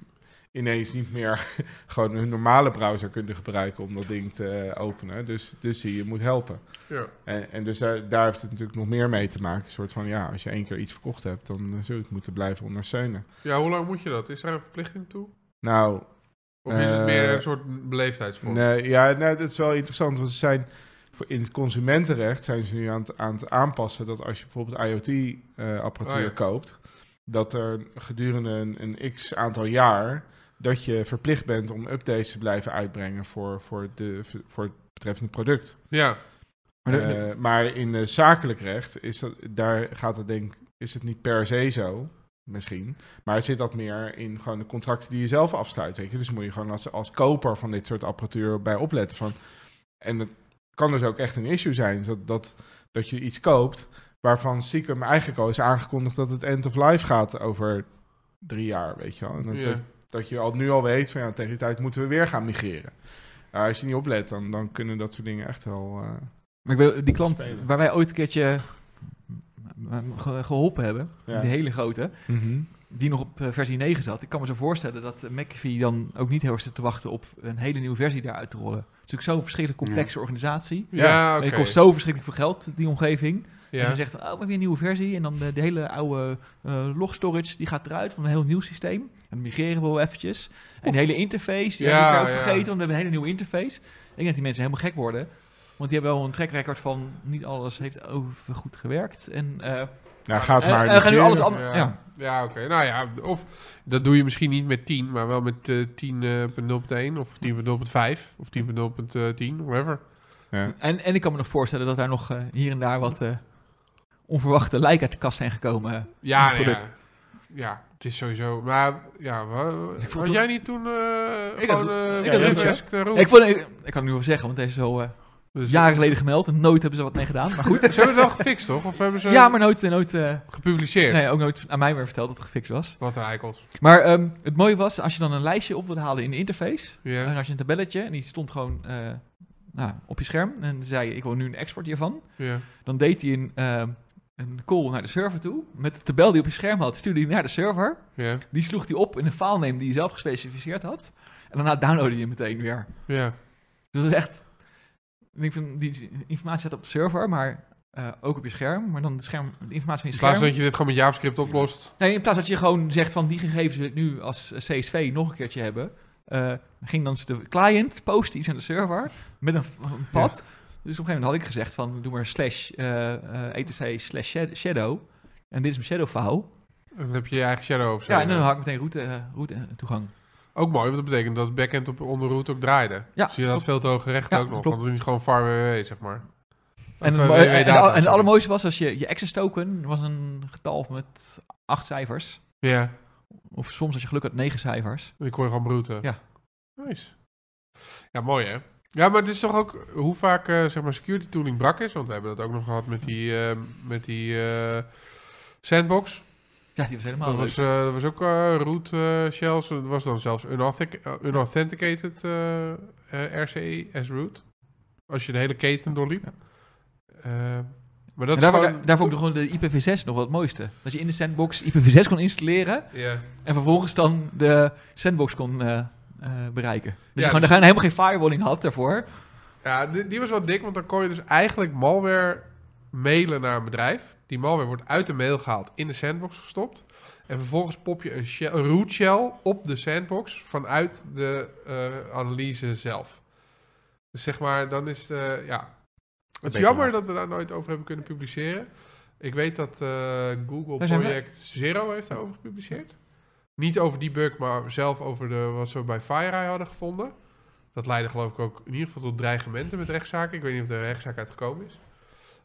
Speaker 1: ineens niet meer gewoon hun normale browser kunnen gebruiken om dat ding te eh, openen. Dus, dus die je moet helpen.
Speaker 3: ja.
Speaker 1: En, en dus daar, daar heeft het natuurlijk nog meer mee te maken. Een soort van, ja, als je één keer iets verkocht hebt, dan eh, zul je het moeten blijven ondersteunen.
Speaker 3: Ja, hoe lang moet je dat? Is daar een verplichting toe?
Speaker 1: Nou,
Speaker 3: Of is het
Speaker 1: Eh,
Speaker 3: meer een soort beleefdheidsvorm?
Speaker 1: Nee, ja, nee, dat is wel interessant. Want ze zijn voor in het consumentenrecht zijn ze nu aan het, aan het aanpassen dat als je bijvoorbeeld IoT-apparatuur
Speaker 3: Oh ja.
Speaker 1: eh, koopt, dat er gedurende een, een x aantal jaar dat je verplicht bent om updates te blijven uitbrengen voor, voor, de, voor het betreffende product.
Speaker 3: Ja,
Speaker 4: Maar de- de-
Speaker 1: Eh, maar in eh, zakelijk recht is dat, daar gaat het denk is het niet per se zo. Misschien. Maar het zit dat meer in gewoon de contracten die je zelf afsluit. Weet je? Dus moet je gewoon als, als koper van dit soort apparatuur bij opletten. Van, en dat kan dus ook echt een issue zijn. Dat, dat, dat je iets koopt waarvan stiekem eigenlijk al is aangekondigd dat het end of life gaat over drie jaar. Weet je wel. En dat,
Speaker 3: ja.
Speaker 1: dat, dat je al, nu al weet van ja, tegen die tijd moeten we weer gaan migreren. Nou, als je niet oplet, dan, dan kunnen dat soort dingen echt wel... eh,
Speaker 4: maar ik wil, die klant
Speaker 1: Spelen.
Speaker 4: waar wij ooit een keertje eh, ge- geholpen hebben,
Speaker 1: Ja.
Speaker 4: die hele grote, die nog op eh, versie 9 zat. Ik kan me zo voorstellen dat eh, McAfee dan ook niet heel erg zit te wachten op een hele nieuwe versie daaruit te rollen. Het is natuurlijk zo'n verschrikkelijk complexe organisatie.
Speaker 3: Ja,
Speaker 1: Ja,
Speaker 4: En
Speaker 3: oké.
Speaker 4: Het kost zo verschrikkelijk veel geld, die omgeving. En
Speaker 3: Ja.
Speaker 4: ze zegt, oh, we hebben weer een nieuwe versie. En dan de, de hele oude eh, log storage, die gaat eruit van een heel nieuw systeem. En dan migreren we wel eventjes. En de hele interface, die
Speaker 3: Ja,
Speaker 4: hebben we ook
Speaker 3: ja.
Speaker 4: vergeten, want we hebben een hele nieuwe interface. Ik denk dat die mensen helemaal gek worden. Want die hebben wel een track record van niet alles heeft over goed gewerkt. En eh,
Speaker 1: Nou, gaat
Speaker 4: Eh,
Speaker 1: maar.
Speaker 4: eh, gaan nu
Speaker 1: negeren.
Speaker 4: alles an-
Speaker 3: Ja, ja.
Speaker 4: ja.
Speaker 3: oké. Nou ja, of dat doe je misschien niet met 10, maar wel met eh 10.0.1 of 10.0.5 of 10.0.10, eh, whatever.
Speaker 1: Ja.
Speaker 4: En, en ik kan me nog voorstellen dat daar nog eh, hier en daar wat eh, onverwachte lijken uit de kast zijn gekomen.
Speaker 3: Ja,
Speaker 4: Een
Speaker 3: nou ja.
Speaker 4: product.
Speaker 3: Ja, het is sowieso. Maar ja, wa-
Speaker 4: Ik voel
Speaker 3: had
Speaker 4: toen-
Speaker 3: jij niet toen eh
Speaker 4: Ik
Speaker 3: gewoon
Speaker 4: had-
Speaker 3: eh,
Speaker 4: ik
Speaker 3: ja,
Speaker 4: had
Speaker 3: ja,
Speaker 4: Roetje.
Speaker 3: desk naar Roel?
Speaker 4: Ik, vond, ik, ik kan het nu wel zeggen, want deze is al eh,
Speaker 3: Dus-
Speaker 4: jaren geleden gemeld en nooit hebben ze wat mee gedaan. Maar goed.
Speaker 3: Ze hebben het wel gefixt, toch? Of hebben ze
Speaker 4: ja, maar nooit, nooit eh,
Speaker 3: gepubliceerd?
Speaker 4: nee, ook nooit aan mij meer verteld dat het gefixt was.
Speaker 3: Wat een eikels.
Speaker 4: Maar ehm, het mooie was, als je dan een lijstje op wilde halen in de interface,
Speaker 3: Ja.
Speaker 4: en als je een tabelletje, en die stond gewoon eh, nou, op je scherm, en dan zei je, ik wil nu een export hiervan,
Speaker 3: ja.
Speaker 4: dan deed hij een, ehm, een call naar de server toe. Met de tabel die op je scherm had, stuurde hij naar de server.
Speaker 3: Ja.
Speaker 4: Die sloeg hij op in een filename die hij zelf gespecificeerd had. En daarna downloadde hij hem meteen weer.
Speaker 3: Ja.
Speaker 4: Dus dat is echt... Ik denk van, die informatie staat op de server, maar eh, ook op je scherm. Maar dan de, scherm, de informatie van
Speaker 3: In
Speaker 4: je
Speaker 3: plaats
Speaker 4: scherm.
Speaker 3: dat je dit gewoon met JavaScript oplost.
Speaker 4: eh, Nee, in plaats dat je gewoon zegt van die gegevens wil ik nu als CSV nog een keertje hebben. eh, ging dan de client posten iets aan de server met een, een pad. Dus op een gegeven moment had ik gezegd van doe maar slash eh, eh, etc slash sha- shadow. En dit is mijn shadow file.
Speaker 3: Dan heb je je eigen shadow of zo.
Speaker 4: Ja, en dan had ik meteen route, eh, route eh, toegang.
Speaker 3: Ook mooi, want dat betekent dat het backend op onder route ook draaide.
Speaker 4: Ja,
Speaker 3: Zie je
Speaker 4: klopt.
Speaker 3: dat veel te hoge rechten
Speaker 4: Ja,
Speaker 3: ook nog,
Speaker 4: klopt.
Speaker 3: want het is niet gewoon far www, zeg maar.
Speaker 4: En,
Speaker 3: Of,
Speaker 4: het,
Speaker 3: eh,
Speaker 4: mo-
Speaker 3: www
Speaker 4: en, en-
Speaker 3: data,
Speaker 4: en het
Speaker 3: sorry.
Speaker 4: allermooiste was als je je access token was een getal met acht cijfers.
Speaker 3: Ja,
Speaker 4: Of soms als je geluk had negen cijfers.
Speaker 3: ik hoor gewoon route.
Speaker 4: Ja.
Speaker 3: Nice. Ja, mooi hè. Ja, maar het is toch ook hoe vaak eh, zeg maar security tooling brak is, want we hebben dat ook nog gehad met die, eh, met die eh, sandbox.
Speaker 4: Ja, die was helemaal
Speaker 3: Dat
Speaker 4: Oh, leuk.
Speaker 3: was, eh, dat was ook eh root eh, shells. Dat was dan zelfs unauthenticated, unauthenticated eh, eh, RCE as root. Als je de hele keten doorliep. Eh, maar dat
Speaker 4: En
Speaker 3: is
Speaker 4: daarvoor,
Speaker 3: gewoon...
Speaker 4: daar vond ik gewoon de IPv6 nog wel het mooiste. Dat je in de sandbox IPv6 kon installeren
Speaker 3: Ja.
Speaker 4: en vervolgens dan de sandbox kon eh, eh, bereiken. Dus je gewoon,
Speaker 3: dus-
Speaker 4: daar helemaal geen firewalling had daarvoor.
Speaker 3: Ja, die, die was wel dik, want dan kon je dus eigenlijk malware mailen naar een bedrijf. Die malware wordt uit de mail gehaald, in de sandbox gestopt. En vervolgens pop je een, shell, een root shell op de sandbox vanuit de eh, analyse zelf. Dus zeg maar, dan is de, ja... Het is
Speaker 2: Beter
Speaker 3: jammer
Speaker 2: wel.
Speaker 3: dat we daar nooit over hebben kunnen publiceren. Ik weet dat eh, Google
Speaker 4: Daar zijn we.
Speaker 3: Project Zero heeft daarover gepubliceerd. Niet over die bug, maar zelf over de, wat ze bij FireEye hadden gevonden. Dat leidde geloof ik ook in ieder geval tot dreigementen met rechtszaken. Ik weet niet of er rechtszaak uitgekomen is.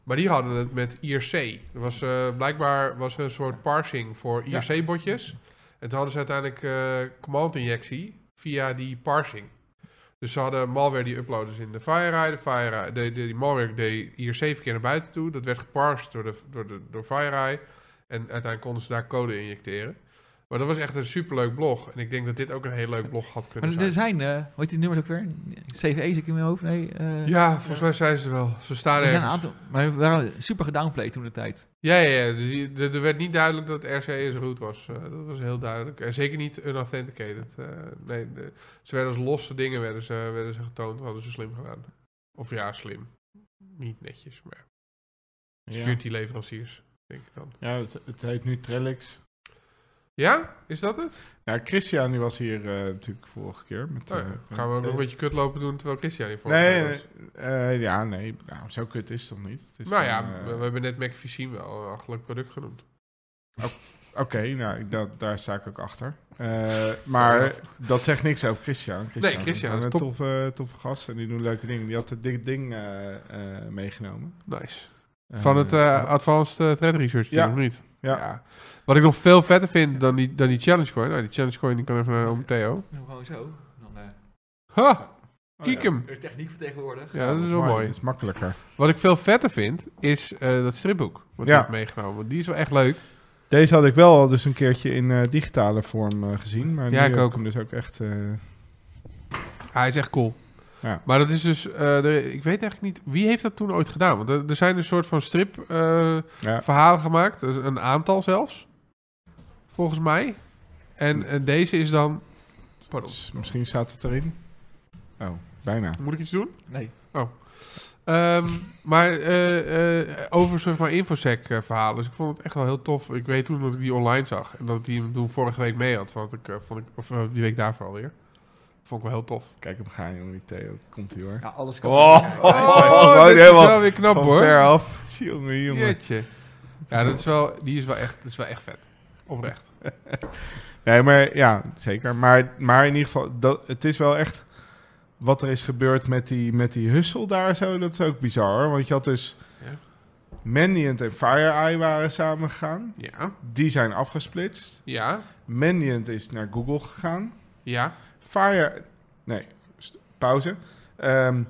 Speaker 3: Maar die hadden het met IRC. Er was, eh, blijkbaar was er een soort parsing voor
Speaker 4: Ja.
Speaker 3: IRC-botjes. En toen hadden ze uiteindelijk eh, command-injectie via die parsing. Dus ze hadden malware die uploaden in de FireEye. De FireEye de, de, die malware deed IRC-verkeer naar buiten toe. Dat werd geparsed door, de, door, de, door FireEye. En uiteindelijk konden ze daar code injecteren. Maar dat was echt een superleuk blog. En ik denk dat dit ook een heel leuk blog had kunnen
Speaker 4: Maar
Speaker 3: zijn.
Speaker 4: er zijn, eh hoe heet die nummers ook weer? CVE zit ik in mijn hoofd? Nee. eh,
Speaker 3: Ja, volgens mij zijn ze er wel. Ze staan
Speaker 4: er
Speaker 3: ergens.
Speaker 4: zijn een aantal, maar we waren super gedownplayed toen de tijd.
Speaker 3: Ja, ja, ja. Dus die- er er werd niet duidelijk dat RCE een root was. Eh, dat was heel duidelijk. En zeker niet unauthenticated. Eh, nee, de- ze werden als losse dingen werden ze, werden ze getoond. Hadden ze slim gedaan. Of ja, slim. Niet netjes, maar
Speaker 1: Ja,
Speaker 3: security leveranciers, denk ik dan.
Speaker 1: ja het, het heet nu Trellix.
Speaker 3: Ja, is dat het?
Speaker 1: Ja, Christian die was hier eh, natuurlijk vorige keer. Met,
Speaker 3: Oh ja.
Speaker 1: eh,
Speaker 3: Gaan we ook nog
Speaker 1: eh,
Speaker 3: een beetje kut lopen doen terwijl Christian hier voor
Speaker 1: Nee,
Speaker 3: was.
Speaker 1: eh, eh, ja, nee. Nou, zo kut is het toch niet? Het is
Speaker 3: Nou ja,
Speaker 1: gewoon, eh,
Speaker 3: we, we hebben net McFishing wel een achterlijk product genoemd.
Speaker 1: Oké, nou, ik- dat, daar sta ik ook achter. Eh, maar dat zegt niks over Christian.
Speaker 3: Nee, Christian
Speaker 1: is
Speaker 3: is
Speaker 1: een
Speaker 3: top.
Speaker 1: toffe, toffe gast en die doen leuke dingen. Die had het dik ding eh, eh, meegenomen.
Speaker 3: Nice. Van het
Speaker 1: Eh,
Speaker 3: eh, Advanced eh, Threat Research team,
Speaker 1: Ja.
Speaker 3: of niet? Ja.
Speaker 1: ja.
Speaker 3: Wat ik nog veel vetter vind dan die, dan die challenge coin. Nou, die challenge coin die kan even naar oom Theo.
Speaker 4: Doen we Gewoon zo. Dan, eh,
Speaker 3: Ha!
Speaker 1: Oh,
Speaker 3: Kiek hem.
Speaker 4: de techniek vertegenwoordig.
Speaker 3: Hm. Ja, dat is wel
Speaker 1: mooi.
Speaker 3: mooi.
Speaker 1: Oh, Dat is makkelijker.
Speaker 3: Wat ik veel vetter vind, is eh, dat stripboek. Wat
Speaker 1: Ja.
Speaker 3: ik heb meegenomen. Die is wel echt leuk.
Speaker 1: Deze had ik wel al dus een keertje in eh, digitale vorm eh, gezien. Maar
Speaker 3: Ja,
Speaker 1: nu
Speaker 3: ik
Speaker 1: heb
Speaker 3: ook.
Speaker 1: hem dus ook echt... eh,
Speaker 3: Ah, Hij is echt cool.
Speaker 1: Ja.
Speaker 3: Maar dat is dus... eh, de- ik weet eigenlijk niet... Wie heeft dat toen ooit gedaan? Want er, er zijn een soort van strip eh,
Speaker 1: ja.
Speaker 3: verhalen gemaakt. Dus Een aantal zelfs. Volgens mij. En, en deze is dan... Pardon.
Speaker 1: Dus misschien staat het erin. Oh, bijna.
Speaker 3: Moet ik iets doen?
Speaker 4: Nee.
Speaker 3: Ehm, maar eh, eh, over zeg maar infosec-verhalen. Dus ik vond het echt wel heel tof. Ik weet toen dat ik die online zag. En dat ik die hem toen vorige week mee had. Want ik, eh, vond ik, of eh, die week daarvoor alweer. Vond ik wel heel tof.
Speaker 1: Kijk hem gaan, jongen. Die Theo. Komt hij hoor.
Speaker 4: Ja, alles kan.
Speaker 1: oh,
Speaker 3: dit is
Speaker 1: helemaal
Speaker 3: wel weer knap
Speaker 1: Van
Speaker 3: hoor.
Speaker 1: ver af. Jongen, jongen.
Speaker 3: Jeetje. Ja, dat is wel, die is wel echt, dat is wel echt vet. Oprecht.
Speaker 1: Nee, maar ja, zeker. Maar, maar in ieder geval, dat, het is wel echt wat er is gebeurd met die, met die hussel daar zo. Dat is ook bizar. hoor. Want je had dus
Speaker 3: Ja.
Speaker 1: Mandiant en FireEye waren samengegaan.
Speaker 3: Ja,
Speaker 1: Die zijn afgesplitst.
Speaker 3: ja,
Speaker 1: Mandiant is naar Google gegaan.
Speaker 3: ja.
Speaker 1: Fire... Nee, st- pauze. Ehm,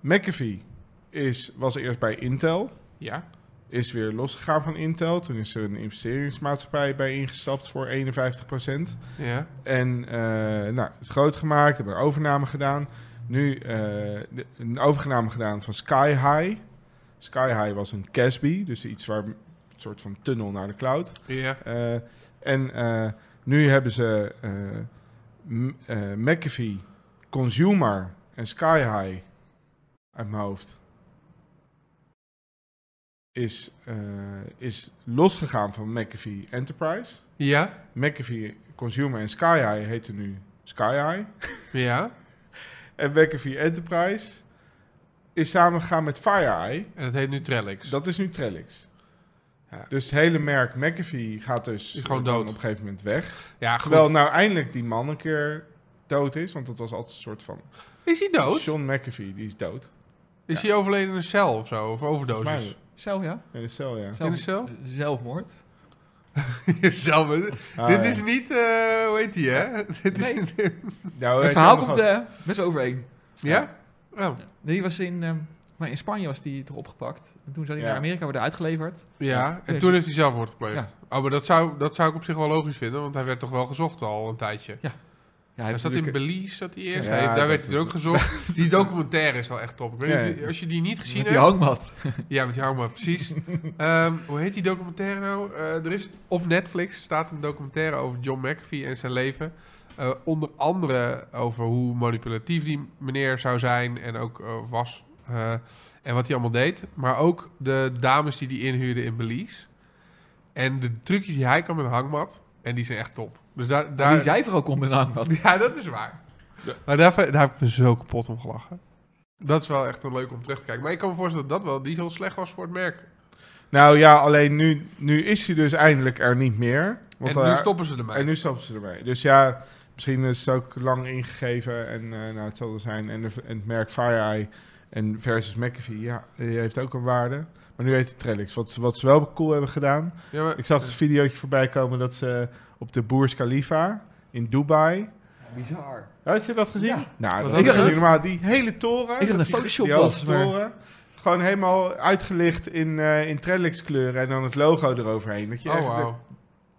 Speaker 1: McAfee is, was eerst bij Intel.
Speaker 3: Ja,
Speaker 1: Is weer losgegaan van Intel. Toen is er een investeringsmaatschappij bij ingestapt voor 51
Speaker 3: ja,
Speaker 1: en eh, nou, het groot gemaakt, hebben een overname gedaan. Nu eh, de- een overname gedaan van Sky High. Sky High was een Casby, dus iets waar een soort van tunnel naar de cloud.
Speaker 3: ja.
Speaker 1: Eh, en eh, nu hebben ze eh, M- eh, McAfee, Consumer en Sky High uit mijn hoofd. Is, eh, is losgegaan van McAfee Enterprise.
Speaker 3: Ja,
Speaker 1: McAfee Consumer en Sky High heten nu Sky High.
Speaker 3: Ja,
Speaker 1: En McAfee Enterprise is samengegaan met FireEye.
Speaker 3: en dat heet nu Trellix.
Speaker 1: Dat is nu Trellix.
Speaker 3: Ja.
Speaker 1: Dus het hele merk McAfee gaat dus
Speaker 3: Is gewoon
Speaker 1: dan
Speaker 3: dood.
Speaker 1: op een gegeven moment weg.
Speaker 3: ja, goed.
Speaker 1: Terwijl nou eindelijk die man een keer dood is. Want dat was altijd een soort van...
Speaker 3: Is hij dood?
Speaker 1: John McAfee, die is dood.
Speaker 3: Is hij overleden in een cel of zo? Of
Speaker 1: Volgens
Speaker 3: overdosis?
Speaker 4: Zo, ja.
Speaker 1: In de cel, ja.
Speaker 4: Zelf-
Speaker 3: In de cel?
Speaker 4: Zelfmoord.
Speaker 3: Cel, maar-
Speaker 1: Ah,
Speaker 3: dit
Speaker 1: ja.
Speaker 3: is niet, eh, hoe heet die, hè? Dit is- Oh,
Speaker 1: Nou, weet
Speaker 4: het
Speaker 1: je
Speaker 4: verhaal
Speaker 1: nog
Speaker 4: komt
Speaker 1: wat?
Speaker 4: eh, best overeen.
Speaker 3: ja? Oh,
Speaker 4: Die was in, ehm, maar in Spanje was die toch opgepakt. En toen zou hij
Speaker 1: Ja.
Speaker 4: naar Amerika worden uitgeleverd.
Speaker 3: ja. En toen heeft hij zelfmoord gepleegd.
Speaker 4: Ja.
Speaker 3: Oh, maar dat zou, dat zou ik op zich wel logisch vinden, want hij werd toch wel gezocht al een tijdje.
Speaker 4: Ja,
Speaker 3: Hij
Speaker 4: heeft
Speaker 3: zat in
Speaker 4: natuurlijk-
Speaker 3: Belize, zat hij eerst.
Speaker 1: Ja,
Speaker 3: Hij- daar
Speaker 1: dat
Speaker 3: werd hij
Speaker 1: is-
Speaker 3: ook gezocht. die documentaire is wel echt top. Ik weet
Speaker 1: Ja,
Speaker 3: niet of je-
Speaker 1: ja.
Speaker 3: als je die niet gezien
Speaker 4: met die
Speaker 3: hebt...
Speaker 4: hangmat.
Speaker 3: Ja, met die armen, precies. Ehm, hoe heet die documentaire nou? Eh, er is op Netflix staat een documentaire over John McAfee en zijn leven. Eh, onder andere over hoe manipulatief die meneer zou zijn en ook eh, was. eh, en wat hij allemaal deed. Maar ook de dames die hij inhuurde in Belize. En de trucjes die hij kan met een hangmat. En die zijn echt top. Dus daar- daar,
Speaker 4: Die cijfer ook om met een hangmat.
Speaker 3: ja, dat is waar. Maar daar, daar heb ik me zo kapot om gelachen. Dat is wel echt een leuk om terug te kijken. Maar ik kan me voorstellen dat dat wel die heel slecht was voor het merk.
Speaker 1: Nou ja, alleen nu, nu is hij dus eindelijk er niet meer. Want
Speaker 3: en
Speaker 1: daar-
Speaker 3: nu stoppen ze ermee.
Speaker 1: en nu stoppen ze ermee. Dus ja, misschien is het ook lang ingegeven en eh, nou, het zal er zijn. En, de- en het merk FireEye en versus McAfee, ja, die heeft ook een waarde. Maar nu heet het Trellix. Wat, ze- wat ze wel cool hebben gedaan.
Speaker 3: ja, maar,
Speaker 1: Ik zag een videootje voorbij komen dat ze op de Burj Khalifa in Dubai...
Speaker 4: Bizar.
Speaker 1: Had je dat gezien?
Speaker 4: Ja.
Speaker 1: Nou,
Speaker 3: Wat
Speaker 1: dat
Speaker 4: was
Speaker 1: is
Speaker 4: dat?
Speaker 1: niet normaal. Die hele toren.
Speaker 4: Ik dacht dat het
Speaker 1: die-
Speaker 4: Photoshop
Speaker 1: die hoge
Speaker 4: was, maar-
Speaker 1: toren, Gewoon helemaal uitgelicht in, eh, in Trellix kleuren en dan het logo eroverheen. Dat je
Speaker 3: oh,
Speaker 1: echt
Speaker 3: wauw.
Speaker 1: denkt,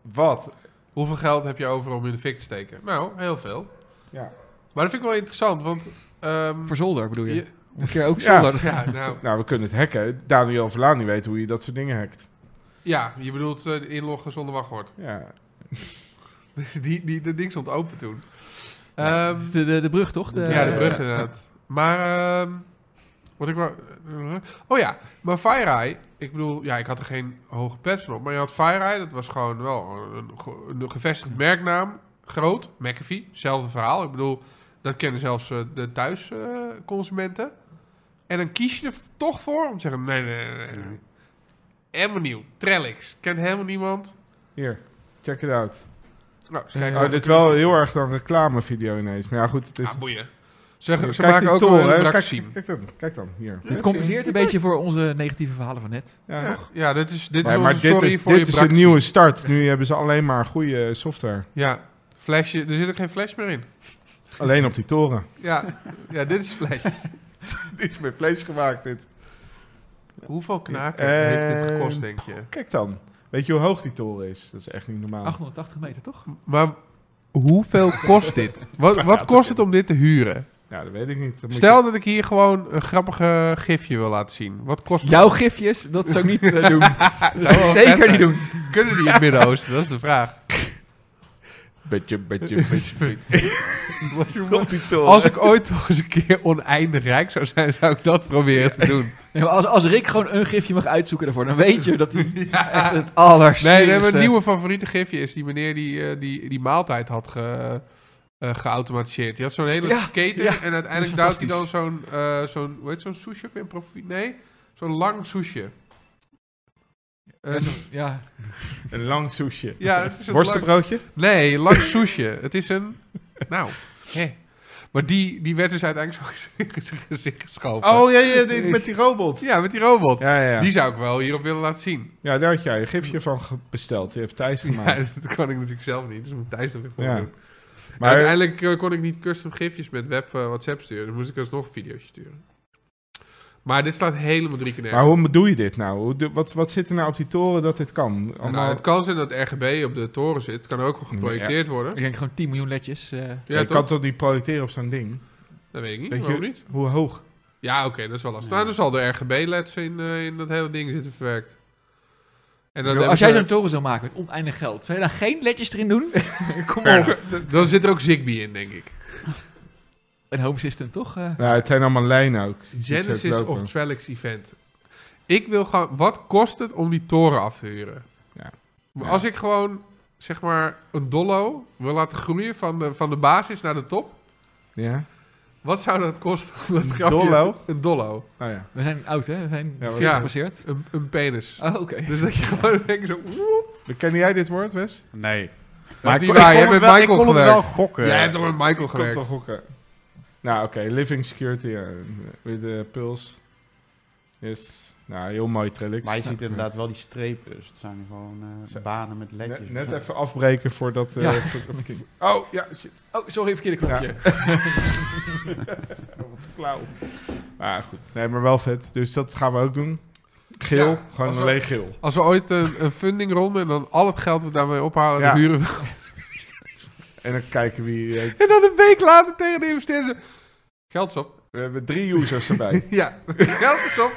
Speaker 1: wat?
Speaker 3: Hoeveel geld heb je over om in de fik te steken? Nou, heel veel.
Speaker 1: Ja.
Speaker 3: Maar dat vind ik wel interessant, want... ehm,
Speaker 4: Voor zolder bedoel je?
Speaker 3: Ja.
Speaker 4: Een keer ook
Speaker 1: Ja.
Speaker 4: zolder.
Speaker 3: ja, nou,
Speaker 1: Nou, we kunnen het hacken. Daniel Verlaan weet hoe je dat soort dingen hackt.
Speaker 3: ja, je bedoelt eh, inloggen zonder wachtwoord.
Speaker 1: Ja.
Speaker 3: die, die, dat ding stond open toen. Ehm,
Speaker 4: Dus De, de, de brug toch?
Speaker 3: ja, de
Speaker 1: eh,
Speaker 3: brug inderdaad. Maar, ehm, wat ik wou... Oh ja, maar FireEye, ik bedoel, ja, ik had er geen hoge pet van op, maar je had FireEye, dat was gewoon wel een, ge- een gevestigd merknaam, groot, McAfee, hetzelfde verhaal. Ik bedoel, dat kennen zelfs eh, de thuisconsumenten. en dan kies je er toch voor om te zeggen, nee, nee, nee, nee. nee. Helemaal nieuw, Trellix, kent helemaal niemand.
Speaker 1: Hier, check it out.
Speaker 3: Nou, ze kijken
Speaker 1: Oh, dit is wel heel erg dan reclamevideo ineens. Maar ja, goed, het is...
Speaker 3: Ah, boeien. Ze,
Speaker 1: Kijk
Speaker 3: ze
Speaker 1: die
Speaker 3: maken ook
Speaker 1: toren,
Speaker 3: wel een
Speaker 1: hè.
Speaker 3: Braxim.
Speaker 1: kijk, kijk, dat, kijk dan, hier.
Speaker 4: Het compenseert een beetje voor onze negatieve verhalen van net.
Speaker 1: Ja,
Speaker 3: Ja,
Speaker 1: toch?
Speaker 3: ja, dit is, dit
Speaker 1: Nee,
Speaker 3: is
Speaker 1: maar
Speaker 3: onze
Speaker 1: dit
Speaker 3: sorry
Speaker 1: is,
Speaker 3: voor je
Speaker 1: dit is een
Speaker 3: bractie.
Speaker 1: nieuwe start. Nu hebben ze alleen maar goede software.
Speaker 3: Ja, flesje. Er zit ook geen flash meer in.
Speaker 1: Alleen op die toren.
Speaker 3: Ja, ja dit is flash.
Speaker 1: Dit is met vlees gemaakt, dit.
Speaker 3: Hoeveel knaken
Speaker 1: Eh,
Speaker 3: heeft dit gekost, denk je?
Speaker 1: Kijk dan. Weet je hoe hoog die toren is? Dat is echt niet normaal.
Speaker 4: 880 meter toch?
Speaker 3: Maar hoeveel kost dit? Wat, wat kost het om dit te huren?
Speaker 1: Nou, dat weet ik niet. Dat moet
Speaker 3: Stel dat ik hier gewoon een grappige gifje wil laten zien. Wat kost
Speaker 4: Jouw gifjes, dat zou ik niet eh, doen. Dat
Speaker 3: Zou
Speaker 4: zou
Speaker 3: wel
Speaker 4: ik
Speaker 3: vet
Speaker 4: zeker
Speaker 3: zijn.
Speaker 4: niet doen.
Speaker 3: Kunnen die in het Midden-Oosten? Dat is de vraag.
Speaker 1: je- Beetje, beetje, beetje, beetje.
Speaker 4: Komt die toren.
Speaker 3: Als ik ooit nog eens een keer oneindig rijk zou zijn, zou ik dat proberen te doen.
Speaker 4: Nee, maar als, als Rick gewoon een gifje mag uitzoeken daarvoor, dan weet je dat hij echt het allersterkste...
Speaker 3: Nee, nee, mijn nieuwe favoriete gifje is die meneer die eh, die, die maaltijd had ge, eh, geautomatiseerd. Die had zo'n hele
Speaker 4: Ja,
Speaker 3: keten
Speaker 4: ja.
Speaker 3: en
Speaker 4: Dat is
Speaker 3: uiteindelijk duwt hij dan
Speaker 4: fantastisch.
Speaker 3: zo'n, eh zo'n hoe heet zo'n sushi op in profiel? Nee, zo'n lang sushi. Eh,
Speaker 4: Ja, zo- ja.
Speaker 1: Een lang soesje.
Speaker 3: ja, het is een lang,
Speaker 1: Worstenbroodje?
Speaker 3: Nee, lang sushi. Het is een, nou, hè. Maar die, die werd dus uiteindelijk zo in zijn gezicht geschoven.
Speaker 1: Oh, ja, ja, dit- met die robot.
Speaker 3: Ja, met die robot.
Speaker 1: Ja, ja,
Speaker 3: Die
Speaker 1: ja.
Speaker 3: zou ik wel hierop willen laten zien.
Speaker 1: ja, daar had jij een gifje van ge- besteld. Die heeft Thijs
Speaker 3: Ja,
Speaker 1: gemaakt.
Speaker 3: dat kan ik natuurlijk zelf niet, dus dat moet Thijs dat weer voor me
Speaker 1: Ja.
Speaker 3: doen. Maar
Speaker 1: maar
Speaker 3: uiteindelijk eh, kon ik niet custom gifjes met web eh, WhatsApp sturen. Dus moest ik alsnog een videootje sturen. Maar dit staat helemaal drie keer
Speaker 1: maar
Speaker 3: nergens.
Speaker 1: hoe bedoel je dit nou? Hoe, de- wat, wat zit er nou op die toren dat dit kan?
Speaker 3: Nou,
Speaker 1: Allemaal,
Speaker 3: het kan zijn dat RGB op de toren zit. Het kan ook wel geprojecteerd worden.
Speaker 4: Ik denk gewoon 10 miljoen ledjes. eh.
Speaker 3: Ja,
Speaker 1: je
Speaker 3: toch?
Speaker 1: kan toch niet projecteren op zo'n ding?
Speaker 3: Dat weet ik niet.
Speaker 1: Weet je-
Speaker 3: Waarom niet?
Speaker 1: Hoe hoog?
Speaker 3: Ja, oké, dat is wel lastig. Nou, dan zal de RGB-leds in, eh, in dat hele ding zitten verwerkt. En dan,
Speaker 4: als jij
Speaker 3: hebben
Speaker 4: zo'n toren zou maken met oneindig geld, zou je daar geen ledjes erin doen? Kom
Speaker 3: ze-
Speaker 4: op.
Speaker 3: dan zit er ook Zigbee in, denk ik.
Speaker 4: Een home system toch? eh?
Speaker 1: Nou, het zijn allemaal lijnen ook. Je ziet ze ook
Speaker 3: Genesis
Speaker 1: lopen.
Speaker 3: of Trellix Event. Ik wil gewoon... Wat kost het om die toren af te huren?
Speaker 1: Ja.
Speaker 3: Maar
Speaker 1: Ja.
Speaker 3: Als ik gewoon zeg maar, een dollo wil laten groeien van de, van de basis naar de top,
Speaker 1: Ja?
Speaker 3: wat zou dat kosten? om dat grapje-
Speaker 1: dollo?
Speaker 3: Een dollo.
Speaker 1: Oh ja.
Speaker 4: We zijn oud, hè? We zijn
Speaker 1: Ja, we-
Speaker 4: ja,
Speaker 3: Ja.
Speaker 4: gepasseerd.
Speaker 3: Een, een penis.
Speaker 4: Oh, oké.
Speaker 3: Dus dat je gewoon denk zo... woep.
Speaker 1: Ken jij dit woord, Wes?
Speaker 2: Nee.
Speaker 3: Dat is
Speaker 2: ik
Speaker 3: niet
Speaker 2: kon-
Speaker 3: waar,
Speaker 2: ik kon
Speaker 3: jij hebt
Speaker 2: het wel-
Speaker 3: met Michael
Speaker 2: Ik kon het wel
Speaker 3: gewerkt.
Speaker 2: gokken.
Speaker 3: Jij hebt toch met Michael
Speaker 1: Kan
Speaker 3: gewerkt?
Speaker 1: toch gokken? Nou, oké. Living Security. ja. With the Pulse. Yes. Nou, heel mooi trillix. Nou,
Speaker 2: Maar je ziet inderdaad wel die strepen. Dus het zijn gewoon eh,
Speaker 1: Zo.
Speaker 2: banen met ledjes.
Speaker 1: Net, net even afbreken voordat... eh,
Speaker 4: Ja.
Speaker 1: voordat ik- oh, ja, shit.
Speaker 4: Oh, sorry, verkeerde knopje.
Speaker 1: Oh, wat flauw. Maar goed. Nee, maar wel vet. Dus dat gaan we ook doen. Geel.
Speaker 3: Ja,
Speaker 1: gewoon
Speaker 3: als we-
Speaker 1: alleen geel.
Speaker 3: Als we ooit een, een funding ronden en dan al het geld wat we daarmee ophalen,
Speaker 1: Ja.
Speaker 3: dan huren we...
Speaker 1: En dan kijken wie... eh,
Speaker 3: En dan een week later tegen de investeerder... Geld is op.
Speaker 1: we hebben drie users erbij.
Speaker 3: Ja, geld is op.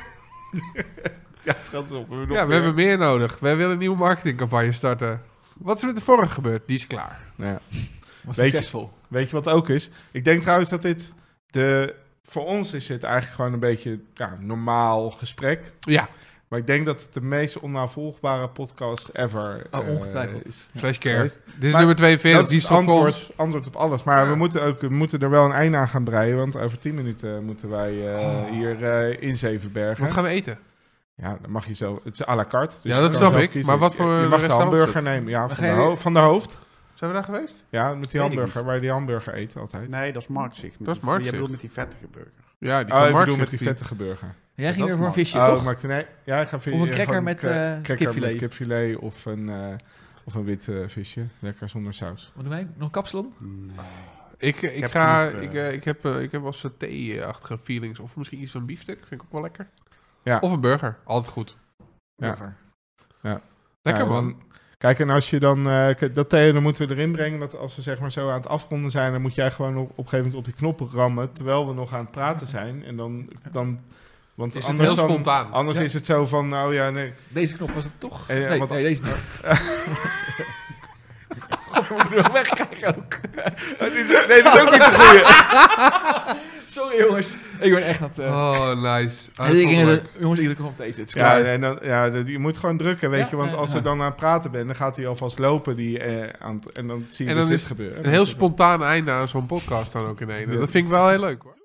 Speaker 1: ja, het gaat zo. We hebben nog
Speaker 3: Ja, we
Speaker 1: meer.
Speaker 3: hebben meer nodig. Wij willen een nieuwe marketingcampagne starten. Wat is er met de vorige gebeurd? Die is klaar.
Speaker 1: Nou ja.
Speaker 4: Was
Speaker 1: Weet je-
Speaker 4: succesvol.
Speaker 1: Weet je wat ook is? Ik denk trouwens dat dit de voor ons is dit eigenlijk gewoon een beetje ja, normaal gesprek.
Speaker 3: Ja,
Speaker 1: Maar ik denk dat het de meest onnavolgbare podcast ever
Speaker 4: Oh,
Speaker 1: eh,
Speaker 4: ongetwijfeld.
Speaker 1: is.
Speaker 3: flash care.
Speaker 1: Juist.
Speaker 3: Dit is
Speaker 1: Maar
Speaker 3: nummer
Speaker 1: dat
Speaker 3: 42,
Speaker 1: is
Speaker 3: die
Speaker 1: het
Speaker 3: is toch voor ons.
Speaker 1: antwoord, antwoord op alles. Maar
Speaker 3: Ja.
Speaker 1: we, moeten ook, we moeten er wel een einde aan gaan breien. Want over 10 minuten moeten wij eh, hier eh, in Zevenbergen.
Speaker 3: Oh. Wat gaan we eten?
Speaker 1: Ja, dan mag je zo. Het is à la carte. dus
Speaker 3: Ja,
Speaker 1: je
Speaker 3: dat
Speaker 1: kan
Speaker 3: snap
Speaker 1: zelf
Speaker 3: ik.
Speaker 1: kiezen.
Speaker 3: Maar wat
Speaker 1: Je,
Speaker 3: voor
Speaker 1: je mag de
Speaker 3: restaurant
Speaker 1: hamburger
Speaker 3: zit?
Speaker 1: nemen. Ja, van de,
Speaker 4: ga je-
Speaker 1: ho- van de hoofd.
Speaker 3: Zijn we daar geweest?
Speaker 1: Ja, met die
Speaker 2: Weet ik
Speaker 1: hamburger. Waar je die hamburger eet altijd.
Speaker 2: Nee, dat is marktzicht.
Speaker 3: Dat is
Speaker 2: Maar
Speaker 3: marktzicht.
Speaker 2: Je bedoelt met die vettige burger.
Speaker 3: Ja, die
Speaker 1: Oh,
Speaker 3: van
Speaker 1: ik
Speaker 3: Mark
Speaker 1: bedoel met die
Speaker 3: zegt
Speaker 1: vettige burger.
Speaker 4: Jij ging
Speaker 2: dat
Speaker 4: er voor een
Speaker 2: mag.
Speaker 4: visje,
Speaker 1: oh,
Speaker 4: toch?
Speaker 1: maakt er- nee. Ja, ik ga vi-
Speaker 4: Of een
Speaker 1: ja,
Speaker 4: cracker
Speaker 1: gewoon
Speaker 4: met,
Speaker 1: cra-
Speaker 4: eh,
Speaker 1: cracker
Speaker 4: kipfilet.
Speaker 1: met kipfilet of een, eh, of een wit eh, visje. Lekker zonder saus.
Speaker 4: Wat doen wij? Nog een kapsalon?
Speaker 3: Ik, ik,
Speaker 2: heb
Speaker 3: ga,
Speaker 2: genoeg, eh,
Speaker 3: ik, eh, ik, heb, eh, ik heb wel saté-achtige feelings. Of misschien iets van biefstuk. Vind ik ook wel lekker.
Speaker 1: Ja.
Speaker 3: Of een burger. Altijd goed.
Speaker 1: Ja.
Speaker 4: Burger.
Speaker 3: Lekker
Speaker 1: Ja,
Speaker 3: man.
Speaker 1: dan- Kijk, en als je dan... eh, k- dat thee, dan moeten we erin brengen. Dat als we zeg maar zo aan het afronden zijn... dan moet jij gewoon op, op een gegeven moment op die knoppen rammen... terwijl we nog aan het praten zijn. En dan... dan want
Speaker 3: Is het
Speaker 1: anders,
Speaker 3: heel
Speaker 1: dan-
Speaker 3: spontaan.
Speaker 1: anders
Speaker 4: Ja.
Speaker 1: is het zo van... nou ja, nee.
Speaker 4: Deze knop was het toch?
Speaker 1: Eh,
Speaker 4: nee,
Speaker 1: wat-
Speaker 4: nee, deze niet. of we moeten nog wegkijken ook.
Speaker 3: Oh,
Speaker 1: Nee, dat is ook niet te goeie.
Speaker 4: Sorry jongens, ik ben echt aan het... eh,
Speaker 3: Oh, nice. Ah,
Speaker 4: en ik
Speaker 3: dat vond ik
Speaker 4: denk
Speaker 3: leuk.
Speaker 4: dat- jongens, iedere keer op deze. Het is
Speaker 1: Ja,
Speaker 4: klaar.
Speaker 1: en dan, ja, dat- je moet gewoon drukken, weet
Speaker 4: Ja,
Speaker 1: je. Want
Speaker 4: ja,
Speaker 1: als
Speaker 4: ja.
Speaker 1: we dan aan het praten bent, dan gaat hij alvast lopen. Die, eh, aan het- en dan zie je
Speaker 3: En
Speaker 1: dus
Speaker 3: dan
Speaker 1: dit
Speaker 3: is
Speaker 1: gebeuren.
Speaker 3: Een heel spontaan einde aan zo'n podcast dan ook in één.
Speaker 1: Ja.
Speaker 3: Dat vind ik wel heel leuk hoor.